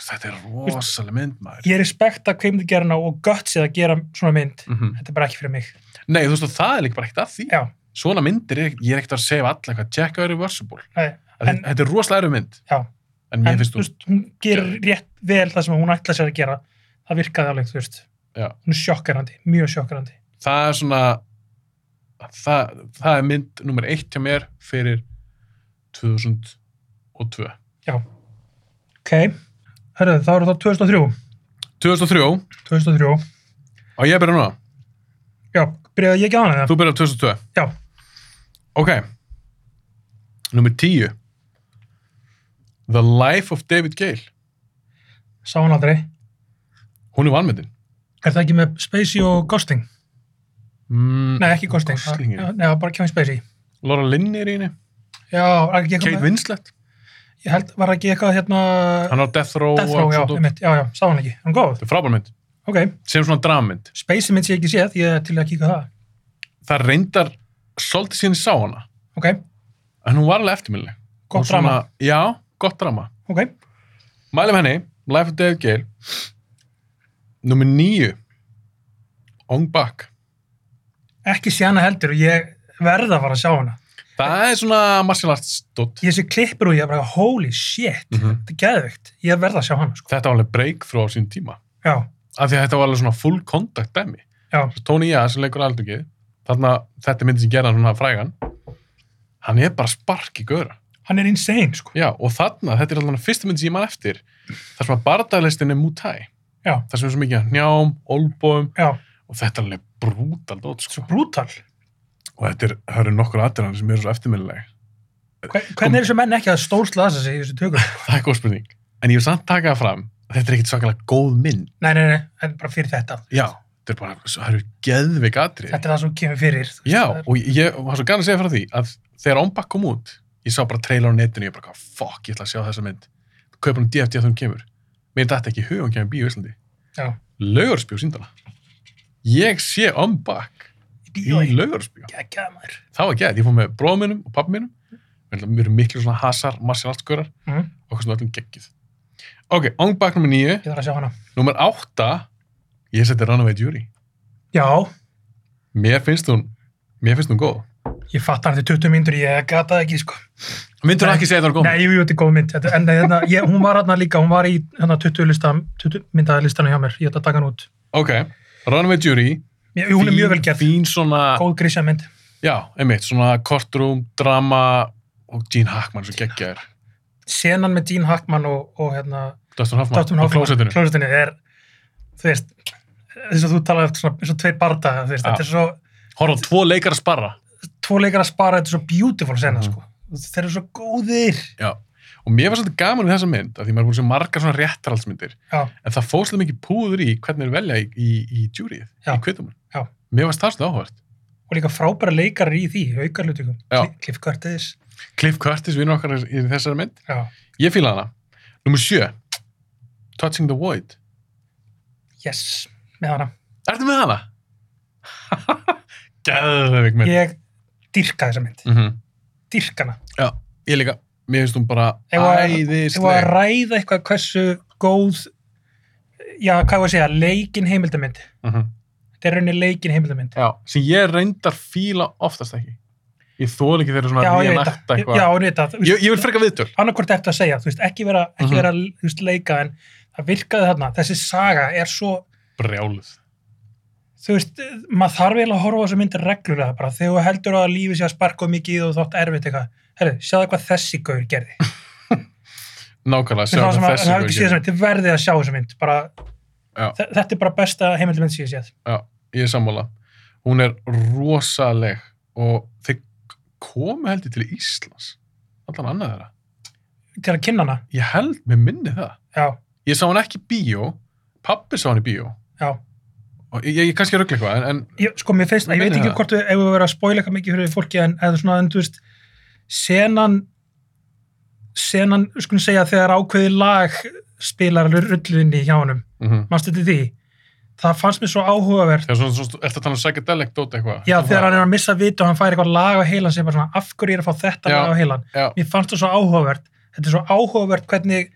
Speaker 1: þetta er rosalega mynd maður
Speaker 2: ég respekta kveimdagerna og gutsið að gera svona mynd
Speaker 1: mm
Speaker 2: þetta er bara ekki fyrir mig
Speaker 1: nei þú veist að það er líka bara ekkert að því
Speaker 2: já,
Speaker 1: svona myndir, er, ég er ekkert að segja alla eitthvað tjekka er reversible
Speaker 2: nei,
Speaker 1: Að
Speaker 2: En-
Speaker 1: þetta þetta er rosalega erfið mynd
Speaker 2: já
Speaker 1: en mér
Speaker 2: en
Speaker 1: finnst
Speaker 2: þú
Speaker 1: þú
Speaker 2: veist, hún gerir rétt vel það sem hún ætla sér að gera það virkaði alveg, þú veist
Speaker 1: Já.
Speaker 2: hún er sjokkarandi, mjög sjokkarandi
Speaker 1: það er svona það, það er mynd nummer eitt hjá mér fyrir 2002
Speaker 2: ok, hörðu, þá eru það 2003
Speaker 1: 2003
Speaker 2: 2003,
Speaker 1: og ég byrja núna,
Speaker 2: já, byrjaði ég ekki á hana eða?
Speaker 1: þú byrjar 2002
Speaker 2: já,
Speaker 1: Ok. Númer tíu. The Life of David Gale.
Speaker 2: sá hann aldrei er
Speaker 1: Hún er vanmyndin.
Speaker 2: það ekki með Spacey og Ghosting?
Speaker 1: Mm,
Speaker 2: nei, ekki Ghosting,
Speaker 1: Gosling er í.
Speaker 2: Já, nei, það var bara Kevin Spacey
Speaker 1: Laura Lynn er í henni.
Speaker 2: já, var ekki
Speaker 1: Kate
Speaker 2: eitthvað með,
Speaker 1: Winslet.
Speaker 2: ég held, var ekki eitthvað hérna,
Speaker 1: Hann er á Death Row.
Speaker 2: Death Row, já, einmitt, já, já, sá hann ekki hann er góð,
Speaker 1: Það er frábær mynd.
Speaker 2: ok,
Speaker 1: Sem svona drammynd.
Speaker 2: Spacey mynd sé ekki séð ég er til að kíka á það,
Speaker 1: Það reyndar svolítið síðan ég sá hana.
Speaker 2: ok,
Speaker 1: En hún var alveg eftirminnileg. Og
Speaker 2: gott
Speaker 1: svona-
Speaker 2: drama
Speaker 1: Já, gott drama.
Speaker 2: ok,
Speaker 1: Mælum henni. Life of David Gale. Númer níu. Ong Bak.
Speaker 2: ekki sé hana heldur og ég verða að fara að sjá hana
Speaker 1: Það er svona martial arts dot.
Speaker 2: ég sé klippur og ég er bara holy shit
Speaker 1: Mhm.
Speaker 2: þetta er geðveikt, ég verða að sjá hana sko.
Speaker 1: Þetta var alveg breakthrough á sín tíma.
Speaker 2: já,
Speaker 1: af því að þetta var alveg svona full contact dæmi
Speaker 2: já,
Speaker 1: Tony Jaa sem leikur aldrei þarna þetta er myndi sem gerða hann svona frægan hann er bara spark í göra
Speaker 2: hann er insane sko.
Speaker 1: já og þarna þetta er alveg fyrsta myndi sem ég man eftir þar sem að bardaglistin er mútæ
Speaker 2: Já.
Speaker 1: þar sem er svo mikið af njám, olbóum
Speaker 2: já,
Speaker 1: og þetta er alveg brútal dót sko.
Speaker 2: brutal
Speaker 1: og þetta er, það eru nokkur aðdurðan sem eru svo eftirminnileg
Speaker 2: Hver, hvernig er þessu menn ekki að stórslasa sig í þessu tökum
Speaker 1: það er góð spurning en ég vil samt taka það fram þetta er ekkit svakalega góð mynd
Speaker 2: nei, nei, nei, þetta er bara fyrir þetta
Speaker 1: já þetta er bara, það eru geðveik atrið
Speaker 2: þetta er það sem kemur fyrir þú veist,
Speaker 1: Já,
Speaker 2: það er-
Speaker 1: og ég og var svo gana að segja frá því að þegar Ombak kom út, ég sá bara trailer á netinu og ég bara, hvað, fuck, ég ætla að sjá þessa mynd. Kaupa hann DFT að hún kemur. Mér dætti ekki í hug að hún kemur í bíó í Íslandi.
Speaker 2: Já.
Speaker 1: Laugarsbjó síndana. Ég sé Ombak í
Speaker 2: í bíói,
Speaker 1: Laugarsbjó.
Speaker 2: geggjaði maður
Speaker 1: Það var gæð, ég fór með bróðum minnum og pappa minnum. Við erum- við erum miklu svona hasar, martial arts görar
Speaker 2: Mhm.
Speaker 1: og hversu öllum geggið. Ok, Ombak nummer 9,
Speaker 2: ég þarf að sjá hana
Speaker 1: nummer 8, ég seti Runaway Jury.
Speaker 2: já,
Speaker 1: Mér finnst hún, mér finnst hún góð.
Speaker 2: ég fatt hann til 20 mínútur ég gata það ekki sko
Speaker 1: Myndur
Speaker 2: Nei.
Speaker 1: ekki segja þetta var góð?
Speaker 2: nei, jú, jú, þetta er góð mynd þetta, en hérna, ég, hún var hérna líka, hún var í hérna 20 listan, 20 myndaðlistana hjá mér ég ætla að taka hann út,
Speaker 1: Ok, Runaway Jury
Speaker 2: ég, hún er mjög vel gerð
Speaker 1: Fín svona,
Speaker 2: góð grísja mynd
Speaker 1: já, einmitt, svona kortrúm, drama og Gene Hackman sem geggjaður
Speaker 2: senan með Gene Hackman og, og hérna,
Speaker 1: Dustin Hoffman,
Speaker 2: Dustin
Speaker 1: á
Speaker 2: Hoffman
Speaker 1: klósettinu
Speaker 2: klósetinu er þú veist, þess að þú talaði eftir svona, eins og tveir barda, þú veist,
Speaker 1: Já.
Speaker 2: þetta er svo
Speaker 1: Horfðu á tvo leikar að sparra
Speaker 2: tvo leikar að spara, þetta er svo beautiful sena,
Speaker 1: Mhm.
Speaker 2: sko þeir eru svo góðir
Speaker 1: Já, og mér var svolítið gaman við þessa mynd af því maður er búin sem margar svona réttarhaldsmyndir
Speaker 2: já,
Speaker 1: en það fór svolítið mikið púður í hvernig er velja í, í, í júrið,
Speaker 2: Já.
Speaker 1: í kvittumur
Speaker 2: Já.
Speaker 1: Mér varst það svolítið áhvert
Speaker 2: og líka frábæra leikar í því, aukar hlutum
Speaker 1: Já.
Speaker 2: Cliff Curtis
Speaker 1: Cliff Curtis, vinnur okkar er- er í þessari mynd
Speaker 2: já,
Speaker 1: Ég fíla hana Númer sjö Touching the Void.
Speaker 2: Yes, með hana.
Speaker 1: Ertu með hana? Gæðveik mynd.
Speaker 2: Ég dýrka þessa mynd.
Speaker 1: Mm
Speaker 2: Dýrka hana.
Speaker 1: Já, ég líka. Mér finnst hún bara
Speaker 2: Ef að- Ég var að
Speaker 1: æðisleg.
Speaker 2: ræða eitthvað hversu góð, já, hvað var að segja, leikin heimildamynd.
Speaker 1: Mhm.
Speaker 2: Þetta er rauninni leikin heimildamynd.
Speaker 1: Já, sem ég reyndar fíla oftast ekki. Ég þól ekki þeirra
Speaker 2: Já,
Speaker 1: svona
Speaker 2: ég veit
Speaker 1: reenakta
Speaker 2: það.
Speaker 1: eitthvað.
Speaker 2: Já, ég veit það. Þú veist,
Speaker 1: Ég, ég vil freka viðtöl.
Speaker 2: annarkvort eftir að segja, þú veist, ekki vera, ekki
Speaker 1: Mhm.
Speaker 2: vera þú veist, leika, en það virkaði þarna. Þessi saga er svo,
Speaker 1: Brjáluð.
Speaker 2: þú veist, maður þarf eiginlega að horfa á þessu mynd reglulega bara. Þegar þú heldur að lífi sé að sparka of mikið í þig og þátt erfitt eitthvað. Herru, sjáðu hvað þessi gaur gerði.
Speaker 1: Nákvæmlega, sjá
Speaker 2: Sjá
Speaker 1: hvað
Speaker 2: það sem að,
Speaker 1: þessi
Speaker 2: það er ekki
Speaker 1: gaur
Speaker 2: séð þessa
Speaker 1: gerir.
Speaker 2: mynd, þið verðið að sjá þessu mynd. Bara,
Speaker 1: Já.
Speaker 2: þe- þetta er bara besta heimildamynd sem ég séð.
Speaker 1: Já, ég er sammála. Hún er rosaleg og þeir komu heldur til Íslands. Allan annað þeirra.
Speaker 2: Til að kynna hana,
Speaker 1: Ég held með minni það.
Speaker 2: já,
Speaker 1: Ég sá hann ekki í bíó. Pappi sá hann í bíó.
Speaker 2: já.
Speaker 1: Og ég, ég kannski ruggla eitthvað, en, en
Speaker 2: Ég, sko, mér finnst,
Speaker 1: Ég
Speaker 2: ég veit
Speaker 1: meina
Speaker 2: ekki
Speaker 1: það.
Speaker 2: hvort við hefur verið að spoila eitthvað mikið fyrir fólki en eða svona, en þú veist, senan senan, skulum segja, þegar ákveðið lag spilar alveg rullinni hjá honum
Speaker 1: mm
Speaker 2: mannstu til því, það fannst mér svo áhugavert
Speaker 1: þegar svona, svona, svona, ertu að tala um psychedelic dót eitthvað?
Speaker 2: já,
Speaker 1: Ertu
Speaker 2: þegar
Speaker 1: það?
Speaker 2: hann er að missa vit og hann fær eitthvað lag á heilan sem er bara svona, af hverju ég er að fá þetta
Speaker 1: Já.
Speaker 2: lag á heilan
Speaker 1: Já,
Speaker 2: mér fannst það svo áhugavert, þetta er svo áhugavert hvernig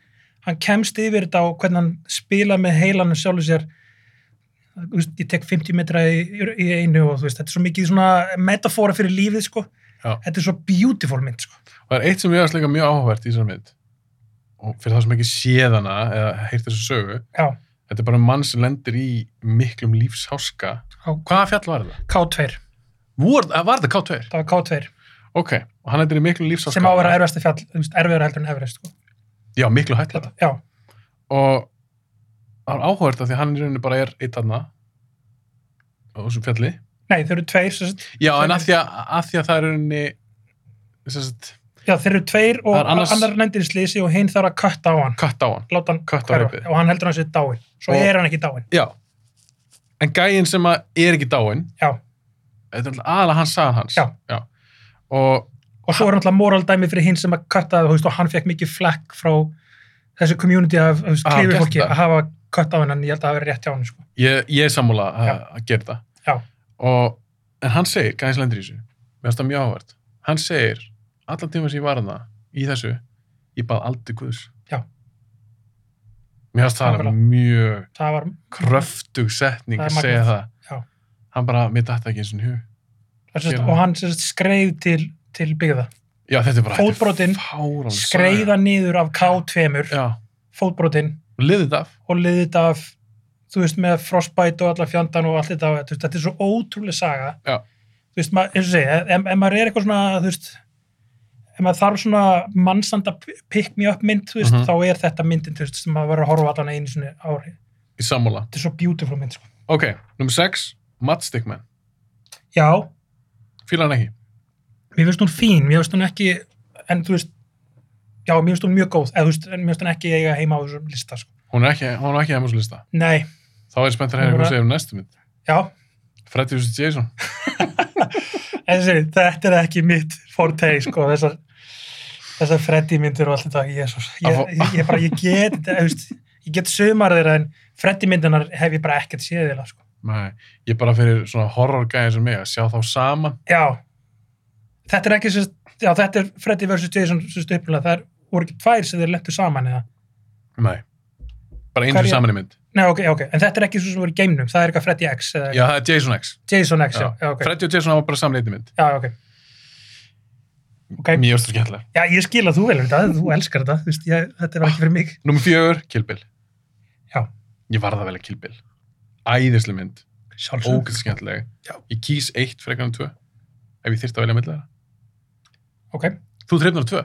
Speaker 2: hann kemst yfir þetta og hvernig hann spila með heilanum sjálfur sér Þú veist, ég tek 50 metra í, í einu og þú veist, þetta er svo mikið svona metafóra fyrir lífið sko,
Speaker 1: Já.
Speaker 2: þetta er svo beautiful mynd sko,
Speaker 1: og það er eitt sem ég varst líka mjög áhugavert í þessar mynd. Og fyrir það sem ekki séð hana eða heyrt þessu sögu,
Speaker 2: já,
Speaker 1: þetta er bara um mann sem lendir í miklum lífsháska.
Speaker 2: á
Speaker 1: Hvaða fjall var það?
Speaker 2: K2
Speaker 1: Vor, var það K2?
Speaker 2: það var K2,
Speaker 1: Ok, og hann lendir í miklum lífsháska.
Speaker 2: sem á að vera erfasta fjall þú veist, erfiðar heldur en Everest sko
Speaker 1: Já, miklu hættar
Speaker 2: þetta, já,
Speaker 1: og það er áhugavert að því að hann í rauninni bara er eitt aðna á þessum fjalli
Speaker 2: nei, þeir eru tveir sem sagt,
Speaker 1: já en að því að, að, því að það er í rauninni sem sagt,
Speaker 2: já, þeir eru tveir og
Speaker 1: Það er annars-
Speaker 2: annars... annar lendir í slísi og hinn þarf að kötta á hann
Speaker 1: katt á hann
Speaker 2: láta hann
Speaker 1: Kötta á ripið.
Speaker 2: og hann heldur hann sér dáin svo
Speaker 1: Og-
Speaker 2: er hann ekki dáin,
Speaker 1: já. en gæinn sem að er ekki dáinn
Speaker 2: já
Speaker 1: þetta er aðalega hans sagan hans
Speaker 2: Já.
Speaker 1: og
Speaker 2: og svo er náttúrulega moraldæmi fyrir hinn sem að katta þú veist, og hann fekk mikið flekk frá þessu community af
Speaker 1: Ah, hann
Speaker 2: klifur
Speaker 1: gert
Speaker 2: fólki
Speaker 1: þetta.
Speaker 2: að hafa katta á hennan, ég held að það hafi verið rétt hjá hann sko.
Speaker 1: ég, ég er sammúla að,
Speaker 2: Já.
Speaker 1: að gera það
Speaker 2: Já.
Speaker 1: og, en hann segir, gæðins lendir í þessu mér finnst það mjög áhvert, hann segir allan tíma sem ég var hana í þessu ég bað aldrei guðs
Speaker 2: Já.
Speaker 1: mér finnst það
Speaker 2: Nákvæmlega.
Speaker 1: alveg mjög
Speaker 2: það var,
Speaker 1: kröftug setning
Speaker 2: Mhm. Það er
Speaker 1: að segja
Speaker 2: magnað.
Speaker 1: það
Speaker 2: Já.
Speaker 1: hann bara, mér datt það ekki eins og hug
Speaker 2: það sést,
Speaker 1: Gerðu
Speaker 2: og
Speaker 1: það.
Speaker 2: hann sérst, skreið til, til byggða,
Speaker 1: já, þetta er bara þetta er
Speaker 2: Fótbrotinn,
Speaker 1: fáránleg saga.
Speaker 2: skreiða niður af K2
Speaker 1: já,
Speaker 2: fótbrotinn
Speaker 1: og liðið þetta af
Speaker 2: og liðið þetta af þú veist, með frostbite og alla fjandan og allt þetta, þú veist, þetta er svo ótrúlega saga
Speaker 1: Já.
Speaker 2: þú veist, maður, eins og segja ef, ef maður er eitthvað svona, þú veist ef maður þarf svona mannsanda pick me up mynd, þú veist,
Speaker 1: Mhm.
Speaker 2: þá er þetta myndin, þú veist, sem maður verður að horfa allan einu svona ári,
Speaker 1: í sammála
Speaker 2: þetta er svo beautiful mynd, sko
Speaker 1: ok, nummer 6, Matt Stickman
Speaker 2: já,
Speaker 1: fíla hann ekki
Speaker 2: mér finnst hún fín, mér finnst hún ekki en þú veist, já, mér finnst hún mjög góð eða þú veist, en mér finnst hún ekki eiga heima á þessum lista, sko,
Speaker 1: hún er ekki, hún er ekki heim á svo lista
Speaker 2: nei,
Speaker 1: þá er spennt að hérna
Speaker 2: Hún er-
Speaker 1: hvað segir um næstu mynd
Speaker 2: já
Speaker 1: Freddy vs. Jason
Speaker 2: En þessi, þetta er ekki mitt forte, sko, þessar, þessar Freddy myndir og allt þetta, jésus, ég,
Speaker 1: Að
Speaker 2: ég, ég bara, ég get, þetta, þú veist, ég get sumar þeirra en Freddy myndinar hef ég bara ekkert séð þeirra, sko.
Speaker 1: Nei, ég bara fyrir svona horrorgæðin sem mig að sjá þá saman
Speaker 2: Já, þetta er ekki, sérst, já, þetta er Freddy vs. Jason, sérst, upplega, það er, voru ekki tvær sem þeir lentu saman eða,
Speaker 1: Nei, bara einu
Speaker 2: Hverja-
Speaker 1: Hverja... saman í mynd
Speaker 2: nei, ok, já, ok, en þetta er ekki svo sem voru í geimnum, það er eitthvað Freddy X eða
Speaker 1: Já, það er Jason X
Speaker 2: Jason X, já, já, ok,
Speaker 1: Freddy og Jason hafa bara saman í einni mynd
Speaker 2: já, ok. Ok,
Speaker 1: Mjög stór skemmtilega
Speaker 2: já, ég skil að þú velur þetta, þú elskar þetta, þú veist, ég, þetta var ekki fyrir mig.
Speaker 1: Númer fjögur, Kill Bill
Speaker 2: Já.
Speaker 1: Ég varð að velja Kill Bill Æðislega mynd,
Speaker 2: Sjálfsög.
Speaker 1: ógæð skemmtilega
Speaker 2: Já.
Speaker 1: Ég kýs eitt frekar en tvö Ef ég þyrfti að velja milli þeirra
Speaker 2: Ok.
Speaker 1: Þú þreifnar tvö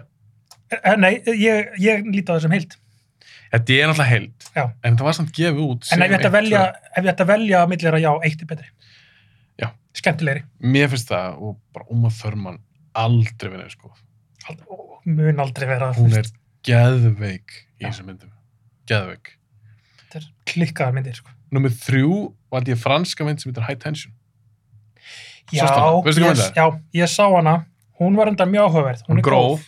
Speaker 2: Eh, Nei, ég, ég líti á það sem heild.
Speaker 1: Þetta er náttúrulega heild
Speaker 2: Já.
Speaker 1: En það var samt gefið út
Speaker 2: En
Speaker 1: sem
Speaker 2: ef ég
Speaker 1: eitt,
Speaker 2: ætti að
Speaker 1: sko.
Speaker 2: velja, ef ég ætti að velja að millir að já, eitt er betri.
Speaker 1: Já.
Speaker 2: Skemmtilegri.
Speaker 1: tvö. Mér finnst það og bara Uma Thurman aldrei vinna sko.
Speaker 2: Ald- ó, Mun aldrei vera
Speaker 1: Hún er geðveik í
Speaker 2: Já.
Speaker 1: þessum myndum Geðveik
Speaker 2: Þetta er klikkaðar myndir, sko.
Speaker 1: Númer þrjú valdi ég franska mynd sem heitir High Tension.
Speaker 2: Já,
Speaker 1: hana? Veistu hvað
Speaker 2: ég,
Speaker 1: mynd það er?
Speaker 2: já, ég sá hana. Hún var enda mjög áhugaverð.
Speaker 1: Hún er
Speaker 2: er góð.
Speaker 1: gróf.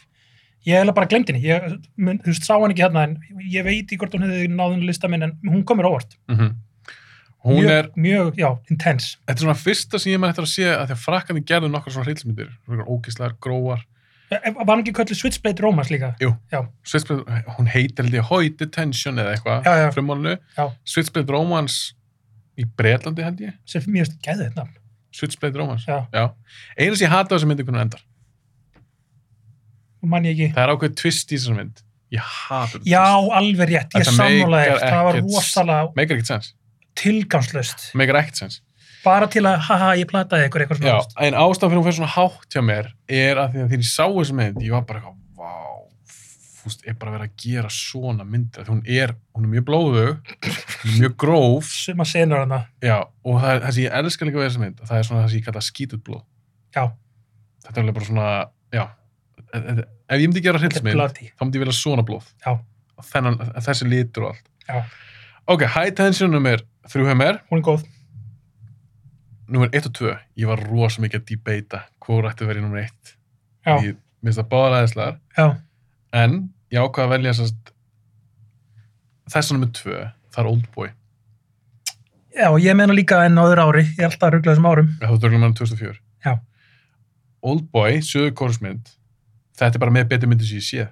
Speaker 2: Ég hef bara glemt henni, ég mun, þú veist, sá hann ekki hérna en ég veit í hvort hún hefði náðun lista minn en hún komur óvart.
Speaker 1: Mhm. Hún
Speaker 2: mjög,
Speaker 1: er,
Speaker 2: Mjög, já, intense.
Speaker 1: þetta er svona fyrsta sem ég maður eftir að sé að því að frakkandi gerðu nokkar svona hreilsmyndir, svona ógislegar, gróar,
Speaker 2: E- e- Var hann ekki kallið Switchblade Romance líka?
Speaker 1: Switchblade, hún heitir held ég Hoi Detention eða eitthvað,
Speaker 2: Já, já.
Speaker 1: frumálinu,
Speaker 2: Já.
Speaker 1: Switchblade Romance í Bretlandi held ég,
Speaker 2: Sem mér finnst gæðið þetta.
Speaker 1: Switchblade Romance,
Speaker 2: Já,
Speaker 1: já. Einu sem ég hata á þessu myndi hvernig hún endar,
Speaker 2: nú man ég ekki.
Speaker 1: það er ákveð twist í þessari mynd, ég hata þetta
Speaker 2: Já,
Speaker 1: twist.
Speaker 2: alveg rétt, ég
Speaker 1: Þetta
Speaker 2: sammála
Speaker 1: meikar
Speaker 2: þér. Það var
Speaker 1: ekkert-
Speaker 2: rosalega
Speaker 1: Meikar ekkert sens,
Speaker 2: tilgangslöst.
Speaker 1: meikar ekkert sens.
Speaker 2: Bara til að, haha, ég plataði ykkur eitthvað
Speaker 1: Já,
Speaker 2: svona.
Speaker 1: en ástæðan fyrir hún fyrir svona hátt hjá mér er að því að þegar ég sá þessu mynd ég var bara eitthvað, vá fúst, er bara verið að gera svona myndir því hún er, hún er mjög blóðug hún er mjög gróf
Speaker 2: Suma senur hana.
Speaker 1: já, og það, er- það sem ég elska líka við þessa mynd það er svona það sem ég kalla skítut blóð
Speaker 2: Já,
Speaker 1: þetta er alveg bara svona, já e- e- ef ég myndi gera
Speaker 2: þetta er
Speaker 1: hryllismynd
Speaker 2: blöti.
Speaker 1: þá myndi ég vilja svona blóð
Speaker 2: Já.
Speaker 1: Þennan, þessi litur og allt
Speaker 2: Já.
Speaker 1: ok, high tension nummer þrjú hjá mér
Speaker 2: Hún er góð.
Speaker 1: nummer 1 og 2, ég var rosa mikið að debata hvort ætti að vera í nummer 1
Speaker 2: Já,
Speaker 1: ég minnst það báðar aðeinslegar
Speaker 2: já,
Speaker 1: en ég ákvað að velja sérst, þessan nummer tvö það er Oldboy,
Speaker 2: já, ég meina líka enn á öðru ári, ég er alltaf að ruggla þessum árum.
Speaker 1: það var dörglum hann 2004
Speaker 2: Já.
Speaker 1: Oldboy, sögur kórsmynd þetta er bara með betri myndi sem ég sé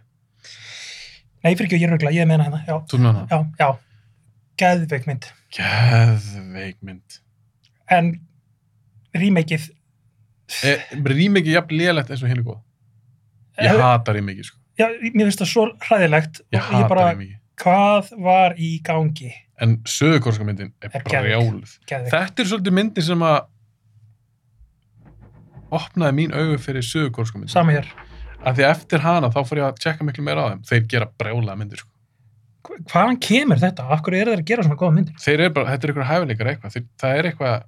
Speaker 2: Nei, fyrir ekki, ég ruggla, ég meina hérna, já,
Speaker 1: þú með hana,
Speaker 2: já, já, geðveik mynd.
Speaker 1: geðveik mynd
Speaker 2: En rímeikið,
Speaker 1: e, rýmiki jafn lélegt eins og hinn er góð
Speaker 2: Eh,
Speaker 1: ég hata rýmiki sko.
Speaker 2: já, mér finnst það svo hræðilegt og
Speaker 1: ég hata
Speaker 2: bara,
Speaker 1: rýmiki
Speaker 2: hvað var í gangi?
Speaker 1: en sögur kórsmyndin er,
Speaker 2: Er
Speaker 1: er
Speaker 2: geðveik.
Speaker 1: brjáluð
Speaker 2: Geðveik,
Speaker 1: þetta er svolítið myndin sem að opnaði mín augu fyrir sögur kórsmyndin
Speaker 2: sama hér.
Speaker 1: að því að eftir hana þá fór ég að tjekka miklu meira á þeim þeir gera brjálega myndir sko.
Speaker 2: Hva- Hvaðan kemur þetta? Af hverju eru þeir að gera svona góða myndir?
Speaker 1: þeir eru bara, þetta er eitthvað hæfileikar eitthvað þeir, það er eitthvað,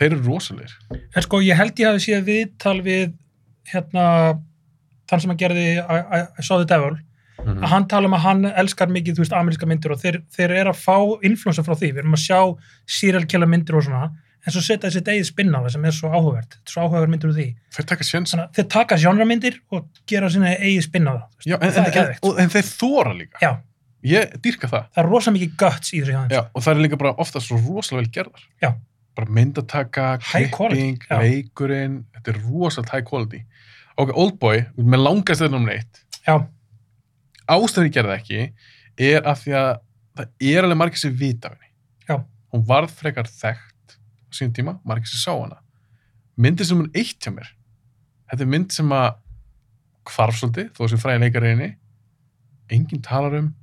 Speaker 1: þeir eru rosalir
Speaker 2: En sko, ég held ég hafi séð viðtal við, hérna, þann sem að gerði I- I- I Saw the Devil,
Speaker 1: Mm.
Speaker 2: að hann tala um að hann elskar mikið, þú veist, ameríska myndir og þeir, þeir eru að fá influensa frá því, við erum að sjá serial killer myndir og svona, en svo setja þessi degið spinn á það sem er svo áhugavert, svo áhugaverð myndir úr því.
Speaker 1: þeir taka sjens
Speaker 2: Þannig að þeir taka genremyndir og gera sína eigið spinn á það. þú veist.
Speaker 1: Já, en,
Speaker 2: það
Speaker 1: en,
Speaker 2: er
Speaker 1: en,
Speaker 2: geðveikt. sko.
Speaker 1: og- en þeir þóra líka
Speaker 2: Já,
Speaker 1: ég dýrka það
Speaker 2: það er rosa mikið guts í þessu hjá þeim.
Speaker 1: Já, og það er líka bara ofta svo rosalega vel gerðar
Speaker 2: Já.
Speaker 1: bara myndataka,
Speaker 2: High quality,
Speaker 1: klipping
Speaker 2: já.
Speaker 1: leikurinn, þetta er rosalega high quality ok, Oldboy, með langast þetta um neitt
Speaker 2: Já,
Speaker 1: ástæður ég gerði það ekki er af því að það er alveg margir sem vita af henni.
Speaker 2: Já.
Speaker 1: Hún varð frekar þekkt á sínum tíma, margir sem sá hana. Myndið sem hún eitt hjá mér. Þetta er mynd sem að hvarf svolítið, þó sem fræði leikar í henni. Enginn talar um,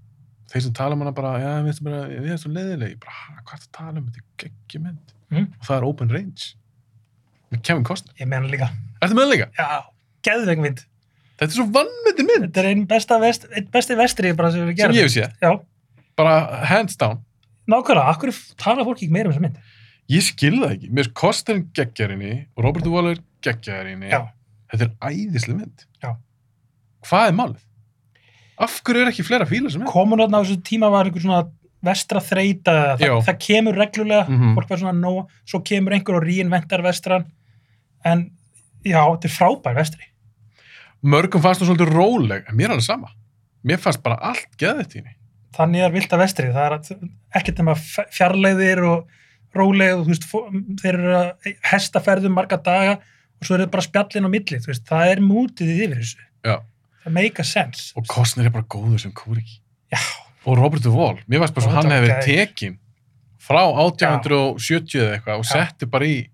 Speaker 1: þeir sem tala um hana bara, já, við erum bara, við erum svo leiðilegi. Bara, "Ha, hvað er það að tala um, þetta er geggjum mynd.
Speaker 2: Mhm.
Speaker 1: Og það er Open Range. Með Kevin Costner.
Speaker 2: ég meina líka.
Speaker 1: Ertu með það líka?
Speaker 2: Já, geðveik mynd.
Speaker 1: Þetta er svo vannmyndin mynd
Speaker 2: Þetta er einn besta vest, einn besti vestri bara sem við erum að
Speaker 1: sem
Speaker 2: gera.
Speaker 1: ég hef séð.
Speaker 2: Já,
Speaker 1: Bara hands down.
Speaker 2: nákvæmlega, akkur tala fólk ekki meira um þessa mynd.
Speaker 1: Ég skil það ekki. Mér finnst Kosterinn geggjarinni og Robert Waller geggjarinni.
Speaker 2: Já.
Speaker 1: Þetta er æðislega mynd.
Speaker 2: Já.
Speaker 1: Hvað er málið? Af hverju er ekki fleira fíla sem er?
Speaker 2: Komun á þessu tíma var einhver svona vestra þreita, það,
Speaker 1: Já.
Speaker 2: það kemur reglulega,
Speaker 1: Mhm.
Speaker 2: fólk var svona nóg, svo kemur einhver og rínventar vestran, en já, þetta er frábær vestri.
Speaker 1: Mörgum fannst hún svolítið róleg, en mér er alveg sama. Mér fannst bara allt geðið henni.
Speaker 2: Þannig er vilt að vestri, það er að- ekkert nema f- fjarlægðir og róleg og þú veist, fó- þeir eru að hestaferðum marga daga og svo eru bara spjallin á milli, þú veist, það er mútið yfir þessu.
Speaker 1: Já.
Speaker 2: Það make a sense.
Speaker 1: Og Kostner er bara góður sem kúriki.
Speaker 2: Já.
Speaker 1: Og Robert Wall, mér fannst bara svo
Speaker 2: Robert
Speaker 1: hann hefði verið
Speaker 2: Duvall,
Speaker 1: tekin frá 1870 eða eitthvað og
Speaker 2: Já.
Speaker 1: setti bara í...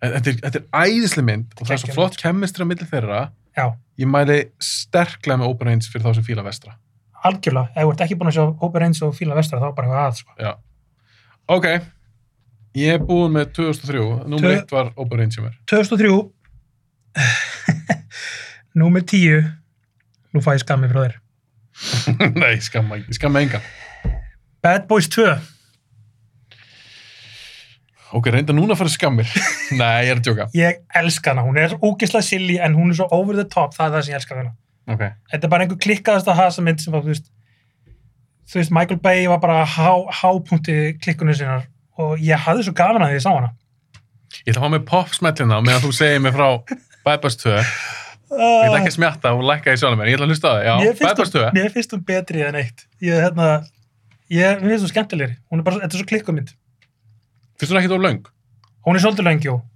Speaker 1: Þetta er, þetta er æðislega mynd og það er
Speaker 2: Geggjuð
Speaker 1: svo flott kemmistri á milli þeirra.
Speaker 2: Já.
Speaker 1: Ég mæli sterklega með Open Range fyrir þá sem fíla vestra.
Speaker 2: Algjörlega, ef þú ert ekki búin að sjá Hóper Eins og Fíla Vestra, þá er bara eitthvað að, sko.
Speaker 1: Já. Ok. Ég er búinn með 2003. Númer
Speaker 2: Tvö-
Speaker 1: 1 var Open Range hjá mér.
Speaker 2: 2003 Númer 10 Nú fæ ég skammi frá þér
Speaker 1: Nei, ég skamma ekki. Ég Skamma engan.
Speaker 2: Bad Boys 2
Speaker 1: Ok, reynda núna að fara skammir. Nei, ég er að djóka.
Speaker 2: Ég elska hana, hún er ógislega silly en hún er svo over the top, það er það sem ég elska við hana
Speaker 1: Ok.
Speaker 2: Þetta er bara einhver klikkaðasta hasa mynd sem var, þú veist þú veist, Michael Bay var bara há, hápunkti klikkunni sinnar og ég hafði svo gaman að því ég sá hana
Speaker 1: Ég ætla að fá með popsmellina á meðan þú segir mér frá Bypass 2. Ég ætla ekki að smjatta og lækka í sjálfum mér. Ég ætla að hlusta á það. Já,
Speaker 2: Ah, mér finnst,
Speaker 1: Bæbarstöða.
Speaker 2: hún, mér finnst hún betri en eitt ég, hérna, ég, mér finnst hún skemmtilegri hún er bara, þetta er svo klikkumynd
Speaker 1: Finnst hún ekkit of löng?
Speaker 2: hún er svolítið lengi og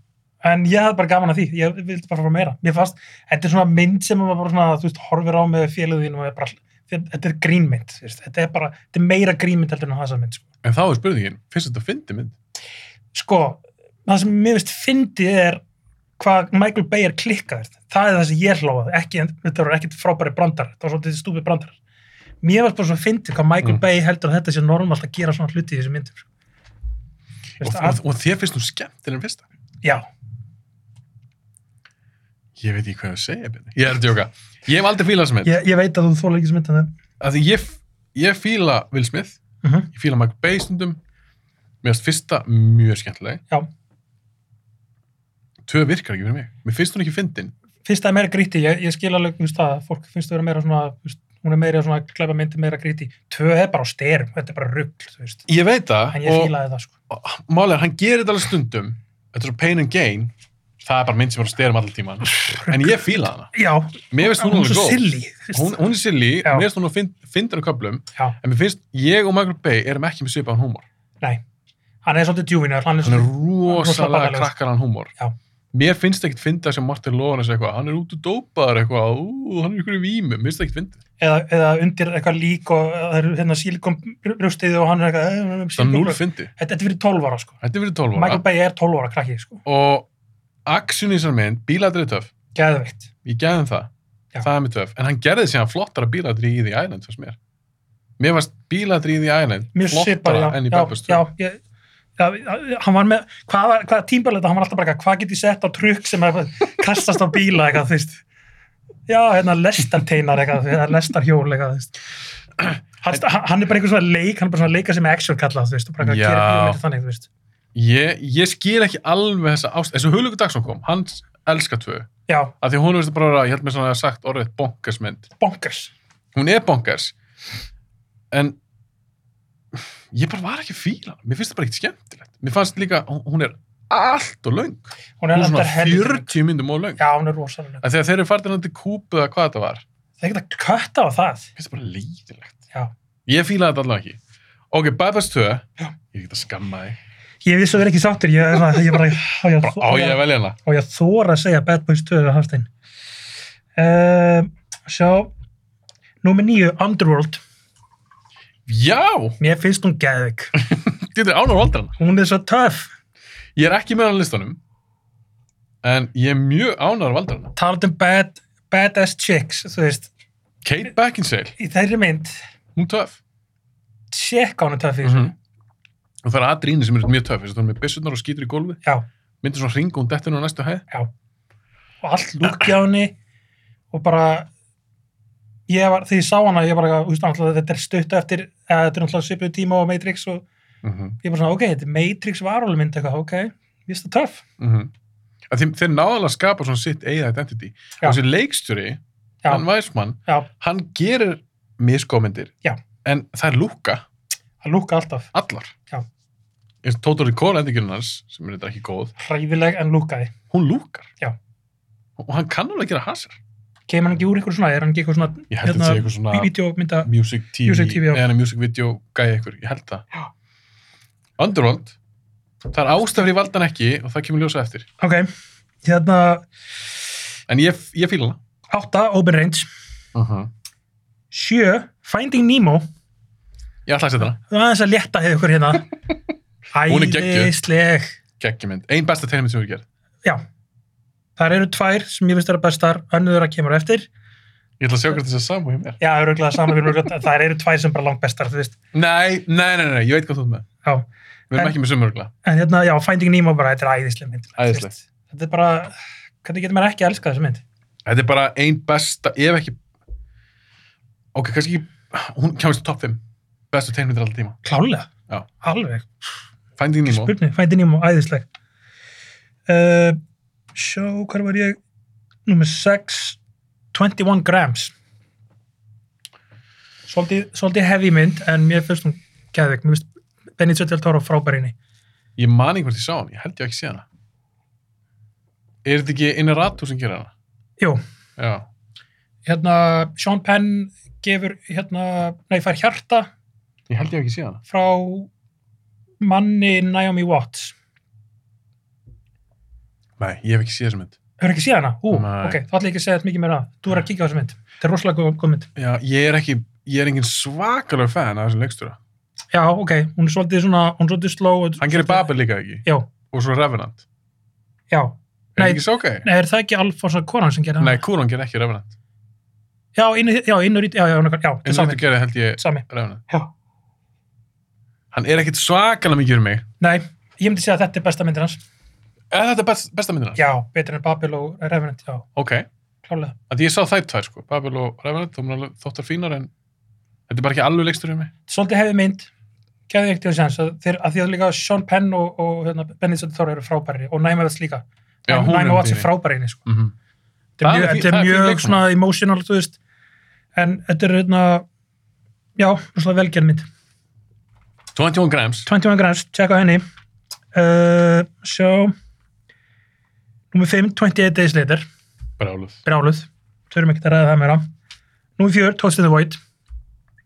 Speaker 2: en ég hafði bara gaman að því, ég vildi bara fara meira mér fannst, þetta er svona mynd sem maður bara svona, þú veist, horfir á með félagðinu og er bara, þetta er grínmynd þú veist, þetta er bara, þetta er meira grínmynd heldur en þessa mynd, sko.
Speaker 1: En þá er spurningin, finnst þetta fyndi mynd?
Speaker 2: sko, það sem mér finnst fyndið er hvað Michael Bay er klikkaður það er það sem ég hlóði, ekki þetta voru ekkit frábæri brandar, þetta var svolítið stúpið brandar mér varst bara svona fyndið hvað Michael
Speaker 1: Mm.
Speaker 2: Bay heldur að þetta sé normalt að gera svona hluti í þessu myndum sko. Þú
Speaker 1: Og,
Speaker 2: veist,
Speaker 1: og, og þér finnst hún skemmtileg en fyrsta?
Speaker 2: að- já,
Speaker 1: Ég veit ekki hvað ég á að segja, Bjarni. Ég er að djóka. Ég hef aldrei fílað sem mynd.
Speaker 2: ég, ég veit að þú þóla ekki sem myndan þeim
Speaker 1: Af því ég, ég fíla Will Smith,
Speaker 2: uh
Speaker 1: ég fíla Michael Bay stundum. Mér finnst fyrsta mjög skemmtileg.
Speaker 2: Já.
Speaker 1: Tvö virkar ekki fyrir mig. Mér finnst hún ekki fyndin.
Speaker 2: fyrst það er meira gríti, ég, ég skil alveg um það, fólk finnst það vera meira svona þú veist, hún er meira svona klæpa myndi meira gríti tvö er bara á styrum, þetta er bara rugl þú veist,
Speaker 1: Ég veit það.
Speaker 2: en ég
Speaker 1: og-
Speaker 2: fílaði það sko
Speaker 1: málega, hann gerir þetta alveg stundum þetta er svo pain and gain það er bara mynd sem er að styrum allir tíman en ég fíla hana,
Speaker 2: já,
Speaker 1: mér finnst hún
Speaker 2: hún er
Speaker 1: alveg
Speaker 2: svo
Speaker 1: góð
Speaker 2: silly þú veist.
Speaker 1: hún, hún er silly,
Speaker 2: Já.
Speaker 1: mér finnst hún að fynda hann köplum
Speaker 2: já,
Speaker 1: en mér finnst, ég og Michael Bay erum ekki með svipaðan húmor
Speaker 2: nei, hann er svolítið djúvinar hann er
Speaker 1: hann er
Speaker 2: svolítið,
Speaker 1: rosalega
Speaker 2: barnalegur.
Speaker 1: krakkaran húmor
Speaker 2: Já.
Speaker 1: mér finnst ekkit fynda sem Martin Lóðan eitthvað, hann er út og dópaður eitthvað ú, hann er ykkur í vímu, mér finnst ekkit fyndið
Speaker 2: eða, eða undir eitthvað lík og það eru hérna sílikum rústiði og hann er eitthvað eh, eh,
Speaker 1: það er
Speaker 2: sílikon-
Speaker 1: núl fyndið,
Speaker 2: þetta þetta er fyrir 12 ára sko
Speaker 1: þetta er fyrir 12 ára
Speaker 2: Michael Bay er 12 ára krakki sko,
Speaker 1: og action í þessar mynd, bíladrið töf
Speaker 2: geðveikt
Speaker 1: ég gæði hann það,
Speaker 2: Já.
Speaker 1: það er mitt vef en hann gerði síðan flottara bíladri í The Island fyrst mér, mér varst bíladri í The Island
Speaker 2: mjög svipar, já,
Speaker 1: flottara enn í
Speaker 2: já,
Speaker 1: Beppastu
Speaker 2: já, ég, já, hann var með hvað, var- hvað tímbalita, hann var alltaf bara eitthvað, hvað get ég sett á trukk sem er, kastast á bíla eitthvað, þú veist já, hérna lestarteinar eitthvað, þú veist, lestarhjól eitthvað, þú veist Hann- hann, hann er bara einhver svona leik, hann er bara svona leika sem er action kallað, þú veist, og bara eitthvað
Speaker 1: Já.
Speaker 2: að gera bíómyndir þannig, þú veist,
Speaker 1: ég, ég skil ekki alveg þessa ást eins og Hulugur Dagsson kom, hann elskar tvö
Speaker 2: já,
Speaker 1: af því hún veist bara, vera, ég held mér svona að hafa sagt orðið bonkersmynd,
Speaker 2: bonkers
Speaker 1: hún er bonkers en ég bara var ekki að fíla hana. mér finnst það bara ekkert skemmtilegt mér fannst líka, hún- hún er allt og löng hún
Speaker 2: hún
Speaker 1: er svona
Speaker 2: enda helvíti löng.
Speaker 1: 40 myndum og löng
Speaker 2: já, hún er rosalega,
Speaker 1: af því að þeir eru farið til kúpu eða hvað þetta var
Speaker 2: það er ekki að kötta á það
Speaker 1: Mér finnst það bara leiðilegt.
Speaker 2: Já.
Speaker 1: Ég fílaði þetta allavega ekki. Ok, Bypass 2.
Speaker 2: Já.
Speaker 1: Ég get að skamma þig.
Speaker 2: ég vissi að vera ekki sáttur, ég, er svona- ég bara á ég að
Speaker 1: Bara á ég að velja hana.
Speaker 2: og ég þóra að segja Bad Boys 2 við Hafstein uh, sjá númer nýju, Underworld
Speaker 1: Já,
Speaker 2: mér finnst hún geðvik,
Speaker 1: þetta er ánur valdur hana.
Speaker 2: hún er svo töff
Speaker 1: Ég er ekki með hana á listanum. En ég er mjög ánur valdur hana.
Speaker 2: talað um bad, badass chicks þú veist,
Speaker 1: Kate Beckinsale,
Speaker 2: í þeirri mynd
Speaker 1: hún töf.
Speaker 2: check á hún töff í
Speaker 1: Mm
Speaker 2: þessu
Speaker 1: Og það er aðrýni sem eru mjög töf. Þess að það er með byssunar og skýtur í gólfi.
Speaker 2: já,
Speaker 1: Myndir svona hringa hún dettinu á næstu hæð.
Speaker 2: og allt lúkja á henni og bara ég var, þegar ég sá hana, ég bara, þú veist, náttúrulega þetta er stutt eftir, eða þetta er náttúrulega svipuð tíma og Matrix og
Speaker 1: Mm -hmm.
Speaker 2: ég bara svona, ok, þetta er Matrix varulmynd eitthvað, ok, mér finnst það töff
Speaker 1: Þeir, þeir náðalega skapa svona sitt eigið identity.
Speaker 2: Já.
Speaker 1: Og þessi leikstjóri,
Speaker 2: Já.
Speaker 1: hann Væsmann,
Speaker 2: já,
Speaker 1: hann gerir miskómyndir.
Speaker 2: Já.
Speaker 1: En það er lúka.
Speaker 2: það lúkka alltaf
Speaker 1: allar
Speaker 2: Já.
Speaker 1: eins og Tóta Rikóla endingurinn hans sem er þetta ekki góð,
Speaker 2: hræðileg en lúkaði
Speaker 1: hún lúkar
Speaker 2: Já.
Speaker 1: og hann kann alveg að gera hasar
Speaker 2: kemur hann ekki úr eitthvað svona, er hann ekki eitthvað svona hérna,
Speaker 1: ég held þetta sé eitthvað svona
Speaker 2: vídeómynda,
Speaker 1: music TV,
Speaker 2: Music TV, já.
Speaker 1: eða hann er music video gæði eitthvað, ég held það
Speaker 2: Já.
Speaker 1: Underworld það er ástafri valdan ekki og það kemur ljósa eftir
Speaker 2: ok hérna,
Speaker 1: en ég, ég fíla hana
Speaker 2: 8, Open Range
Speaker 1: uh -huh.
Speaker 2: 7, Finding Nemo
Speaker 1: ég ætla að setja hana,
Speaker 2: það er aðeins að létta hefur ykkur hérna
Speaker 1: Hún er geggjuð.
Speaker 2: æðisleg
Speaker 1: geggjumynd ein besta tegnmynd sem við gerð
Speaker 2: já, þar eru tvær sem ég finnst vera bestar, önnur þeirra kemur á eftir
Speaker 1: ég ætla að sjá hvert þess að samu hjá mér
Speaker 2: já, öruglega saman við öruglega, þar eru tvær sem bara langt bestar þú veist,
Speaker 1: nei, nei, nei, nei, nei, ég veit hvað þú ert með
Speaker 2: já
Speaker 1: við erum
Speaker 2: En-
Speaker 1: ekki með sumurugla
Speaker 2: en hérna, já, Finding Nemo bara, þetta er æðisleg mynd þú
Speaker 1: Æðisleg.
Speaker 2: veist. þetta er bara, hvernig getur maður ekki að elska þessa mynd
Speaker 1: þetta er bara ein besta, ef ekki ok, kannski ekki hún kemur til top 5 bestu tegnmyndir alltaf tíma
Speaker 2: klálega,
Speaker 1: Já.
Speaker 2: alveg
Speaker 1: Finding Nemo,
Speaker 2: spurning, Finding Nemo, æðisleg uh, sjá, hvar var ég nummer 6 21 grams svolítið, svolítið heavy mynd en mér finnst hún geðvik mér finnst Benny Sjöldvel Tóra frábærinni
Speaker 1: ég man einhvern til sá hann ég held ég hafi ekki sé hana er þetta ekki Inaratu sem gera hana?
Speaker 2: jú,
Speaker 1: já,
Speaker 2: Hérna, Sean Penn gefur, hérna, nei, fær hjarta
Speaker 1: ég held ég hef ekki séð hana
Speaker 2: frá manni Naomi Watts.
Speaker 1: nei, ég hef ekki séð þessa mynd
Speaker 2: Hefur ekki séð hana? Ú,
Speaker 1: Nei.
Speaker 2: ok, þá ætla ég ekki að segja þetta mikið meira að. Þú er að kíkja á þessu mynd. Þetta er rosalega góð, góð mynd.
Speaker 1: já, ég er ekki, ég er engin svakalega fan af þessum leikstjóra
Speaker 2: Já, ok, hún er svolítið svona, hún er svolítið sló.
Speaker 1: hann gerir Babel líka ekki,
Speaker 2: Já,
Speaker 1: og svo Revenant
Speaker 2: já.
Speaker 1: er
Speaker 2: Nei.
Speaker 1: ekki svo ok?
Speaker 2: Nei, er það ekki Alfonso Koran sem gerði
Speaker 1: nei,
Speaker 2: hana?
Speaker 1: Kúron gerir ekki Revenant
Speaker 2: Já, innur, já, innur, já, já, já, já, já,
Speaker 1: eins og
Speaker 2: sami,
Speaker 1: þetta gerir held ég
Speaker 2: sami.
Speaker 1: Revenant
Speaker 2: Já.
Speaker 1: hann er ekkit svakalega mikið um mig
Speaker 2: Nei, ég myndi segja að þetta er besta myndin hans.
Speaker 1: er þetta best, besta myndina?
Speaker 2: Já, betur en Babel og Revenant, já,
Speaker 1: ok,
Speaker 2: klálega.
Speaker 1: að ég sá þær tvær sko Babel og Revenant, þú mér alveg þóttar fínar en þetta er bara ekki alveg leikstjóri um mig
Speaker 2: Svolítið hefði mynd, gefði ekkert til þess að þeir, að því að líka Sean Penn og, og hérna, Benedict Thor eru frábæri og Naima Vats líka.
Speaker 1: Já, hún er
Speaker 2: Naima Vats
Speaker 1: undir
Speaker 2: er
Speaker 1: í.
Speaker 2: frábæri inni, sko.
Speaker 1: Mhm.
Speaker 2: Þetta
Speaker 1: Það
Speaker 2: er
Speaker 1: er
Speaker 2: mjög,
Speaker 1: fín- það
Speaker 2: þetta er
Speaker 1: er fín
Speaker 2: mjög
Speaker 1: leikkona.
Speaker 2: svona emotional, þú veist, en þetta er hérna, já, rosalega velgerð mynd.
Speaker 1: 21 grams
Speaker 2: 21 grams, tjekka á henni uh, sjá nummer 5, 28 days later
Speaker 1: bráluð
Speaker 2: bráluð, þurfum ekki að ræða það meira nummer 4, Toast in the Void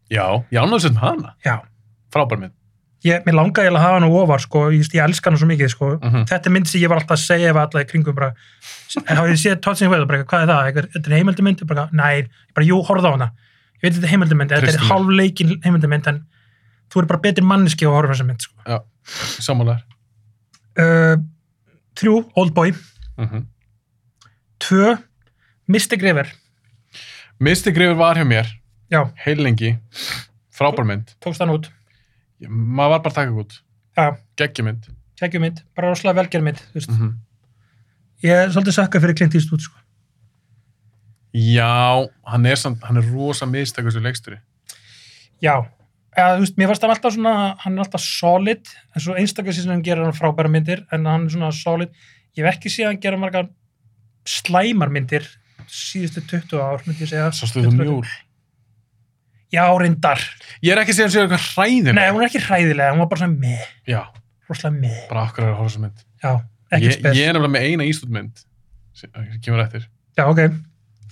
Speaker 1: já, ég ánáðu sem hana,
Speaker 2: já,
Speaker 1: frábær mynd
Speaker 2: ég, mér langaði eiginlega að hafa hann og ofar sko, ég, ég elska hann svo mikið sko
Speaker 1: Mhm.
Speaker 2: þetta er mynd sem ég var alltaf að segja ef alla í kringum bara, hafið þið séð Toast in the Void bara, hvað er það, Eitthvað- þetta er heimildamynd Ég bara, nei, ég bara, jú, horfðu á hana ég veit þetta er heimildamynd, þetta
Speaker 1: Treystu
Speaker 2: er
Speaker 1: mér.
Speaker 2: hálfleikin heimildamynd en þú er bara betur manneski og horfa þessa mynd sko.
Speaker 1: sammálar
Speaker 2: uh, þrjú, Old Boy
Speaker 1: mm
Speaker 2: Mhm.
Speaker 1: -hmm.
Speaker 2: Tvö, Mystic River.
Speaker 1: Mystic River var hjá mér
Speaker 2: Já,
Speaker 1: heilengi, frábær mynd
Speaker 2: tókst hann út.
Speaker 1: Ég- maður var bara að taka gút,
Speaker 2: Já,
Speaker 1: geggjumynd
Speaker 2: tekjum mynd, bara rosalega velgerð mynd, þú veist.
Speaker 1: mm -hmm.
Speaker 2: Ég er svolítið sakka fyrir Clint Eastwood, sko.
Speaker 1: já, hann er, samt, hann er rosa mistakur sem leikstjóri
Speaker 2: Já, eða, þú veist, mér varst hann alltaf svona, hann er alltaf solid, en svo einstakar síðan hann gerir hann frábæra myndir, en hann er svona solid. Ég hef ekki séð hann gera margar slæmar myndir síðustu 20 ár, myndi ég segja.
Speaker 1: sástu þú mjúl
Speaker 2: Já, reyndar.
Speaker 1: ég er ekki að segja um sig eitthvað hræðin
Speaker 2: Nei, hún er ekki hræðilega, hún var bara svona með,
Speaker 1: já,
Speaker 2: rosalega með.
Speaker 1: bara okkur er að horfa sem mynd
Speaker 2: Já, ekki
Speaker 1: ég,
Speaker 2: spes.
Speaker 1: ég er nefnilega með eina ístútmynd sem eh, sem kemur eftir
Speaker 2: Já, ok.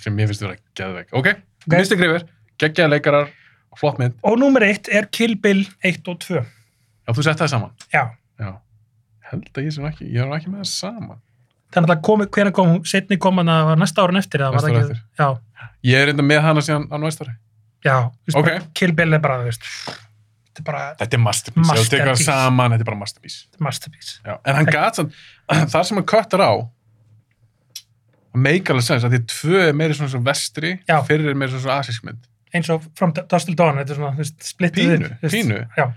Speaker 1: sem mér finnst vera geðveik ok, okay. Mystic River, geggjaði leikarar flott mynd,
Speaker 2: Og númer eitt er Kill Bill 1 og 2.
Speaker 1: já þú sett það saman
Speaker 2: Já,
Speaker 1: já, held að ég sem ekki ég var ekki með það saman
Speaker 2: þannig að komi, hvena kom hún, setni kom hann að næsta árun eftir eða var
Speaker 1: Næsta
Speaker 2: það
Speaker 1: árin
Speaker 2: ekki, já,
Speaker 1: ég er enda með hana síðan á næstari
Speaker 2: já, þú veist,
Speaker 1: Ok.
Speaker 2: bara Kill Bill er bara, þú veist, þetta er bara
Speaker 1: Þetta er masterpiece, ef þú tekur það
Speaker 2: Masterpiece.
Speaker 1: saman, þetta er bara masterpiece.
Speaker 2: masterpiece.
Speaker 1: Já. En hann gat sann, þar sem hann köttar á, það make alveg sens, að því tvö er meiri svona svo vestri,
Speaker 2: Já.
Speaker 1: fyrir er meiri svona svo asísk mynd.
Speaker 2: Eins og From Dust Till Dawn, þetta er svona, þú veist, splittið
Speaker 1: Pínu,
Speaker 2: upp, þú veist.
Speaker 1: pínu.
Speaker 2: Já,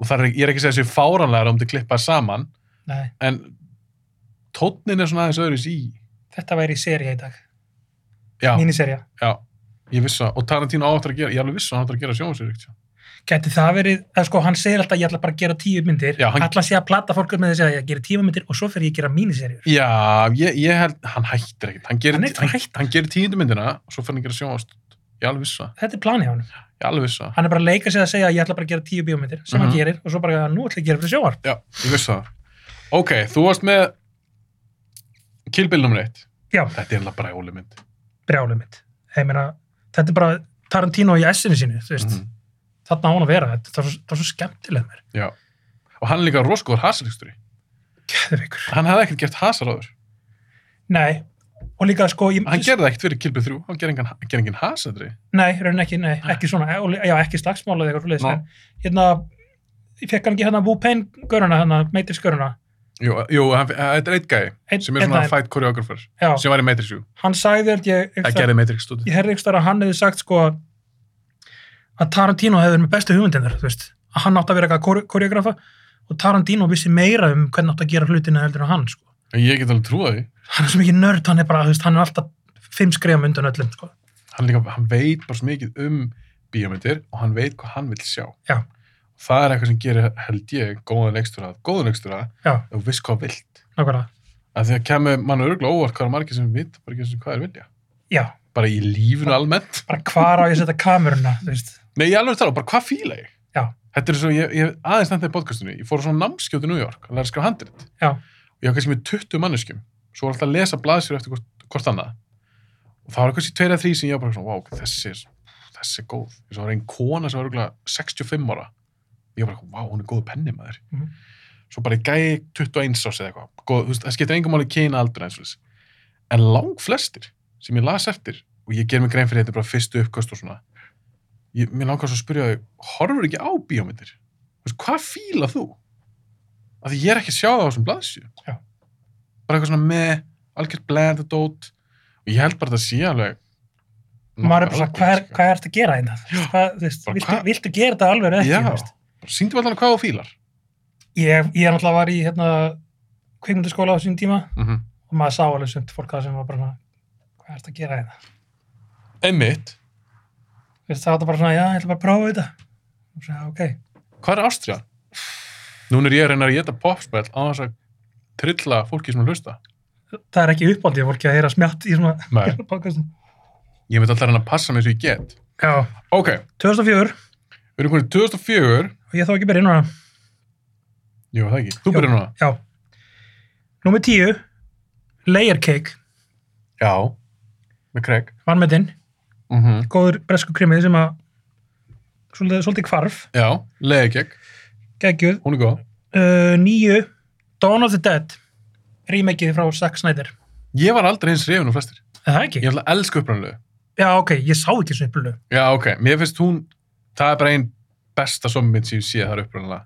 Speaker 1: Og það er, ég er ekki að segja þessi fáranlegar um til klippað saman,
Speaker 2: nei,
Speaker 1: en tónnin er svona aðeins öðruvis í.
Speaker 2: þetta væri í seria í dag,
Speaker 1: Já,
Speaker 2: míniserja.
Speaker 1: já, ég viss að, og Tarantino áttur að gera, ég er alveg viss að hann áttur að gera sjónvarsýriktsjá.
Speaker 2: Gæti það verið, eða sko, hann segir alltaf, ég ætla bara að gera tíu myndir,
Speaker 1: Já, hann-
Speaker 2: allan sé að plata fólk upp með þess að ég gera tíu myndir og svo fer ég að gera míniserjur.
Speaker 1: Já, ég, ég held, hann hættir ekkert, hann gerir,
Speaker 2: Hann er ekki að
Speaker 1: hann, hann,
Speaker 2: hætta.
Speaker 1: gerir tíundumyndina og svo fyrir hann að gera sjónvarsýriktsjá. Ég er alveg viss að,
Speaker 2: Þetta er planið á hann.
Speaker 1: ég er alveg viss að,
Speaker 2: Hann er bara að leika sig að segja, ég ætla bara að gera tíu bíómyndir, sem hann
Speaker 1: Mhm.
Speaker 2: gerir, og svo bara, nú ætla ég að gera fyrir sjóar.
Speaker 1: Já, ég vissi það. Ok, þú varst með Kill Bill nr. 1.
Speaker 2: Já,
Speaker 1: Þetta er alveg bara óli mynd.
Speaker 2: brjálum mitt ég meina, þetta er bara Tarantino í S-inu sínu, þú veist
Speaker 1: Mhm.
Speaker 2: þarna á hann að vera, þetta það var svo, það var svo skemmtileg mér,
Speaker 1: Já. Og hann er líka rosgóður hasarleiksturi.
Speaker 2: geðveikur
Speaker 1: Hann hefði ekkert gert hasar áður.
Speaker 2: nei, og líka sko ég,
Speaker 1: Hann gerði ekkert fyrir Kill Bill 3. Hann gerði engan, hann gerði engan hasardri.
Speaker 2: nei, raunin ekki, nei, ekki svona eh, og lí- já, ekki slagsmála eða eitthvað
Speaker 1: Nei.
Speaker 2: svoleiðis, en hérna, ég fekk hann ekki hérna Wu Pain göruna, hérna, Matrix göruna
Speaker 1: Jú, jú hann, eh, þetta er eitt gæi
Speaker 2: Einn-
Speaker 1: sem er
Speaker 2: einn
Speaker 1: svona
Speaker 2: aðeinn.
Speaker 1: fight choreographer
Speaker 2: já,
Speaker 1: sem var í Matrix 7.
Speaker 2: hann sagði held ég
Speaker 1: Það
Speaker 2: eitthvað-
Speaker 1: gerði Matrix stúdið.
Speaker 2: ég herði ekki að hann hefði sagt sko að Tarantino hefði verið með bestu hugmyndinar, þú veist, að hann átti að vera eitthvað koreografa og Tarantino vissi meira um hvernig átti að gera hlutina heldur en hann, sko
Speaker 1: Ég get alveg trúið því.
Speaker 2: hann er svo mikið nörd, hann er bara, þú veist, hann er alltaf fimm skrifum undan öllum, sko.
Speaker 1: Hann, líka, hann veit bara svo mikið um bíómyndir og hann veit hvað hann vil sjá.
Speaker 2: Já.
Speaker 1: Það er eitthvað sem gerir, held ég, góðan leikstúra. Góðan leikstúra,
Speaker 2: Já,
Speaker 1: þú veist hvað þú vilt.
Speaker 2: nákvæmlega.
Speaker 1: að því að kemur mann örgulega óvart hvað er margir sem vita bara ekki eins og hvað er vilja
Speaker 2: Já,
Speaker 1: bara í lífinu almennt
Speaker 2: bara hvar á ég að setja kameruna, þú veist.
Speaker 1: nei ég alveg tala, bara hvað fíla ég
Speaker 2: Já.
Speaker 1: þetta er svo, ég, ég hef aðeins nefndi í podcastinu ég fór á svona námskjóti New York að læra að skrifa handrit
Speaker 2: Já.
Speaker 1: og ég var kannski með 20 manneskjum svo var alltaf að lesa blaðsir eftir hvort, hvort annað og það var kannski tveir eða þrý sem ég var bara svona, wow, ok, þessi er, þessi er góð eins og það var einn kona sem var örgulega 65 ára ég var bara, wow, hún er góð penni maður
Speaker 2: Mhm.
Speaker 1: svo bara ég gæi 21 árs eða eitthvað Góð, þú veist, það skiptir engum máli kyna aldur eins og þess en lang flestir sem ég las eftir og ég ger mig grein fyrir þetta er bara fyrstu uppkast og svona ég, mér langar svo að spyrja þau, horfur ekki á bíómyndir Þú veist, hvað fíla þú? af því ég er ekki að sjá það á þessum blaðsju
Speaker 2: Já.
Speaker 1: bara eitthvað svona með algjört blenda dót og ég held bara að það sé alveg
Speaker 2: maður er bara svona,
Speaker 1: Nokkuð
Speaker 2: hvað, er-
Speaker 1: alveg, sko.
Speaker 2: hvað ertu að gera hérna? Þú veist, hvað- þú veist,
Speaker 1: Bara
Speaker 2: viltu,
Speaker 1: hvað-
Speaker 2: viltu gera þetta alveg eða ekki? þú veist?
Speaker 1: Já, sýndu allan hvað þú fílar
Speaker 2: Ég, ég náttúrulega var í hérna, kvikmyndaskóla á sín tíma
Speaker 1: mm -hmm.
Speaker 2: og maður sá alveg sumt fólk það sem var bara svona, hvað ertu að gera hérna?
Speaker 1: Einmitt,
Speaker 2: Þú veist, Það var bara svona, já, ég ætla bara að prófa þetta. Og svo, já, ok.
Speaker 1: hvað er Ástriðan? Núna er ég að reyna að geta popspell á þess að trilla fólki sem er að hlusta
Speaker 2: Það er ekki uppáldið fólki að heyra smjátt í svona
Speaker 1: Nei,
Speaker 2: podcastum.
Speaker 1: ég veit alltaf að reyna að passa mig svo ég get
Speaker 2: Já,
Speaker 1: Ok,
Speaker 2: 2004
Speaker 1: við erum konið 2004
Speaker 2: og ég þá ekki byrja núna.
Speaker 1: Jú, það ekki, þú
Speaker 2: Jú.
Speaker 1: byrjar núna
Speaker 2: Já. Númer 10, Layer Cake,
Speaker 1: Já, með Craig
Speaker 2: vannmetinn,
Speaker 1: mm
Speaker 2: góður bresku krimið sem að svolítið, svolítið kvarf,
Speaker 1: Já, Legek,
Speaker 2: geggjuð.
Speaker 1: hún er góð
Speaker 2: Uh, níu, Dawn of the Dead, remakeið frá Zack Snyder.
Speaker 1: Ég var aldrei eins reyfin og flestir
Speaker 2: Er það ekki?
Speaker 1: Ég ætla að elska upprænulegu
Speaker 2: Já, ok, ég sá ekki svona upplölu.
Speaker 1: Já, ok, mér finnst hún Það er bara einn besta sommind sem ég sé þar upprænlega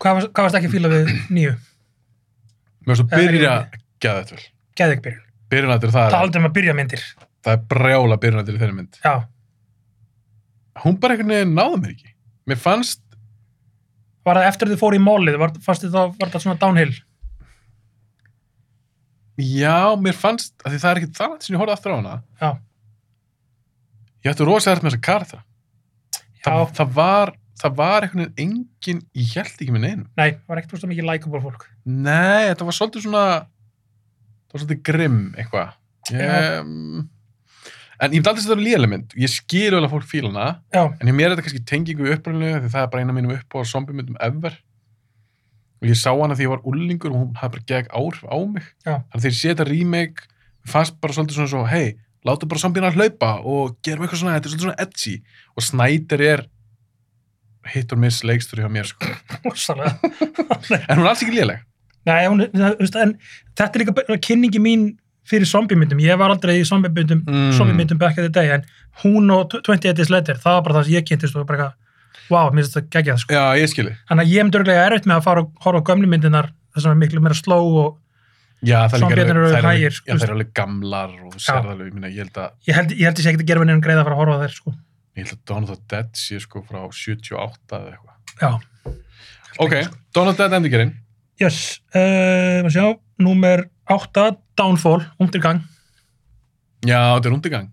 Speaker 2: Hvað, var- hvað varst ekki að fíla við níu?
Speaker 1: Mér finnst þú
Speaker 2: Já, ég-
Speaker 1: byrja Gæða þetta vel
Speaker 2: Geðveik byrjun.
Speaker 1: Byrjunættir það
Speaker 2: Það
Speaker 1: er
Speaker 2: aldrei um að byrja myndir.
Speaker 1: Það er brjála byrjunættir í þeirri mynd
Speaker 2: Já,
Speaker 1: Hún bara einhvern veginn náði mér ekki Mér fannst
Speaker 2: var það eftir þau fóru í mólið, var, fannst þið þá, var það svona downhill?
Speaker 1: Já, mér fannst af Því það er ekki það langt sem ég horfði aftur á hana
Speaker 2: Já.
Speaker 1: Ég ætti rosa þar með þessa karta
Speaker 2: Já,
Speaker 1: það, það var Það var einhvern veginn engin Ég held ekki með neinum
Speaker 2: nei, var ekkert svona mikið likeable fólk.
Speaker 1: Nei, þetta var svolítið svona Það var svolítið grimm eitthvað
Speaker 2: Já.
Speaker 1: ég, En ég myndi aldrei að þetta er lélega mynd Ég skil vel að fólk fíla hana
Speaker 2: Já,
Speaker 1: En hjá mér er þetta kannski tengingu við upprænlega því það er bara eina mínum upp á zombiemyndum ever og ég sá hana því ég var ullingur og hún hafði bara gegg áhrif á mig
Speaker 2: Já.
Speaker 1: þannig að þegar ég sé þetta remake mér fannst bara svolítið svona svo, hei, láta bara zombierna hlaupa og gerum eitthvað svona, þetta er svolítið svona edgy og Snyder er hit or miss leikstur hjá mér sko.
Speaker 2: rosalega.
Speaker 1: en hún er alls ekki léleg
Speaker 2: Nei, hún, það, þú veist, en þetta er líka bara kynningi mín fyrir zombiemyndum. Ég var aldrei í zombiemyndum
Speaker 1: Mm.
Speaker 2: mm. zombiemyndum back in the day, en hún og 28 Days Later, það var bara það sem ég kynntist og bara eitthvað, wow, mér finnst þetta geggjað, sko.
Speaker 1: Já, ég skili
Speaker 2: Þannig að ég hef dörglega erfitt með að fara og horfa á gömlu myndinar, þess að miklu meira sló og
Speaker 1: Já, það er líka
Speaker 2: Zombiernar eru
Speaker 1: alveg- þær
Speaker 2: hægir,
Speaker 1: alveg-
Speaker 2: sko.
Speaker 1: já, þær eru alveg gamlar og þú
Speaker 2: Já.
Speaker 1: sér það alveg, ég minna, ég held að
Speaker 2: ég held, ég held ég sé ekkert að gera mér nefnum greið að fara að horfa á þær, sko.
Speaker 1: ég held að Dawn of the Dead sé sko frá 78 eða eitthvað
Speaker 2: Já.
Speaker 1: Ok,
Speaker 2: sko.
Speaker 1: Dawn of the Dead endingarinn
Speaker 2: Yes, uh, maður sjá, númer 8, Downfall, undir gang,
Speaker 1: Já, þetta er rundigang.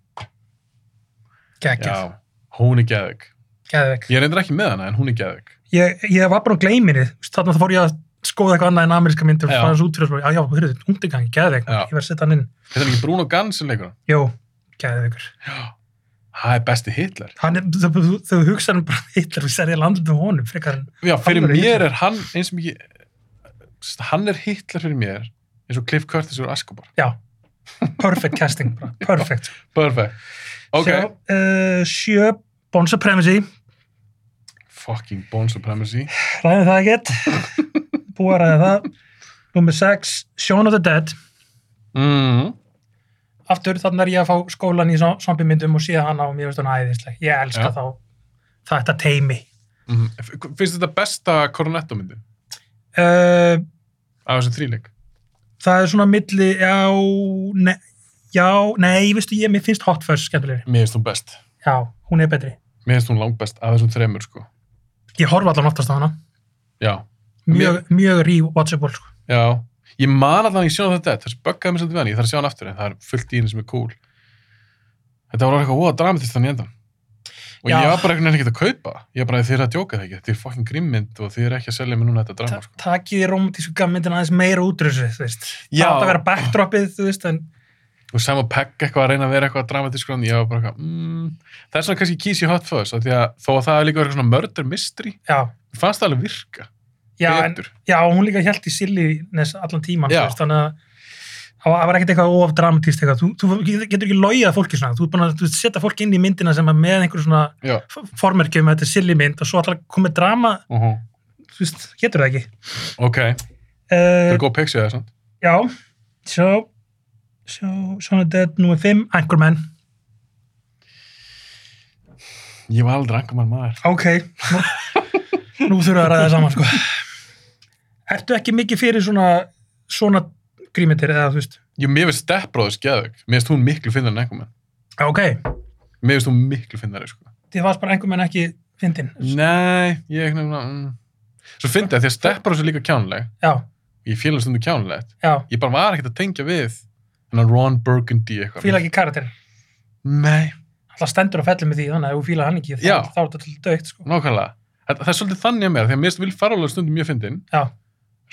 Speaker 2: geggjað,
Speaker 1: Já, hún er geðug.
Speaker 2: geðvegg.
Speaker 1: Ég reyndar ekki með hana, en hún er geðug.
Speaker 2: ég, ég var bara á gleiminni þú veist, þannig að það fór ég að skoða eitthvað annað en ameríska myndir og
Speaker 1: Já.
Speaker 2: fara þessu út fyrir þessu, já, já, hörðu, undirgangi, geðveik
Speaker 1: Já.
Speaker 2: ég verði að setja hann inn,
Speaker 1: Þetta er ekki Bruno Gans sem leikur hann.
Speaker 2: jú, geðveikur
Speaker 1: Það er besti Hitler.
Speaker 2: hann er, þau, þau, þau hugsa hann bara hittar við serið landið með honum, frekar en
Speaker 1: Já, fyrir
Speaker 2: Alvöru
Speaker 1: mér
Speaker 2: Hitler.
Speaker 1: er hann eins og mikið, hann er Hitler fyrir mér, eins og Cliff Curtis og Escobar.
Speaker 2: já, perfect casting bara, perfect
Speaker 1: Perfect. Ok,
Speaker 2: Sjá, uh, sjö, Bon Supremacy
Speaker 1: fucking Bone Supremacy.
Speaker 2: ræðum það ekkert búið að ræða það nummer 6, Shaun of the Dead
Speaker 1: Mm.
Speaker 2: aftur þannig er ég að fá skólan í zombi myndum og síða hann á mér veist hún æðisleg ég elska
Speaker 1: Já.
Speaker 2: þá þetta teimi
Speaker 1: Mm. Finnst þetta besta koronettómyndi
Speaker 2: uh,
Speaker 1: af þessum þríleik?
Speaker 2: það er svona milli, já, ne, já, nei, veistu ég, mér finnst Hot Fuzz skemmtilegri.
Speaker 1: Mér finnst hún best.
Speaker 2: Já, hún er betri.
Speaker 1: Mér finnst hún langt best af þessum þremur, sko.
Speaker 2: Ég horfa allan oftast á hana.
Speaker 1: Já,
Speaker 2: Mjög, mjög re-watchable, sko.
Speaker 1: Já, ég man allan ég sjá þetta þess buggaði mér svolítið við hann, ég þarf að sjá hann aftur en það er fullt í henni sem er cool Þetta var alveg eitthvað óa dramatist þannig endan og
Speaker 2: Já.
Speaker 1: ég var bara einhvern veginn ekkert að kaupa ég var bara þið er að djóka það ekki, þið er fucking grimmynd og þið er ekki að selja mér núna þetta
Speaker 2: Ta
Speaker 1: drama sko.
Speaker 2: takið í romantísku gammyndin aðeins meira út úr þessu, þú veist.
Speaker 1: Já.
Speaker 2: Það átt að vera backdropið, þú veist, en
Speaker 1: og sko. Sam og Pegg eitthvað að reyna að vera eitthvað dramatisk og ég var bara eitthvað, mm, það er svona kannski kísi hot fuzz, af því að þó að það er líka verið svona murder mystery,
Speaker 2: já,
Speaker 1: mér fannst það alveg virka
Speaker 2: já, en,
Speaker 1: betur,
Speaker 2: já, hún líka held í silliness allan tíman,
Speaker 1: Já.
Speaker 2: þú veist, þannig að það var- það var ekkert eitthvað of dramatíst eitthvað, þú, þú getur ekki logið fólki svona, þú er búin að þú ert að setja fólk inn í myndina sem er með einhverjum svona
Speaker 1: Já.
Speaker 2: f- formerkjum, þetta er silly mynd og svo alltaf komið drama, þú veist, getur það ekki
Speaker 1: Ok, það
Speaker 2: uh,
Speaker 1: er góð pixið það, sant?
Speaker 2: Já, svo svo, svona dead nummer 5 Anchorman,
Speaker 1: Ég var aldrei angamann maður.
Speaker 2: ok Nú þurfa að ræða það saman sko Ertu ekki mikið fyrir svona svona grímitir eða þú veist
Speaker 1: Ég, mér finnst Steppbróður skeðug. Mér finnst hún miklu finnari en angamann.
Speaker 2: Já, ok,
Speaker 1: Mér finnst hún miklu finnari, sko.
Speaker 2: þið varst bara Anchorman ekki fyndin
Speaker 1: Nei, ég ekki nefnilega... Mm. Svo fyndi að því að Steppbróður er líka kjánuleg.
Speaker 2: Já,
Speaker 1: Ég fíla hann stundu kjánulegt.
Speaker 2: já,
Speaker 1: Ég bara var ekkert að tengja við hennar Ron Burgundy eitthvað.
Speaker 2: fíla ekki karakter
Speaker 1: Nei,
Speaker 2: alltaf stendur og fellur með því þannig að ef þú fíla hann ekki þá,
Speaker 1: Já.
Speaker 2: þá er þetta til dögt sko.
Speaker 1: nákvæmlega. Það, það er svolítið þannig að mér, því að mér finnst Will Ferrell alveg stundum mjög fyndin,
Speaker 2: Já,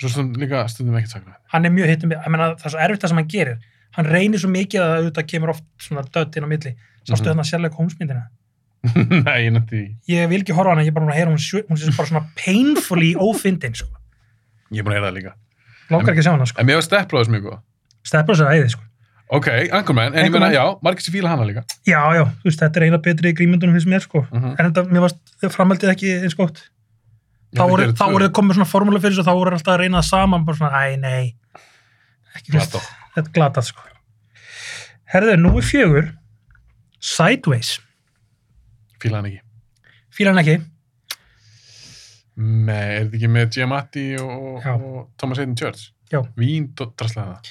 Speaker 1: svo stundum líka stundum ekkert sakna.
Speaker 2: hann er mjög hittum meina, það er svo erfitt það sem hann gerir hann reynir svo mikið að auðvitað kemur oft svona dött inn á milli sástu
Speaker 1: Mhm.
Speaker 2: þarna sérlega hómsmyndina
Speaker 1: Nei, ég nætti,
Speaker 2: ég vil ekki horfa á hana, ég er bara búin að heyra hún, sjö- hún sé bara svona painfully ófindin sko.
Speaker 1: ég er búin að heyra það líka.
Speaker 2: langar ekki að sjá hana sko.
Speaker 1: En mér var steppbróðis mjög góð.
Speaker 2: stefnur þess að æði sko.
Speaker 1: Ok, Anchorman, en ég meina,
Speaker 2: Anchorman.
Speaker 1: já, margir sem fíla hana líka.
Speaker 2: já, já, þú veist, þetta er eina betri í grímyndunum finnst mér sko.
Speaker 1: Mhm.
Speaker 2: en þetta, mér varst framhaldið ekki eins gott þá
Speaker 1: Já,
Speaker 2: voru,
Speaker 1: þetta eru
Speaker 2: þá
Speaker 1: tvö.
Speaker 2: voru þið komið svona formúla fyrir þessu og þá voru þeir alltaf að reyna það saman bara svona, æ, nei ekki,
Speaker 1: Glatað.
Speaker 2: veist, þetta er glatað sko herðu, nú er fjögur Sideways,
Speaker 1: Fíla hann ekki.
Speaker 2: fíla hann ekki
Speaker 1: Nei, er þetta ekki með Giamatti og,
Speaker 2: Já.
Speaker 1: og Thomas Hayden Church?
Speaker 2: Já.
Speaker 1: Vín dó- drasslaði það.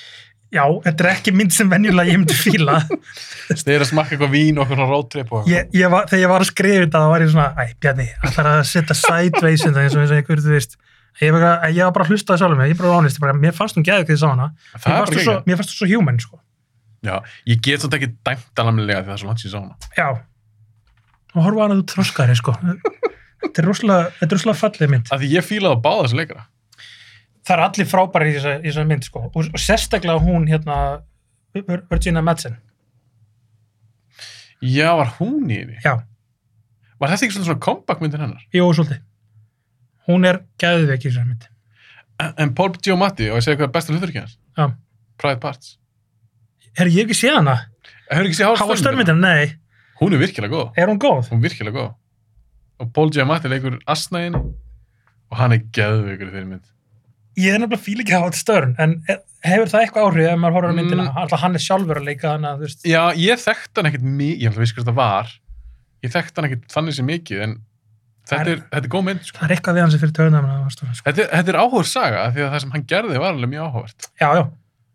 Speaker 2: já, þetta er ekki mynd sem venjulega ég myndi fíla
Speaker 1: Þeir eru að smakka eitthvað vín og eitthvað svona roadtrip og
Speaker 2: ég, ég var, þegar ég var að skrifa þetta þá var ég svona, æ, Bjarni, allar að setja Sideways þetta eins og eins og einhver, þú veist ég var, bara- ég var bara að hlusta það sjálfum mig, ég er bara honest ég bara, mér fannst hún geðið þess að hana
Speaker 1: það er
Speaker 2: mér
Speaker 1: bara
Speaker 2: fannst þú
Speaker 1: ekki.
Speaker 2: svo, mér fannst þú svo human, sko
Speaker 1: Já, ég get svolítið ekki dæmt alveg því það er svo langt síðan sá hana.
Speaker 2: Já. Og horfa á hana þú þroskari, sko. þetta er rosalega, þetta er rosalega fallið mynd.
Speaker 1: Af því ég fílaði að báða þessu leikara.
Speaker 2: Það er allir frábæri í þessa, í þessa mynd, sko. Og, og sérstaklega hún, hérna, Vir- Virginia Madsen.
Speaker 1: Já, var hún í henni?
Speaker 2: Já,
Speaker 1: Var þetta ekki svona svona comeback myndin hennar?
Speaker 2: jú, svolítið. Hún er gæðveik í þessa mynd.
Speaker 1: En- En Paul Giamatti, og ég segi hvað er besta hluturkið hans?
Speaker 2: Já.
Speaker 1: Private Parts.
Speaker 2: Er ég hef ekki séð hana?
Speaker 1: Hefur ekki séð
Speaker 2: Háa
Speaker 1: Howard Stern myndina?
Speaker 2: störmyndin? Nei.
Speaker 1: Hún er virkilega góð.
Speaker 2: Er hún góð?
Speaker 1: Hún er virkilega góð. Og Paul Giamatti leikur asnægin og hann er geðveikur í þeirri mynd.
Speaker 2: Ég er nefnilega fíl ekki Háa störn, en e- hefur það eitthvað áhrif ef maður horfir á myndina?
Speaker 1: Mm.
Speaker 2: Alltaf hann er sjálfur að leika hana, þú veist.
Speaker 1: Já, ég þekkt hann ekkert mikið, ég held að vissi hvað þetta var. Ég þekkt hann ekkert þannig sem mikið, en þetta er, þetta er góð mynd, sko.
Speaker 2: Það er eitthvað við hann sem fyrir törnum hana, Háa störn, sko.
Speaker 1: Þetta er, þetta er áhugur saga, af því að það sem hann gerði var alveg mjög áhugavert.
Speaker 2: Já, já.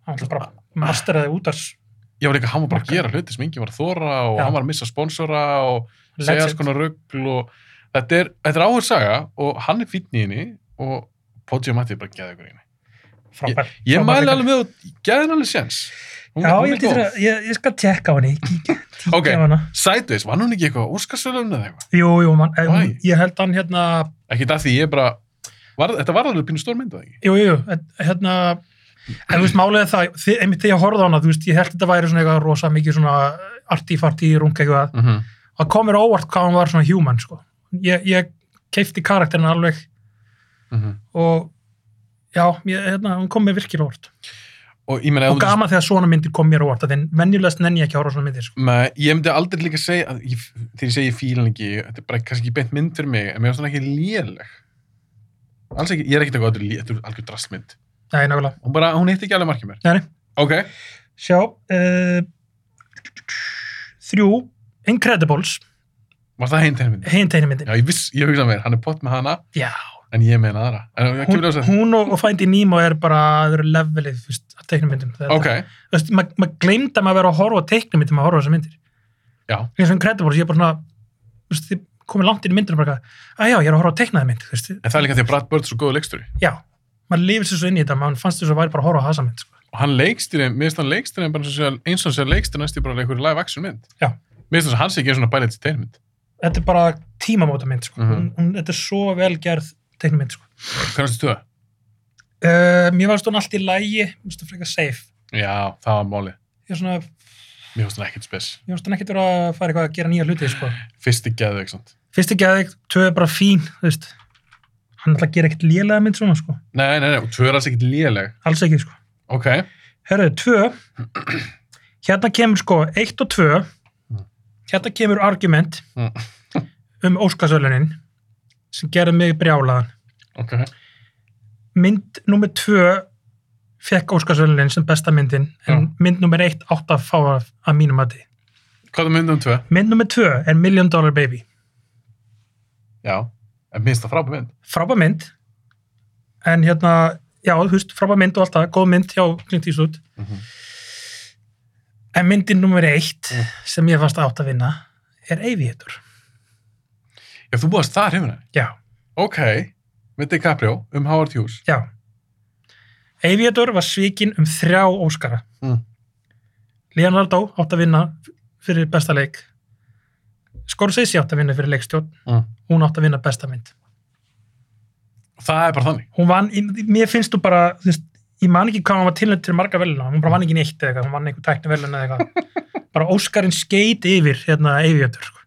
Speaker 2: Hann alltaf
Speaker 1: Ah.
Speaker 2: bara masteraði út af
Speaker 1: Ég var líka, hann var bara að
Speaker 2: Markaði.
Speaker 1: gera hluti sem enginn var að þóra og
Speaker 2: Já.
Speaker 1: hann var að missa sponsora og segja alls konar rugl og þetta er, þetta er áhugur saga og hann er fínn í henni og Póti og Matti er bara að geða ykkur í henni.
Speaker 2: frábær.
Speaker 1: Ég
Speaker 2: frábær
Speaker 1: mæli
Speaker 2: leikari.
Speaker 1: alveg með að geða henni alveg séns. Hún-
Speaker 2: Já,
Speaker 1: hún er
Speaker 2: ég, held ég,
Speaker 1: góð.
Speaker 2: þurfa- ég, ég skal tjekka á henni, kíkja
Speaker 1: Ok,
Speaker 2: á hana.
Speaker 1: Sideways, var hún ekki eitthvað óskarsölun eða eitthvað?
Speaker 2: Jú, jú, man, eh,
Speaker 1: Why?
Speaker 2: ég held hann hérna,
Speaker 1: Ekki það því ég bara, var, þetta var alveg pínu stór mynd að ekki?
Speaker 2: jú, jú, jú, hérna, en þú veist, málega það, þi- einmitt þegar ég horfði á hana, þú veist, ég held þetta væri svona eitthvað rosa mikið svona artífartí, runga eitthvað,
Speaker 1: Mm -hmm.
Speaker 2: það kom mér á óvart hvað hann var svona human, sko. Ég, ég keifti karakterinn alveg og já, ég, hérna, hann kom mér virkilega á óvart.
Speaker 1: Og ég meina, ef
Speaker 2: Og
Speaker 1: þú myndir-
Speaker 2: gaman þegar svona myndir kom mér á óvart, þannig venjulegast nenni ég ekki að horfa á svona myndir, sko.
Speaker 1: Nei, ég myndi aldrei líka segja að ég, þegar ég segi ég fílan ekki, þetta er bara kannski ekki beint mynd fyrir mig, en mér finnst hún ekki léleg alls ekki, ég er ekkert eitthvað lé- þetta er algjör drastmynd,
Speaker 2: Nei, nákvæmlega.
Speaker 1: hún bara, hún hitti ekki alveg markið mér
Speaker 2: Nei, nei.
Speaker 1: ok,
Speaker 2: Sjá, uh, þrjú, Incredibles,
Speaker 1: var það hinn þeirra myndi?
Speaker 2: hinn tegnimyndin.
Speaker 1: Já, ég viss, ég hugsa mér, hann er pott með hana
Speaker 2: Já,
Speaker 1: en ég með aðra, en það
Speaker 2: hún,
Speaker 1: kemur ljósa
Speaker 2: hún og, og Finding Nemo er bara þau eru levelið fyrst, að tegnimyndum.
Speaker 1: ok,
Speaker 2: Maður ma maður gleymdi að maður verið að horfa á tegnimyndum að horfa á þessar myndir.
Speaker 1: já,
Speaker 2: Eins og Incredibles, ég er bara svona, þú veist, þið komið langt inn í myndinu og bara, að já, ég er að horfa á teiknaði mynd, þú veist.
Speaker 1: en það er líka því að Brad Bird er svo góðu leiksturi
Speaker 2: Já, maður lifir sér svo inn í þetta, maður fannst þess að væri bara að horfa á þessa mynd, sko.
Speaker 1: og hann leikstýri, mér finnst hann leikstýri bara eins og sé- eins og sé leikstýri næstu bara leikur live action mynd
Speaker 2: Já.
Speaker 1: mér finnst þess að hann sé ekki svona bælið til teirmynd
Speaker 2: Þetta er bara tímamóta mynd, sko.
Speaker 1: Mhm.
Speaker 2: hún, hún, þetta er svo vel gerð teiknumynd, sko.
Speaker 1: hvernig stu það?
Speaker 2: Uh, mér varst hún allt í lægi, þú veist, frekar safe.
Speaker 1: Já, það var máli,
Speaker 2: Ég er svona,
Speaker 1: mér finnst hann ekkert spes
Speaker 2: Mér finnst hann ekkert vera að fara eitthvað að gera nýja hluti, sko.
Speaker 1: fyrsti geðveik, sant?
Speaker 2: Fyrsti geðveik, tvö er bara fín, þú veist. Hann ætla að gera ekkert lélega mynd svona, sko.
Speaker 1: Nei, nei, nei, og tvö er alls ekkert léleg.
Speaker 2: Alls ekki, sko.
Speaker 1: Ok.
Speaker 2: Herðu, tvö. Hérna kemur sko eitt og tvö. Hérna kemur argument
Speaker 1: Mm.
Speaker 2: um Óskarsölunin sem gerði mig brjálaðan.
Speaker 1: Ok.
Speaker 2: Mynd nummer tvö fekk Óskarsölunin sem besta myndin en mynd nummer eitt átt að fá að, að mínum að því.
Speaker 1: Hvað er myndum tvö?
Speaker 2: Mynd nummer tvö er Million Dollar Baby.
Speaker 1: Já. En minnst það frábæð mynd.
Speaker 2: Frábær mynd en hérna, já, þú veist, frábær mynd og allt það, góð mynd hjá Clint Eastwood.
Speaker 1: Mhm.
Speaker 2: En myndin nummer eitt
Speaker 1: Mm.
Speaker 2: sem ég fannst átt að vinna er Aviator.
Speaker 1: Já, þú búast það hrifin henni.
Speaker 2: Já,
Speaker 1: Ok. Með DiCaprio um Howard Hughes.
Speaker 2: já. Aviator var svikin um þrjá Óskara.
Speaker 1: Mm.
Speaker 2: Leonardo átt að vinna fyrir besta leik. Scorsese átt að vinna fyrir leikstjórn.
Speaker 1: Mm.
Speaker 2: Hún átt að vinna besta mynd.
Speaker 1: Það er bara þannig.
Speaker 2: Hún vann, í- mér finnst þú bara, þú veist, ég man ekki hvað hún var tilnætt til marga veluna. Hún bara vann ekki neitt eða eitthvað. Hún vann einhver tækni veluna eða eitthvað. bara Óskarinn skeit yfir hérna Aviator. Sko.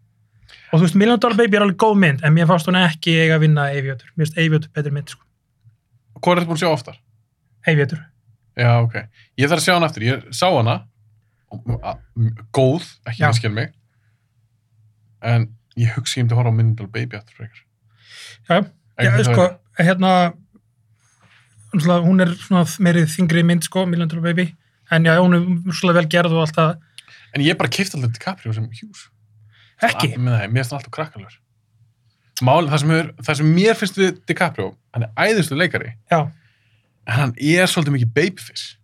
Speaker 2: Og þú veist, Million Dollar Baby er alveg góð mynd, en mér fannst hún ekki eiga að vinna Aviator. Mér finnst Aviator betri mynd, sko.
Speaker 1: Hvað er þetta búin að sjá oftar?
Speaker 2: Aviator.
Speaker 1: Já, ok. Ég þarf að sjá hana eftir. Ég sá hana. A- m- Góð, ekki
Speaker 2: Já.
Speaker 1: miskinn mig. En ég hugsi ég um til að horfa á Myndal Baby eftir frekar.
Speaker 2: Já, Já,
Speaker 1: Einhvern
Speaker 2: sko,
Speaker 1: veginn.
Speaker 2: hérna náttúrulega, hún er svona meiri þingri mynd, sko, Million Dollar Baby en já, hún er svona vel gerð og allt það
Speaker 1: En ég bara kifti alltaf DiCaprio sem Hughes.
Speaker 2: ekki,
Speaker 1: Að, nei, mér finnst hann alltaf krakkalur. Mál, það sem, er, það sem mér finnst við DiCaprio, hann er æðislu leikari,
Speaker 2: já,
Speaker 1: en hann er svolítið mikið babyfish.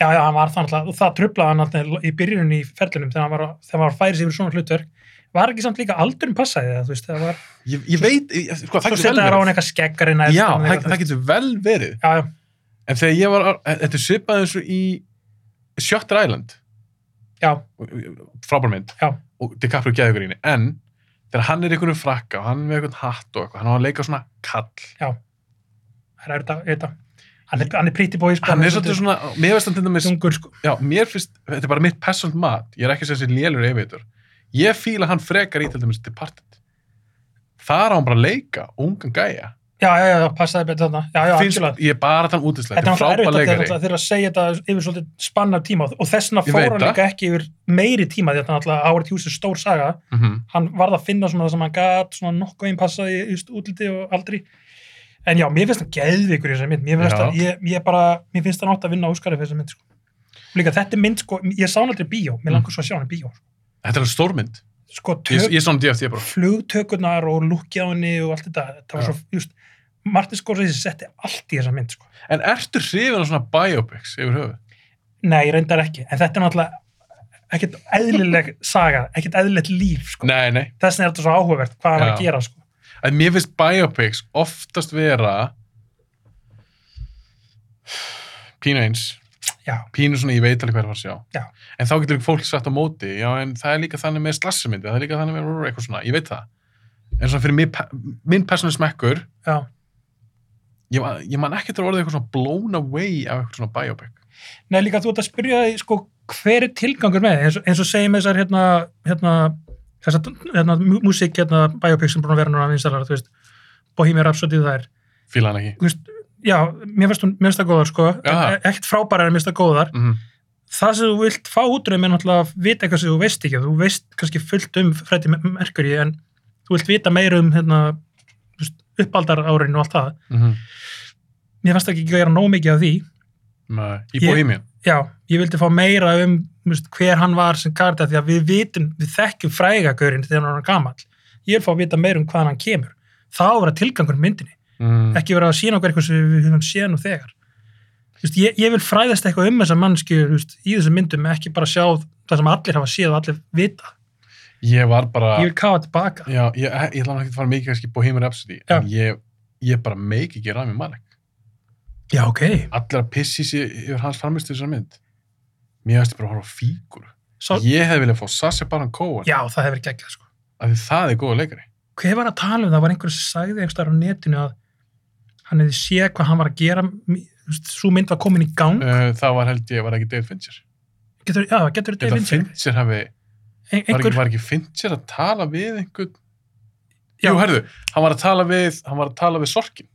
Speaker 2: já, já, hann var það náttúrulega, og það trublaði hann alltaf í byrjunum í ferlinum þegar hann var, að- þegar hann var að færi sig yfir svona hlutverk var ekki samt líka aldurinn passaði það, þú veist, það var
Speaker 1: Ég, ég veit, ég, sko, það
Speaker 2: svo
Speaker 1: getur
Speaker 2: setja þær á
Speaker 1: vel
Speaker 2: hann
Speaker 1: verið.
Speaker 2: eitthvað skeggarinn
Speaker 1: Já, það, það getur vel verið.
Speaker 2: já, já,
Speaker 1: En þegar ég var, á- þetta er svipað eins og í Shutter Island,
Speaker 2: já,
Speaker 1: frábær mynd,
Speaker 2: Já.
Speaker 1: og DiCaprio geði ykkur íni, en þegar hann er í einhvern frakka og hann er með einhvern hatt og eitthvað, hann á að leika svona kall.
Speaker 2: það er þetta, þetta hann er, hann er pretty boy, sko
Speaker 1: Hann er svolítið svona, mér finnst hann til dæmis
Speaker 2: dungur, sko,
Speaker 1: Já, mér finnst, þetta er bara mitt personal mat, ég er ekki sem þessi lélur yfirvitur. Ég fíla hann frekar í til dæmis Departed. Þar á hann bara að leika, ungan gæja.
Speaker 2: já, já, já, það passaði betur þarna já, já,
Speaker 1: finnst,
Speaker 2: algjörlega.
Speaker 1: ég er bara þann útislega, þetta
Speaker 2: Þetta
Speaker 1: er
Speaker 2: er
Speaker 1: frábæð
Speaker 2: náttúrulega erfitt
Speaker 1: leikari.
Speaker 2: að þeirra að segja þetta yfir svolítið spann af tíma og þess vegna
Speaker 1: Ég
Speaker 2: fór
Speaker 1: veit
Speaker 2: hann
Speaker 1: það.
Speaker 2: líka ekki yfir meiri tíma því að náttúrulega Howard Hughes er stór saga
Speaker 1: Mm
Speaker 2: hann varð að finna svona það sem hann gat svona nokkuð einn passaði í just útliti og aldri en já, mér finnst hann geðvikur í þessari mynd mér finnst,
Speaker 1: Já.
Speaker 2: hann, ég, ég bara, mér finnst hann átt að vinna Óskari fyrir þessari mynd sko. líka þetta er mynd, sko, ég sá hann aldrei í bíó mér langar svo að sjá hann í bíó sko.
Speaker 1: Þetta er alveg stórmynd.
Speaker 2: sko,
Speaker 1: Mm. Ég,
Speaker 2: tök,
Speaker 1: ég er svona DFT bara.
Speaker 2: flugtökurnar og lukkja á henni og allt þetta, þetta var
Speaker 1: Já.
Speaker 2: svo, just Martin Scorsese setti allt í þessa mynd sko.
Speaker 1: En ertu hrifin á svona biopics yfir höfuð?
Speaker 2: Nei, reyndar ekki, en þetta er náttúrulega ekkert eðlileg saga, ekkert eðlilegt líf sko.
Speaker 1: Nei, nei.
Speaker 2: þess vegna er þetta svo áhugavert hvað hann var að
Speaker 1: Já.
Speaker 2: gera sko.
Speaker 1: Að mér finnst biopics oftast vera pínu eins.
Speaker 2: Já,
Speaker 1: pínu svona ég veit alveg hvað er að fara að sjá
Speaker 2: Já.
Speaker 1: en þá getur ekki fólk satt á móti já en það er líka þannig með slassemyndi það er líka þannig með eitthvað svona, ég veit það en svona fyrir mig, pe- minn persónu smekkur
Speaker 2: já.
Speaker 1: ég, man- ég man ekki til að orða eitthvað svona blown away af eitthvað svona biopic
Speaker 2: Nei, líka þú ert að spyrja því sko, hver er tilgangur með því? eins, og- eins og segjum þessar hérna, hérna, þessar hérna, mú- músík hérna, biopics sem búin að vera núna vinsalar, þú veist, Bohemian Rhapsody það er,
Speaker 1: fíla hann ekki
Speaker 2: þú veist, já, mér finnst hún mér finnst það góðar sko,
Speaker 1: Já.
Speaker 2: En ekkert frábærar en mér finnst það góðar
Speaker 1: mm
Speaker 2: það sem þú vilt fá útrúðum er náttúrulega að vita eitthvað sem þú veist ekki þú veist kannski fullt um Freddie Mercury en þú vilt vita meir um hérna, þú veist, uppaldar árin og allt það
Speaker 1: -hmm.
Speaker 2: mér fannst ekki að gera nóg mikið af því
Speaker 1: í
Speaker 2: Ég-
Speaker 1: Bohemian
Speaker 2: já, ég vildi fá meira um þú veist, hver hann var sem karta því að við vitum, við þekkjum frægagörin þegar hann er gamall ég vil fá að vita meira um hvaðan hann kemur þá vera tilgangur myndinni
Speaker 1: mm.
Speaker 2: ekki vera að sína okkur eitthvað sem við höfum séð nú þegar Þú veist, ég, ég vil fræðast eitthvað um þessa mannsku veist, í þessum myndum ekki bara sjá það sem allir hafa séð og allir vita
Speaker 1: ég var bara
Speaker 2: ég
Speaker 1: ég,
Speaker 2: vil kafa tilbaka
Speaker 1: já, ég, eh, ég ætla hann ekki að fara mikið kannski í Bohemian Rhapsody
Speaker 2: Já.
Speaker 1: en ég, ég bara meiki ekki ræmi Malek
Speaker 2: já, ok,
Speaker 1: allir að pissi sér yfir hans framistu þessar mynd mér ætti bara að horfa á fígur
Speaker 2: Sá,
Speaker 1: ég hefði viljað fá Sassi Baron Cohen
Speaker 2: já, það hefur ekki ekki sko.
Speaker 1: af því það er góða leikari
Speaker 2: hver var að tala um það var einhver sem sagði einhverstaðar á netinu að hann hefði séð hvað hann var að gera svo mynd var komin í gang
Speaker 1: uh, það var held ég, var það ekki David Fincher
Speaker 2: getur, já, getur
Speaker 1: David
Speaker 2: þetta
Speaker 1: Fincher,
Speaker 2: vinsir
Speaker 1: hafi, var,
Speaker 2: einhver,
Speaker 1: ekki, var ekki Fincher að tala við einhvern
Speaker 2: Já.
Speaker 1: jú, herðu, hann var að tala við hann var að tala við sorkin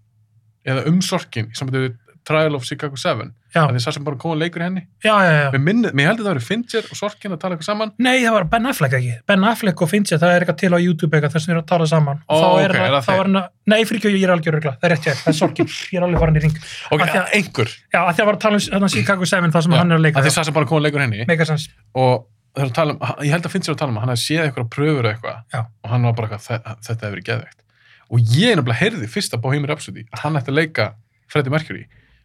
Speaker 1: eða um sorkin í sambandi við Trial of Chicago 7
Speaker 2: Já,
Speaker 1: af því það sem bara koma leikur í henni
Speaker 2: já, já, já.
Speaker 1: mér, minni, mér heldur það að vera Fincher og Sorkin að tala eitthvað saman
Speaker 2: Nei, það var Ben Affleck ekki. Ben Affleck og Fincher, það er eitthvað til á YouTube eitthvað þess að við erum að tala saman.
Speaker 1: Ó,
Speaker 2: Þá
Speaker 1: ok, er það
Speaker 2: þá
Speaker 1: þeir?
Speaker 2: er það, nei, fyrir ekki, ég er algjör regla. Það er rétt ég, það er sorkin. Ég er alveg farin í ring.
Speaker 1: ok,
Speaker 2: Af því að-
Speaker 1: einhver
Speaker 2: Já, að því að var að tala um þarna Chicago 7, það sem
Speaker 1: Já,
Speaker 2: hann er að
Speaker 1: af
Speaker 2: leika.
Speaker 1: því það sem bara koma leikur í henni
Speaker 2: Megasens.
Speaker 1: og þeir eru að tala um, ég held að finnst sér að tala um að hann hefði séð eitthvað pröfur eða
Speaker 2: Já.
Speaker 1: eitthvað og hann var bara eitthvað, "Þe- þetta hefur verið geðveikt og ég nefnilega heyrði fyrst að Bohemian Rhapsody að hann ætti að leika Freddie Mercury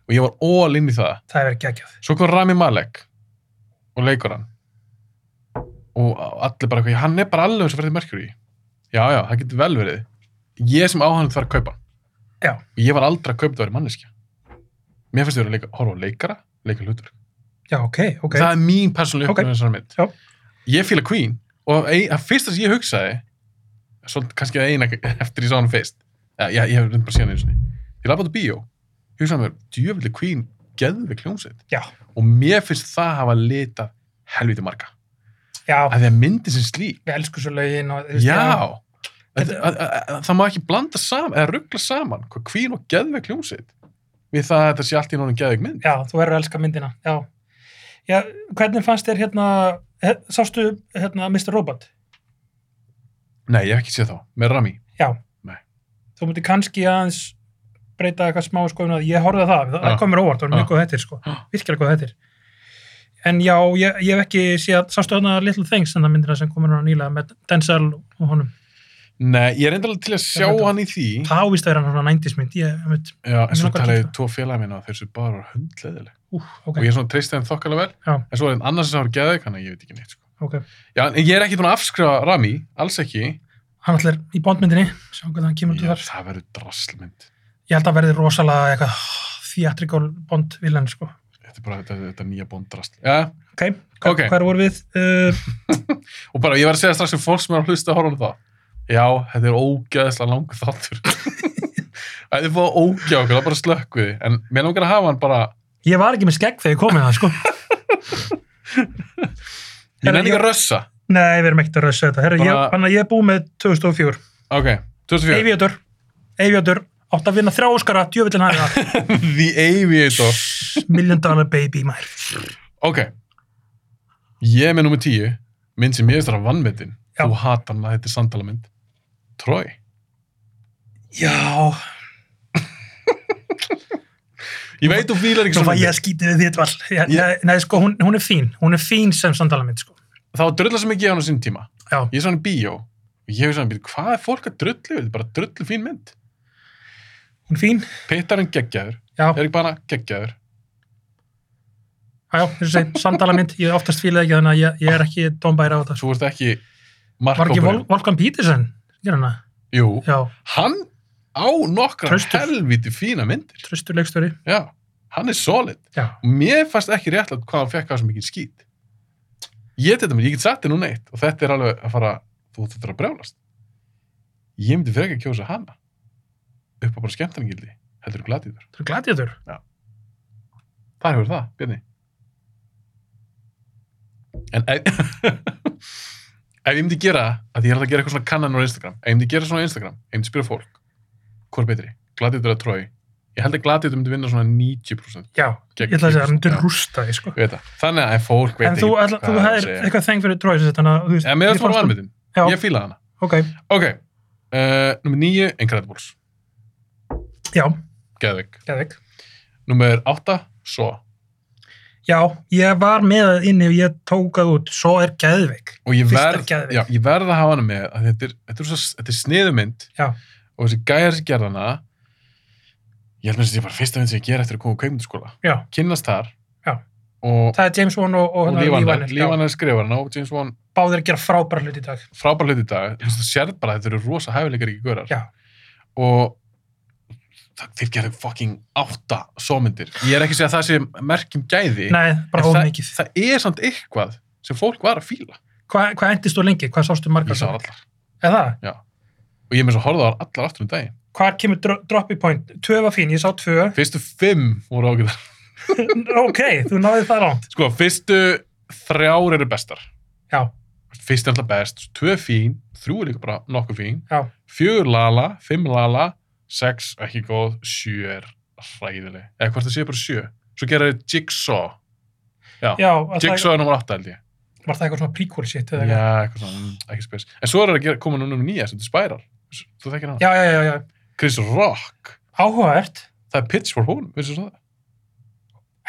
Speaker 1: og ég var all in í það
Speaker 2: Það er verið geggjað.
Speaker 1: svo kom Rami Malek og leikur hann og allir bara eitthvað, hann er bara alveg sem Freddie Mercury já, já, það getur vel verið ég sem á hann þarf að kaupa hann
Speaker 2: Já.
Speaker 1: og ég var aldrei að kaupa það verið manneskja mér finnst þau að leika, horfa á leikara leika hlutur
Speaker 2: Já, ok, ok.
Speaker 1: það er mín persónuleg
Speaker 2: Ok.
Speaker 1: upplifun okay. þessar mynd
Speaker 2: Já.
Speaker 1: ég fíla Queen og ein- það fyrsta sem ég hugsaði svolítið kannski að eina eftir ég sá hann fyrst ég, ég, ég hef reynd bara síðan einu sinni ég laði bara á bíó ég hugsaði mér djöfildi Queen geðvig hljómsveit
Speaker 2: Já.
Speaker 1: og mér finnst það hafa litað helviti marga
Speaker 2: Já,
Speaker 1: að því að myndi sem slík
Speaker 2: við elskum svo lögin og... þú veist,
Speaker 1: já Þetta,
Speaker 2: Þetta-
Speaker 1: að, að, að, það má ekki blanda saman eða ruggla saman hvað Queen og geðveg hljómsveit við það að þetta sé allt í náttúrulega geðvig mynd
Speaker 2: Já, þú verður að elska myndina, já. Já, hvernig fannst þér hérna, he- sástu hérna Mr. Robot?
Speaker 1: nei, ég hef ekki séð þá, með Rami
Speaker 2: Já.
Speaker 1: Nei.
Speaker 2: Þú mútti kannski aðeins breyta eitthvað smá skoðun að ég horfði að það, það,
Speaker 1: Já.
Speaker 2: það komur óvart, það var
Speaker 1: Já.
Speaker 2: mjög góð hættir sko,
Speaker 1: Já.
Speaker 2: virkilega góð hættir. En já, ég, ég hef ekki séð, sástu hérna Little Things, þannig myndina sem komur hann nýlega með Denzel og honum.
Speaker 1: nei, ég er enda alveg til að sjá
Speaker 2: veit það.
Speaker 1: hann í því
Speaker 2: Það ávist að vera hann svona 90s mynd, ég veit,
Speaker 1: Já, en
Speaker 2: Mig
Speaker 1: svo
Speaker 2: langar að
Speaker 1: talaði ég
Speaker 2: kíkja.
Speaker 1: tvo félagi minna og þeir sem bara var hundleðileg.
Speaker 2: ú, ok,
Speaker 1: Og ég er svona treystið þeim þokkalega vel,
Speaker 2: Já.
Speaker 1: en svo var einn annars sem var geðið, þannig að ég veit ekki neitt. Sko.
Speaker 2: ok.
Speaker 1: Já, en ég er ekki búin að afskrifa Rami, alls ekki.
Speaker 2: Hann allir í bondmyndinni, sjá hvernig hann kemur til
Speaker 1: Ég,
Speaker 2: þar.
Speaker 1: það verður draslmynd.
Speaker 2: Ég held að verði rosalega eitthvað theatrical bond viljan, sko.
Speaker 1: Þetta er bara þetta, þetta nýja bónd drasl. Já,
Speaker 2: Ok, hva,
Speaker 1: Ok.
Speaker 2: hvar voru við? Uh,
Speaker 1: og bara ég var að segja strax um fólk sem er að hlusta að horfa um það. Já, þetta er ógeðslega langur þáttur. Það er fóða ógeð okkur, það er bara slökk við því. En mér langar að hafa hann bara,
Speaker 2: ég var ekki með skegg þegar ég kom með það, sko.
Speaker 1: ég nenni ekki að rössa.
Speaker 2: Nei, við erum ekkert að rauðsa þetta. Herra, ég,
Speaker 1: Bara-
Speaker 2: hann að ég er búið með 2004.
Speaker 1: Ok, 2004.
Speaker 2: Aviator, Aviator, átt að vinna þrjá óskara, djöfillin hann er það.
Speaker 1: The Aviator.
Speaker 2: Million dollar baby, maður.
Speaker 1: Ok Ég er með nummer 10 mynd sem ég veist að vannmetin
Speaker 2: Já.
Speaker 1: þú hatar hana, þetta er samtala mynd Troy
Speaker 2: Já,
Speaker 1: Ég veit þú fílar ekki
Speaker 2: nú
Speaker 1: svona
Speaker 2: var ég
Speaker 1: myndir.
Speaker 2: að skítið við þitt val. Ég,
Speaker 1: Ég-
Speaker 2: Nei, sko, hún, hún er fín. Hún er fín sem samtalamind, sko.
Speaker 1: Það var drulla sem ég gefa hann á sín tíma
Speaker 2: Já.
Speaker 1: Ég er svona bíó og ég hef svona býr, hvað er fólk að drullu við? Þetta er bara drullu fín mynd
Speaker 2: Hún er fín.
Speaker 1: Pittarinn geggjaður,
Speaker 2: Já,
Speaker 1: er ekki bara geggjaður
Speaker 2: já, já, þess að samtalamind, ég oftast fílaði ekki þannig að ég, ég er ekki dombæri á þetta. sko.
Speaker 1: Svo vorst ekki
Speaker 2: Var ekki Vol
Speaker 1: markkópurinn
Speaker 2: Volkan Petersen? Ég er hana.
Speaker 1: Jú,
Speaker 2: Já,
Speaker 1: hann á nokkra
Speaker 2: Traustur.
Speaker 1: helviti fína myndir
Speaker 2: tröstur leikstjóri.
Speaker 1: Já, hann er solid
Speaker 2: Já.
Speaker 1: mér fannst ekki réttlega hvað hann fekk á sem ekki skýt ég, þetta, ég get sagt þér núna eitt og þetta er alveg að fara þú þetta er að brjálast ég myndi frekar kjósa hana upp á bara skemmtarningildi heldur gladiður
Speaker 2: Það er gladiður.
Speaker 1: þar hefur það, Bjarni en ef, ef ég myndi gera það, að ég er alltaf að gera eitthvað svona kannan á Instagram ef ég myndi gera svona á Instagram, ef ég myndi spyrja fólk hvað er betri, gladiður eða trói ég held að gladiður myndi vinna svona 90%
Speaker 2: Já,
Speaker 1: Gegn-
Speaker 2: ég ætla að segja, það myndir
Speaker 1: Já.
Speaker 2: rústa því, sko.
Speaker 1: Ég veit það. þannig að ef fólk veit
Speaker 2: En þú, ætla, þú
Speaker 1: það er að
Speaker 2: hefðir
Speaker 1: segja.
Speaker 2: eitthvað þeng fyrir tróið sér, þannig að þú veist...
Speaker 1: Já, mér
Speaker 2: ég
Speaker 1: finnst bara
Speaker 2: fannst-
Speaker 1: vanmetin.
Speaker 2: Já.
Speaker 1: Ég fílaði hana.
Speaker 2: Ok,
Speaker 1: Ok, uh, nummer 9, Incredibles.
Speaker 2: já,
Speaker 1: Geðvig.
Speaker 2: geðvik.
Speaker 1: Nummer 8, Saw.
Speaker 2: Já, ég var með það inni og ég tók það út, svo er geðvik.
Speaker 1: Og ég
Speaker 2: Fyrsta
Speaker 1: verð,
Speaker 2: Geðvik.
Speaker 1: já, ég verð að hafa hana með að þetta er, þetta er, svo, þetta er sniðumynd
Speaker 2: Já.
Speaker 1: og þessi gæjar sem gerða hana ég held með þess að þetta er bara fyrsta mynd sem ég ger eftir að koma úr kveikmyndaskóla.
Speaker 2: Já,
Speaker 1: Kynnast þar
Speaker 2: Já.
Speaker 1: og,
Speaker 2: það er James Wan og, og,
Speaker 1: og
Speaker 2: hérna
Speaker 1: lífannar,
Speaker 2: Lee Vanner, já.
Speaker 1: lífannar skrifar hana og James Wan
Speaker 2: Báðir að gera frábæra hluti í dag.
Speaker 1: frábær hlut í dag, þú veist, þú sérð bara að þetta eru rosa hæfileikar ekki görar
Speaker 2: Já.
Speaker 1: og það, þeir gerðu fucking átta sómyndir, ég er ekki að segja að það sé merkjum gæði,
Speaker 2: Nei,
Speaker 1: en
Speaker 2: bara of
Speaker 1: það,
Speaker 2: mikið.
Speaker 1: það er samt eitthvað sem fólk var að fíla
Speaker 2: Hvað hva endist þú lengi? Hvað sástu margar?
Speaker 1: ég sá þær allar,
Speaker 2: Er það?
Speaker 1: og ég er með svo horfða á þær allar aftur um daginn,
Speaker 2: Hvar kemur dro droppi point? Tvö var fín, ég sá tvö.
Speaker 1: fyrstu fimm voru ágæðar,
Speaker 2: ok, þú náði það ránt.
Speaker 1: sko, fyrstu þrjár eru bestar
Speaker 2: Já,
Speaker 1: fyrst er alltaf best, tvö fín þrjú er líka bara nokkuð fín
Speaker 2: Já.
Speaker 1: fjögur lala, fimm lala sex ekki góð, sjö er hræðileg eða hvort það sé bara sjö svo gera þau Jigsaw
Speaker 2: Já, var það,
Speaker 1: Jigsaw er nummer 8 held ég
Speaker 2: var það eitthvað svona prequel shit
Speaker 1: já,
Speaker 2: eða eitthvað?
Speaker 1: eitthvað svona, mm, ekki spes en svo er það að gera, koma nummer 9 sem þetta spærar þú þekkir hann
Speaker 2: Já, já, já, já.
Speaker 1: Chris Rock
Speaker 2: Áhugavert.
Speaker 1: það er pitch for honum veistu það?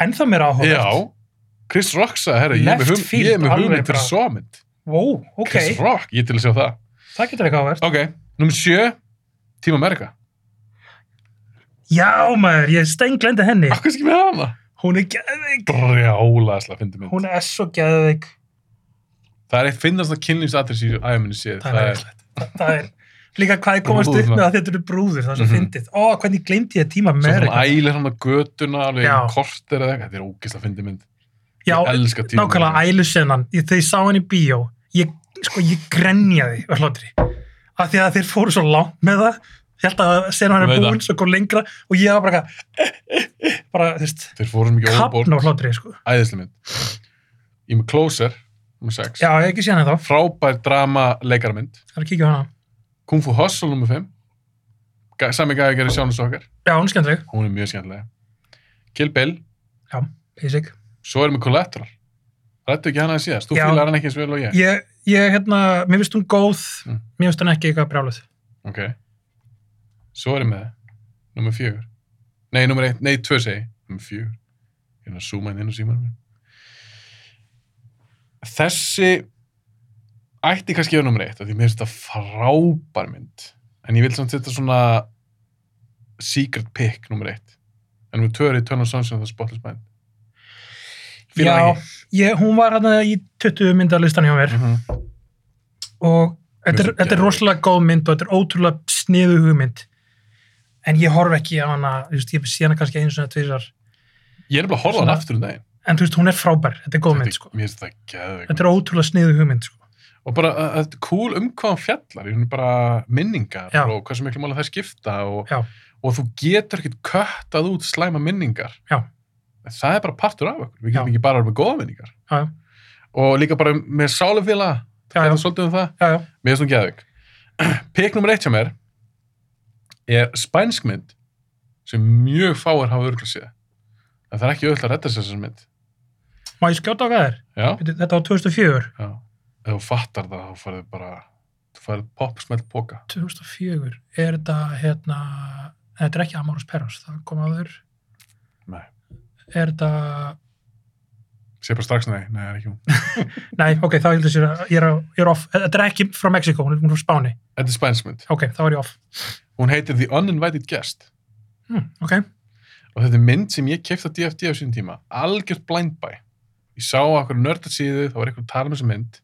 Speaker 2: Ennþá mér áhugavert.
Speaker 1: já Chris Rock sagði herra ég er
Speaker 2: Left
Speaker 1: með hugmynd-
Speaker 2: field,
Speaker 1: ég er með
Speaker 2: alveg
Speaker 1: hugmynd fyrir
Speaker 2: bara.
Speaker 1: svomind
Speaker 2: Wow, ok.
Speaker 1: Chris Rock ég er til að sjá það
Speaker 2: Það getur eitthvað áhugavert.
Speaker 1: ok nummer 7 Team America
Speaker 2: Já, maður, ég stenglendi henni.
Speaker 1: akkur skil með hana
Speaker 2: Hún er geðveik.
Speaker 1: brjálaðislega fyndi mynd
Speaker 2: Hún er svo geðveik.
Speaker 1: það er eitt finnast að kynlýfsatrís í æfuminni séð
Speaker 2: Það er æðislegt. Það- Það er líka hvað ég komast upp
Speaker 1: Brúðurnar.
Speaker 2: með að þetta eru brúður, það er svo
Speaker 1: Mhm.
Speaker 2: fyndið. Ó, hvernig glemdi ég tíma
Speaker 1: Svo
Speaker 2: með
Speaker 1: hann ælir hann að götuna alveg
Speaker 2: Já.
Speaker 1: já. kort er eða eitthvað, þetta er ógislega fyndi mynd
Speaker 2: Já,
Speaker 1: ég elska tíma
Speaker 2: nákvæmlega ælusennan. Ég, þegar ég sá hann í bíó, ég, sko, ég grenjaði á hlátri. Af því að þeir fóru svo langt með það. Ég held að sen hann er
Speaker 1: Ég veit
Speaker 2: búinn, svo kom lengra og ég var bara eitthvað, eh, eh, eh, bara, þú veist,
Speaker 1: þeir fórum ekki
Speaker 2: kapna á
Speaker 1: overboard,
Speaker 2: hlátri, sko.
Speaker 1: æðislega mynd ég er með Closer, nummer 6
Speaker 2: Já, ég hef ekki séð hann þá.
Speaker 1: frábær drama leikarmynd
Speaker 2: Það er að kíkja á hana.
Speaker 1: Kung Fu Hustle nummer 5 sami gæði gerir sjónus okkar
Speaker 2: Já, hún er skemmtileg.
Speaker 1: hún er mjög skemmtilega Kill Bill,
Speaker 2: Basic.
Speaker 1: svo erum við Collateral rættu ekki hana að síðast, þú
Speaker 2: Já.
Speaker 1: fýlar hann ekki eins vel og ég
Speaker 2: Ég, ég, hérna, mér finnst hún góð,
Speaker 1: Mm.
Speaker 2: mér finnst hún ekki eitthvað brjáluð.
Speaker 1: ok, svo erum við nummer 4 nei, nummer 1, nei, 2 segi ég. nummer 4 ég er að zooma inn inn á símanum minn þessi ætti kannski að vera nummer 1 því mér finnst þetta frábær mynd en ég vil samt þetta svona secret pick nummer 1 en nummer 2 er í Turn of Sunshine og það spotless mind Fílar
Speaker 2: Já,
Speaker 1: hann ekki?
Speaker 2: ég, hún var hérna í 20 myndalistan hjá mér
Speaker 1: Mhm.
Speaker 2: og þetta er,
Speaker 1: Mjög
Speaker 2: þetta er
Speaker 1: geðveik.
Speaker 2: rosalega góð mynd og þetta er ótrúlega sniðu hugmynd en ég horf ekki á hana, þú veist, ég sé hana kannski einu svona tvisar,
Speaker 1: ég er nefnilega að horfa hann
Speaker 2: Svona-
Speaker 1: aftur um daginn
Speaker 2: en þú veist, hún er frábær þetta er góð mynd,
Speaker 1: Þetta-
Speaker 2: sko,
Speaker 1: mér finnst þetta geðveik
Speaker 2: þetta er ótrúlega sniðu hugmynd sko.
Speaker 1: og bara að- að þetta er cool um hvað hann fjallar í rauninni bara minningar
Speaker 2: Já.
Speaker 1: og hversu miklu mála þær skipta og,
Speaker 2: Já.
Speaker 1: og þú getur ekkert köttað út slæma minningar
Speaker 2: Já.
Speaker 1: En það er bara partur af okkur, við getum
Speaker 2: Já.
Speaker 1: ekki bara að vera með góða minningar
Speaker 2: já, já,
Speaker 1: og líka bara með sálufélaga
Speaker 2: já,
Speaker 1: þetta er
Speaker 2: já,
Speaker 1: svolítið um það,
Speaker 2: já, já.
Speaker 1: mér finnst hún geðvik Pikk nummer eitt hjá mér er spænskmynd sem mjög fáir hafa örgla séð en það er ekki öll að redda sér þessar mynd
Speaker 2: má ég skjóta á hvað þér?
Speaker 1: Já,
Speaker 2: Bíddu, þetta var 2004
Speaker 1: Já. ef þú fattar það þá farið bara þú farið popsmelt póka
Speaker 2: 2004, er þetta hérna, þetta er ekki Amorous Perros það kom að þur,
Speaker 1: Nei.
Speaker 2: er þetta
Speaker 1: sé bara strax nei, nei, það er ekki hún
Speaker 2: nei, ok, þá heldur sér að ég er, á- ég er off, þetta er ekki frá Mexiko, hún er hún er frá Spáni
Speaker 1: Þetta er spænsmynd.
Speaker 2: ok, þá er ég off
Speaker 1: Hún heitir The Uninvited Guest
Speaker 2: hmm, ok,
Speaker 1: og þetta er mynd sem ég kefti á DFD á sínum tíma. Algjört blind buy. Ég sá á okkur nördarsíðu, það var eitthvað að tala um þessa mynd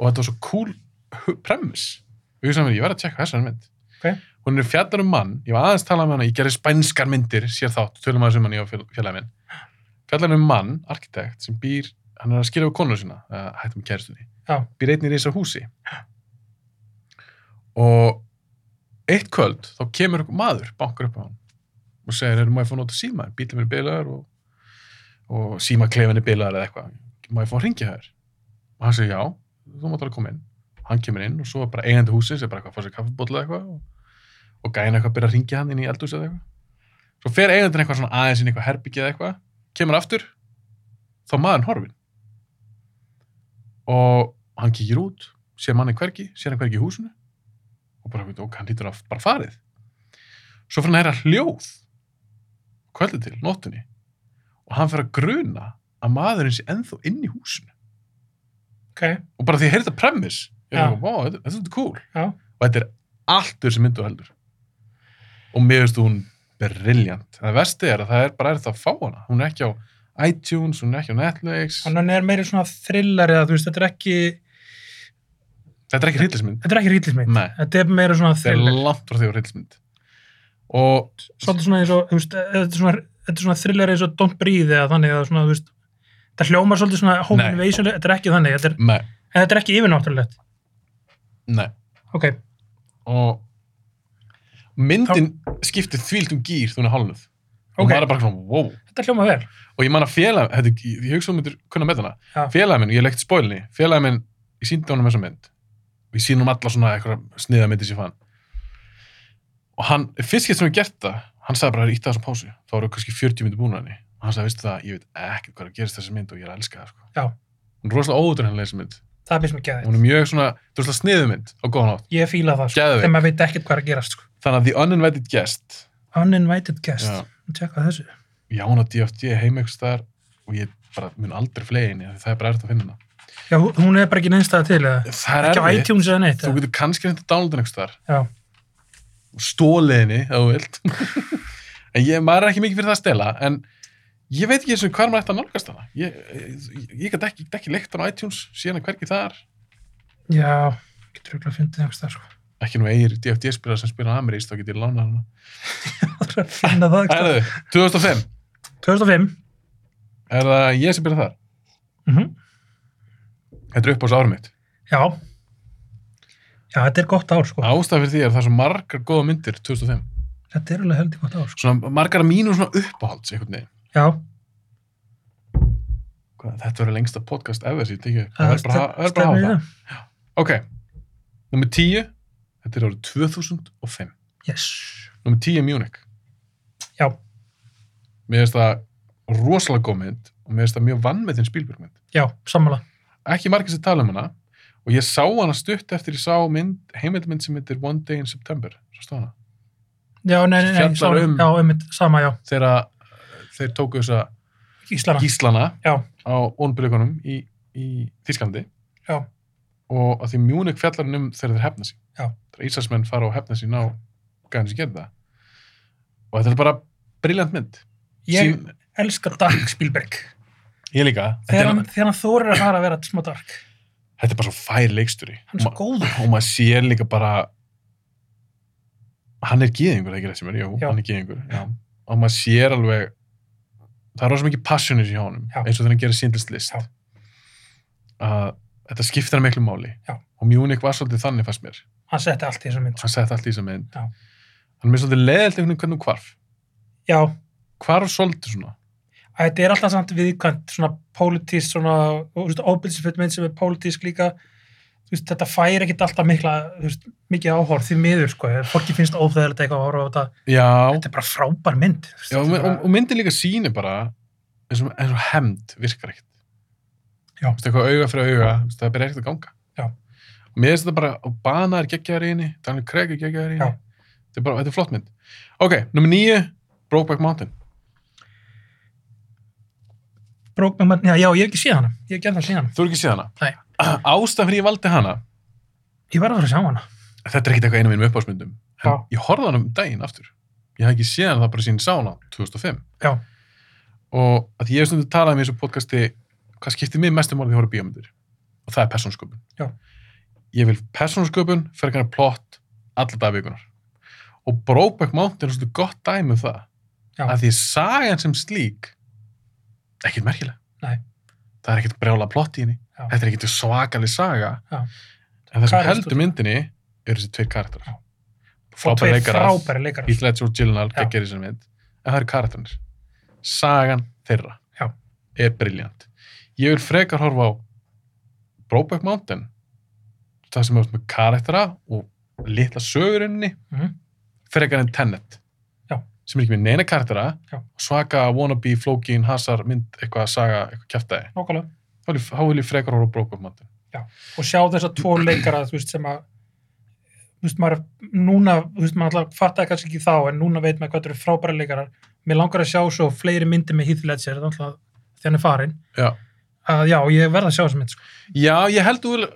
Speaker 1: og þetta var svo cool premis. Og ég sagði mér, ég verði að tjekka þessari mynd.
Speaker 2: Ok.
Speaker 1: Hún er fjallar um mann, ég var aðeins talað um hana, ég gerði spænskar myndir, sér þátt, tölum aðeins um hann ég á félagin minn. Fjallar um mann, arkitekt, sem býr, hann er að skilja við konur sína, uh, hættum kæristunni.
Speaker 2: Já.
Speaker 1: Býr einnig í reysa húsi. Og eitt kvöld þá kemur einhver maður, bankar upp á hann og segir, erum maður að fá að nota síma bílum er bilaðar og, og símaklefin er bilaðar eða eitthvað maður að fá að ringja þær og hann segir, já, þú mátt alveg koma inn hann kemur inn og svo er bara eigandi húsins er bara eitthvað að fá sér kaffibólla eða eitthvað og, og gæna eitthvað að byrja að ringja hann inn í eldhús eða eitthvað svo fer eigandinn eitthvað svona aðeins inn í eitthvað herbyggið eða eitthvað kemur aftur, þá er maðurinn horfinn og hann kíkir út sér manni hvergi, sér hann hvergi í húsinu og bara, veit, ok, hann lítur að bara farið svo fyrir hann að heyra hljóð kvöldi til, nóttunni og hann fyrir að gruna að maðurinn sé ennþá inn í húsinu
Speaker 2: ok,
Speaker 1: og bara því að heyrði þetta premis ég
Speaker 2: Já.
Speaker 1: er bara, wow, þetta, þetta er svolítið cool
Speaker 2: já
Speaker 1: og þetta er allt þessi myndu heldur og mér finnst hún brilljant það vesti er að það er bara er það að fá hana hún er ekki á iTunes, hún er ekki á Netflix
Speaker 2: Þannig er meiri svona thriller eða þú veist, þetta er ekki,
Speaker 1: þetta er ekki hryllismynd
Speaker 2: þetta er ekki hryllismynd.
Speaker 1: Nei.
Speaker 2: Þetta er meiri svona
Speaker 1: það er
Speaker 2: thriller.
Speaker 1: langt frá því að hryllismynd og
Speaker 2: Svolítið svona eins og, þú veist, þetta er svona, þetta er svona thriller eins og Don't Breathe eða þannig eða svona, þú veist, þetta hljómar svolítið svona home
Speaker 1: Nei.
Speaker 2: invasion, þetta er ekki þannig, þetta er,
Speaker 1: nei,
Speaker 2: en þetta er ekki yfirnáttúrulegt.
Speaker 1: nei
Speaker 2: Ok,
Speaker 1: og myndin skipti þvílt um gýr þú hún er hálnuð og
Speaker 2: Ok.
Speaker 1: maður er bara svona, wow
Speaker 2: þetta hljómar vel.
Speaker 1: og ég man að félag, þetta, ég, ég hugsa um myndir kunna með hana,
Speaker 2: Já.
Speaker 1: félag minn, ég leikti spólinni félag minn, ég síndi honum þessa mynd og ég síndi honum alla svona eitthvað sniða myndir sem ég fann og hann, fyrst getur sem ég gert það hann sagði bara að ítta þessum pásu þá eru kannski 40 myndir búin að henni og hann sagði, veistu það, ég veit ekkert hvað er að gerist þessi mynd og ég er að elska það sko.
Speaker 2: Já.
Speaker 1: hún er rosalega óvöldur henni þessi mynd
Speaker 2: það er byrst mér gæðið
Speaker 1: hún er mjög svona, þú veist það sniðu mynd á góðan átt
Speaker 2: ég fíla það, sko,
Speaker 1: Geðveikt.
Speaker 2: þegar maður veit ekkert hvað er að gerast sko.
Speaker 1: þannig að The Uninvited Guest
Speaker 2: uninvited guest,
Speaker 1: Já.
Speaker 2: tjekka þessu
Speaker 1: ég án á DFT heim einhvers staðar og ég bara mun aldrei flegi henni af því það er bara erfitt að finna hana
Speaker 2: já, hú- hún er bara ekki neinstæða til eða?
Speaker 1: það
Speaker 2: ekki á
Speaker 1: er erfitt,
Speaker 2: iTunes eða neitt
Speaker 1: þú
Speaker 2: eða?
Speaker 1: getur kannski reyndið að downloada henni einhvers staðar
Speaker 2: já,
Speaker 1: og stólið henni ef þú vilt en ég, maður er ekki mikið fyrir það að stela en ég veit ekki eins og hvað maður ætti að nálgast hana ég, ég, ég get ekki, get ekki leikt hann á iTunes síðan er hvergi þar
Speaker 2: já, getur ekki að finna það sko.
Speaker 1: ekki nú eigir DFD-spilar sem spila á Ameríst þá get ég lána hana
Speaker 2: Það er að finna það sko.
Speaker 1: Æðu, 2005,
Speaker 2: 2005
Speaker 1: er það ég sem byrja þar
Speaker 2: mm
Speaker 1: þetta er upp á þessu árum mitt
Speaker 2: já já, þetta er gott ár sko.
Speaker 1: ástæð fyrir því er það er svo margar góða myndir 2005,
Speaker 2: þetta er alveg heldur gott ár sko.
Speaker 1: svona margar mínum svona uppáhalds einhvern veginn
Speaker 2: já,
Speaker 1: Hvað, þetta verður lengsta podcast ever sem ég tekið upp. það verður
Speaker 2: það
Speaker 1: bara að- það verður bara að
Speaker 2: Ah, stefnir í
Speaker 1: hafa það
Speaker 2: það.
Speaker 1: ok, nummer 10 þetta er árið 2005
Speaker 2: yes,
Speaker 1: Númer 10 er Munich.
Speaker 2: já,
Speaker 1: Mér finnst það rosalega góð mynd og mér finnst það mjög vannmetinn spílbjörgmynd.
Speaker 2: já, sammála
Speaker 1: Ekki margir sem tala um hana og ég sá hana stutt eftir ég sá mynd, heimildmynd sem heitir One Day in September. Svo stóð hana.
Speaker 2: já, nei, nei, nei,
Speaker 1: Fjallar
Speaker 2: sammála.
Speaker 1: um-
Speaker 2: já, einmitt, sama, já,
Speaker 1: Þegar að þeir tóku þessa
Speaker 2: Íslana
Speaker 1: gíslana
Speaker 2: já,
Speaker 1: á ónbyrjökunum í, í Þísklandi
Speaker 2: já,
Speaker 1: og að því Munich fjallar hann um þegar þeir hefna sín.
Speaker 2: Já.
Speaker 1: Þegar Íslandsmenn fara og hefna sín á gæðin sem gerði það. Og þetta er bara briljant mynd.
Speaker 2: ég
Speaker 1: Sín-
Speaker 2: elska Dark Spielberg
Speaker 1: ég líka. Þetta
Speaker 2: þegar
Speaker 1: er,
Speaker 2: hann, þegar hann þórir að fara að vera smá dark
Speaker 1: þetta er bara svo fær leiksturi.
Speaker 2: hann er svo góður
Speaker 1: og maður sér líka bara hann er geðingur ekki þessi mér, jú,
Speaker 2: Já.
Speaker 1: hann er geðingur já. og maður sér alveg það er rosa mikið passionis í honum
Speaker 2: Já.
Speaker 1: eins og þegar hann gerir síndlist
Speaker 2: Já.
Speaker 1: list að þetta skiptir hann miklu máli
Speaker 2: Já.
Speaker 1: og Munich var svolítið þannig fannst mér
Speaker 2: hann setti allt í þessum mynd sko.
Speaker 1: hann sett allt í þessa mynd
Speaker 2: Já.
Speaker 1: hann er mér svolítið leðilt einhvern veginn hvernig hún hvarf
Speaker 2: já,
Speaker 1: hvarf svolítið svona
Speaker 2: að þetta er alltaf samt viðkvæmt svona pólitísk, svona óbyrðisfull mynd sem er pólitísk líka þú veist, þetta fær ekkit alltaf mikla þú veist, mikið áhorf því miður sko fólki finnst óþægilegt eitthvað að horfa á þetta
Speaker 1: já,
Speaker 2: þetta er bara frábær mynd þú veist,
Speaker 1: já og,
Speaker 2: þetta
Speaker 1: og,
Speaker 2: er bara,
Speaker 1: og myndi líka síni bara eins og, eins og hemd virkar ekkert
Speaker 2: Já.
Speaker 1: Veistu, eitthvað auga fyrir auga, veistu, það byrja ekkert að ganga
Speaker 2: Já.
Speaker 1: og mér finnst þetta bara og bana er geggjaðar í henni, Daniel Craig er geggjaðar í henni
Speaker 2: Já.
Speaker 1: þetta er bara, þetta er flott mynd ok, nummer nýju, Brokeback Mountain
Speaker 2: Brokeback Mountain- já, já, ég hef ekki séð hana ég hef ekki alltaf séð hana
Speaker 1: þú er ekki séð hana
Speaker 2: Nei.
Speaker 1: ástæðan fyrir ég valdi hana
Speaker 2: ég verði að fara að sjá hana
Speaker 1: þetta er ekkert eitthvað einu mínum uppásmyndum en
Speaker 2: Já.
Speaker 1: ég horfði á hana um daginn aftur ég hef ekki séð hana það bara sín sána 2005
Speaker 2: Já.
Speaker 1: og að því ég hef stundum talað um í þessu podcasti hvað skiptir mig mestum orðið að horfa á bíómyndir og það er persónsköpun
Speaker 2: Já.
Speaker 1: ég vil persónsköpun fyrir kannar plott alla dagvíkunar og Brokeback Mountain er svolítið gott dæmi um það
Speaker 2: Já.
Speaker 1: að því sagan sem slík ekkert merkileg
Speaker 2: Nei.
Speaker 1: það er ekkert brjála plott í henni
Speaker 2: Já.
Speaker 1: þetta er ekkert svakalig saga
Speaker 2: Já.
Speaker 1: en það sem
Speaker 2: Karakter-
Speaker 1: heldur myndinni eru þessi tveir karakterar
Speaker 2: Já. og
Speaker 1: frábæri
Speaker 2: tveir
Speaker 1: leikarar,
Speaker 2: frábæri leikarar
Speaker 1: Heath Ledger og Gyllenhaal
Speaker 2: Já.
Speaker 1: geggir þessar mynd, en það eru karakterarnir sagan þeirra
Speaker 2: Já.
Speaker 1: er briljant ég vil frekar horfa á Brokeback Mountain það sem er með karaktera og litla sögurinni
Speaker 2: Mhm.
Speaker 1: frekar en Tenet
Speaker 2: Já.
Speaker 1: sem er ekki með neina karaktera
Speaker 2: Já.
Speaker 1: og svaka wannabe, flókin, hasar mynd, eitthvað saga, eitthvað kjæftæði
Speaker 2: Nákvæmlega.
Speaker 1: þá vil ég- þá vil ég frekar horfa á Brokeback Mountain
Speaker 2: og sjá þess að tvo leikara þú veist sem að þú veist maður núna þú veist maður alltaf fattaði kannski ekki þá en núna veit maður hvað þetta eru frábæra leikarar mér langar að sjá svo fleiri myndir með Heath Ledger þannig að hann er farin
Speaker 1: Já.
Speaker 2: að já ég verð að sjá þess mynd sko.
Speaker 1: Já, ég held, þú vil-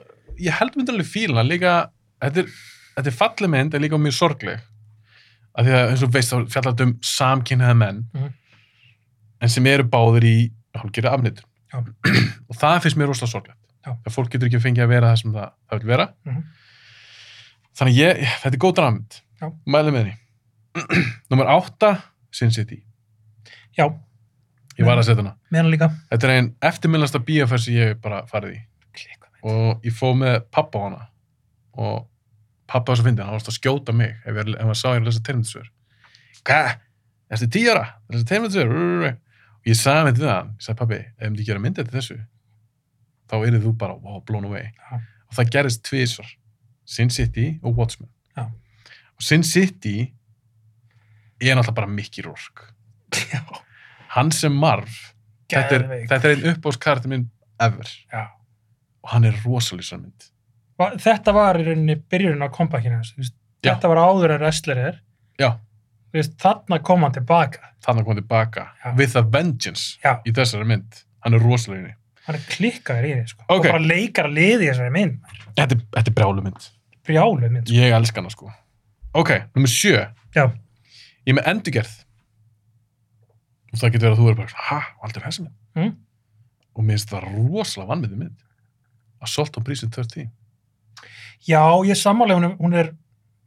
Speaker 1: ég held myndir alveg fíla hann, líka, þetta er, þetta er falleg mynd en líka mjög sorgleg af því að eins og veist þá fjallar þetta um samkynnaða menn
Speaker 2: Mhm.
Speaker 1: en sem eru báðir í hálfgerða afnýtt
Speaker 2: Já.
Speaker 1: og það finnst mér rosalega sorglegt
Speaker 2: Já.
Speaker 1: að fólk getur ekki fengið að vera það sem það, það vil vera
Speaker 2: Mhm.
Speaker 1: þannig að ég, þetta er góð dramynd
Speaker 2: Já.
Speaker 1: mæli með henni Númer 8, Sin City
Speaker 2: já
Speaker 1: ég var að
Speaker 2: Mhm.
Speaker 1: setja hana
Speaker 2: með hann líka
Speaker 1: þetta er einn eftirminnlasta bíafær sem ég hef bara farið í og ég fóð með pappa á hana og pappa var svo fyndið, hann varst að skjóta mig ef, ég, ef hann sá ég að lesa terminsver hvað, ertu tíu ára að lesa terminsver og ég sagði með til það, ég sagði pappi ef þú gera myndið til þessu þá erið þú bara, wow, blown away
Speaker 2: Já.
Speaker 1: og það gerist tvisvar Sin City og Watchmen
Speaker 2: Já.
Speaker 1: og Sin City er náttúrulega bara Mickey Rourke.
Speaker 2: Já,
Speaker 1: Hann sem marf, þetta er,
Speaker 2: Geðveik.
Speaker 1: þetta er einn uppbóðskartin minn ever.
Speaker 2: já.
Speaker 1: Og hann er rosalýsar mynd.
Speaker 2: Va- Þetta var í rauninni byrjun á kompakinu hans. þú veist.
Speaker 1: Já.
Speaker 2: Þetta var áður en wrestler er.
Speaker 1: Já,
Speaker 2: Þú veist, Þarna kom hann tilbaka.
Speaker 1: þannig að koma tilbaka.
Speaker 2: Já.
Speaker 1: With a vengeance
Speaker 2: Já,
Speaker 1: í þessari mynd. Hann er rosalýsar.
Speaker 2: hann er klikkaður í því, sko.
Speaker 1: Ok.
Speaker 2: Og bara leikar að liði í þessari mynd. maður.
Speaker 1: Þetta, er- þetta er brjálu mynd.
Speaker 2: Brjálu mynd, sko.
Speaker 1: Ég elska hana sko. Ok, nummer sjö.
Speaker 2: Já.
Speaker 1: Ég er með endurgerð. Og það getur verið að þú er bara, hæ, aldrei þessi mynd.
Speaker 2: Mm.
Speaker 1: Og mér finnst það rosalega vannmyndið mynd. Assault on Prison 13.
Speaker 2: Já, ég sammála, hún er, hún er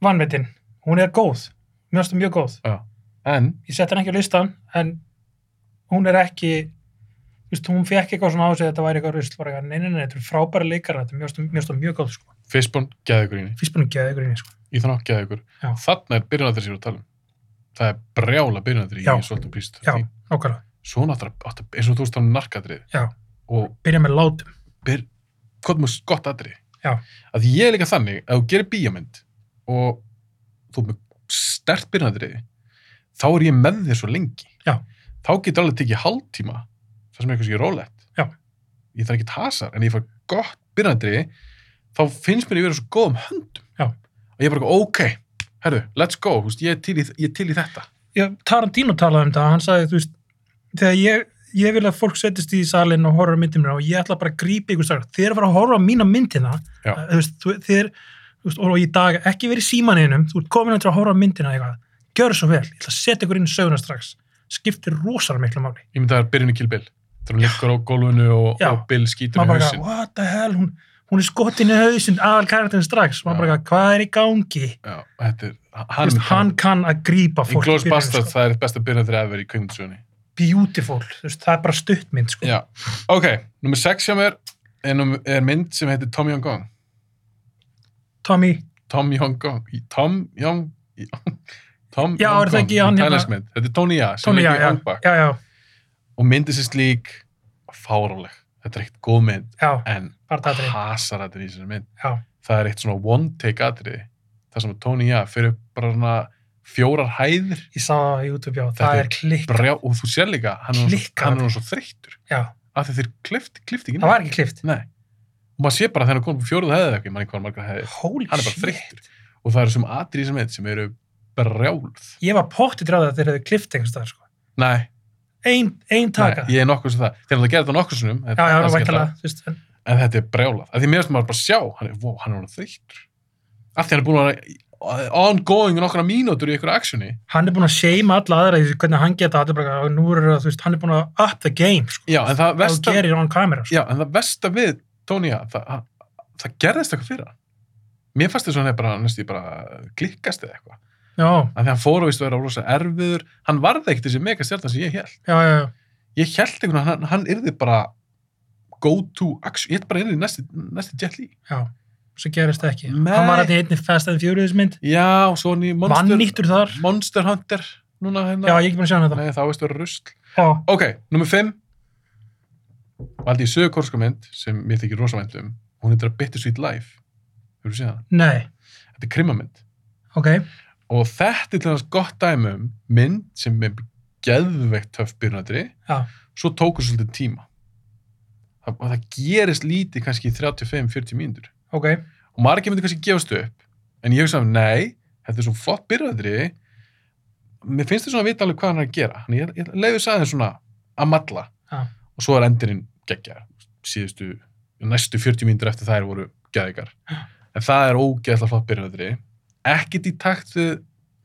Speaker 2: vanmetinn. Hún er góð. Mjög stu mjög góð.
Speaker 1: En,
Speaker 2: Ég sett hann ekki á listan, en hún er ekki, þú veist, hún fekk eitthvað svona á sig að þetta væri eitthvað rusl. Bara eitthvað, nei, nei, nei, þetta er frábæra leikara, þetta er mjög stu mjög, stu mjög góð, sko.
Speaker 1: Fishbone geði ykkur í henni.
Speaker 2: Fyrst búin að geða ykkur inn, sko.
Speaker 1: Íþann Hawke geði ykkur.
Speaker 2: Já.
Speaker 1: Þarna er byrjunatri sér að tala um. Það er brjála byrjunatri í
Speaker 2: Já.
Speaker 1: Assault on Prison
Speaker 2: Já,
Speaker 1: 13.
Speaker 2: nákvæmlega.
Speaker 1: Svona áttur að, áttu- eins og þú veist á narkadrið.
Speaker 2: Já.
Speaker 1: Og
Speaker 2: Byrja með látum.
Speaker 1: byr, hvað mjög gott atrið.
Speaker 2: Já.
Speaker 1: Að ég er líka þannig að þú gerir bíjamynd og þú ert með stert byrjunatri, þá er ég með þér svo lengi.
Speaker 2: Já.
Speaker 1: Þá getur alveg tekið hálftíma, það sem er eitthvað sem ég rólegt.
Speaker 2: Já.
Speaker 1: Ég þarf ekki tasar, en ég fær gott byrjunatri, þá finnst mér ég vera svo góðum höndum.
Speaker 2: Já.
Speaker 1: Og ég er bara, eitthvað, ok, herru, let's go, þú veist, ég er til í, ég er til í þetta.
Speaker 2: Já, Tarantino talaði um það, hann sagði, þú veist, þegar ég, ég vil að fólk setjast í salin og horfa á myndin mína og ég ætla bara að grípa ykkur strax. Þeir eru að horfa á mína myndina, eh,
Speaker 1: Já.
Speaker 2: þú veist, þú- þeir, þú veist, og í dag ekki verið símaninum, þú ert komin að til að horfa á myndina eitthvað, gjör svo vel, ég ætla að setja ykkur inn í söguna strax, skiptir rosalega miklu máli.
Speaker 1: Ég myndi að það er byrjunni kilbill. Þegar hún liggur á gólfinu og,
Speaker 2: Já.
Speaker 1: og Bill skýtur með
Speaker 2: Maður bara,
Speaker 1: hausinn.
Speaker 2: eitthvað, what the hell, hún, hún er skotin í hausinn, aðal karakterin strax, maður
Speaker 1: Já.
Speaker 2: bara, eitthvað, hvað er í gangi?
Speaker 1: Já, þetta er,
Speaker 2: Þú
Speaker 1: hann
Speaker 2: veist,
Speaker 1: er
Speaker 2: hann kann að grípa
Speaker 1: Í
Speaker 2: fólk.
Speaker 1: Glorious
Speaker 2: byrjun,
Speaker 1: Bastards,
Speaker 2: sko.
Speaker 1: það er besta byrjunatri ever í kveimundsugunni.
Speaker 2: Beautiful, þú veist, það er bara stuttmynd, sko.
Speaker 1: Já. Ok, nummer 6 hjá mér er, númer- er mynd sem heitir Tom Yong Gong.
Speaker 2: Tommy,
Speaker 1: Tom Yong Gong. Í- Tom Yong... í- Tom
Speaker 2: Já, er það ekki hann hérna-
Speaker 1: Tælensk mynd. Þetta er Tony Ya, sem
Speaker 2: Tommy,
Speaker 1: Tony,
Speaker 2: já,
Speaker 1: leikur í
Speaker 2: já,
Speaker 1: Angbak.
Speaker 2: já, já,
Speaker 1: Og myndi sér slík fáráleg. Þetta er eitt góð mynd,
Speaker 2: já,
Speaker 1: en
Speaker 2: bara það aðrið,
Speaker 1: hasar þetta í þessari mynd.
Speaker 2: já,
Speaker 1: Það er eitt svona one take atriði. Það sem Tony Ya fyrir upp bara svona fjórar hæðir
Speaker 2: ég sá það á YouTube, já,
Speaker 1: Þetta
Speaker 2: það
Speaker 1: er
Speaker 2: er klikk,
Speaker 1: brjá, og þú sér líka, hann er orðinn svo-
Speaker 2: Klikkar.
Speaker 1: hann er orðinn svo þreyttur.
Speaker 2: já,
Speaker 1: Af því þeir klift, klift ekki
Speaker 2: það var ekki klift,
Speaker 1: Nei. Og maður sé bara þegar hann kom upp fjóruð hefðið ekki, mann einhvern margar hefðið.
Speaker 2: holy
Speaker 1: Hann er bara
Speaker 2: shit,
Speaker 1: þreyttur. Og það eru sem atrið sem heit sem eru brjáluð.
Speaker 2: ég var pottið dráðið að þeir hefðu klift einhvers staðar, sko,
Speaker 1: Nei,
Speaker 2: ein, ein taka,
Speaker 1: nei, ég er nokkuð sem það. Þegar það gerði það nokkuð sinnum,
Speaker 2: já, já,
Speaker 1: það
Speaker 2: væntalega, þú veist, en-
Speaker 1: En þetta er brjálað. Af því mér finnst maður bara sjá, hann er, wow, hann er hann þreyttur. Af því hann er búin að vera í- ongoing nokkra mínútur í einhverju aksjoni.
Speaker 2: hann er búin að seima alla aðra, í þessu, hvernig hann geta aðra, bara, og nú er það, þú veist, hann er búin að up the game, sko,
Speaker 1: Já, en það
Speaker 2: það
Speaker 1: versta,
Speaker 2: gerir on camera, sko,
Speaker 1: já, en það versta við Tónija, það, það gerðist eitthvað fyrir hann. Mér fannst þess að hann er bara, næstu, bara klikkast eða eitthvað.
Speaker 2: já,
Speaker 1: Af því hann fór og vist að vera rosa erfiður. Hann varði ekkert þessi megastjartan sem ég held.
Speaker 2: já, já, já,
Speaker 1: ég held einhvern veginn að hann, hann yrði bara go to action, ég held bara yrði næsti, næsti Jet Li.
Speaker 2: já, svo gerist það ekki,
Speaker 1: Nei.
Speaker 2: hann var hann í einni Fast and Furious mynd,
Speaker 1: Já, svo hann í
Speaker 2: vann
Speaker 1: Monster,
Speaker 2: nýttur þar,
Speaker 1: Monster Hunter núna
Speaker 2: já,
Speaker 1: hérna.
Speaker 2: ég er ekki búin að sjá hann þetta,
Speaker 1: Nei, þá veist það rusl.
Speaker 2: já,
Speaker 1: Ok, nummer 5 valdi ég sögurkorska mynd sem mér þykir rosavænt um hún heitir að Bittersweet Life Hefur þú séð það?
Speaker 2: nei,
Speaker 1: Þetta er krimamynd
Speaker 2: ok,
Speaker 1: og þetta er til þess gott dæmi um mynd sem er geðveikt töff byrjunatri
Speaker 2: já,
Speaker 1: svo tókur svolítið tíma það, og það gerist lítið kannski í 35-40 mínútur
Speaker 2: ok,
Speaker 1: og margir myndi kannski gefast upp en ég hugsa um, nei, þetta er svona flott byrjaðri mér finnst þetta svona að vita alveg hvað hann er að gera hann ég, ég leiði þess aðeins svona að matla
Speaker 2: Já.
Speaker 1: og svo er endurinn geggjar síðustu, næstu 40 mínútur eftir þær voru geðikar
Speaker 2: Já.
Speaker 1: en það er ógeðslega flott byrjaðri ekkit í takt við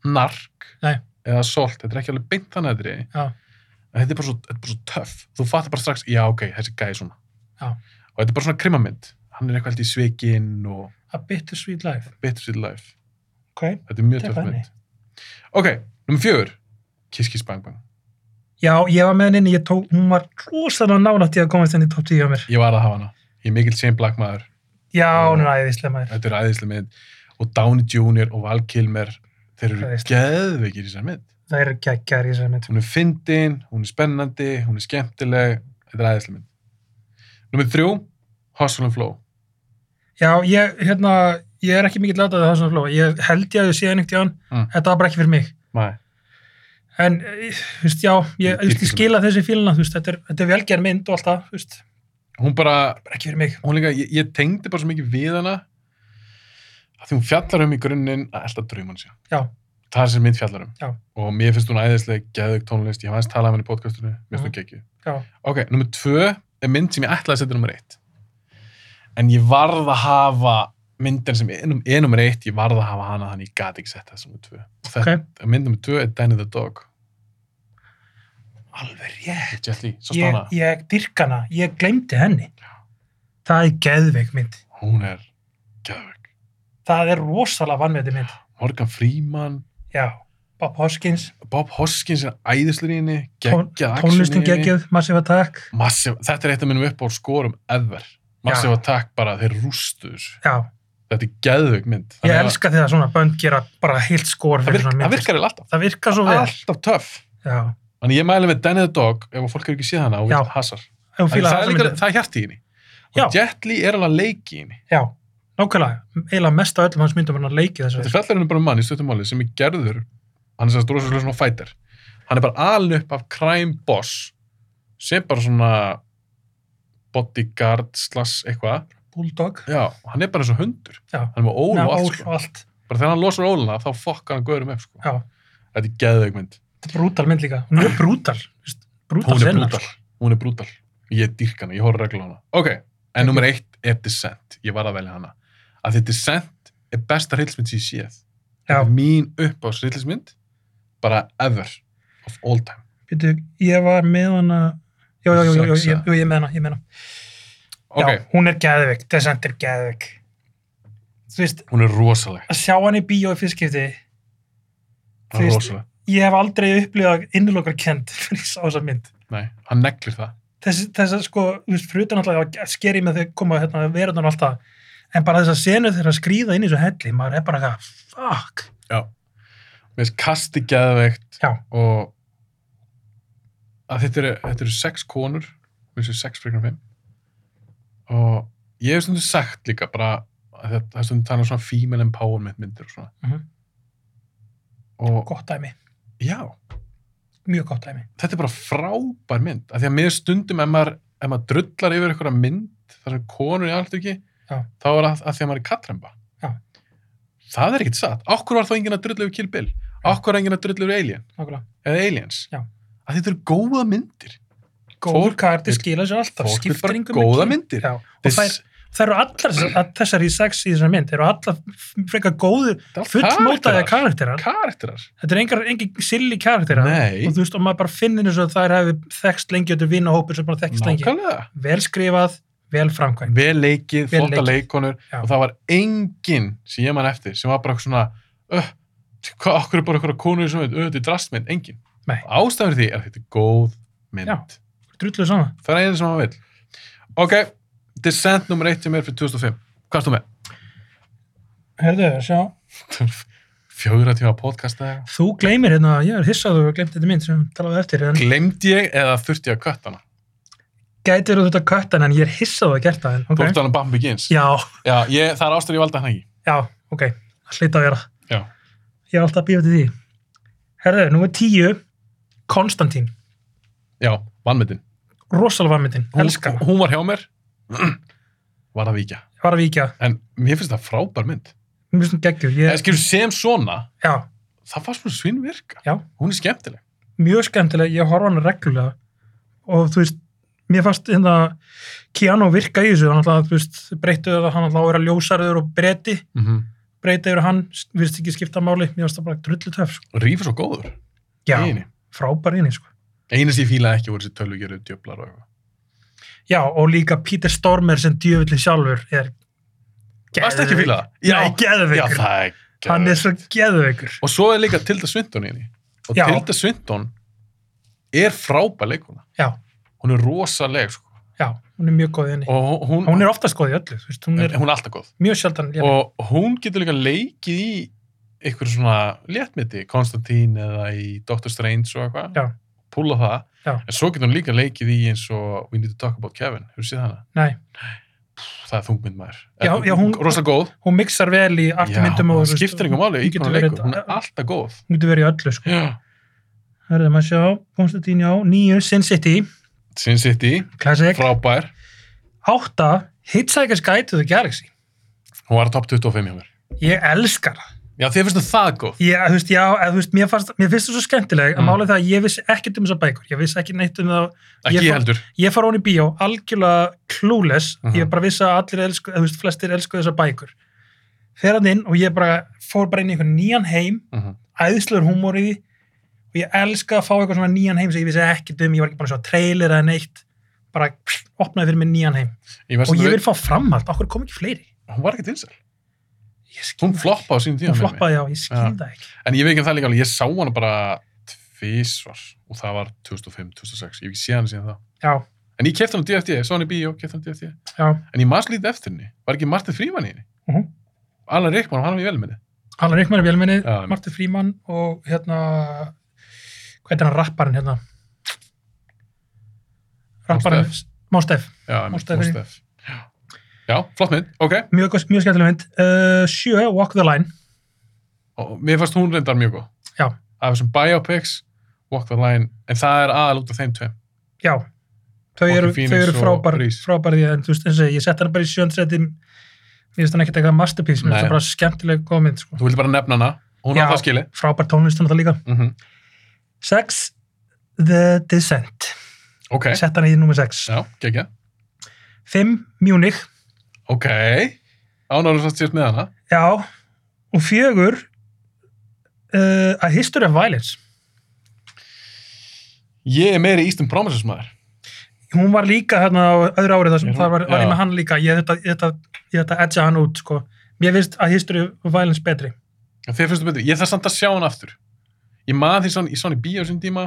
Speaker 1: nark
Speaker 2: Nei.
Speaker 1: eða solt, þetta er ekki alveg beint þannig aðri
Speaker 2: Já.
Speaker 1: en þetta er bara svo, þetta er bara svo töff þú fattar bara strax, já ok, þessi gæði svona
Speaker 2: Já.
Speaker 1: og þetta er bara svona krimamynd hann er eitthvað held í svikinn og
Speaker 2: a bittersweet life,
Speaker 1: Bittersweet Life.
Speaker 2: ok,
Speaker 1: Þetta er mjög
Speaker 2: Þetta er
Speaker 1: töff
Speaker 2: funny.
Speaker 1: mynd. Ok, nummer fjögur. Kiss Kiss Bang Bang.
Speaker 2: Já, ég var með henni, inni, ég tók, hún var rosalega nálægt í að komast henni í top 10 á mér.
Speaker 1: Ég var að hafa hana. Ég er mikill Shane Black maður.
Speaker 2: Já,
Speaker 1: Já.
Speaker 2: hún er æðislega maður.
Speaker 1: Þetta er æðislega mynd. Og Downey Jr. og Val Kilmer, þeir eru
Speaker 2: Æðisleg.
Speaker 1: geðveikir í þessari mynd.
Speaker 2: Það eru geggjar í þessari mynd.
Speaker 1: Hún er fyndin, hún er spennandi, hún er skemmtileg. Þetta er æðislega mynd. Nummer þrjú, Hustle and Flow.
Speaker 2: Já, ég, hérna, ég er ekki mikill látað að það svona flóa. Ég held ég að ég sé henni ekkert í hann.
Speaker 1: Mm.
Speaker 2: Þetta var bara ekki fyrir mig.
Speaker 1: Nei.
Speaker 2: en, eh, þú veist, já, ég, þú veist, ég skila þessi fílina, þú veist, þetta er, þetta er velgerð mynd og alltaf, þú veist,
Speaker 1: hún bara,
Speaker 2: bara ekki fyrir mig.
Speaker 1: hún líka, ég, ég tengdi bara svo mikið við hana að því hún fjallar um í grunninn að elda drauman sér.
Speaker 2: Já.
Speaker 1: Það er sem mynd fjallar um.
Speaker 2: Já.
Speaker 1: Og mér finnst hún æðislega geðug tónlist, ég hef aðeins talað um henni í podcastinu, mér finnst hún
Speaker 2: Mhm.
Speaker 1: geggju.
Speaker 2: Já,
Speaker 1: Ok, nummer tvö er mynd sem ég ætlaði að setja nummer eitt. En ég varð að hafa myndin sem er num- er nummer eitt, ég varð að hafa hana þannig ég gat ekki sett þessum nummer tvö.
Speaker 2: ok,
Speaker 1: Þetta, Mynd nummer tvö er Danny the Dog.
Speaker 2: alveg rétt.
Speaker 1: Jet Li, svo
Speaker 2: Ég,
Speaker 1: stána.
Speaker 2: ég dyrkana, ég glemdi henni. Það er geðveik mynd.
Speaker 1: Hún er geðug.
Speaker 2: Það er rosalega vannmjöndi mynd.
Speaker 1: Morgan Freeman,
Speaker 2: Já, Bob Hoskins,
Speaker 1: Bob Hoskins er æðislega í henni,
Speaker 2: Tón-
Speaker 1: geggjað action í
Speaker 2: tónlistin
Speaker 1: henni.
Speaker 2: geggjöð, Massive Attack.
Speaker 1: Massive, þetta er eitt af minnum upp á skorum ever. Massive Attack bara, þeir rústu þessu.
Speaker 2: Já,
Speaker 1: Þetta er geðveik mynd.
Speaker 2: ég
Speaker 1: Þannig að
Speaker 2: elska þegar svona bönd gera bara heilt skor
Speaker 1: Það
Speaker 2: fyrir
Speaker 1: virk-
Speaker 2: svona
Speaker 1: það
Speaker 2: mynd.
Speaker 1: virkar eða alltaf.
Speaker 2: Það virkar svo vel.
Speaker 1: Alltaf töff.
Speaker 2: Já,
Speaker 1: Þannig ég mæli með Danny the Dog ef að fólk hefur ekki séð hana og vil
Speaker 2: Já.
Speaker 1: hasar.
Speaker 2: ef þú
Speaker 1: Það,
Speaker 2: fílar
Speaker 1: það, er
Speaker 2: þessa
Speaker 1: líka,
Speaker 2: myndi.
Speaker 1: það er hjart í henni.
Speaker 2: Já.
Speaker 1: Og Jet Li er alveg að leiki í henni.
Speaker 2: Já, nákvæmlega. Eila mest af öllum hans myndum hann að leiki þessu.
Speaker 1: Þetta fjallar henni bara um mann í stöttumáli sem er gerður, hann er sérst rosalega svona fighter. Hann er bara alin upp af crime boss sem bara svona bodyguard slash eitthvað.
Speaker 2: Bulldog.
Speaker 1: Já, og hann er bara eins og hundur.
Speaker 2: Já.
Speaker 1: Hann er með ól
Speaker 2: Nei,
Speaker 1: og allt.
Speaker 2: ól
Speaker 1: Sko.
Speaker 2: og allt.
Speaker 1: Bara þegar hann losar óluna þá fokkar hann gaurum upp sko.
Speaker 2: Já,
Speaker 1: Þetta er geðveik mynd.
Speaker 2: þetta er brútal mynd líka. Hún er brútal. veist, Brútal
Speaker 1: Hún er
Speaker 2: senna.
Speaker 1: brútal. Hún er brútal. Ég dýrk hana, ég horf reglulega á hana. Ok, en nummer eitt er Descent. Ég var að velja hana. Að því Descent er besta hryllismynd sem ég séð.
Speaker 2: Já,
Speaker 1: Þetta er mín uppáðs hryllismynd, bara ever, of all time.
Speaker 2: býtu, ég var með hana... Jó, jó, jó, jó, jó,
Speaker 1: Sexa.
Speaker 2: jó, ég er með hana, ég er með hana.
Speaker 1: Ok,
Speaker 2: Já, hún er geðveik. Descent er geðveik. Þú veist,
Speaker 1: hún er rosaleg.
Speaker 2: að sjá hann í bíó í fyrstskipti, Þú
Speaker 1: Hún er
Speaker 2: veist-
Speaker 1: rosaleg.
Speaker 2: ég hef aldrei upplifað innilokar kent fyrir ég sá þessa mynd.
Speaker 1: Nei, hann neglir það.
Speaker 2: Þess, þess að sko, þú veist, frutan alltaf að skeri með þau koma hérna, verðan og alltaf, en bara þess að senu þeirra skrýða inn í þessu helli, maður er bara eitthvað, fuck.
Speaker 1: Já. Mér finnst kasti geðveikt
Speaker 2: Já,
Speaker 1: og að þetta eru, þetta eru sex konur, mér finnst sex frekar en fimm. Og ég hef stundum sagt líka bara að þetta, það er stundum talað um svona female empowerment myndir og svona.
Speaker 2: Mhm.
Speaker 1: Og
Speaker 2: gott dæmi,
Speaker 1: já,
Speaker 2: mjög gott dæmi.
Speaker 1: þetta er bara frábær mynd. Af því að mér stundum ef maður, ef maður drullar yfir einhverja mynd þar sem konur í allt ekki,
Speaker 2: Já.
Speaker 1: þá er að, að því að maður er katremba.
Speaker 2: Já.
Speaker 1: Það er ekkert satt. Okkur var þá enginn að drulla yfir Kill Bill. Okkur var enginn að drulla yfir Alien.
Speaker 2: Nákvæmlega.
Speaker 1: Eða Aliens.
Speaker 2: Já.
Speaker 1: Að þetta eru góða myndir.
Speaker 2: Góður
Speaker 1: Fólk-
Speaker 2: karti
Speaker 1: vill-
Speaker 2: skila sér alltaf,
Speaker 1: Fólk er
Speaker 2: skiptir
Speaker 1: bara
Speaker 2: engum
Speaker 1: góða
Speaker 2: ekki.
Speaker 1: myndir.
Speaker 2: um Já, og þær, þær eru allar þessar- að þessar í sex í þessar mynd, þær eru allar frekar góður, fullmótaði karakterar.
Speaker 1: karakterar.
Speaker 2: Þetta er engar, engin silli karakterar.
Speaker 1: Nei,
Speaker 2: Og þú veist, og maður bara finnir eins og þær hefði þekst lengi og þetta er vinahópur sem bara þekkst lengi.
Speaker 1: nákvæmlega.
Speaker 2: Vel skrifað, vel framkvæmt.
Speaker 1: Vel leikið,
Speaker 2: Vel
Speaker 1: flotta
Speaker 2: leikið.
Speaker 1: leikonur
Speaker 2: Já.
Speaker 1: og það var enginn sem ég man eftir sem var bara eitthvað svona öh, hvað, okkur er bara einhverja konur sem veit, auðvitað í drastmynd, enginn.
Speaker 2: Nei.
Speaker 1: Ástæður því er að þetta er góð mynd.
Speaker 2: Já. drulluð saman.
Speaker 1: Það er einu sem maður vil. Ok, Descent nummer 1 sem er fyrir 2005. Hvað ertu með?
Speaker 2: Herðu, sjá.
Speaker 1: Fjögra tíma podcast eða? eitthvað?
Speaker 2: Þú gleymir hérna, ég er hissað og glemt þetta mynd sem við talaði eftir, en
Speaker 1: Glemdi ég eða þurfti ég að kött hana?
Speaker 2: gætir þú þetta köttan en ég er hissað og gert það, en
Speaker 1: Þú ert
Speaker 2: ok.
Speaker 1: alveg Bambi Begins.
Speaker 2: Já,
Speaker 1: Já, ég, það er ástæður ég valda hann ekki.
Speaker 2: já, ok, það hlýta að vera.
Speaker 1: Já.
Speaker 2: Ég er alltaf að bíða til því. Herðu, nú er tíu, Konstantín,
Speaker 1: Já, vannmyndin.
Speaker 2: rosalega varmyndin,
Speaker 1: Hún-
Speaker 2: elskar hana,
Speaker 1: Hún var hjá mér. var að víkja.
Speaker 2: var að víkja,
Speaker 1: En mér finnst það frábær mynd.
Speaker 2: mjög svona geggjur,
Speaker 1: Ég
Speaker 2: ég,
Speaker 1: skilur sem svona,
Speaker 2: já,
Speaker 1: það fannst mér svinn virka.
Speaker 2: Já.
Speaker 1: Hún er skemmtileg.
Speaker 2: mjög skemmtileg, ég horfa hana reglulega og þú veist, mér fannst hérna, Keanu virka í þessu, hann alltaf, þú veist, breyttu það, hann alltaf að vera ljósarður og breyti,
Speaker 1: Mm -hmm.
Speaker 2: breyta yfir á hann, virðist ekki skipta máli mér varst það bara drullu töf sko.
Speaker 1: Rífur svo góður.
Speaker 2: já,
Speaker 1: Einu.
Speaker 2: frábær inni sko.
Speaker 1: Einu sem ég fílaði ekki voru þessi tölvugjöru djöflar og eitthvað.
Speaker 2: já, og líka Peter Stormer sem djöfullin sjálfur er
Speaker 1: Varstu ekki að fíla það?
Speaker 2: já,
Speaker 1: Já.
Speaker 2: Nei, geðveikur,
Speaker 1: það er ekki.
Speaker 2: hann er svo geðveikur
Speaker 1: Og svo er líka Tilda Swinton í henni. Og
Speaker 2: Já.
Speaker 1: Tilda Swinton er frábær leikuna.
Speaker 2: já,
Speaker 1: Hún er rosaleg, sko.
Speaker 2: já, hún er mjög góð inni
Speaker 1: Og hún,
Speaker 2: hún er oftast góð í öllu, þú veist, hún er
Speaker 1: hún er alltaf góð.
Speaker 2: mjög sjaldan léleg.
Speaker 1: Og hún getur líka leikið í einhverju svona léttmyndi, Konstantín eða í Doctor Strange og eitthvað.
Speaker 2: Já.
Speaker 1: Púla það.
Speaker 2: Já.
Speaker 1: En svo getur hún líka leikið í eins og We Need to Talk About Kevin. Hefur séð hana?
Speaker 2: Nei,
Speaker 1: Það er þungmynd maður.
Speaker 2: Já,
Speaker 1: En
Speaker 2: já, hún-
Speaker 1: Rosalega góð.
Speaker 2: hún mixar vel í artmyndum
Speaker 1: Já,
Speaker 2: og
Speaker 1: hún skiptir einhver máli,
Speaker 2: hún
Speaker 1: íkona
Speaker 2: getur
Speaker 1: leikur. Hún
Speaker 2: verið,
Speaker 1: er alltaf góð.
Speaker 2: hún getur verið í öllu sko.
Speaker 1: Já.
Speaker 2: Hörðum að sjá, Konstantín, já, nýju, Sin City,
Speaker 1: Sin City,
Speaker 2: Classic,
Speaker 1: frábær
Speaker 2: átta, Hitchhiker's Guide to the Galaxy.
Speaker 1: hún var top 25 hjá mér
Speaker 2: Ég elskar það.
Speaker 1: já þið finnst það góð
Speaker 2: Ég, þú veist, já, eða, þú veist, mér, fannst, mér finnst það svo skemmtileg að
Speaker 1: Mm.
Speaker 2: málið það að ég vissi ekkert um þessar bækur, ég vissi ekki neitt um það
Speaker 1: ekki
Speaker 2: Ég
Speaker 1: ég
Speaker 2: fór-
Speaker 1: heldur
Speaker 2: ég fór hún í bíó algjörlega klúles
Speaker 1: Mhm.
Speaker 2: ég bara vissi að allir elsku, eða, þú veist, flestir elsku þessar bækur fer hann inn og ég bara fór bara inn í einhvern nýjan heim
Speaker 1: Mhm.
Speaker 2: æðslur húmor í því og ég elska að fá eitthvað svona nýjan heim sem ég vissi ekki um, ég var ekki bara svo trailer eða neitt bara pff, opnaði fyrir mig nýjan heim
Speaker 1: ég veist
Speaker 2: og ég
Speaker 1: að
Speaker 2: vil fá framhald, okkur kom ekki fleiri
Speaker 1: hún var ekki tinsel
Speaker 2: ég skil
Speaker 1: hún
Speaker 2: það ekki.
Speaker 1: floppaði á sínum tíma
Speaker 2: hún
Speaker 1: með mig.
Speaker 2: floppaði, já, ég skil
Speaker 1: Já.
Speaker 2: það ekki
Speaker 1: en ég veit ekki um það líka alveg ég sá hana bara tvísvar og það var 2005, 2006 ég hef ekki séð hana síðan það
Speaker 2: já,
Speaker 1: en ég kefti hana á DFT, ég sá hana í bíó kefti hana á DFT
Speaker 2: já,
Speaker 1: en ég maður lítið eftir henni var ekki Martin Fríman í henni
Speaker 2: Mhm.
Speaker 1: Alan Rickman, hann var í velminni
Speaker 2: Allan Ríkmann er velminni
Speaker 1: Já, einmitt.
Speaker 2: Martin Fríman og hérna hvað er hann rapparinn hérna rapparinn Mástef,
Speaker 1: já, einmitt,
Speaker 2: Most Def.
Speaker 1: Most Def. já, já, flott mynd, ok
Speaker 2: mjög, mjög skemmtileg mynd uh, sjö, Walk the Line
Speaker 1: og mér fannst hún reyndar mjög góð
Speaker 2: Já.
Speaker 1: af þessum biopics, Walk the Line en það er aðal út af þeim tveim
Speaker 2: já, þau
Speaker 1: Joaquin
Speaker 2: eru, þau
Speaker 1: Phoenix
Speaker 2: eru
Speaker 1: og
Speaker 2: frábær
Speaker 1: Reese.
Speaker 2: frábær í það, en þú veist eins og ég sett hann bara í sjöndrætti ég veist hann ekkert eitthvað masterpiece mér
Speaker 1: Nei.
Speaker 2: finnst það bara skemmtileg góð mynd sko.
Speaker 1: þú vildi bara nefna hana, hún
Speaker 2: Já.
Speaker 1: á það skili
Speaker 2: frábær tónlist hann það líka
Speaker 1: mm
Speaker 2: sex, The Descent
Speaker 1: ok,
Speaker 2: sett hann í nummer sex
Speaker 1: já, gekkja
Speaker 2: fimm, Munich
Speaker 1: ok, ánáður satt sérst með hana
Speaker 2: Já, og fjögur uh, A History of Violence
Speaker 1: ég er meiri Eastern Promises maður
Speaker 2: hún var líka hérna á öðru árið þar sem
Speaker 1: Er hún-
Speaker 2: það var, var ég
Speaker 1: Mhm, já.
Speaker 2: með hann líka ég þetta, ég þetta, ég þetta edja hann út sko. mér finnst A History of Violence betri
Speaker 1: Já, þér finnst þú betri, ég þarf samt að sjá hana aftur ég maður því svona, ég sá hana í bíó sem tíma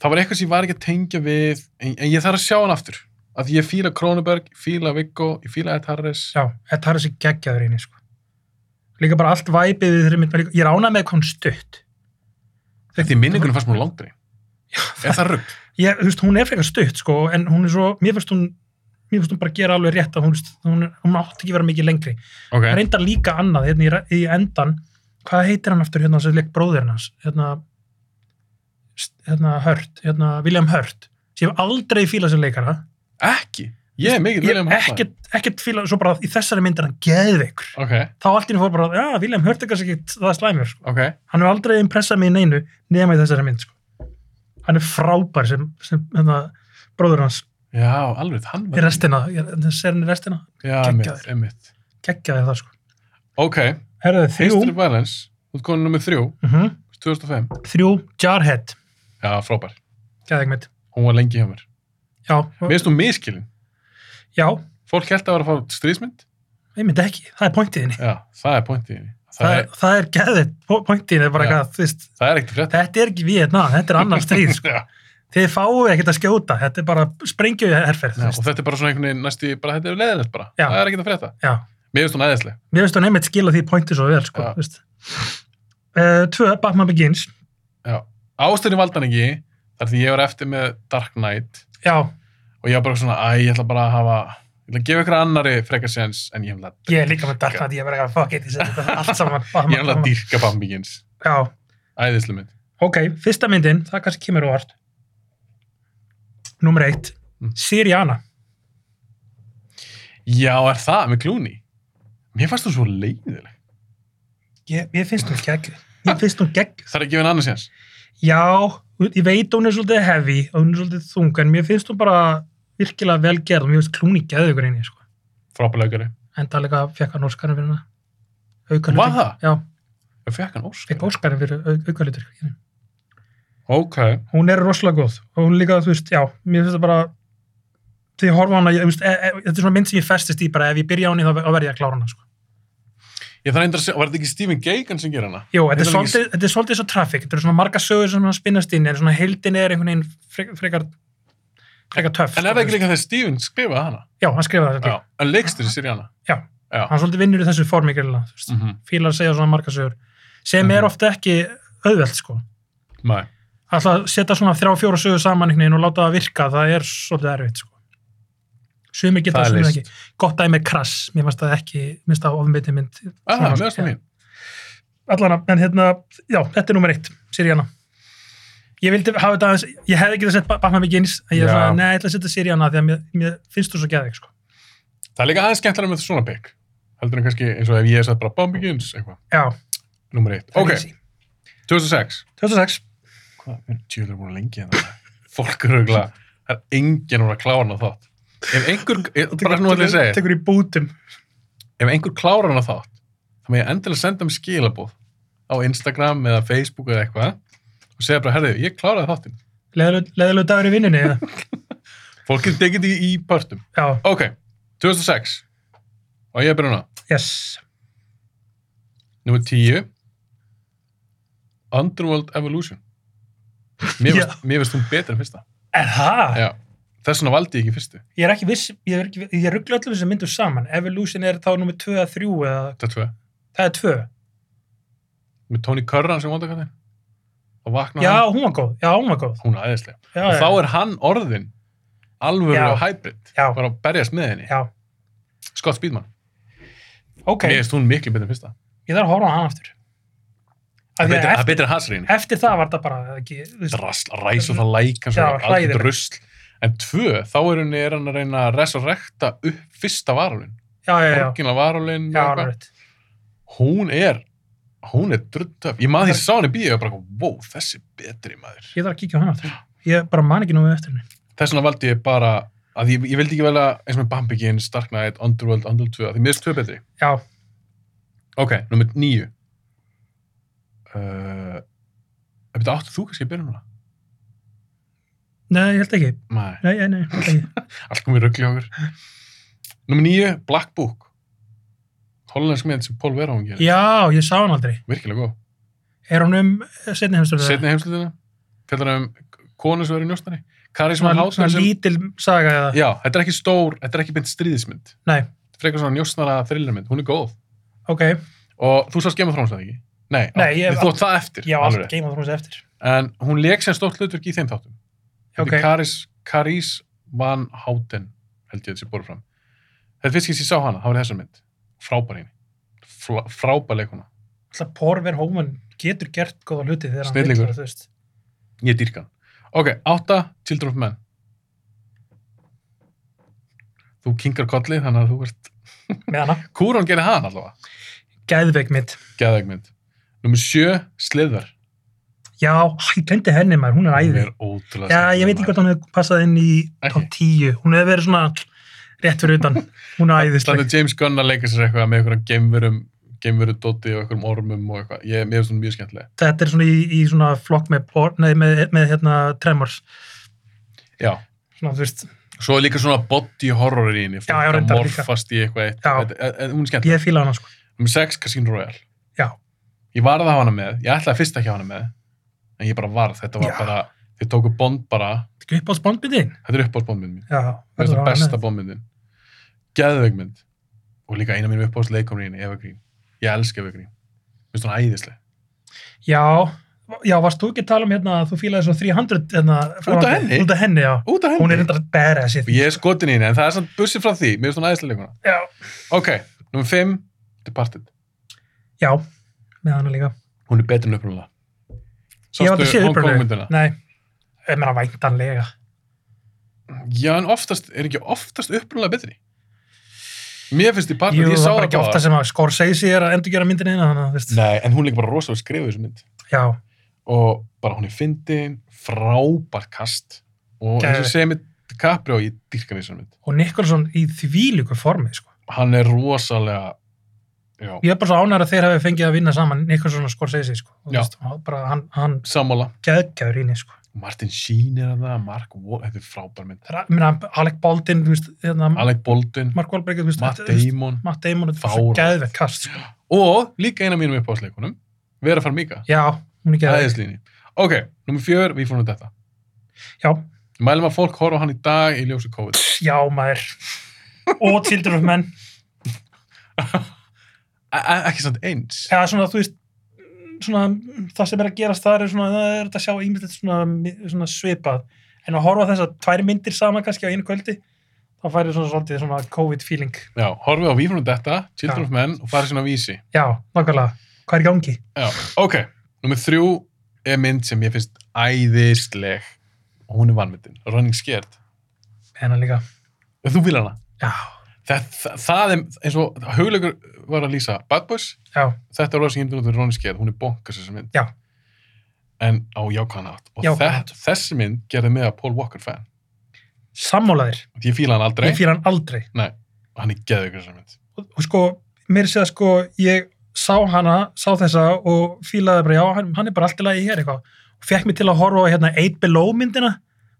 Speaker 1: það var eitthvað sem ég var ekki að tengja við en, en ég þarf að sjá hana aftur af því ég fíla Kronenberg, ég fíla Viggo ég fíla Ed Harris
Speaker 2: Já, þetta er þessi geggjaður eini sko. líka bara allt væpið við þeirri mynd var líka- ég rána með hvað hún stutt
Speaker 1: þetta í minningunum fannst mér langri er það rugg?
Speaker 2: ég, þú veist, hún er frekar stutt sko, en hún er svo, mér finnst hún mér finnst hún bara gera alveg rétt að hún, hún, hún átti ekki að vera mikið lengri
Speaker 1: Okay.
Speaker 2: reyndar líka annað hérna í, re- í endan hvað heitir hann aftur hérna sem leik bróðir hans hérna st- hérna Hurt, hérna William Hurt sem ég hef aldrei fílað sem leikara
Speaker 1: ekki, ég er mikið
Speaker 2: ég hef ekkert, ekkert fílað, svo bara í þessari myndir hann geðveikur,
Speaker 1: ok,
Speaker 2: þá allt í henni fór bara já, William Hurt er kannski ekki það slæmur sko.
Speaker 1: ok,
Speaker 2: hann hefur aldrei impressað mig í neinu nema í þessari mynd sko. hann er frábær sem, sem hérna, bróður hans
Speaker 1: já, alveg hann
Speaker 2: í restina, í- þessi er hann í restina
Speaker 1: já,
Speaker 2: geggjaður.
Speaker 1: einmitt, einmitt
Speaker 2: geggjaði það sko
Speaker 1: ok,
Speaker 2: Herðu, þrjú,
Speaker 1: History of Violence þú ert komin nummið þrjú,
Speaker 2: uh
Speaker 1: 2005
Speaker 2: þrjú Jarhead,
Speaker 1: já, frábær,
Speaker 2: geðveik mynd
Speaker 1: hún var lengi hjá mér
Speaker 2: já,
Speaker 1: mér finnst þú miskilin,
Speaker 2: já,
Speaker 1: fólk held að vera að fá stríðsmynd
Speaker 2: einmitt ekki, það er pointiðinni það,
Speaker 1: Já, það er pointið í henni. Það,
Speaker 2: það
Speaker 1: er,
Speaker 2: er, það er geðið, pointiðinni bara
Speaker 1: Já.
Speaker 2: eitthvað, þú veist,
Speaker 1: það er ekkert frétt.
Speaker 2: þetta er ekki Vietna, þetta er annar stríð sko.
Speaker 1: Já,
Speaker 2: þið fáu ekkert að skjóta, þetta er bara sprengju herferð,
Speaker 1: já,
Speaker 2: þú
Speaker 1: og
Speaker 2: veist
Speaker 1: þetta er bara svona einhvern veginn næstu, bara þetta er leðilegt bara.
Speaker 2: Já.
Speaker 1: Það er ekkert að frétta.
Speaker 2: já.
Speaker 1: Mér finnst hún aðeinsleg.
Speaker 2: mér finnst hún einmitt skila því pointið svo vel sko,
Speaker 1: Já.
Speaker 2: þú veist uh, tvö, Batman Begins
Speaker 1: Já. Ástöðin valdan ekki, þar því ég var eftir með Dark Knight
Speaker 2: já,
Speaker 1: og ég var bara svona, æ, ég ætla bara að hafa, ég ætla að gefa ykkur annari frekar séns en ég ætla,
Speaker 2: ég er líka með Dark Knight, ég verði eitthvað fuck it, ég seti þetta allt saman
Speaker 1: ég ætla að
Speaker 2: Batman,
Speaker 1: dýrka Bambíkins.
Speaker 2: já,
Speaker 1: Æðislu mynd.
Speaker 2: ok, fyrsta myndin það kannski kemur óvart nummer eitt,
Speaker 1: Mm.
Speaker 2: Siriana
Speaker 1: Já, er það með klúni? Mér fannst þú svo leiðileg.
Speaker 2: ég, ég finnst hún gegg ég finnst hún gegg
Speaker 1: Það er að gefa henni annars séns.
Speaker 2: Já, ég veit hún er svolítið heavy og hún er svolítið þung, en mér finnst hún bara virkilega vel gerð og mér finnst klúni geðu ykkur einni, sko.
Speaker 1: Frábælaugari.
Speaker 2: En það líka fekk hann óskarinn fyrir hana. Auka
Speaker 1: Var það?
Speaker 2: Já,
Speaker 1: Ég fekk hann ósk.
Speaker 2: fekk óskarinn fyrir au, auka hlutur.
Speaker 1: Ok.
Speaker 2: Hún er rosalega góð og hún líka, þú veist, já, mér finnst það bara því að horfa á hana, ég, þú veist, e, e, þetta er svona mynd sem ég festist í bara ef ég byrja á henni þá ver- þá verð ég að klára hana, sko.
Speaker 1: Ég þarf einnig að segja, var þetta ekki Stephen Gagan sem gera hana?
Speaker 2: Jó, þetta er
Speaker 1: Þetta er
Speaker 2: svolítið, þetta er svolítið svo traffic, þetta eru svona marga sögur sem hann spinnast inn, en svona heildin er einhvern veginn frekar, frekar, frekar töff. sko,
Speaker 1: En er það ekki líka þegar Steven skrifaði hana?
Speaker 2: Já, hann skrifaði þetta líka.
Speaker 1: Já, en leikstur í Sirjana.
Speaker 2: Já.
Speaker 1: Já.
Speaker 2: hann svolítið vinnur í þessu formi gælilega, þú veist,
Speaker 1: Mm -hmm.
Speaker 2: fílar að segja svona markasögur sem
Speaker 1: Mhm.
Speaker 2: er ofta ekki auðvelt sko,
Speaker 1: Nei.
Speaker 2: alltaf að setja svona þrjá fjóra sögur saman einhvern veginn og láta það virka það er svolítið erfitt sko sumir geta
Speaker 1: Það er
Speaker 2: það sumir
Speaker 1: list.
Speaker 2: ekki, gott dæmi er krass mér fannst það ekki, minnst það ofnbytti mynd
Speaker 1: Ah,
Speaker 2: Svona,
Speaker 1: meðast
Speaker 2: já.
Speaker 1: það mín.
Speaker 2: allana, en hérna, já, þetta er nummer eitt Sirjana, ég vildi hafa þetta aðeins, ég hefði getað sett Ba- Batman Begins, en ég
Speaker 1: Já.
Speaker 2: er svona, neða, ég ætla að setja seríana því að mér, mér finnst þú svo gæðið, sko.
Speaker 1: Það er líka aðeins skemmtilega með svona pick. Heldur en kannski eins og ef ég hef sett bara Bomb Begins, eitthvað.
Speaker 2: Já,
Speaker 1: Númer eitt.
Speaker 2: það er
Speaker 1: Ok,
Speaker 2: easy.
Speaker 1: 2006.
Speaker 2: 2006,
Speaker 1: Hvað, við tjóðum búin lengi en það. Fólk eru auðvitað, það er enginn úr að klára hana þátt. Ef einhver, ég- bara nú ætla ég að segja,
Speaker 2: tekur í bútum.
Speaker 1: ef einhver klárar hana þátt, þá með ég endilega senda mér skilabóð á Instagram eða Facebook eða eitthvað og segja bara, herðu, ég kláraði þáttinn.
Speaker 2: Leðilegu dagur í vinnunni, eða?
Speaker 1: Fólk er degið í, í pörtum.
Speaker 2: Já,
Speaker 1: Ok, 2006. Og ég er byrjun á.
Speaker 2: yes.
Speaker 1: Númer 10. Underworld Evolution. Mér
Speaker 2: Já.
Speaker 1: finnst- mér finnst hún betur en fyrsta.
Speaker 2: Er það?
Speaker 1: Já. Þess vegna valdi ég ekki fyrstu.
Speaker 2: Ég er ekki viss, ég, er ekki, ég ruggla öllum þessum myndum saman. Evolution er þá nummið 2 að 3 eða,
Speaker 1: Þetta er tvö.
Speaker 2: það er 2.
Speaker 1: Með Tony Curran sem vandakallin. Og vakna
Speaker 2: Já,
Speaker 1: hann.
Speaker 2: hún var góð, já, hún var góð.
Speaker 1: Hún er æðislega.
Speaker 2: Já,
Speaker 1: Og
Speaker 2: já.
Speaker 1: þá er hann orðin alvöru
Speaker 2: Já.
Speaker 1: á hybrid.
Speaker 2: Já.
Speaker 1: Bara að berjast með henni.
Speaker 2: Já,
Speaker 1: Scott Speedman.
Speaker 2: ok,
Speaker 1: Mér finnst hún miklu betur en fyrsta.
Speaker 2: ég þarf að horfa á hann aftur. Af
Speaker 1: Það
Speaker 2: því að
Speaker 1: betur,
Speaker 2: eftir-
Speaker 1: eftir... betur hasriðin.
Speaker 2: eftir það var það bara ekki, þú veist,
Speaker 1: Rast, ræs og það læk hans
Speaker 2: Já,
Speaker 1: og allt
Speaker 2: hræðilegt.
Speaker 1: rusl. En tvö, þá er henni er hann að reyna að resurrekta upp fyrsta varulinn.
Speaker 2: já, já, já,
Speaker 1: Orginal varulinn.
Speaker 2: já, hann er rétt.
Speaker 1: hún er hún er druttöf, ég maður
Speaker 2: Það
Speaker 1: því sá hann í bíu og bara, wow, þessi er betri maður
Speaker 2: Ég þarf að kíkja á hann aftur. Ég bara man ekki nú við eftir henni.
Speaker 1: þess vegna valdi ég bara að ég, ég vildi ekki velja eins og með Bambigin, Stark Knight, Underworld, Underworld 2 af því miðst 2 betri,
Speaker 2: Já,
Speaker 1: ok, nummer 9 uh, ef þetta áttu þú kannski að byrja núna
Speaker 2: nei, ég held ekki.
Speaker 1: nei,
Speaker 2: Nei, nei, nei, ég held ekki.
Speaker 1: allt komið ruggli á okkur nummer 9, Black Book hollensk mynd sem Paul Verhoeven gerir
Speaker 2: Já, ég sá hann aldrei.
Speaker 1: virkilega góð,
Speaker 2: Er hann um setni heimstölu?
Speaker 1: setni heimslutina fjallar um konu sem er í njóstari Karisma
Speaker 2: svona,
Speaker 1: Hátun
Speaker 2: svona
Speaker 1: sem
Speaker 2: lítil saga eða?
Speaker 1: Já, þetta er ekki stór, þetta er ekki mynd stríðismynd.
Speaker 2: Nei,
Speaker 1: Þetta er frekar svona njósnara thrillermynd, hún er góð.
Speaker 2: ok.
Speaker 1: Og þú sást Game of Thrones eða ekki? Nei,
Speaker 2: Nei, ég hef
Speaker 1: þú átt það eftir.
Speaker 2: Já,
Speaker 1: alveg
Speaker 2: allt
Speaker 1: rétt.
Speaker 2: Game of Thrones eftir.
Speaker 1: En hún leik sem stórt hlutverk í þeim þáttum. Þetta
Speaker 2: Ok.
Speaker 1: er Karis, Karis Van Houten, held ég að þetta sé borð fram. Þetta fyrst ekki ég sá hana, það var þessar mynd. Frábær henni. Fla- Frábær leikuna.
Speaker 2: Alltaf Porver Hóman getur gert góða hluti þegar hann
Speaker 1: Snillingur.
Speaker 2: vill, þú veist.
Speaker 1: Ég dýrka hann. Ok, átta, Children of Men. Þú kingar kolli, þannig að þú ert...
Speaker 2: Með hana.
Speaker 1: Kúron gerir hann allavega.
Speaker 2: Gæðveik mitt.
Speaker 1: Gæðægmynd. Númer sjö, Sliðar.
Speaker 2: Já, ég glemdi henni maður, hún er æði.
Speaker 1: er ótrúlega
Speaker 2: Já, ég veit ekki hvort hann hefur passað inn í top 10. Hún hefur verið svona rétt fyrir utan. Hún er æðisleg.
Speaker 1: Þannig James Gunn að leika sér eitthvað með einhverjum geimverum, geimveru dóti og einhverjum ormum og eitthvað. Ég, mér finnst hún mjög skemmtileg.
Speaker 2: Þetta er svona í, í svona flokk með, por, nei, með, með hérna Tremors.
Speaker 1: Já.
Speaker 2: Svona, þú veist,
Speaker 1: Svo er líka svona body horror í henni.
Speaker 2: Já,
Speaker 1: fólk
Speaker 2: já,
Speaker 1: að
Speaker 2: reyndar líka.
Speaker 1: Morfast í eitthvað eitt.
Speaker 2: Já.
Speaker 1: Þetta- en- en Hún er skemmtileg.
Speaker 2: ég fíla hana sko.
Speaker 1: Númer sex, Casino Royale.
Speaker 2: Já,
Speaker 1: Ég varð að hafa hana með. Ég ætlaði fyrst ekki að hafa hana með. En ég bara varð. Þetta var
Speaker 2: Já.
Speaker 1: bara, þið tóku bond bara.
Speaker 2: þetta er ekki upp á spondbytinn.
Speaker 1: Þetta er uppáhaldsbondmynd mín.
Speaker 2: Já,
Speaker 1: Mér finnst
Speaker 2: verður að
Speaker 1: það
Speaker 2: hafa
Speaker 1: besta
Speaker 2: með.
Speaker 1: bondmyndin. Geðveikmynd. Og líka eina mínum uppáhaldsleikomrýn, Eva Green. Ég elska Eva Green. Mér finnst hún æðisleg.
Speaker 2: Já, já, varst þú ekki að tala um hérna að þú fílaði svo 300 hérna,
Speaker 1: Út af
Speaker 2: framhaldið?
Speaker 1: henni?
Speaker 2: Út af henni, já.
Speaker 1: Út af henni.
Speaker 2: Hún er reyndar badass í
Speaker 1: Og ég er skotin í henni, en það er samt bussið frá því, mér finnst hún æðislega leikuna.
Speaker 2: Já,
Speaker 1: Ok, nummer 5, Departed.
Speaker 2: já, með hana líka.
Speaker 1: Hún er betur en upprunalega.
Speaker 2: ég var
Speaker 1: Sástu
Speaker 2: þetta séð
Speaker 1: Hong Kong
Speaker 2: uppröðu.
Speaker 1: myndina?
Speaker 2: Nei, ég meina væntanlega.
Speaker 1: Já, en oftast, er ekki oftast upprunalega betri? Mér finnst Departed,
Speaker 2: Jú,
Speaker 1: ég
Speaker 2: það
Speaker 1: sá
Speaker 2: var bara ekki ofta sem að Scorsese er að endurgera myndin eina þannig, að, þú veist.
Speaker 1: Nei, en hún er líka bara rosalega skrifuð þessu mynd.
Speaker 2: Já,
Speaker 1: Og bara hún er fyndin, frábær kast. Og eins og
Speaker 2: Geðveikt.
Speaker 1: ég segi með DiCaprio, ég dýrkan þessu mynd.
Speaker 2: og Nicholson í þvílíku formi, sko.
Speaker 1: Hann er rosalega, já,
Speaker 2: Ég er bara svo ánægður að þeir hafi fengið að vinna saman Nicholson og Scorsese, sko. Þú
Speaker 1: Já.
Speaker 2: veist, og Bara hann, hann
Speaker 1: sammála.
Speaker 2: geðgjör í henni, sko.
Speaker 1: Martin Sheen er að það, Mark Wahlberg, þetta er frábær mynd.
Speaker 2: Það er, ég meina, Alec Baldwin, þú veist, hérna,
Speaker 1: Alec Baldwin,
Speaker 2: Mark Wahlberg, þú veist,
Speaker 1: Matt
Speaker 2: þetta- þú veist,
Speaker 1: Damon.
Speaker 2: Matt Damon, þetta er svo
Speaker 1: Fáránlegt.
Speaker 2: geðvegt kast, sko.
Speaker 1: og líka eina mínum uppáðsleikunum Vera Farmiga,
Speaker 2: Já, hún er geðvegt.
Speaker 1: æðislíni ok, nummer fjör, við fórum þetta
Speaker 2: Já,
Speaker 1: mælum að fólk horfa á hann í dag í ljósu COVID
Speaker 2: já, maður. Og Children of Men.
Speaker 1: E- e- ekki samt eins
Speaker 2: Já, svona, þú veist, svona, það sem er að gerast þar er svona, það er hægt að sjá ímyndilegt svona, svona svipað. En að horfa á þessar tvær myndir saman kannski á einu kvöldi, þá færið svona svolítið svona COVID-feeling.
Speaker 1: já, horfið á við fórum þetta,
Speaker 2: Já.
Speaker 1: Children of Men og farið sinna á vísi
Speaker 2: Já, nákvæmlega. Hvað er í gangi?
Speaker 1: já, ok, nummer þrjú er mynd sem ég finnst æðisleg og hún er vanmyndin, Running Scared
Speaker 2: Hennar Hérna líka.
Speaker 1: ef þú fílar hana
Speaker 2: Já,
Speaker 1: það, það, það er eins og hugleikur var að lýsa Bad Boys,
Speaker 2: já,
Speaker 1: þetta er rosa hýmdur út fyrir Running Scared, hún er bonkast þessi mynd
Speaker 2: Já.
Speaker 1: en á jákvæðan hátt og
Speaker 2: Jákvæðan
Speaker 1: þett, þessi mynd gerði mig að Paul Walker fan
Speaker 2: sammálaðir.
Speaker 1: ég fíla hann aldrei
Speaker 2: Ég fýr hann aldrei.
Speaker 1: og hann er geðveikur þessar mynd
Speaker 2: Og, og sko, mér sé að sko, ég sá hana, sá þessa og fílaði bara, já, hann, hann er bara allt í lagi hér eitthvað. Og fekk mér til að horfa á hérna 8 Below myndina,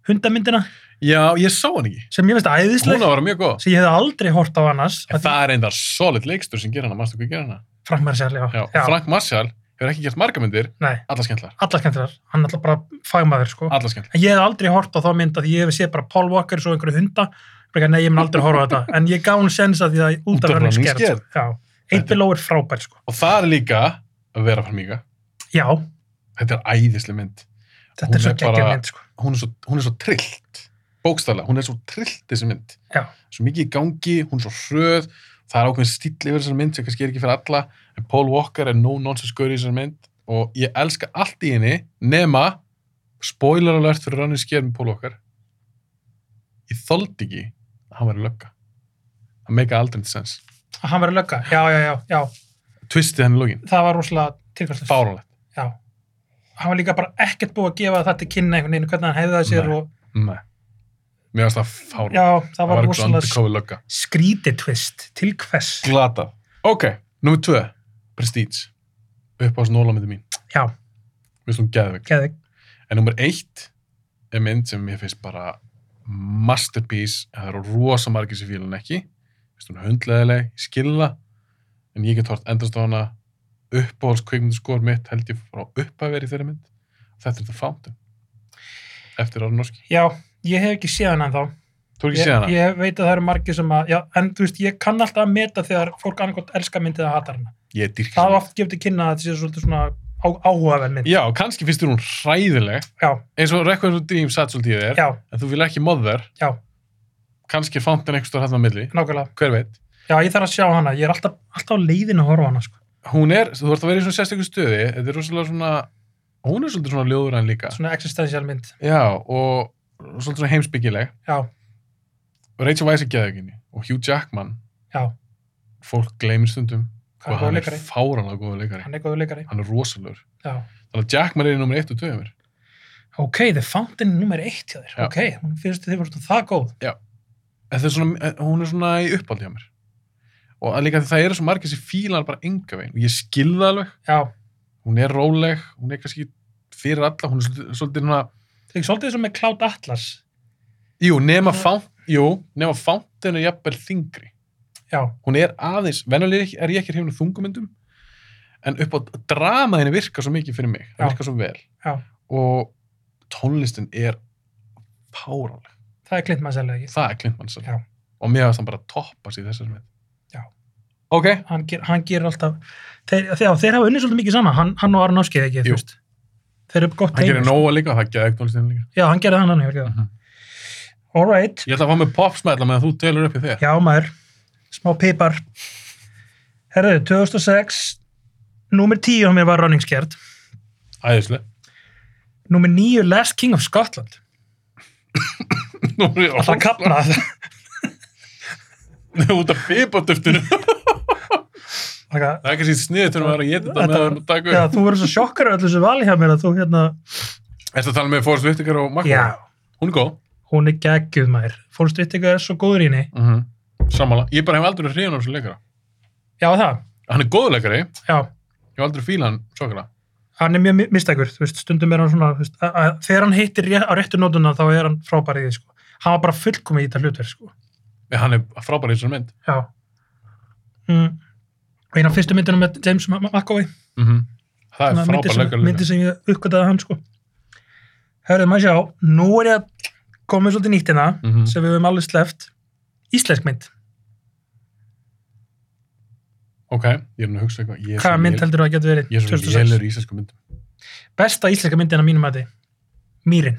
Speaker 2: hundamyndina,
Speaker 1: já, ég sá hann ekki,
Speaker 2: sem ég veist æðisleg,
Speaker 1: hún á að vera mjög góð
Speaker 2: sem ég hefði aldrei hort á annars.
Speaker 1: en það er einnig solid leikstur sem ger hana, mannstu hvað ger hana
Speaker 2: Frank Marcel, já.
Speaker 1: já, Frank Marshall hefur ekki gert marga myndir
Speaker 2: Nei,
Speaker 1: alla skemmtlar,
Speaker 2: alla skemmtilegar. Hann er alltaf bara fagmaður, sko.
Speaker 1: alla skemmtlar
Speaker 2: En ég hef aldrei hort á þá mynd að ég hef séð bara Paul Walker svo einhverju hunda Ég bara, nei, ég mun aldrei horfa á þetta en ég gaf hún sens að því að út af hann er skert
Speaker 1: Skert.
Speaker 2: já, eitt
Speaker 1: Þetta-
Speaker 2: below er frábær sko
Speaker 1: og það er líka að vera farmíka
Speaker 2: já,
Speaker 1: þetta er æðislega mynd Hún
Speaker 2: þetta er svo
Speaker 1: er
Speaker 2: geggjum
Speaker 1: bara-
Speaker 2: mynd sko
Speaker 1: hún er svo, hún er svo trillt bókstæla, hún er svo trillt þessi mynd
Speaker 2: Já.
Speaker 1: svo mikið í gangi, hún er svo hröð það er ákveðin stíll yfir þessar mynd sem kannski er ekki fyrir alla, en Paul Walker er no nonsense gaur í þessar mynd og ég elska allt í henni, nema spoiler alert fyrir rannir skér með Paul Walker ég þoldi ekki að hann væri lögga það make aldrei neitt sense
Speaker 2: að hann verið lögga, já, já, já, já
Speaker 1: twistið hann í lógin,
Speaker 2: það var rosalega tilkvæmst já,
Speaker 1: fáránlegt
Speaker 2: hann var líka bara ekkert búið að gefa þetta til kynna einhvern veginn, hvernig hann hefði það sér
Speaker 1: Nei.
Speaker 2: og,
Speaker 1: nei, mér varst það fáránlegt
Speaker 2: já, það var
Speaker 1: eitthvað
Speaker 2: rosalega
Speaker 1: undercover lögga
Speaker 2: skrítið twist til hvers,
Speaker 1: Glata. Ok, nummer tvö. Prestige. Upp á þessu nólamyndi mín.
Speaker 2: já,
Speaker 1: Mér finnst hún geðvig.
Speaker 2: geðið
Speaker 1: En nummer eitt er mynd sem mér finnst bara masterpiece. en Það eru rosa margir sem fílan ekki. Mér finnst hún hundleðileg, ég skilða. En ég get hort endast á hana uppáhalds kvikmyndaskor mitt held ég frá uppaveri þeirra mynd. Þetta er The Fountain. Eftir Arun Norski.
Speaker 2: já, ég hef ekki séð hann ennþá
Speaker 1: Þú er ekki séð
Speaker 2: ég,
Speaker 1: hana?
Speaker 2: ég veit að það eru margir sem að já, en þú veist, ég kann alltaf að meta þegar fólk annarkot elska myndið að hata hana
Speaker 1: Ég dýrk
Speaker 2: það er
Speaker 1: hana.
Speaker 2: oft gefið til kynna að þetta sé svolítið svona á, áhugaverð mynd já,
Speaker 1: Já, kannski finnst þér hún hræðileg.
Speaker 2: já,
Speaker 1: Eins og Requiem for Dream satt svolítið í þér.
Speaker 2: já,
Speaker 1: en þú vil ekki mother
Speaker 2: Já.
Speaker 1: kannski fountain einhvers stór hérna á milli
Speaker 2: nákvæmlega
Speaker 1: hver veit
Speaker 2: já, ég þarf að sjá hana, ég er alltaf, alltaf á leiðin að horfa á hana sko.
Speaker 1: hún er, þú ert að vera í svona sérstöku stöði þetta er rosalega svona hún er svolítið svona ljóður hann líka
Speaker 2: svona existential mynd
Speaker 1: já og svolítið svona heimsbyggileg
Speaker 2: já,
Speaker 1: og Rachel Weisz er geðuginni og Hugh Jackman
Speaker 2: já,
Speaker 1: fólk gleymir stundum
Speaker 2: hann
Speaker 1: og
Speaker 2: er góð
Speaker 1: hann er
Speaker 2: leikari
Speaker 1: fáranlega góður leikari
Speaker 2: hann er góð leikari,
Speaker 1: hann er rosalur
Speaker 2: já
Speaker 1: þannig að Jackman er í nummer 1 og 2 mér
Speaker 2: ok, The Fountain er nummer eitt hjá þér
Speaker 1: Já.
Speaker 2: ok, hún finnst þið voru það góð
Speaker 1: þetta er svona, eh, hún er svona í uppáldi hjá mér og að líka því það eru svo margir sem fíla hann bara enga veginn og ég skil það alveg
Speaker 2: já,
Speaker 1: hún er róleg, hún er kannski fyrir alla, hún er svolítið, svolítið svona
Speaker 2: það er ekki svolítið sem með Cloud Atlas
Speaker 1: Jú, nema
Speaker 2: Svona-
Speaker 1: fánt, jú, nema fántin er jafnvel þingri.
Speaker 2: já,
Speaker 1: Hún er aðeins, venjulega er ég- er ég ekki hrifin af þungumyndum, en upp á dramaðinu virkar svo mikið fyrir mig, það
Speaker 2: Já.
Speaker 1: virkar svo vel.
Speaker 2: Já.
Speaker 1: Og tónlistin er páráleg.
Speaker 2: það er klint maður sérlega ekki
Speaker 1: Það er Clint Mansell.
Speaker 2: Já.
Speaker 1: Og mér finnst hann bara toppast í þessar mynd.
Speaker 2: Já.
Speaker 1: Ok,
Speaker 2: hann, ger, hann gerir alltaf þeir, þeir, þeir hafa unnið svolítið mikið saman hann, hann og Aron Áskið
Speaker 1: Jú.
Speaker 2: ekki, þú veist þeir eru gott
Speaker 1: hann
Speaker 2: teymi,
Speaker 1: gerir
Speaker 2: sko.
Speaker 1: nóa líka, það geði tónlistin líka.
Speaker 2: já, hann gerir hann hann hefur
Speaker 1: Mhm.
Speaker 2: all right,
Speaker 1: Ég ætla að fá mig popsmæla meðan þú telur upp í þér.
Speaker 2: já maður smá pipar herðu, 2006 númer 10 á mér var Running Scared
Speaker 1: Æðislega.
Speaker 2: númer 9 Last King of Scotland
Speaker 1: Nú er ég
Speaker 2: alltaf kapna
Speaker 1: út af pipaduftinu.
Speaker 2: Þakka-
Speaker 1: Það er kannski sniðið til að vera að geta þetta með að vera að taka upp.
Speaker 2: já, þú verður svo sjokkar öllu sem vali hjá mér að þú hérna,
Speaker 1: Ertu að tala með Forrest Whitaker og Mark?
Speaker 2: já,
Speaker 1: Hún er góð.
Speaker 2: hún er geggjuð maður fólst eitt er svo góður í henni
Speaker 1: Mm Sammála. Ég bara hef aldrei verið hrifin af þessu leikara.
Speaker 2: já, það,
Speaker 1: Hann er góður leikari.
Speaker 2: já
Speaker 1: Ég hef aldrei fílað hann svakalega.
Speaker 2: hann er mjög mi- mistækur, þú veist, stundum er hann svona, þú veist, að, að, þegar hann hittir ré, á réttu nótuna þá er hann frábær í því, sko. Hann var bara fullkomi í þetta hlutverk, sko.
Speaker 1: En hann er frábær í þessari mynd.
Speaker 2: Já. Mm. Og eina af fyrstu myndunum með James Ma- Ma- McAvoy,
Speaker 1: Mm Það er
Speaker 2: myndi
Speaker 1: frábær
Speaker 2: sem,
Speaker 1: leikari.
Speaker 2: myndi
Speaker 1: Myndi...
Speaker 2: sem ég uppgötaði hann, sko. Hörðu, maður sjá, nú er ég að koma með svolítið nýtt hérna,
Speaker 1: Mhm.
Speaker 2: sem við höfum alveg sleft, íslensk mynd.
Speaker 1: Ok, ég er nú að hugsa eitthvað. Ég er
Speaker 2: Hvaða
Speaker 1: svo
Speaker 2: mynd
Speaker 1: lél-
Speaker 2: heldur þú að geta verið?
Speaker 1: Ég er svo
Speaker 2: 2006?
Speaker 1: lélur í íslensku myndum.
Speaker 2: Besta íslenska myndin að mínum að þið, Mýrin.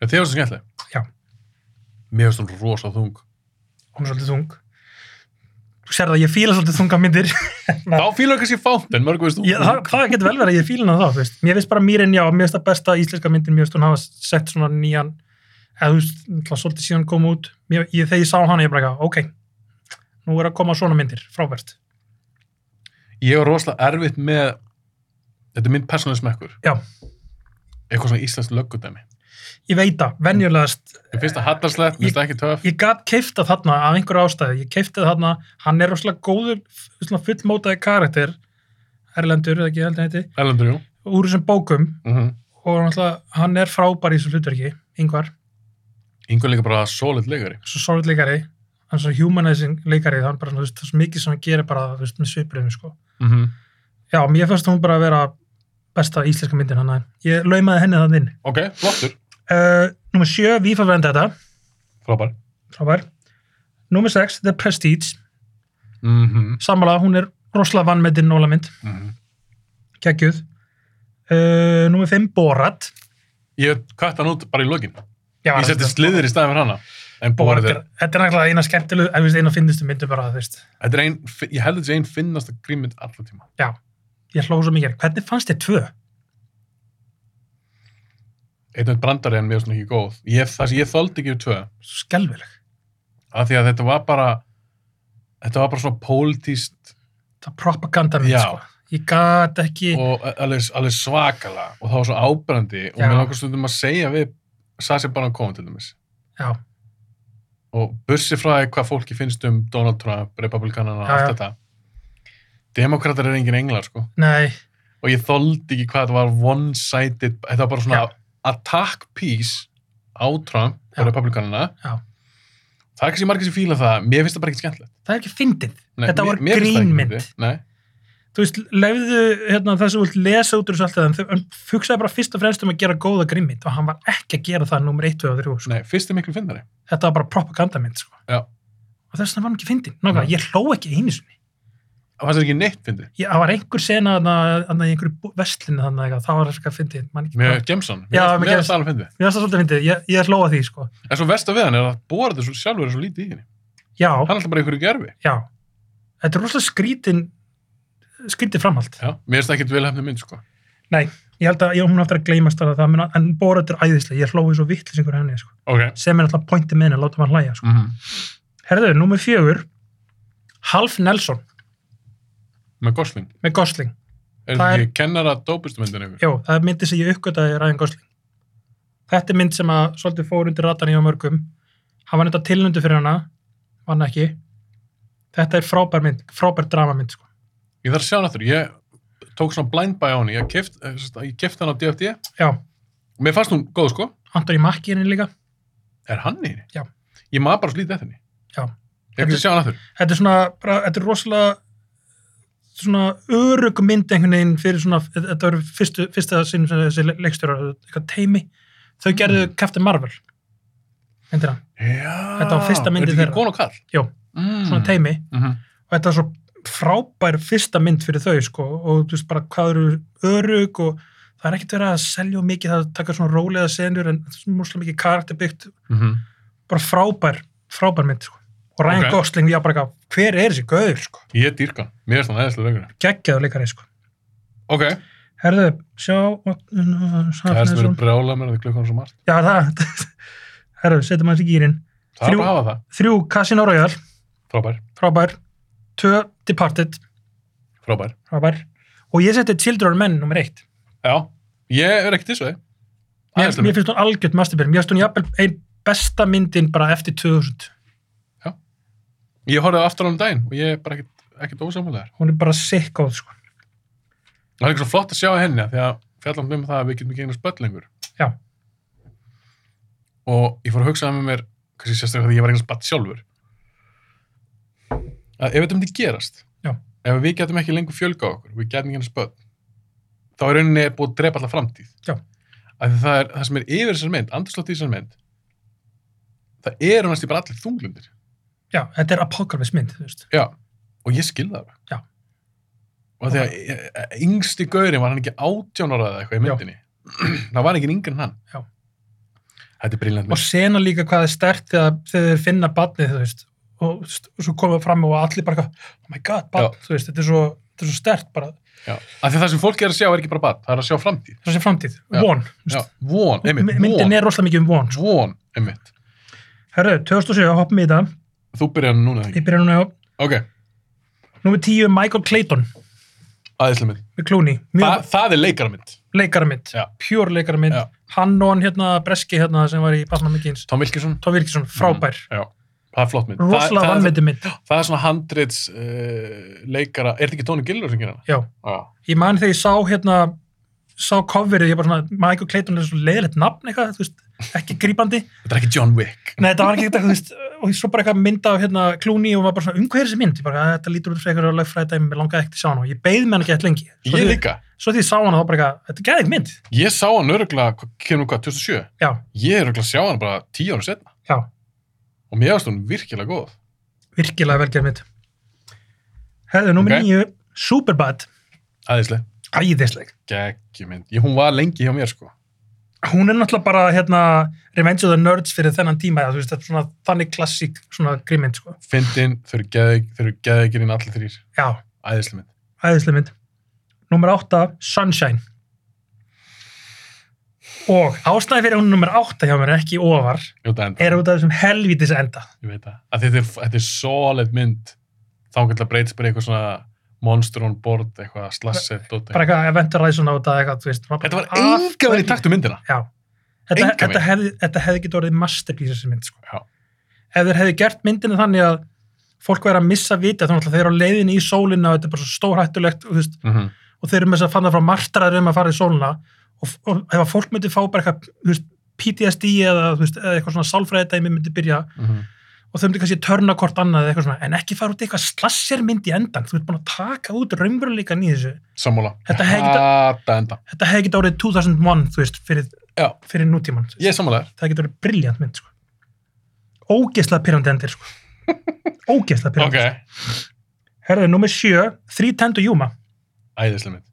Speaker 1: En þið var svo skemmtileg.
Speaker 2: Já.
Speaker 1: Mér finnst hún rosa þung.
Speaker 2: hún er svolítið þung sér það, ég fíla svolítið þunga myndir
Speaker 1: Þá fílar kannski Fountain, mörg veist þú.
Speaker 2: ég, það, það getur vel verið að ég fíla það, þú veist. mér finnst bara Mýrin, já, mér finnst það besta íslenska myndin mér finnst hún hafa sett svona nýjan eða þú veist, náttúrulega svolítið síðan kom út mér, ég, þegar ég sá hana, ég bara, eitthvað, ok nú er að koma svona myndir, frábært
Speaker 1: Ég var rosalega erfitt með, þetta er minn persónuleg smekkur.
Speaker 2: Já.
Speaker 1: Eitthvað svona íslenskt löggudæmi.
Speaker 2: ég veit það, venjulegast
Speaker 1: Ég finnst það hattarslegt, mér finnst það ekki töff.
Speaker 2: ég gat keifta þarna af einhverju ástæðu ég keifta þarna, hann er rosalega góður svona fullmótaði karakter Erlendur, eða ekki heldur heiti
Speaker 1: Erlendur, jú.
Speaker 2: úr þessum bókum
Speaker 1: Mm
Speaker 2: og náttúrulega, hann er frábær í þessu hlutverki yngvar,
Speaker 1: Ingo er líka bara solid leikari.
Speaker 2: svo solid leikari hann er svo humanizing leikari það er bara svona, þú veist, það er svo mikið sem hann gerir bara þú veist, með svipurinn sko.
Speaker 1: Mm
Speaker 2: já, mér fannst hún bara að vera besta íslenska myndin hann að ég laumaði henni þann inn
Speaker 1: Ok, flottur.
Speaker 2: uh, Númer 7, Vífa verðan þetta
Speaker 1: Frábær.
Speaker 2: frábær Númer 6, The Prestige
Speaker 1: Mm -hmm.
Speaker 2: sammála, hún er rosalega vannmetinn nólamynd, geggjuð uh, Númer 5, Borat
Speaker 1: Ég kvætt hann út bara í lokin.
Speaker 2: já,
Speaker 1: Ég setti sliðir í staðin fyrir hana. En
Speaker 2: Borat
Speaker 1: bórið
Speaker 2: er, þetta er náttúrulega eina skemmtilegu, ef við eina finnistu myndu bara, þú veist
Speaker 1: Þetta er ein, ég held að þetta sé einn finnasta grímynd allar tíma.
Speaker 2: Já, ég hlóð svo mikið. Hvernig fannst þér tvö?
Speaker 1: Eitt með brandari en mér er svona ekki góð. Ég, það sem ég þoldi ekki við tvö,
Speaker 2: Svo skelvileg.
Speaker 1: af því að þetta var bara, þetta var bara svona pólitíst
Speaker 2: Það propaganda mynd,
Speaker 1: Já.
Speaker 2: sko. Ég gat ekki...
Speaker 1: og alveg, alveg svakala og það var svo ábærandi og
Speaker 2: Já.
Speaker 1: mér langar stundum að segja við Sassi Baron-Cohen til dæmis
Speaker 2: Já,
Speaker 1: og bursi frá því hvað fólki finnst um Donald Trump, republikanana og
Speaker 2: Já, já.
Speaker 1: allt þetta. Demokrater eru engin englar, sko.
Speaker 2: nei,
Speaker 1: og ég þoldi ekki hvað þetta var one-sided, þetta var bara svona
Speaker 2: Já.
Speaker 1: attack piece á Trump
Speaker 2: Já.
Speaker 1: og republikanina
Speaker 2: Já.
Speaker 1: það er kannski margir sem fíla það mér finnst það bara ekki skemmtilegt
Speaker 2: það er ekki fyndið.
Speaker 1: Nei,
Speaker 2: Þetta
Speaker 1: mér-
Speaker 2: var
Speaker 1: mér finnst það ekki
Speaker 2: grínmynd.
Speaker 1: fyndið. Nei.
Speaker 2: Þú veist, leiðu hérna, það sem þú vilt lesa út úr þessu alltaf, en þau- en hugsaði bara fyrst og fremst um að gera góða grímmynd og hann var ekki að gera það nummer 1, 2 og 3. Sko.
Speaker 1: Nei, fyrst er miklu fyndari
Speaker 2: Þetta var bara propaganda mynd, sko.
Speaker 1: Já.
Speaker 2: Og þess vegna var hann ekki fyndið. Nákvæmlega, ég hló ekki einu sinni.
Speaker 1: það fannst ekki neitt fyndi
Speaker 2: Ég, það var einhver sena þarna- þarna í einhverju vestlinu þannig að það var eitthvað fyndið. man ekki
Speaker 1: með
Speaker 2: hvað.
Speaker 1: Jameson,
Speaker 2: Sko. Já,
Speaker 1: mér
Speaker 2: með
Speaker 1: finnst
Speaker 2: Jameson.
Speaker 1: það alveg fyndi
Speaker 2: Mér varst það svolítið fyndið. Ég, ég hló að því, sko.
Speaker 1: en svo versta við hann er að bóra þetta svo sjálfur er svo lítið í henni
Speaker 2: Já.
Speaker 1: hann er alltaf bara í einhverju gerfi
Speaker 2: Já, þetta er rosalega skrítin skrítið framhald.
Speaker 1: Já, mér finnst það ekkert vilhefni mynd sko.
Speaker 2: Nei, ég held að ég hún aftur að gleymast að það, mena, en Borat er æðislega, ég hlóði svo vittlisingur henni, sko.
Speaker 1: okay.
Speaker 2: sem er alltaf pointið með henni, láta maður hlæja. Sko.
Speaker 1: mm -hmm.
Speaker 2: Herðu, númer fjögur, Half Nelson
Speaker 1: með Gosling
Speaker 2: með Gosling.
Speaker 1: er
Speaker 2: Það
Speaker 1: það
Speaker 2: er-
Speaker 1: ekki kennara dópustu myndin yfir
Speaker 2: Jó, það er myndið sem ég uppgötaði ræðin Gosling. Þetta er mynd sem að svolítið fór undir ratan í á mörgum. Hann var nefnda tilnundu fyrir hana, vann ekki. Þetta er frábær mynd, frábær dramamynd, sko.
Speaker 1: ég þarf að sjá hann aftur, ég tók svona blind buy á hann ég keft, ég keft hann á DFD
Speaker 2: Já,
Speaker 1: Mér fannst hún góð sko.
Speaker 2: Antoni Mackie er henni líka.
Speaker 1: Er hann í henni?
Speaker 2: Já.
Speaker 1: Ég maður bara slítið eftir henni.
Speaker 2: Já.
Speaker 1: Ég ekki að sjá hann aftur.
Speaker 2: þetta er svona, bara, þetta er rosalega svona örug mynd einhvern veginn fyrir svona, þetta eru fyrstu, fyrsta sinn sem þessi leikstjóra, eitthvað teimi þau
Speaker 1: Mm.
Speaker 2: gerðu Captain Marvel myndina,
Speaker 1: Já.
Speaker 2: Þetta var fyrsta myndin
Speaker 1: Er þetta
Speaker 2: þeirra.
Speaker 1: ekki góð og kall?
Speaker 2: Jó,
Speaker 1: Mm.
Speaker 2: svona teimi
Speaker 1: Mm -hmm.
Speaker 2: og þetta er svo frábær fyrsta mynd fyrir þau sko, og þú veist bara hvað eru örug og það er ekkert verið að selja of mikið það er að taka svona rólega senur en það er mjög mikið karakter byggt bara frábær, frábær mynd sko. og Ryan
Speaker 1: Ok.
Speaker 2: Gosling, já bara eitthvað, hver er þessi gauður sko,
Speaker 1: Ég dýrka hann. Mér er svona eðislega leikurinn.
Speaker 2: geggjaður leikari sko
Speaker 1: Ok.
Speaker 2: Herðu, sjá
Speaker 1: Það er sem
Speaker 2: Hafnesson.
Speaker 1: verið brjála mér að þið klukkan svo margt.
Speaker 2: Já, það Herðu, setjum hans í gýrin
Speaker 1: Það er
Speaker 2: Þrjú-
Speaker 1: bara að hafa það.
Speaker 2: Þrjú Casino Royale,
Speaker 1: Frábær.
Speaker 2: frábær Tvö Departed,
Speaker 1: Frábær.
Speaker 2: frábær Og ég seti Children Men nummer eitt
Speaker 1: Já. Ég er ekki til svo þið.
Speaker 2: Mér, mér finnst hún algjört masterbyrn Mér finnst hún jafnvel ein besta myndin bara eftir 2000
Speaker 1: Ég horfði á aftur á um daginn og ég er bara ekkit, ekkit ósamlega þær.
Speaker 2: Hún er bara sick á sko.
Speaker 1: Það er ekki svo flott að sjá henni af því að fjallum um það að við getum ekki einu spöll lengur.
Speaker 2: Já.
Speaker 1: og ég fór að hugsa um með mér kannski sérstaklega því ég var einhvers batt sjálfur að ef þetta myndi gerast
Speaker 2: Já.
Speaker 1: ef við getum ekki lengur fjölga okkur við getum ekki einhvers batt þá er rauninni búið að drepa alltaf framtíð
Speaker 2: Já.
Speaker 1: að það, er, það sem er yfir þessar mynd andurslótt í þessar mynd það eru næst í bara allir þunglundir
Speaker 2: Já, þetta er apokalvis mynd þú veist.
Speaker 1: Já. og ég skil það alveg.
Speaker 2: Já.
Speaker 1: og þegar eh, yngsti gaurin var hann ekki átjánara eða eitthvað í
Speaker 2: Já.
Speaker 1: myndinni það var ekki yngri en hann
Speaker 2: Já.
Speaker 1: þetta er briljant
Speaker 2: Og sena líka hvað er stert þegar þegar þeir finna badnið þú veist og þú veist, og svo komum við fram og allir bara eitthvað, oh my god, barn, þú veist, þetta er svo, þetta er svo stert bara,
Speaker 1: Já. Af því það sem fólki er að sjá er ekki bara barn, það er að sjá framtíð.
Speaker 2: það sé framtíð,
Speaker 1: Já.
Speaker 2: von, þú
Speaker 1: Já,
Speaker 2: veist,
Speaker 1: von, einmitt,
Speaker 2: myndin
Speaker 1: von,
Speaker 2: er rosalega mikið um von, sko.
Speaker 1: von, einmitt.
Speaker 2: Herru, 2007, hoppum við í þetta,
Speaker 1: Þú byrjar núna þegar.
Speaker 2: ég byrja núna á,
Speaker 1: Ok,
Speaker 2: númer 10, Michael Clayton,
Speaker 1: aðeinslega mynd.
Speaker 2: með Clooney,
Speaker 1: Þa,
Speaker 2: mjög
Speaker 1: það er leikarmynd.
Speaker 2: leikaramind,
Speaker 1: Já.
Speaker 2: pure leikaramind,
Speaker 1: Já.
Speaker 2: hann og hann hérna, Breski hérna, sem var í Batman Begins,
Speaker 1: Tom Wilkinson.
Speaker 2: Tom Wilkinson, frábær,
Speaker 1: Já, það er flott mynd. Mm. Það-
Speaker 2: rosalega
Speaker 1: það-
Speaker 2: vannmyndi mynd,
Speaker 1: Það er svona handrits uh, leikara, er þetta ekki Tony Gilroy sem gerir hana?
Speaker 2: já,
Speaker 1: Já.
Speaker 2: ég man þegar ég sá hérna sá coverið, ég bara svona Michael Clayton er svo leiðilegt nafn eitthvað, þú veist ekki grípandi,
Speaker 1: Þetta er ekki John Wick.
Speaker 2: nei þetta var ekki eitthvað, þú veist og svo bara eitthvað mynd af hérna Clooney og maður bara svona, um hvað er þessi mynd? Ég bara, "Æ, þetta lítur út fyrir eitthvað lögfræðdæmi, mér langaði ekkert að sjá hana og ég beið með hana ekki eitthvað lengi, svo
Speaker 1: Ég
Speaker 2: því-
Speaker 1: líka.
Speaker 2: svo því ég sá hana þá bara eitthvað, þetta geði ekki mynd
Speaker 1: Ég sá hann öruglega, kemur hvað, 2007?
Speaker 2: já,
Speaker 1: Ég er öruglega að sjá hann bara tíu ára setna
Speaker 2: já,
Speaker 1: og mér varst hún virkilega góð.
Speaker 2: virkilega velgerð mynd hefðu, nummer
Speaker 1: Ok.
Speaker 2: okay. nýju Superbad,
Speaker 1: Æðislega.
Speaker 2: æðisleg
Speaker 1: Geggjumynd. Ég- Hún var lengi hjá mér sko.
Speaker 2: hún er náttúrulega bara hérna Revenge of the Nerds fyrir þennan tíma eða, þú veist, þetta er svona þannig klassík svona grímynd sko,
Speaker 1: Fyndin, þau eru geðveik- þau eru geðegirinn allir þrýr.
Speaker 2: já
Speaker 1: Æðislega mynd.
Speaker 2: æðislega mynd. Númer 8, Sunshine. Og ástæði fyrir að hún er númer 8 hjá mér en ekki ofar
Speaker 1: Jóta enda.
Speaker 2: er út af þessum helvítis enda.
Speaker 1: Ég veit það. Af því Þetta er, þetta er solid mynd. Þá kannski að breytist bara í eitthvað svona monster on board, eitthvað slasset. dót,
Speaker 2: Bara
Speaker 1: eitthvað.
Speaker 2: eitthvað eventurize hún á þetta eitthvað, þú veist. maður
Speaker 1: Þetta
Speaker 2: bara,
Speaker 1: var enga verið í
Speaker 2: af hverju?
Speaker 1: takt um myndina.
Speaker 2: Já. Þetta,
Speaker 1: Engan
Speaker 2: þetta,
Speaker 1: veginn.
Speaker 2: hefði, þetta hefði getið orðið masterpiece þessi mynd, sko.
Speaker 1: Já.
Speaker 2: Ef þeir hefði gert myndina þannig að fólk væri að missa vita, þannig að þeir eru á leiðinni í sólina og þetta er bara svo stórhættulegt, þú veist,
Speaker 1: Mm -hmm.
Speaker 2: og þeir eru með þess að fanna frá martraður um að fara í sóluna og, og ef að fólk myndi fá bara eitthvað þú veist, PTSD eða, þú veist, eða eitthvað svona sálfræðidæmi myndi byrja
Speaker 1: mhm.
Speaker 2: og þau myndi kannski törna hvort annað eða eitthvað svona en ekki fara út í eitthvað slassir mynd í endan þú ert búin að taka út raunveruleikan í þessu
Speaker 1: Sammála.
Speaker 2: Þetta hefði getað-
Speaker 1: Hata enda.
Speaker 2: þetta hefði getið árið 2001 þú veist, fyrir,
Speaker 1: Já.
Speaker 2: fyrir nútíman
Speaker 1: Ég er sammálaður.
Speaker 2: það hefði getið árið briljant mynd sko. ógeðslega pyrrandi endir sko. ógeðslega
Speaker 1: Ok.
Speaker 2: pyrrandi herðu, nummer 7, 310 to Yuma
Speaker 1: Æðislega mynd.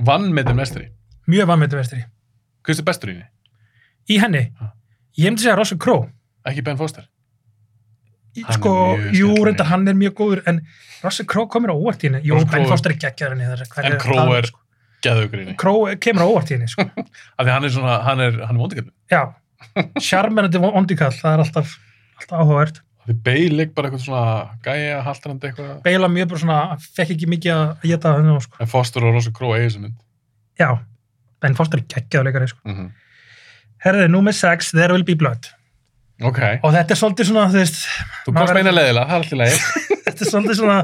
Speaker 1: Vann með þeim mestri.
Speaker 2: mjög vannmyndu vestri
Speaker 1: Hvers er bestur í henni?
Speaker 2: í henni,
Speaker 1: Ha.
Speaker 2: ég myndi segja Russell Crowe
Speaker 1: Ekki Ben Foster.
Speaker 2: Í-
Speaker 1: Hann er
Speaker 2: sko,
Speaker 1: mjög
Speaker 2: jú,
Speaker 1: skemmtilegur.
Speaker 2: reynda hann er mjög góður en Russell Crowe komur á óvart í henni jú,
Speaker 1: Russell
Speaker 2: Ben
Speaker 1: Crowe-
Speaker 2: Foster er geggjaður henni þar, hver
Speaker 1: En
Speaker 2: er
Speaker 1: Crowe
Speaker 2: það,
Speaker 1: er-
Speaker 2: sko.
Speaker 1: Gæðugur í henni.
Speaker 2: Crowe kemur á óvart í henni sko.
Speaker 1: Af því hann er svona, hann er, hann er vondikallin.
Speaker 2: já, sjarmenandi ondikall það er alltaf, alltaf áhugavert
Speaker 1: Af því Bale leik bara eitthvað svona gæja, haltrandi eitthvað.
Speaker 2: Beila mjög bara svona, hann fekk ekki mikið að geta henni sko.
Speaker 1: En Foster og Rosa Crowe eigi þessu mynd.
Speaker 2: já, Ben Foster er geggjaður leikari sko.
Speaker 1: Mm -hmm.
Speaker 2: herðið, nummer 6, There Will Be Blood
Speaker 1: Ok.
Speaker 2: og þetta er svolítið svona, þú veist
Speaker 1: Þú komst
Speaker 2: Maður-
Speaker 1: meina leðilega, það er allt í lagi.
Speaker 2: þetta er svolítið svona,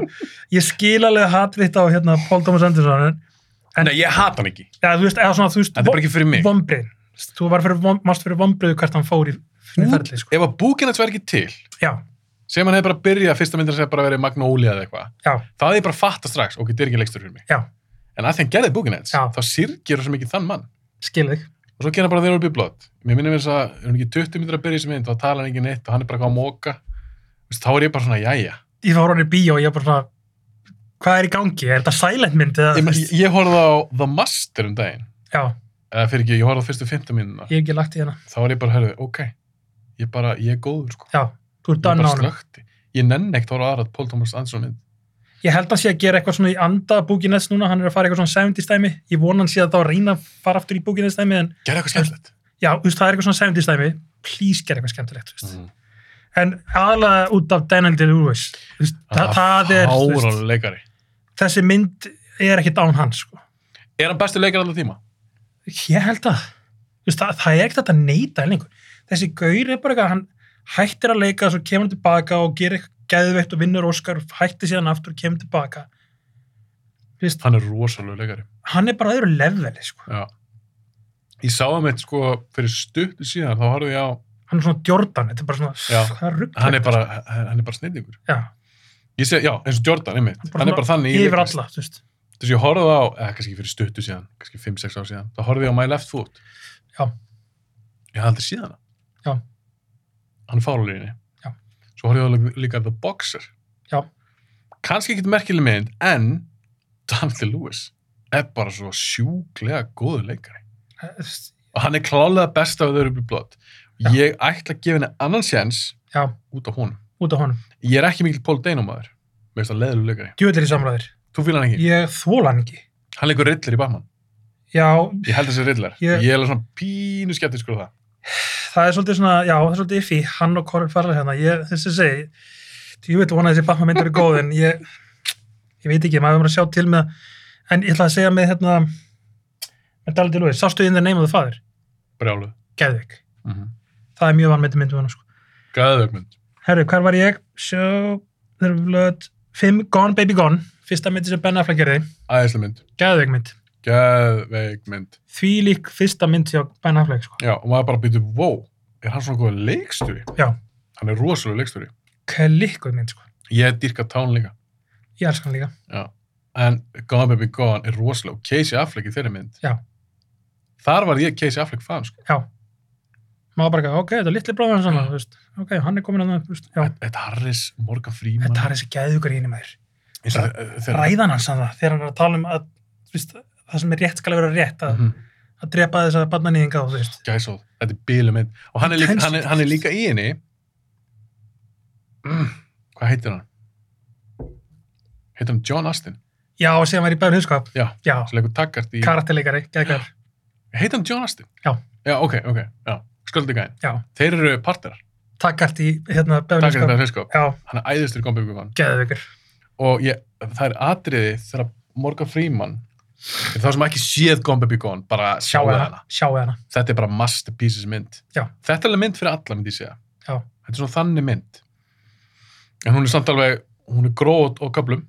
Speaker 2: ég skil alveg hatriðt á hérna Paul Thomas Anderson en, En-
Speaker 1: Nei, ég hata hann ekki.
Speaker 2: já, þú veist, eða svona, þú veist
Speaker 1: Þetta er bara ekki fyrir mig.
Speaker 2: vombrið, þú var fyrir, von- varst fyrir vombriðu hvert hann fór í sinni
Speaker 1: Út-
Speaker 2: ferli sko.
Speaker 1: Ef að búkinn hans væri ekki til,
Speaker 2: já,
Speaker 1: sem hann hefði bara byrjað, fyrsta myndin sem bara verið Magnolia eða eitthvað,
Speaker 2: já,
Speaker 1: það hefði ég bara fatta strax, ok, þetta er ekki leikstur fyrir mig.
Speaker 2: já,
Speaker 1: En að því hann gerði búkinn hans,
Speaker 2: Já.
Speaker 1: þá sirgjur svo mikið þann mann.
Speaker 2: skil þig
Speaker 1: Og svo kynna bara þeir eru byrjað blott. Mér minnum þess að, er hann ekki 20 myndir að byrja í þessi mynd, þá tala hann ekki neitt og hann er bara eitthvað að móka. Þú veist, Þá er ég bara svona, jæja.
Speaker 2: ég fór hann í bíó og ég bara svona hvað er í gangi, er þetta silent mynd
Speaker 1: Ég,
Speaker 2: eða, þú
Speaker 1: meina,
Speaker 2: veist?
Speaker 1: ég- ég horfði á The Master um daginn,
Speaker 2: já,
Speaker 1: eða fyrir ekki, ég horfði á fyrstu 15 mínuna.
Speaker 2: ég hef ekki lagt í hérna
Speaker 1: Þá er ég bara, herðu, ok, ég bara, ég er góður, sko.
Speaker 2: já, þú
Speaker 1: Ég
Speaker 2: ert
Speaker 1: bara
Speaker 2: done á hann
Speaker 1: slökkti. Ég nenni ekkert að horfa á aðra Paul Thomas Anderson mynd.
Speaker 2: ég held hann sé að gera eitthvað svona í anda Búkinets núna, hann er að fara í eitthvað svona 70 stæmi ég von hann sé að þá reyna að fara aftur í Búkinets stæmi en
Speaker 1: Gerðu eitthvað skemmtilegt.
Speaker 2: já, þú veist, það er eitthvað svona 70 stæmi please gera eitthvað skemmtilegt, þú veist
Speaker 1: Mm.
Speaker 2: en aðalega út af Daniel Day-Lewis þú veist,
Speaker 1: Ah,
Speaker 2: það, það er þú veist,
Speaker 1: Fáránlegur leikari.
Speaker 2: þessi mynd er ekkit án hans sko.
Speaker 1: Er hann bestu leikari allar tíma?
Speaker 2: ég held að þú veist, það, það er ekkert hægt að neyta lengur. þessi gaur er bara eitthvað hann hættir að leika svo kemur hann tilbaka og gerir eitthvað geðveikt og vinnur Óskar hættir síðan aftur og kemur tilbaka Þú veist,
Speaker 1: Hann er rosalega leikari.
Speaker 2: hann er bara á öðru leveli sko.
Speaker 1: Já. Ég sá hann eitt sko fyrir stuttu síðan, þá horfði ég á,
Speaker 2: hann er svona Jordan þetta er bara
Speaker 1: Já.
Speaker 2: svona það rugl
Speaker 1: hann er bara, hann er bara snillingur.
Speaker 2: já,
Speaker 1: Ég segi, já, eins og Jordan, einmitt.
Speaker 2: Bara
Speaker 1: Hann er
Speaker 2: svona
Speaker 1: bara þannig í
Speaker 2: yfir
Speaker 1: leiklist.
Speaker 2: alla þú veist.
Speaker 1: Þess að ég horfði á, eða kannski fyrir stuttu síðan, kannski 5-6 ár síðan, þá horfði ég á My Left Foot.
Speaker 2: Já.
Speaker 1: Ég hafði aldrei síðan hana.
Speaker 2: Já.
Speaker 1: Hann er fáluleginni.
Speaker 2: Já.
Speaker 1: Svo horfði ég á líka The Boxer.
Speaker 2: Já.
Speaker 1: Kannski ekkit merkileg mynd, en Dante Lewis er bara svo sjúklega góðu leikari.
Speaker 2: Eh, þú veist,
Speaker 1: Og hann er klálega best af þau eru blótt.
Speaker 2: Já.
Speaker 1: Ég ætla að gefa henni annan séns
Speaker 2: já,
Speaker 1: út á honum.
Speaker 2: út af honum.
Speaker 1: Ég er ekki mikil Paul Dano maður. Mér finnst það leðilega leikari.
Speaker 2: Djúvillir í samræðir.
Speaker 1: Þú fýlar hann ekki?
Speaker 2: Ég þóla hann ekki.
Speaker 1: Hann leikur rillir í Batman.
Speaker 2: Já,
Speaker 1: Ég held þessi rillar.
Speaker 2: Ég-
Speaker 1: Ég er alveg svona pínu skeptisk úr það.
Speaker 2: það er svolítið svona, já, það er svolítið iffi, hann og Corin Farrell hérna, ég, þessi segi, djúvill vona þessi Batman myndur er góð, en ég, ég veit ekki, maður verður að sjá til með, en ég ætla að segja með, hérna, með Dalí Lúi, sástu inn þeir neymaðu faður,
Speaker 1: Brjáluð.
Speaker 2: Geðvik,
Speaker 1: Mm -hmm.
Speaker 2: það er mjög vannmyndi myndum hann, sko.
Speaker 1: Gæðaugmynd.
Speaker 2: Herru, hvar var ég? Sjó, þeir eru blöð, 5 Gone Baby Gone, fyrsta myndi sem Ben Affleck gerði,
Speaker 1: Æðislega mynd.
Speaker 2: Geðvik mynd,
Speaker 1: Gæðaugmynd.
Speaker 2: því lík fyrsta mynd hjá Ben Affleck, sko.
Speaker 1: Já, og maður bara býtur, wow, er hann svona góð leikstjóri?
Speaker 2: Já.
Speaker 1: Hann er rosalega leikstjóri.
Speaker 2: Klikkuð mynd, sko.
Speaker 1: Ég dýrka tán líka.
Speaker 2: Ég elska hann líka.
Speaker 1: Já. En Gone Baby Gone er rosalega og Casey Affleck í þeirri mynd.
Speaker 2: Já.
Speaker 1: Þar var ég Casey Affleck fan, sko.
Speaker 2: Já. Maður bara, ok, þetta er litli bróður hans hann, þú veist. Ok, hann er komin að það, þú veist. Já.
Speaker 1: Ed- Ed Harris, Morgan Freeman.
Speaker 2: Þetta er þessi gæðugur í henni maður.
Speaker 1: Eins og þe- þeirra-
Speaker 2: Ræðan hans hann það, þegar hann er að tala um að, þú veist, það sem er rétt skal vera rétt, að,
Speaker 1: Mhm.
Speaker 2: að drepa þess að barna nýðinga þú veist.
Speaker 1: Gæsóð, þetta er bílu mynd. Og hann er, líka,
Speaker 2: Kennst-
Speaker 1: hann er, hann er líka í henni. Mm, hvað heitir hann? Heitir hann John Astin?
Speaker 2: Já, og síðan var ég bæður hinskap.
Speaker 1: Já.
Speaker 2: Já,
Speaker 1: Sem leikur takkart í...
Speaker 2: karakterleikari, gæðugur.
Speaker 1: Heitir hann John Astin?
Speaker 2: Já.
Speaker 1: Já, ok, ok. Já. Sköldi gæðin.
Speaker 2: Já,
Speaker 1: Þeir eru partarar.
Speaker 2: takkart í, hérna, bæður
Speaker 1: Takkart
Speaker 2: hinskap.
Speaker 1: með hleskop.
Speaker 2: Já,
Speaker 1: Hann er æðistur kompiðugumann.
Speaker 2: gæðugur.
Speaker 1: Og ég, það er atriði þegar Morgan Freeman fyrir þá sem ekki séð Gone Baby Gone bara
Speaker 2: Sjáu
Speaker 1: sjáu
Speaker 2: hana,
Speaker 1: hana.
Speaker 2: sjáu hana.
Speaker 1: Þetta er bara masterpieces mynd.
Speaker 2: Já.
Speaker 1: Þetta er alveg mynd fyrir alla myndi ég segja.
Speaker 2: Já.
Speaker 1: Þetta er svona þannig mynd. En hún er samt alveg, hún er grót og köplum.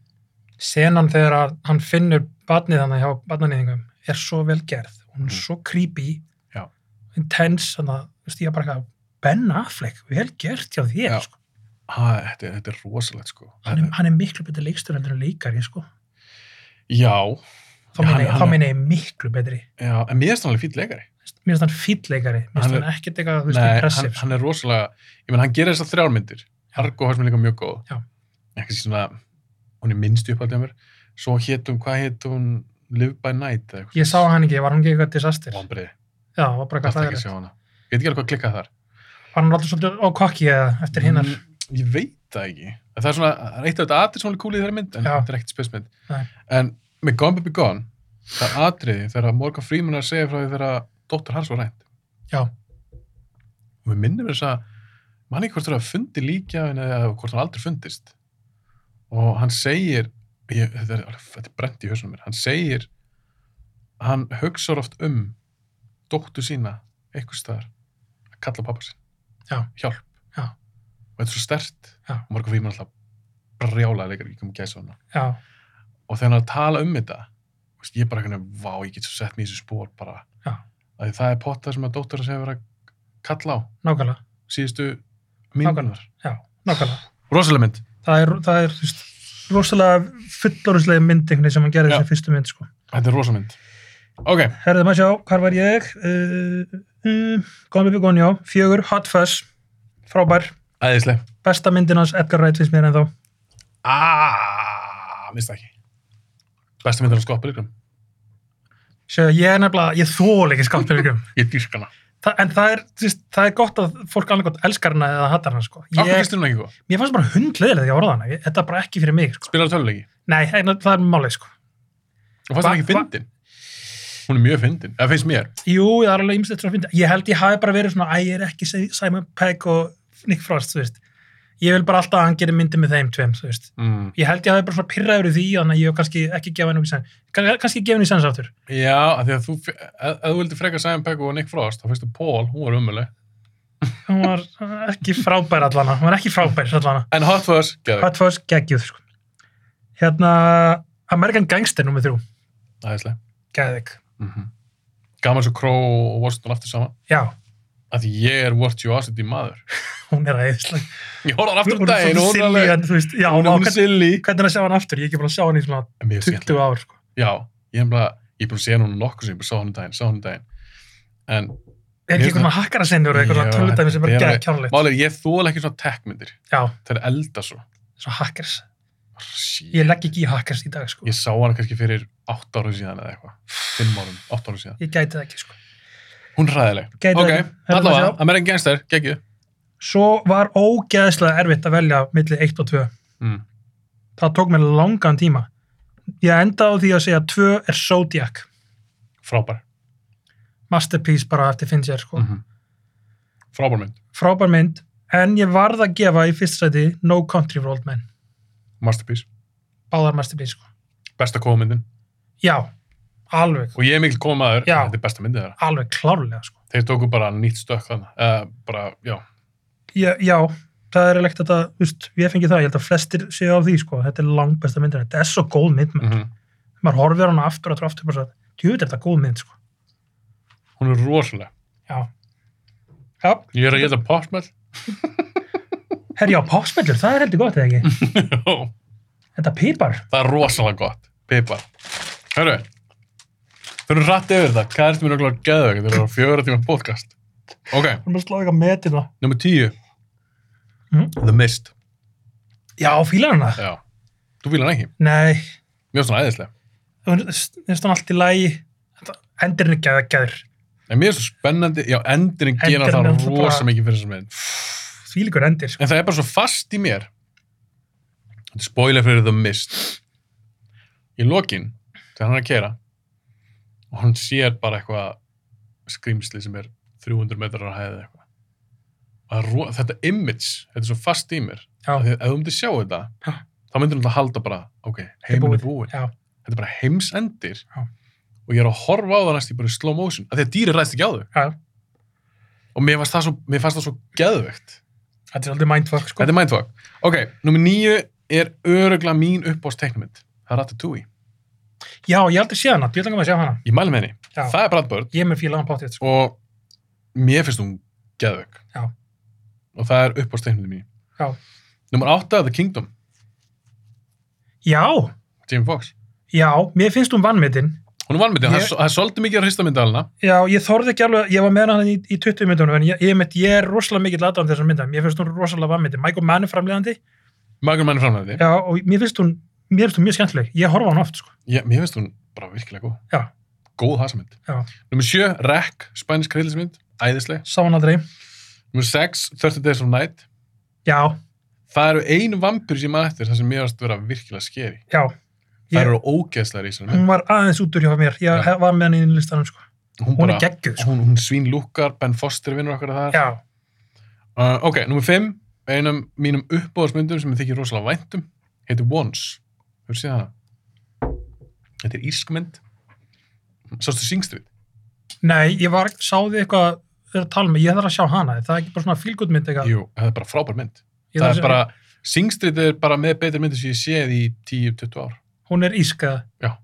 Speaker 2: Senan þegar að hann finnur barnið hann hjá barnanýðingum er svo vel gerð. Hún er
Speaker 1: Mm.
Speaker 2: svo creepy,
Speaker 1: Já.
Speaker 2: intense, þannig að, þú veist, ég er bara eitthvað, Ben Affleck, vel gert hjá þér,
Speaker 1: Já.
Speaker 2: sko.
Speaker 1: Æ, þetta, er- þetta er rosalegt sko.
Speaker 2: Hann er, hann er miklu betur leikstur heldur en leikari, sko.
Speaker 1: Já,
Speaker 2: Þá
Speaker 1: Já,
Speaker 2: meina
Speaker 1: hann-
Speaker 2: ég-
Speaker 1: hann
Speaker 2: þá
Speaker 1: er-
Speaker 2: meina ég miklu betri.
Speaker 1: já, en mér finnst hann alveg fýll leikari.
Speaker 2: Mér finnst hann fýll leikari, mér
Speaker 1: Hann
Speaker 2: finnst sko. hann ekkert eitthvað, þú veist,
Speaker 1: Nei, hann,
Speaker 2: impressive. Hann,
Speaker 1: hann er rosalega, ég menn hann gerir þessar þrjármyndir. Argo hans mér líka mjög góð.
Speaker 2: Já.
Speaker 1: Ekki svona, hún er minnst uppaldið að mér. Svo hétt hún, hvað hétt hún, Live by Night eða eitthvað.
Speaker 2: sko. Ég sá hann ekki, var hann ekki eitthvað disaster?
Speaker 1: Vombriði,
Speaker 2: Já, var bara eitthvað
Speaker 1: alltaf ekki að sjá
Speaker 2: þægilegt.
Speaker 1: hana. Ég veit ekki alveg hvað klikkað þar.
Speaker 2: Var hann alltaf svolítið ókokki eða eftir hinnar?
Speaker 1: Mm, Ég veit það ekki. En Það er svona, það er eitt af þetta atrið sem hún er kúlið í þeirra mynd, en
Speaker 2: Já.
Speaker 1: þetta er ekkert spesmynd.
Speaker 2: Nei.
Speaker 1: En með Gone Baby Gone, það er atriði þegar að Morgan Freeman er að segja frá því þegar að dóttur hans var rænt.
Speaker 2: Já.
Speaker 1: Og við minnum þess að, mann ekki hvort það er að fundi líkja henni eða hvort hann aldrei fundist. Og hann segir, ég, þetta, er, alveg- þetta er brent í hausunum mér, hann segir, hann hugsar oft um dóttu sína, einhvers staðar, að kalla pappa sinn.
Speaker 2: Já.
Speaker 1: Hjálp.
Speaker 2: Já.
Speaker 1: Og þetta er svo stert.
Speaker 2: Já.
Speaker 1: Og Morgan Freeman er alltaf brjálaði leikar, ég kom að gæsa hana.
Speaker 2: Já,
Speaker 1: Og þegar hann er að tala um þetta, þú veist, ég er bara einhvern veginn, vá, ég get svo sett mér í þessu spór bara.
Speaker 2: Já.
Speaker 1: Af því Það er potta sem að dóttur hans hefur verið að kalla á
Speaker 2: nákvæmlega,
Speaker 1: síðustu myndunar.
Speaker 2: já, nákvæmlega.
Speaker 1: Rosalega mynd.
Speaker 2: það er, það er þú veist, rosalega fullorðslega mynd einhvern veginn sem hann gerði
Speaker 1: Já.
Speaker 2: þessi fyrstu mynd sko.
Speaker 1: Þetta er rosa mynd. Ok,
Speaker 2: Herðið maður sjá, hvar var ég? Uh, uh, Góðan Bibi Gónjó, fjögur, Hot Fuzz, frábær,
Speaker 1: æðislega.
Speaker 2: besta myndin hans Edgar Wright finnst mér ennþá.
Speaker 1: Aaaaaa, mista Ah, ekki. Besta myndunar skoppilíkrum.
Speaker 2: Sjá, ég er nefnilega, ég þól ekki skáttpilgrim.
Speaker 1: Ég dýrk hana.
Speaker 2: Þa, en það er, þú veist, það er gott að fólk alveg gott elskar hana eða hattar hana sko.
Speaker 1: Akkur
Speaker 2: Ég,
Speaker 1: finnst þér hún ekki góð?
Speaker 2: mér fannst bara hundleðilega þegar ég orða hana, ég, þetta er bara ekki fyrir mig sko.
Speaker 1: Spilar töluleiki?
Speaker 2: Nei, en, það er málið sko.
Speaker 1: Og fannst
Speaker 2: Hva-
Speaker 1: hún ekki fyndin? Hún er mjög fyndin. Það finnst mér.
Speaker 2: Jú, það er alveg ymslegt svo að finna. Ég held ég hafi bara verið svona, æ, ég er ekki Simon Pegg og Nick Frost, þú veist. Ég vil bara alltaf að hann gerir myndi með þeim tveim, þú veist.
Speaker 1: Mm.
Speaker 2: Ég held ég hafi bara svona pirraður í því, þannig að ég hef kannski ekki gefa henni í sens. kann- Kannski gefa henni í sens aftur.
Speaker 1: Já, af því að þú, ef, ef þú vildi freka Simon Pegg og Nick Frost, þá finnst þú Paul, hún var umuleg.
Speaker 2: Hún var ekki frábær allana, hún var ekki frábær allana.
Speaker 1: En Hot Fuzz, geðvig,
Speaker 2: Hot Fuzz geggjuð, sko. Hérna, American Gangster nummer þrjú,
Speaker 1: æðislega.
Speaker 2: geggjuð.
Speaker 1: Mm -hmm. Gaman svo Crow og Washington aftur saman.
Speaker 2: Já,
Speaker 1: Af því ég er Virtuosity maður.
Speaker 2: hún er aðeinslega.
Speaker 1: Ég horfði á hann aftur um
Speaker 2: Hún er
Speaker 1: daginn og hún er
Speaker 2: svona silly,
Speaker 1: alveg,
Speaker 2: en þú veist, já,
Speaker 1: hún
Speaker 2: hún
Speaker 1: er
Speaker 2: á
Speaker 1: hún er
Speaker 2: hvern-
Speaker 1: silly.
Speaker 2: hvernig er að sjá hann aftur? Ég er ekki búin að sjá hann í svona
Speaker 1: En mér finnst
Speaker 2: 20
Speaker 1: skemmtileg.
Speaker 2: ár, sko.
Speaker 1: Já, ég er bara, ég er bara að segja hún nokkuð sem ég bara sá hann um daginn, sá hann um daginn. En
Speaker 2: Er
Speaker 1: Mér
Speaker 2: ekki
Speaker 1: finnst
Speaker 2: eitthvað hakkara senjur eða eitthvað
Speaker 1: Já,
Speaker 2: tölutæmi sem er
Speaker 1: þetta er
Speaker 2: gegn
Speaker 1: alveg-
Speaker 2: kjánlegt?
Speaker 1: málið er, ég þóla ekki svona tech-myndir.
Speaker 2: Já,
Speaker 1: Það er elda svo.
Speaker 2: svo hackers.
Speaker 1: Shit.
Speaker 2: Ég legg ekki í hackers í dag, sko.
Speaker 1: Ég sá hana kannski fyrir 8 árum síðan eða eitthvað. 5 árum, 8 árum síðan.
Speaker 2: Ég gæti það ekki, sko.
Speaker 1: Hún er ræðileg.
Speaker 2: Gæti
Speaker 1: Ok,
Speaker 2: það ekki. Herra,
Speaker 1: allavega,
Speaker 2: maður sjá.
Speaker 1: American Gangster, geggju.
Speaker 2: svo var ógeðslega erfitt að velja milli 1 og 2
Speaker 1: Mm.
Speaker 2: það tók mér langan tíma ég endaði á því að segja 2 er Zodiac
Speaker 1: Frábær.
Speaker 2: masterpiece bara eftir Fincher sko.
Speaker 1: Mhm. Frábær mynd.
Speaker 2: frábær mynd en ég varð að gefa í fyrst sæti No Country for Old Men
Speaker 1: Masterpiece.
Speaker 2: báðar masterpiece sko.
Speaker 1: Besta kóðmyndin.
Speaker 2: já, alveg,
Speaker 1: Og ég er mikil kóðmaður.
Speaker 2: Já.
Speaker 1: Þetta er besta myndið þeirra.
Speaker 2: alveg klárlega sko.
Speaker 1: Þeir tóku bara nýtt stökk þarna. Uh, bara, já.
Speaker 2: já, já, það er leikt að það veist, ég fengi það, ég held að flestir séu á því sko. þetta er langbesta myndin, þetta er svo góð mynd mm.
Speaker 1: Mm
Speaker 2: maður horfir á hana aftur og aftur, og aftur bara svo, djúður þetta er góð mynd sko.
Speaker 1: Hún er rosalega.
Speaker 2: já já,
Speaker 1: Ég er að geta popsmell.
Speaker 2: herjá, pásmellur, það er heldur gott eða ekki
Speaker 1: það
Speaker 2: þetta pípar,
Speaker 1: er rosalega gott. Pipar. Hörru. Fyrir rætt yfir það. Hvað ertu mér okkur að geða þau? Þeir eru fjögur tíma podcast. Ok.
Speaker 2: hún er sláðið eitthvað með til það
Speaker 1: Númer tíu.
Speaker 2: Mhm.
Speaker 1: The Mist.
Speaker 2: já, fílar hana,
Speaker 1: Já. Þú fílar hann ekki.
Speaker 2: nei
Speaker 1: Mjög svona æðislega.
Speaker 2: hún finnst hann allt í lægi endurinn er geða geður
Speaker 1: En mér er svo spennandi, já, endurinn gera
Speaker 2: Endirinn er
Speaker 1: það
Speaker 2: náttúrulega
Speaker 1: rosa
Speaker 2: bara-
Speaker 1: mikið fyrir þessum mynd.
Speaker 2: því líkur endir sko.
Speaker 1: En það er bara svo fast í mér. Þetta er spoiler fyrir The Mist. Í lokin, þegar hann er að kera, og hann sér bara eitthvað skrýmsli sem er 300 metrar að hæða eitthvað. Og það er ro- Þetta image, þetta er svo fast í mér. Af
Speaker 2: já,
Speaker 1: því að Ef þú myndir sjá þetta,
Speaker 2: Já.
Speaker 1: þá myndir hann að halda bara, ok, heiminn er búin.
Speaker 2: já,
Speaker 1: Þetta er bara heimsendir.
Speaker 2: Já.
Speaker 1: Og ég er að horfa á það næst í bara í slow motion. af því að dýri ræðst ekki á þau.
Speaker 2: já,
Speaker 1: og mér fannst það svo, mér fannst það svo geðvögt
Speaker 2: þetta er aldrei mindfuck sko.
Speaker 1: þetta er mindfuck ok, nummer nýju er örugla mín uppbóst teiknumind það er Ratatouille,
Speaker 2: já, ég hef aldrei séð hana, ég langar maður að sjá hana
Speaker 1: ég mæli með henni
Speaker 2: Já.
Speaker 1: það er Brad Bird
Speaker 2: ég er með fíla hana páttið sko.
Speaker 1: og mér finnst hún geðvög
Speaker 2: Já.
Speaker 1: og það er uppbóst teiknumind mín
Speaker 2: Já.
Speaker 1: nummer átta, The Kingdom,
Speaker 2: já,
Speaker 1: Jamie Foxx
Speaker 2: já, mér finnst hún vannmyndin
Speaker 1: hún er valmyndið,
Speaker 2: Ég-
Speaker 1: ég... það er svolítið mikið að hrista myndalina
Speaker 2: já, ég þorði ekki alveg, ég var með hana í, í 20 myndunum en ég, ég, mynd, ég er rosalega mikill aðdáðan þessar myndar, mér finnst hún rosalega vannmyndin Michael Mann er framlegandi,
Speaker 1: magur manni framlega
Speaker 2: já, og mér finnst hún mér finnst hún mjög skemmtileg, ég horfa á hana oft sko.
Speaker 1: því mér finnst hún bara virkilega góð
Speaker 2: já,
Speaker 1: góð hasamind
Speaker 2: Já.
Speaker 1: nummer sjö, Rec, spænsk reyðlismynd æðisleg,
Speaker 2: sá hana aldrei
Speaker 1: nummer sex, 30 Days of Night
Speaker 2: já,
Speaker 1: Það eru einu vampyr sem maður eftir það sem mér varst að vera virkilega skeri.
Speaker 2: já,
Speaker 1: Það
Speaker 2: Ég-
Speaker 1: eru ógeðslegar í þessari
Speaker 2: hún
Speaker 1: mynd.
Speaker 2: var aðeins út úr hjá mér ég
Speaker 1: Já.
Speaker 2: var með hana í listanum sko.
Speaker 1: Hún,
Speaker 2: hún
Speaker 1: bara,
Speaker 2: er gegguð sko.
Speaker 1: hún, hún svín lukkar, Ben Foster vinnur okkar að það.
Speaker 2: já,
Speaker 1: Uh, ok, nummer 5, einum mínum uppbóðsmyndum sem ég þykir rosalega væntum, heitir Once. Hefur séð hana? Þetta er írskmynd. Sástu Singstrið?
Speaker 2: Nei, ég var, sáði eitthvað er að tala með, ég þarf að sjá hana, er það er ekki bara svona fílgutmynd eitthvað.
Speaker 1: Jú, það er bara frábær mynd.
Speaker 2: Ég
Speaker 1: það
Speaker 2: þarf
Speaker 1: er
Speaker 2: að
Speaker 1: bara, Singstrið er bara með betur myndir sem ég séð í 10-20 ár.
Speaker 2: hún er ískaða,
Speaker 1: Þetta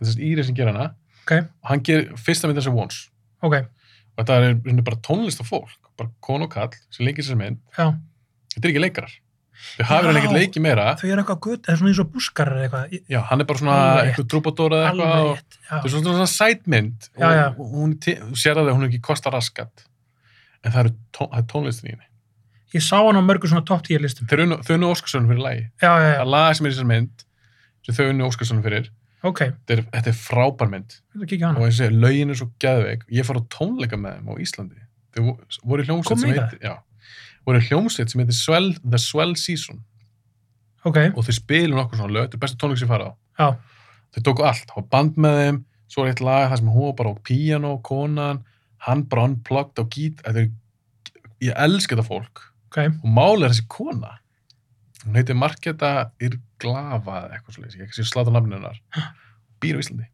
Speaker 1: er þessi íri sem gera hana.
Speaker 2: ok,
Speaker 1: Og hann ger fyrsta myndin sem Once.
Speaker 2: ok,
Speaker 1: og þetta er í rauninni bara tónlist af fólk, bara kon og kall sem leikir sér mynd,
Speaker 2: já.
Speaker 1: þetta er ekki leikarar þau hafa verið
Speaker 2: Já.
Speaker 1: ekkert leikið meira
Speaker 2: Þau eru eitthvað gutt, það er svona eins og búskar eða eitthvað, Ég-
Speaker 1: já, hann er bara svona
Speaker 2: Alveg rétt.
Speaker 1: eitthvað trúbadóra eða
Speaker 2: alveg
Speaker 1: eitthvað og
Speaker 2: rétt, já.
Speaker 1: þetta er svona svona sætmynd
Speaker 2: Já, já.
Speaker 1: og, og hún, er til- þú sér að það hún er ekki kosta raskat en það eru tón, það er tónlistin í henni
Speaker 2: Ég sá hana á mörgum svona topp tíu listum.
Speaker 1: þau unnu- þau unnu Óskarsson fyrir lagi
Speaker 2: Já, já,
Speaker 1: það
Speaker 2: já,
Speaker 1: er lag sem er í sér mynd sem þau unnu Óskarsson fyrir
Speaker 2: ok,
Speaker 1: þetta er, þetta er frábær mynd
Speaker 2: við þú kíkja á
Speaker 1: og
Speaker 2: hana.
Speaker 1: eins og segja, lögin er svo geðveik ég fór á tónleika með þeim á Íslandi þau vo- voru í hljómsveit
Speaker 2: Komu
Speaker 1: sem
Speaker 2: í það?
Speaker 1: heiti já, voru í hljómsveit sem heiti Swell, The Swell Season
Speaker 2: Ok,
Speaker 1: og þau spilum nokkur svona lög, þetta er besta tónleik sem ég farið á
Speaker 2: já,
Speaker 1: þau tóku allt, það var band með þeim svo er eitt lag það sem hún var bara á piano konan, hann bara unplugged á gít, þetta er ég elska þetta fólk
Speaker 2: ok,
Speaker 1: og máli er þessi kona hún heitir Marketa Irglava eða eitthvað svo leys, ég sé slata nafninu hennar býr á Íslandi,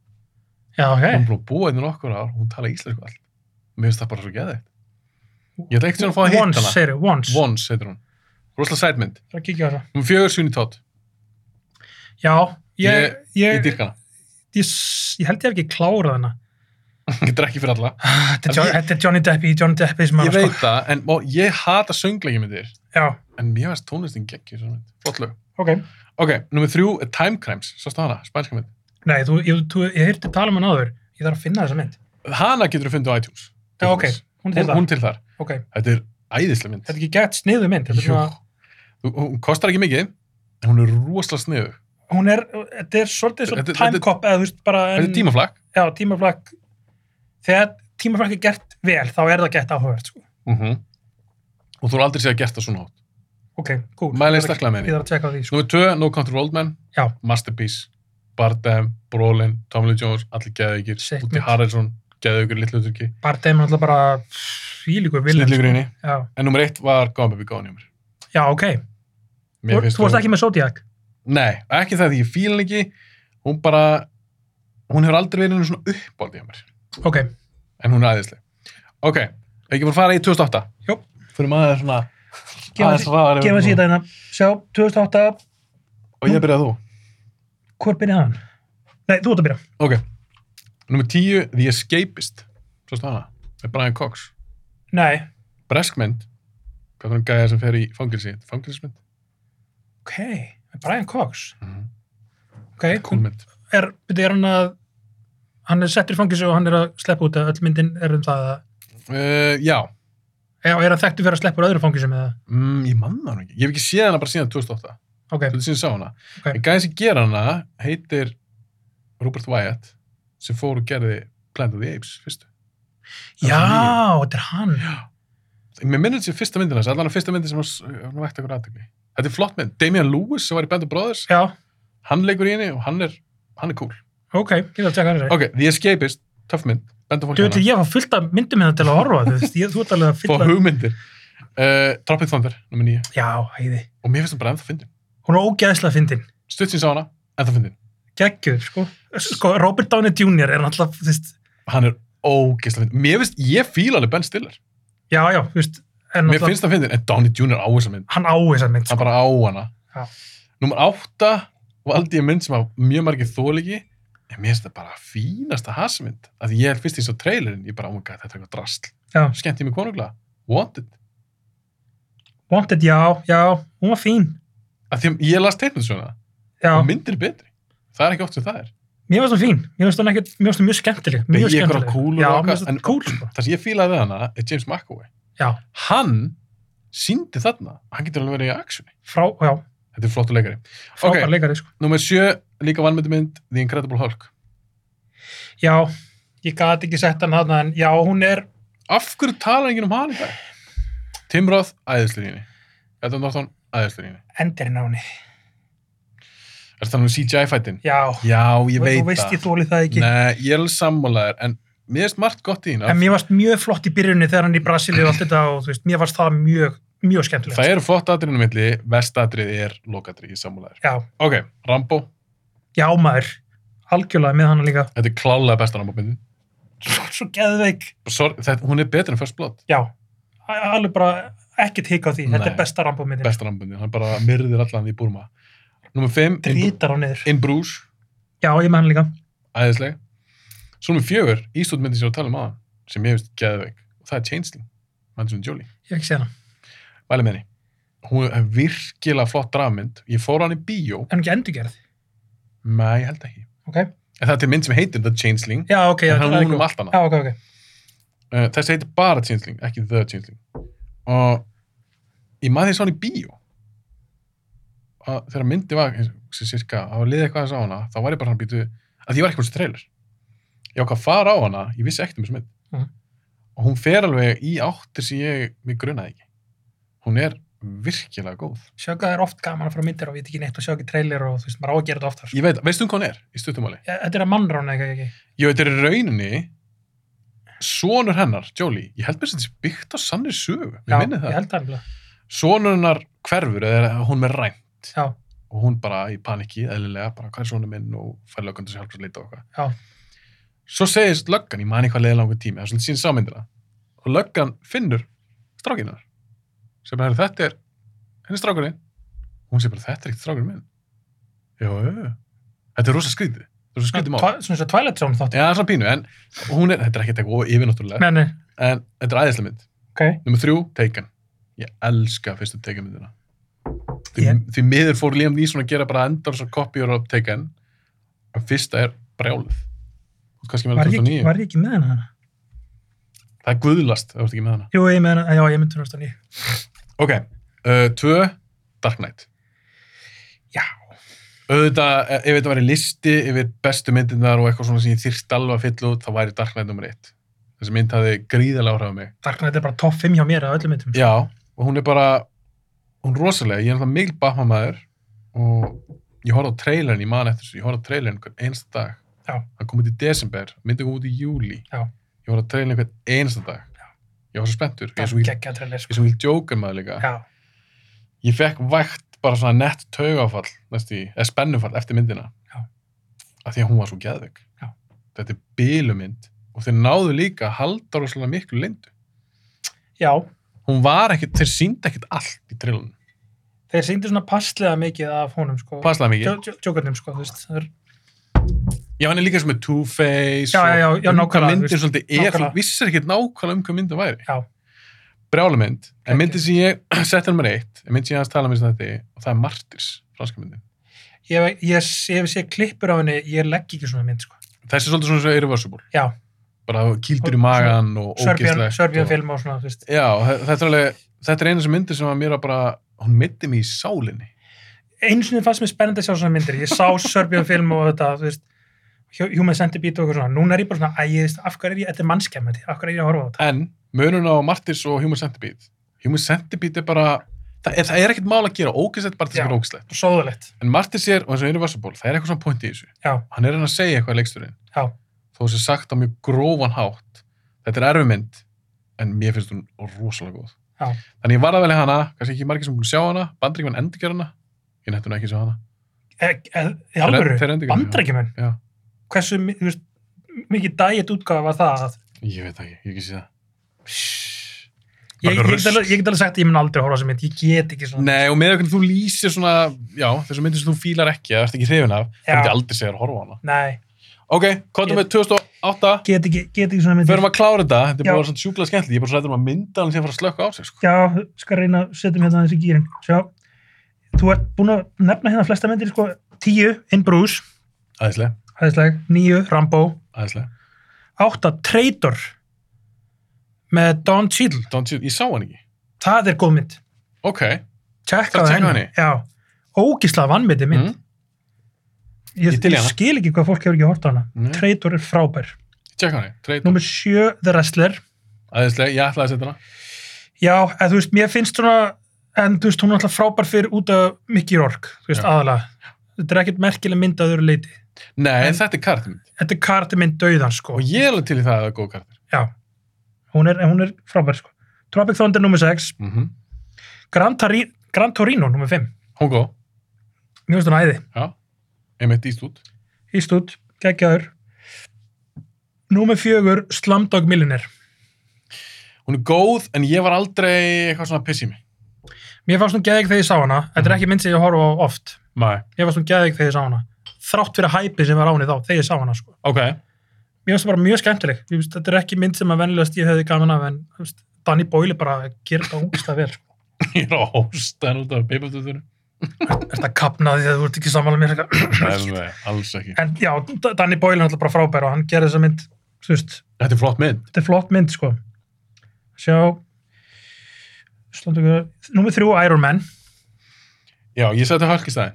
Speaker 2: já,
Speaker 1: hún
Speaker 2: ok.
Speaker 1: er búin að búa einnig nokkur ár, hún tala íslensku allt mér finnst það bara svo geðið ég ætla ekkert að fá að hitta
Speaker 2: Once,
Speaker 1: hana
Speaker 2: segir þau, once.
Speaker 1: Vons heitir hún, rosalega sætmynd
Speaker 2: Það er að kíkja á hana.
Speaker 1: hún fjögur svinni tótt,
Speaker 2: Já, ég,
Speaker 1: ég
Speaker 2: ég, ég,
Speaker 1: dýrkana
Speaker 2: s- ég held ég hef ekki klárað hana.
Speaker 1: ég drekki fyrir alla
Speaker 2: Þetta er Jo-
Speaker 1: Ég-
Speaker 2: þetta er Johnny Depp í Johnny Depp sem
Speaker 1: Ég
Speaker 2: maður
Speaker 1: veit það, en og ég hata söngleikmyndir,
Speaker 2: Já,
Speaker 1: en mér finnst tónlistin geggjur svona mynd. Flott lög.
Speaker 2: ok.
Speaker 1: Ok, nummið þrjú er Time Crimes, sástu hana, spænska mynd.
Speaker 2: Nei, þú, ég, þú, ég heyrti tala um hann áður. Ég þarf að finna þessa mynd.
Speaker 1: Hana getur þú fundið á iTunes.
Speaker 2: Já, ok. Hún
Speaker 1: Hún,
Speaker 2: er til
Speaker 1: hún,
Speaker 2: það.
Speaker 1: til þar.
Speaker 2: Ok.
Speaker 1: Þetta er æðislega mynd.
Speaker 2: Þetta er ekki gett sniðu mynd. Þetta er
Speaker 1: Jú.
Speaker 2: svona,
Speaker 1: Hún- Hún kostar ekki mikið, en hún er rosalega sniðu.
Speaker 2: hún er, þetta er svolítið
Speaker 1: Þetta-
Speaker 2: svona
Speaker 1: þetta-
Speaker 2: time cop eða þú veist bara...
Speaker 1: Þetta er tímaflag.
Speaker 2: Já, tímaflag. Þegar tímaflag er gert vel, þá er það gett áhugavert, sko.
Speaker 1: Mm -hmm. og þú er aldrei séð að gert það svona hátt
Speaker 2: ok, cool.
Speaker 1: Mælið sterklega með
Speaker 2: Ég
Speaker 1: henni.
Speaker 2: þarf að tjekka á því, sko.
Speaker 1: Númer 2, No Country for Old Men
Speaker 2: Já.
Speaker 1: Masterpiece, Bardem, Brolin Tommy Lee Jones, allir geðaukir
Speaker 2: Shit,
Speaker 1: Úti
Speaker 2: mate.
Speaker 1: Haraldsson, geðaukur, Littluturki
Speaker 2: Bardem er náttúrulega bara fílíkur vilja.
Speaker 1: Snillíkurinni
Speaker 2: Já.
Speaker 1: En númer 1 var Gone Baby Gone hjá mér.
Speaker 2: Já, ok.
Speaker 1: Mér
Speaker 2: Þú
Speaker 1: finnst
Speaker 2: þú varst ekki með Zodiac?
Speaker 1: Nei, ekki það því ég fíl henni ekki Hún bara Hún hefur aldrei verið einu svona uppbóldi hjá mér
Speaker 2: Ok,
Speaker 1: En hún er æðisleg Ok, ekki bara að fara í 2008
Speaker 2: Jó.
Speaker 1: Fyrir maður svona
Speaker 2: Gefa
Speaker 1: aðeins
Speaker 2: sér-
Speaker 1: hraðar yfir
Speaker 2: gefa
Speaker 1: núna.
Speaker 2: sér þetta hérna. Sjá, 2008,
Speaker 1: Og ég byrjaði þú
Speaker 2: hvor byrjaði hann? Nei, þú ert að byrja.
Speaker 1: Ok, nummer 10 The Escapist Svo stana, með Brian Cox
Speaker 2: Nei.
Speaker 1: Breskmynd Hvað er hann gæða sem fer í fangilsi? Fangilsmynd?
Speaker 2: Ok, Brian Cox.
Speaker 1: Mhm.
Speaker 2: Ok,
Speaker 1: Kúlmynd
Speaker 2: er, byrju, er hann að, hann er settur í fangis og hann er að sleppa út að öll myndin er um það að,
Speaker 1: uh, Já,
Speaker 2: já, er hann þekktu fyrir að sleppa úr öðru fangisum eða?
Speaker 1: mm, ég manna hann ekki Ég hef ekki séð hana bara síðan 2008
Speaker 2: Ok,
Speaker 1: Þú veit síðan sá hana
Speaker 2: Ok.
Speaker 1: En gæði sem gera hana heitir Robert Wyatt sem fór og gerði Planet of the Apes fyrstu
Speaker 2: já,
Speaker 1: hann
Speaker 2: þetta er hann.
Speaker 1: Mér minnir þessi fyrsta myndina þessi, allan að fyrsta myndin sem var- hún vekti okkur aðtekli Þetta er flott mynd, Damian Lewis sem var í Band of Brothers
Speaker 2: Já,
Speaker 1: hann leikur í henni og hann er hann er cool.
Speaker 2: ok, ég þarf að tjekka hann þessi.
Speaker 1: Ok, The Escapist, töff mynd Band of
Speaker 2: Þú veit,
Speaker 1: Brothers
Speaker 2: ég fá fullt af myndum hérna til að horfa, þú veist, ég, þú ert alveg að
Speaker 1: Fá
Speaker 2: fylla.
Speaker 1: hugmyndir uh, Tropic Thunder, nummer 9
Speaker 2: Já, hæði.
Speaker 1: og mér finnst það bara ennþá fyndin
Speaker 2: Hún er ógeðslega fyndin.
Speaker 1: Stutt síns á hana, ennþá fyndin
Speaker 2: Gekkjur, sko. Sko, Robert Downey Jr. er náttúrulega, þú veist,
Speaker 1: Hann er ógeðslega fyndin Mér finnst, ég fíla alveg Ben Stiller
Speaker 2: já, já, þú veist, er
Speaker 1: Mér
Speaker 2: náttúrulega,
Speaker 1: finnst það fyndin, en Downey Jr. á þessa mynd
Speaker 2: hann á þessa mynd,
Speaker 1: Hann
Speaker 2: sko.
Speaker 1: bara á hana
Speaker 2: Já.
Speaker 1: Númer 8 valdi ég mynd sem að mjög margir þóliki en mér finnst það bara fínasta hasmynd að ég er fyrst í svo trailerinn ég bara, oh my god, þetta er eitthvað drasl
Speaker 2: Já.
Speaker 1: Skemmt ég mig konunglega, Wanted
Speaker 2: Wanted, já, já, hún var fín.
Speaker 1: að því að ég las teiknum svona
Speaker 2: Já,
Speaker 1: og myndir er betri það er ekki oft sem það er
Speaker 2: mér varst hún fín. Mér varst hún ekkert, mér varst hún mjög skemmtileg.
Speaker 1: Nei,
Speaker 2: Mjög
Speaker 1: ég er bara
Speaker 2: skemmtileg.
Speaker 1: cool og
Speaker 2: Já,
Speaker 1: eitthvað,
Speaker 2: mér varst
Speaker 1: en-
Speaker 2: hún cool, sko.
Speaker 1: það sem ég fílaði við hana er James McAvoy
Speaker 2: Já,
Speaker 1: hann síndi þarna að hann getur alveg verið í aksjunni
Speaker 2: frá, já,
Speaker 1: þetta er flottu leikari
Speaker 2: frábær
Speaker 1: Ok.
Speaker 2: leikari, sko.
Speaker 1: Númer sjö, líka vannmyndu mynd The Incredible Hulk
Speaker 2: Já, ég gat ekki sett hann þarna, en já, hún er,
Speaker 1: af hverju tala enginn um hann í dag? Tim Roth, æðislega í henni Edward Norton, æðislega í henni
Speaker 2: endirinn á henni.
Speaker 1: er það nú CGI-fætin?
Speaker 2: Já,
Speaker 1: já, ég
Speaker 2: þú-
Speaker 1: veit
Speaker 2: þú veist ég
Speaker 1: það
Speaker 2: þóli það ekki.
Speaker 1: Nei, ég er alveg sammálaður en mér finnst margt gott í
Speaker 2: En
Speaker 1: henni
Speaker 2: mér varst mjög flott í byrjunni þegar hann er í Brasilíu og allt þetta og þú veist, mér varst það mjög, mjög skemmtilegt.
Speaker 1: það eru flott atriðinu milli vestatrið er lokatrið, ég er sammálaður
Speaker 2: Já,
Speaker 1: ok, Rambo,
Speaker 2: já maður, algjörlega með hann líka.
Speaker 1: Þetta er klálega besta rambamindin.
Speaker 2: Svo, svo geðveik.
Speaker 1: Hún er betur en First Blood.
Speaker 2: Já, a- alveg bara ekkert hik á því. Þetta
Speaker 1: Nei.
Speaker 2: er besta rambómyndin.
Speaker 1: Besta rambamindin. Hann bara myrðir allan í Burma. Númer 5, In,
Speaker 2: Drítar á niður.
Speaker 1: in Bruges,
Speaker 2: Já, ég með hann líka.
Speaker 1: æðisleg. Svo númer 4, Ísland myndi sér að tala um aðan, sem ég veist geðveik. Og það er Changeling, Manson Jolie.
Speaker 2: Ég hef ekki séð hann.
Speaker 1: Væli með henni. Hún er virkilega flott drafmynd. Ég fór á hann í bíó,
Speaker 2: En ekki endurgerð.
Speaker 1: með ég held ekki.
Speaker 2: Ok.
Speaker 1: En það er til mynd sem heitir The Changeling.
Speaker 2: Já, ok. Já,
Speaker 1: en hann
Speaker 2: það er
Speaker 1: hún um
Speaker 2: cool.
Speaker 1: allt annað.
Speaker 2: Já, ok, ok.
Speaker 1: Uh, þessi heitir bara Changeling, ekki The Changeling og ég maður því svona í bíó að þegar myndi var eins- sem cirka, að liði eitthvað að sá hana þá var ég bara hann býtu, að ég var ekki hún sem trailer ég ákvað að fara á hana, ég vissi ekkert um þessu mynd
Speaker 2: Mhm.
Speaker 1: og hún fer alveg í áttir sem ég mig grunaði ekki hún er virkilega góð
Speaker 2: Sjöka er oft gaman að fara á myndir og vita ekki neitt og sjá ekki trailer og þú veist, maður á að gera þetta oftar. sko.
Speaker 1: ég veit, veistu um hvað hún er í stuttumáli?
Speaker 2: Ja, Þetta er að mannrána, ekki, ekki.
Speaker 1: Jú, þetta er í rauninni sonur hennar, Jolie, ég held mér sem þetta sé byggt á sannir sögu,
Speaker 2: Já,
Speaker 1: ég minni það
Speaker 2: Ég held það alveg.
Speaker 1: sonurnar hverfur eða er hún með ræn
Speaker 2: Já,
Speaker 1: og hún bara í paniki eðlilega bara hvað er sonur minn og fær löggandu sér halvkvæmst leita og
Speaker 2: Já.
Speaker 1: eitthvað svo segist löggan, ég man eitthvað leið langur tími það er svolítið sín sammyndina og löggan finnur strákinar sem bara, "Heyrðu, þetta er henni strákurinn hún segir bara, þetta er ekkert strákurinn minn já, já, já þetta er rosa skrítið, þetta er rosa skrítið mál
Speaker 2: Twi- svona svo Twilight Zone þátt.
Speaker 1: já, það er svona pínu, en hún er, þetta er ekkert eitthvað yfirnáttúrulega,
Speaker 2: Nei, nei,
Speaker 1: en þetta er æðislega mynd
Speaker 2: ok.
Speaker 1: Númer þrjú, Taken. Ég elska fyrstu Taken-myndina. Því,
Speaker 2: Ég-
Speaker 1: því miður fór Liam Neeson að gera bara endar svo kopjur af Taken. En fyrsta er brjálið. Þú ert Kannski með
Speaker 2: Var ég,
Speaker 1: 2009.
Speaker 2: ekki- var ég ekki með hana?
Speaker 1: Það er guðlast, ef þú ert ekki með hana.
Speaker 2: Jú, ég með hana, já, ég með 2009.
Speaker 1: Ok, uh, tvö, Dark Knight.
Speaker 2: Já.
Speaker 1: Auðvitað, e, ef þetta væri listi yfir bestu myndirnar og eitthvað svona sem ég þyrst alveg að fylla út, þá væri Dark Knight nummer eitt. Þessi mynd hafði gríðalega áhrif á mig.
Speaker 2: Dark Knight er bara topp 5 hjá mér að öllum myndum.
Speaker 1: Já, og hún er bara hún er rosalega, ég er náttúrulega mikil Batman-maður og ég horfði á trailerin ég man eftir þessu, ég horfði á trailerin hvern einsta dag
Speaker 2: Já.
Speaker 1: hann kom út í desember, myndi kom út í júli
Speaker 2: Já.
Speaker 1: ég horfði á trailerin hvern einsta dag Já. ég var svo spenntur ég er svo
Speaker 2: það
Speaker 1: mikil-
Speaker 2: geggja trailer
Speaker 1: ég
Speaker 2: sko.
Speaker 1: er svo mikil Joker maður líka
Speaker 2: já,
Speaker 1: ég fekk vægt bara svona nett taugafall næst í, eða spennufall eftir myndina
Speaker 2: Já.
Speaker 1: af því að hún var svo geðvig
Speaker 2: Já.
Speaker 1: þetta er bílumynd og þeir náðu líka að halda rosalega miklu lindu
Speaker 2: já,
Speaker 1: hún var ekkit, þeir síndi ekkit allt í trillunum,
Speaker 2: þeir sýndu svona passlega mikið af honum sko.
Speaker 1: passlaði mikið
Speaker 2: Jókarnum sko, þú veist, það er
Speaker 1: já, hann er líka sem með Two-Face
Speaker 2: Já, já, já, já,
Speaker 1: um hvað
Speaker 2: nákvæmlega,
Speaker 1: myndir
Speaker 2: veist,
Speaker 1: svolítið er,
Speaker 2: nákvæmlega.
Speaker 1: þú vissir ekkit nákvæmlega um hvað myndin væri
Speaker 2: Já.
Speaker 1: brjálumynd,
Speaker 2: Ekki.
Speaker 1: en myndin sem ég setja nummer eitt, en mynd sem ég hans tala um í þetta og það er Martyrs, franska myndin
Speaker 2: ég, ég, ég, ég sé klippur á henni ég legg ekki svona mynd sko.
Speaker 1: þessi er svolítið svona svo irreversible
Speaker 2: Já.
Speaker 1: bara kildur í
Speaker 2: Og-
Speaker 1: magan og
Speaker 2: Serbian,
Speaker 1: ógeðslegt sko.
Speaker 2: Serbian
Speaker 1: og-
Speaker 2: film og svona þú veist.
Speaker 1: já, þe- þetta er alveg þetta er eina sem myndir sem að mér að bara hún myndi mig í sálinni
Speaker 2: einu sinni fannst mér spennandi að sjá svona myndir ég sá Serbian film og þetta þú veist, Human Centipede og eitthvað svona núna er ég bara svona, æ, ég veist, af hverju er ég, þetta er mannskemmandi af hverju er ég að horfa á þetta
Speaker 1: en munun á Martins og Human Centipede Human Centipede er bara það er, það er ekkert mál að gera, ógeðslegt bara þess að
Speaker 2: Já.
Speaker 1: vera ógeðslegt
Speaker 2: og sóðalegt,
Speaker 1: en Martins er, og eins og Universal það er eitthvað svona point í þessu
Speaker 2: já,
Speaker 1: hann er að reyna að segja eitthvað leiksturinn
Speaker 2: já,
Speaker 1: þó þessi sagt á mjög grófan hátt þetta er erfi mynd en mér finnst hún rosalega góð
Speaker 2: Já.
Speaker 1: þannig ég var að velja hana, kannski ekki margir sem búin að sjá hana bandringan endurgjör hana ég nættu hún ekki að sjá hana
Speaker 2: e, e, í alvöru
Speaker 1: þeir endurgerðu hana.
Speaker 2: bandrækjumenn,
Speaker 1: Já.
Speaker 2: hversu mi- þú veist, mikið dæjit útgáfa var það að,
Speaker 1: ég veit það ekki, ég hef ekki sé það
Speaker 2: ég, ég,
Speaker 1: Bara
Speaker 2: get
Speaker 1: rusl.
Speaker 2: alveg- ég get alveg sagt að ég mun aldrei horfa á þessa mynd, ég get ekki svona
Speaker 1: Nei, og með hvernig þú lýsir svona, já, þessu myndir sem þú fílar ekki, eða ert ekki hrifin af,
Speaker 2: Já.
Speaker 1: það myndi aldrei segja þér að horfa á hana.
Speaker 2: Nei,
Speaker 1: Ok, kontum við 2008,
Speaker 2: get ekki, get ekki svona myndir
Speaker 1: förum að klára þetta, þetta er
Speaker 2: Já.
Speaker 1: bara svona sjúklega skemmtilegt, ég er bara svo hættur um að mynda hann sem fara að slökka á sig, sko.
Speaker 2: Já, skal reyna að setja mér hérna aðeins í gýrin. Sjá, þú ert búin að nefna hérna flesta myndir, sko, tíu, In Bruce,
Speaker 1: Æðislega,
Speaker 2: hæðisleg, níu, Rambo,
Speaker 1: æðislega.
Speaker 2: átta, Traitor, með Don Cheadle.
Speaker 1: Don't you, ég sá hann ekki.
Speaker 2: Það er góð mynd.
Speaker 1: Ok, Það
Speaker 2: Tjekka á
Speaker 1: tjekka
Speaker 2: henni. Já, ógisla vannmyndi mynd.
Speaker 1: mm.
Speaker 2: Ég,
Speaker 1: Ég til í
Speaker 2: ég,
Speaker 1: hana.
Speaker 2: skil ekki hvað fólk hefur ekki hort á hana.
Speaker 1: Nei.
Speaker 2: Traitor er frábær.
Speaker 1: tjekk hann, treytum.
Speaker 2: Númer sjö, The Wrestler.
Speaker 1: Æðislega, ég ætlaði að setja hana.
Speaker 2: Já, eða, þú veist, mér finnst svona, en þú veist, hún er alltaf frábær fyrir út af Mickey Rourke, þú
Speaker 1: Já.
Speaker 2: veist, aðalega. Þetta er ekkert merkileg mynd að öðru leiti.
Speaker 1: Nei,
Speaker 2: En-
Speaker 1: þetta er kartmynd.
Speaker 2: þetta er karti minn dauðan sko
Speaker 1: Og ég er alveg til í það að það er góð kartir.
Speaker 2: já, hún er, hún er frábær sko Tropic Thunder nr. 6
Speaker 1: Mm
Speaker 2: Gran, Tari, Gran Torino nr. 5
Speaker 1: Hún góð,
Speaker 2: mjög stund æði,
Speaker 1: já. Einmitt íst út.
Speaker 2: Ístút, geggjaður nr. 4 Slumdog Millionaire
Speaker 1: Hún er góð, en ég var aldrei eitthvað svona piss í mig.
Speaker 2: mér fannst hún geðveik þegar ég sá hana
Speaker 1: Mhm.
Speaker 2: þetta er ekki mynd sem ég horfa á oft
Speaker 1: Nei.
Speaker 2: mér fannst hún geðveik þegar ég sá hana þrátt fyrir hæpi sem var á henni þá þegar ég sá hana sko
Speaker 1: Ok,
Speaker 2: mér finnst það bara mjög skemmtileg Ég veist, þetta er ekki mynd sem að vennilegast ég hefði gaman af en þú veist, Danny Boyle bara gerir þetta ógist vel sko.
Speaker 1: ég er á hóstaðan út af peipatöðunum.
Speaker 2: er þetta kapnaði þegar þú ert ekki sammála mér
Speaker 1: Nei, alls ekki.
Speaker 2: en já, D- Danny Boyle er alltaf bara frábær og hann gerir þessa mynd, þú veist,
Speaker 1: Þetta er flott mynd.
Speaker 2: þetta er flott mynd sko sjá slöndu, númer þrjú Iron Man
Speaker 1: Já, ég seti Hulk í staðin.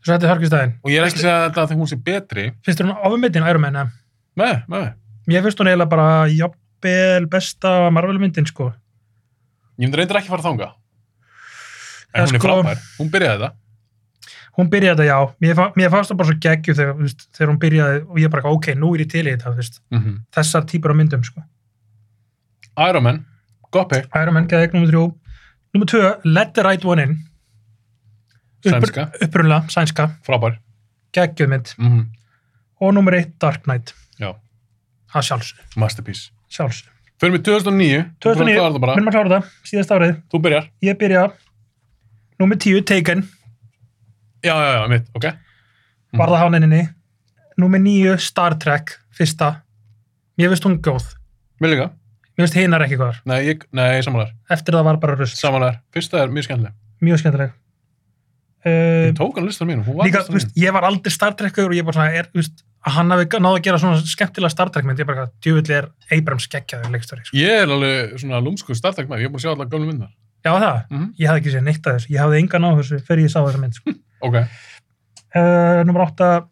Speaker 2: þess að þetta er hörgistæðin,
Speaker 1: Og ég er ekki að segja þetta að hún sé betri.
Speaker 2: finnst þér hún ofurmyndin Iron Man, eða?
Speaker 1: Nei, nei.
Speaker 2: mér finnst hún eiginlega bara jafnvel besta Marvel myndin sko
Speaker 1: Ég myndi reyndar ekki að fara þanga. En
Speaker 2: Já,
Speaker 1: hún er
Speaker 2: sko.
Speaker 1: frábær. Hún byrjaði þetta.
Speaker 2: hún byrjaði þetta já, mér, fa- mér fannst það bara svo geggju þegar, þú veist, þegar hún byrjaði og ég bara ok, nú er ég til í þetta, þú veist,
Speaker 1: Mhm.
Speaker 2: þessar típur af myndum sko,
Speaker 1: Iron Man, gott pick,
Speaker 2: Iron Man geðið nummer þrjú, nummer tvö, Let the Right One In
Speaker 1: sænska,
Speaker 2: upprunlega, sænska,
Speaker 1: frábær.
Speaker 2: geggjuð mynd
Speaker 1: Mm
Speaker 2: og nummer eitt Dark Knight
Speaker 1: Já,
Speaker 2: að sjálfsög,
Speaker 1: masterpiece.
Speaker 2: sjálfsög
Speaker 1: Fyrir mig 2009. Þú búin að klára
Speaker 2: 2009,
Speaker 1: þetta bara.
Speaker 2: minnum að klára það, síðast árið
Speaker 1: Þú byrjar.
Speaker 2: ég byrja, nummer 10 Taken,
Speaker 1: Mhm. Já, já, já, mitt, ok. Mhm.
Speaker 2: varða háninni nummer 9 Star Trek fyrsta, mér finnst hún góð
Speaker 1: Mér líka.
Speaker 2: mér finnst hinar ekki góðar,
Speaker 1: Nei, ég, nei, samanlegar.
Speaker 2: eftir það var bara rusl
Speaker 1: Samanlegar. Fyrsta er mjög skemmtileg.
Speaker 2: mjög skemmtileg
Speaker 1: Ég
Speaker 2: uh,
Speaker 1: tók hann listan mín. Hún var
Speaker 2: líka,
Speaker 1: listan
Speaker 2: þú
Speaker 1: mín.
Speaker 2: veist, ég var aldrei Star Trek-augur og ég bara svona, er, þú veist, að hann hafi náðu að gera svona skemmtilega Star Trek mynd, ég bara, djúvill er Abrams geggjaður leikstöri, sko.
Speaker 1: Ég er alveg svona lúmsku startak með. Ég er búin að sjá allar gömlu myndar.
Speaker 2: já það
Speaker 1: Mhm.
Speaker 2: ég hafði ekki séð neitt af þessu, ég hafði engan á þessu fyrir ég sá þessa mynd, sko
Speaker 1: Ok.
Speaker 2: uh, nummer 8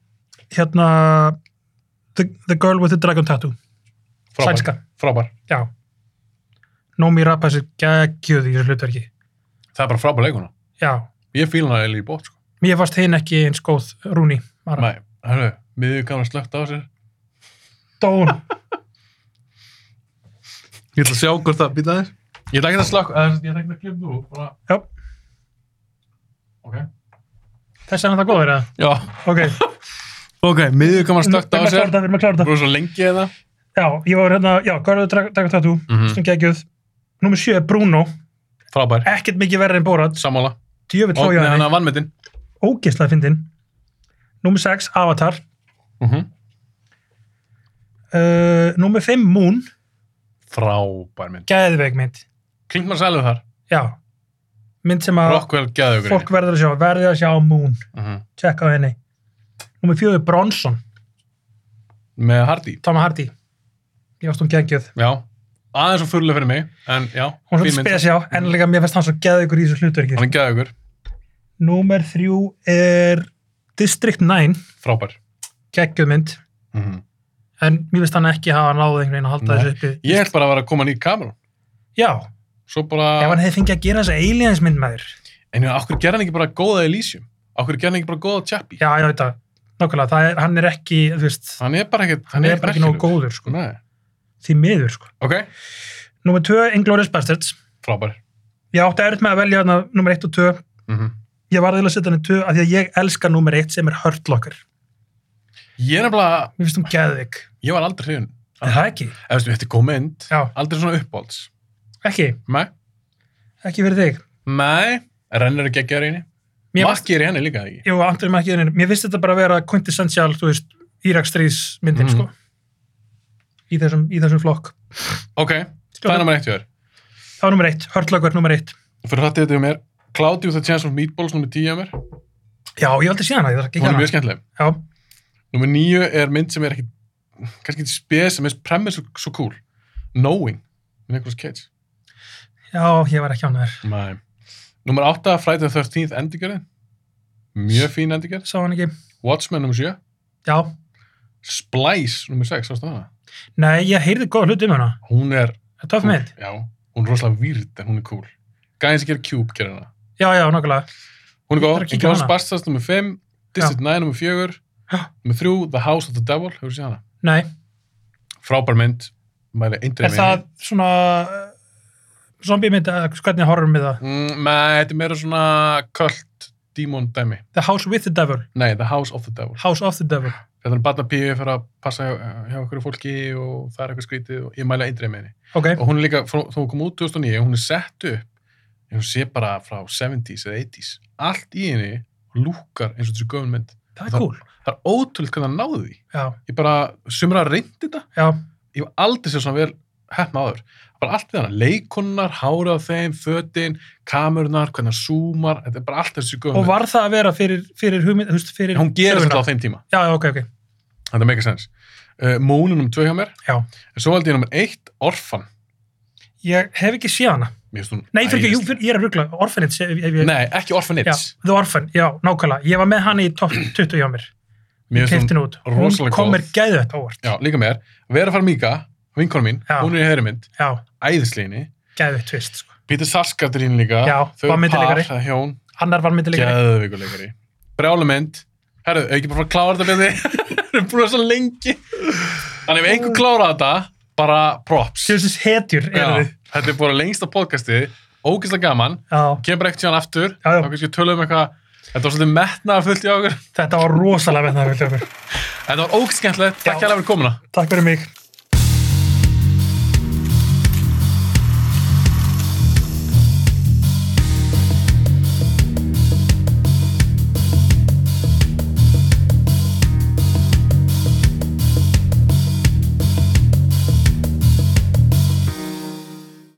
Speaker 2: hérna the, the Girl with the Dragon Tattoo
Speaker 1: Frábær.
Speaker 2: Sænska.
Speaker 1: Frábær.
Speaker 2: já Nómi Rapace er geggjuð í þessu hlutverki
Speaker 1: það er bara frábæð leikuna
Speaker 2: já,
Speaker 1: ég fíla hana eiginlega í bótt sko.
Speaker 2: mér fannst hinn ekki eins góð Rúni, bara,
Speaker 1: Nei, hörru, miður kannar slögt á sér
Speaker 2: dón
Speaker 1: Ég ætla að sjá hvort það býta þér Ég ætla ekki að slögt, ég ætla ekki að klipa þú bara...
Speaker 2: Já.
Speaker 1: Ok
Speaker 2: þess er þetta góður eða,
Speaker 1: Já,
Speaker 2: ok
Speaker 1: ok, miður kannar slögt á
Speaker 2: Við erum að klára
Speaker 1: sér
Speaker 2: þetta, við erum að klára þetta
Speaker 1: Búið svo lengi eða
Speaker 2: já, ég var hérna, já, Garður Dragon Tattoo
Speaker 1: Mhm.
Speaker 2: sem geggjöð, nummer 7 er Bruno
Speaker 1: Frábær,
Speaker 2: ekkert mikið verri en Borat
Speaker 1: sammála
Speaker 2: djöfitt
Speaker 1: Og
Speaker 2: hlója
Speaker 1: neða hann
Speaker 2: henni,
Speaker 1: að vannmetin
Speaker 2: ógeðslega fyndin nummer 6, Avatar Mhm. uh, nummer 5, Moon,
Speaker 1: Frábær mynd
Speaker 2: geðveik mynd
Speaker 1: Klinkmann sælum þar,
Speaker 2: já, mynd sem að
Speaker 1: Rockwell Mhm. gæðugur
Speaker 2: fólk verður að sjá, verður að sjá Moon
Speaker 1: Með
Speaker 2: tjekka á henni nummer 4, Bronson,
Speaker 1: Hardy
Speaker 2: Tom Hardy ég varst hún geggjöð,
Speaker 1: Já, aðeins og fyrirlega fyrir mig En já,
Speaker 2: hún er
Speaker 1: fín
Speaker 2: svona
Speaker 1: mynd.
Speaker 2: spesjá en líka mér fannst hann svo geðveikur í þessu hlutverki
Speaker 1: Hann er gæðugur,
Speaker 2: nummer 3 er District 9,
Speaker 1: frábær
Speaker 2: geggjöð mynd en mér finnst hann ekki hafa náðu einhvern veginn að halda
Speaker 1: Nei.
Speaker 2: þessu uppi
Speaker 1: Ég held bara að vera að koma nýr kamerun
Speaker 2: já,
Speaker 1: Svo bara
Speaker 2: ef hann hefði fengið að gera þessa aliens mynd með þér
Speaker 1: En ég, okkur gerði hann ekki bara góða Elysium? Okkur gerði hann ekki bara góða Chappie?
Speaker 2: já, já, þetta, nákvæmlega, það er, hann er ekki þú veist, hann,
Speaker 1: Hann er bara ekkert,
Speaker 2: er bara ekki nógu
Speaker 1: merkilegur.
Speaker 2: góður sko,
Speaker 1: Nei.
Speaker 2: því miður sko.
Speaker 1: Ok,
Speaker 2: nummer 2, Inglourious Bastards
Speaker 1: frábær.
Speaker 2: ég átti erut með að velja hana, nummer 1 og 2
Speaker 1: Mm
Speaker 2: ég var aðeins að setja hann í 2 af því að ég elska nummer 1 sem er Hurt Locker
Speaker 1: Ég er nefnilega,
Speaker 2: mér finnst um geðvig,
Speaker 1: ég var aldrei hrifun.
Speaker 2: er það ekki?
Speaker 1: Ef veistu, þetta er góð mynd,
Speaker 2: já,
Speaker 1: aldrei svona uppbólds.
Speaker 2: ekki,
Speaker 1: Nei.
Speaker 2: ekki fyrir þig
Speaker 1: Nei, rennur ekki ekki að reyni.
Speaker 2: mér finnst,
Speaker 1: Makki er í henni líka ekki.
Speaker 2: jú, Andrið Makkið mér finnst þetta bara að vera quintessential, þú veist Írakstríðs myndin,
Speaker 1: Mhm.
Speaker 2: sko í þessum, í þessum flokk
Speaker 1: Ok, það er nummer eitt hjá þér.
Speaker 2: Það var nummer eitt, Hörtlökvar nummer eitt.
Speaker 1: Fyrir hrættið þetta hjá mér, Cloudy with a Chance of Meatballs nummer 10 hjá mér.
Speaker 2: Já, ég aldrei síðan að ég þarf ekki
Speaker 1: Hún er
Speaker 2: hana.
Speaker 1: mjög skemmtileg.
Speaker 2: Já,
Speaker 1: Nummer 9 er mynd sem er ekki, kannski ekki spes, sem er premis svo, svo cool. Knowing, með Nicolas Cage.
Speaker 2: já, ég var ekki ánæður.
Speaker 1: Nei. Nummer 8, Friday the 13th, endingjörðin. Mjög fín endingjörð.
Speaker 2: Sá hann ekki.
Speaker 1: Watchmen nummer 7.
Speaker 2: Já,
Speaker 1: Splice nummer 6, sástu hana?
Speaker 2: nei, ég heyrði góða hlut um hana.
Speaker 1: Hún er...
Speaker 2: Það er töff mynd.
Speaker 1: Já, hún er rosalega výrd en hún er cool. Gæðin sem gerir Cube gerir hana.
Speaker 2: Já, já, nokkulega.
Speaker 1: Hún er
Speaker 2: Ég
Speaker 1: góð.
Speaker 2: þarf að kíkja á
Speaker 1: Inglourious
Speaker 2: hana.
Speaker 1: Bastards nummer 5. District 9 nummer 4.
Speaker 2: Já.
Speaker 1: Nummer 3, The House of the Devil, hefur séð hana.
Speaker 2: Nei,
Speaker 1: Frábær mynd, mæli eindrið
Speaker 2: er það svona eh, zombie mynd, hvernig horfum við það?
Speaker 1: Mm, með, þetta er meira svona kult dímon dæmi.
Speaker 2: The House with the Devil,
Speaker 1: Nei, The House of the Devil.
Speaker 2: House of the Devil.
Speaker 1: Þetta er barna píu fyrir að passa hjá, hjá okkur fólki og það er eitthvað skrítið og ég mæli eindrið með henni.
Speaker 2: Ok,
Speaker 1: og hún er líka, frá- þó hún kom út 2009 hún er sett upp en hún sé bara frá 70s eða 80s allt í henni lúkar eins og þessu göfum mynd
Speaker 2: það er cool.
Speaker 1: það er ótrúlega hvernig hann náði því
Speaker 2: Já,
Speaker 1: ég bara, sumra reyndi þetta
Speaker 2: já,
Speaker 1: ég hef aldrei sér svona vel hefna áður bara allt við hana, leikonnar, hára á þeim fötin, kamerunar, hvernig hann zoomar þetta er bara allt þessu göfum
Speaker 2: og var það að vera fyrir, fyrir hugmynd, þú veist, fyrir...
Speaker 1: hún gerir
Speaker 2: söguna?
Speaker 1: þetta á þeim tíma
Speaker 2: Já, já, ok, ok.
Speaker 1: þetta er mega sens uh, Mónunum 2 hjá mér
Speaker 2: Já.
Speaker 1: en svo held ég nummer 1, Orfan
Speaker 2: Ég hef ekki séð hana.
Speaker 1: Mér finnst hún
Speaker 2: Nei, fyrir ekki, jú,
Speaker 1: æðisleg.
Speaker 2: fyrir, ég er að ruggla, Orphanage, ef, ef ég...
Speaker 1: Nei, ekki Orphanage
Speaker 2: Já, The Orphan, já, nákvæmlega. Ég var með hann í top 20 hjá mér.
Speaker 1: Mér finnst hún
Speaker 2: Keftin út. Hún
Speaker 1: rosalega góð.
Speaker 2: kom mér gæðvett á vart.
Speaker 1: Já, líka mér. Vera Farmiga, vinkonu mín,
Speaker 2: Já.
Speaker 1: hún er í hægri mynd,
Speaker 2: Já,
Speaker 1: æðisleginni.
Speaker 2: gæðvett tvist, sko.
Speaker 1: Pítur Sarskatur hinn líka,
Speaker 2: Já,
Speaker 1: þau eru
Speaker 2: var
Speaker 1: par,
Speaker 2: myndarleikari.
Speaker 1: það er hjón,
Speaker 2: Annar var myndilegri.
Speaker 1: geðvíkuleikari. Brjálumynd, herru, hefur ekki bara fara að klára þetta betur? Við erum búin að svo lengi. Þannig ef einhver klára þetta, bara props.
Speaker 2: Sjöfisins hetjur
Speaker 1: Já,
Speaker 2: eru þið.
Speaker 1: þetta er búin lengsta podcastið, ógeðslega gaman,
Speaker 2: Já,
Speaker 1: kemur ekkert síðan aftur,
Speaker 2: Já, já.
Speaker 1: þá kannski tölum við um eitthvað, þetta var svolítið metnaðarfullt í okkur.
Speaker 2: þetta var rosalega með það, Viljófur.
Speaker 1: Þetta var ógeðskemmtilegt,
Speaker 2: Já.
Speaker 1: takk hérlega fyrir komuna.
Speaker 2: Takk fyrir mig.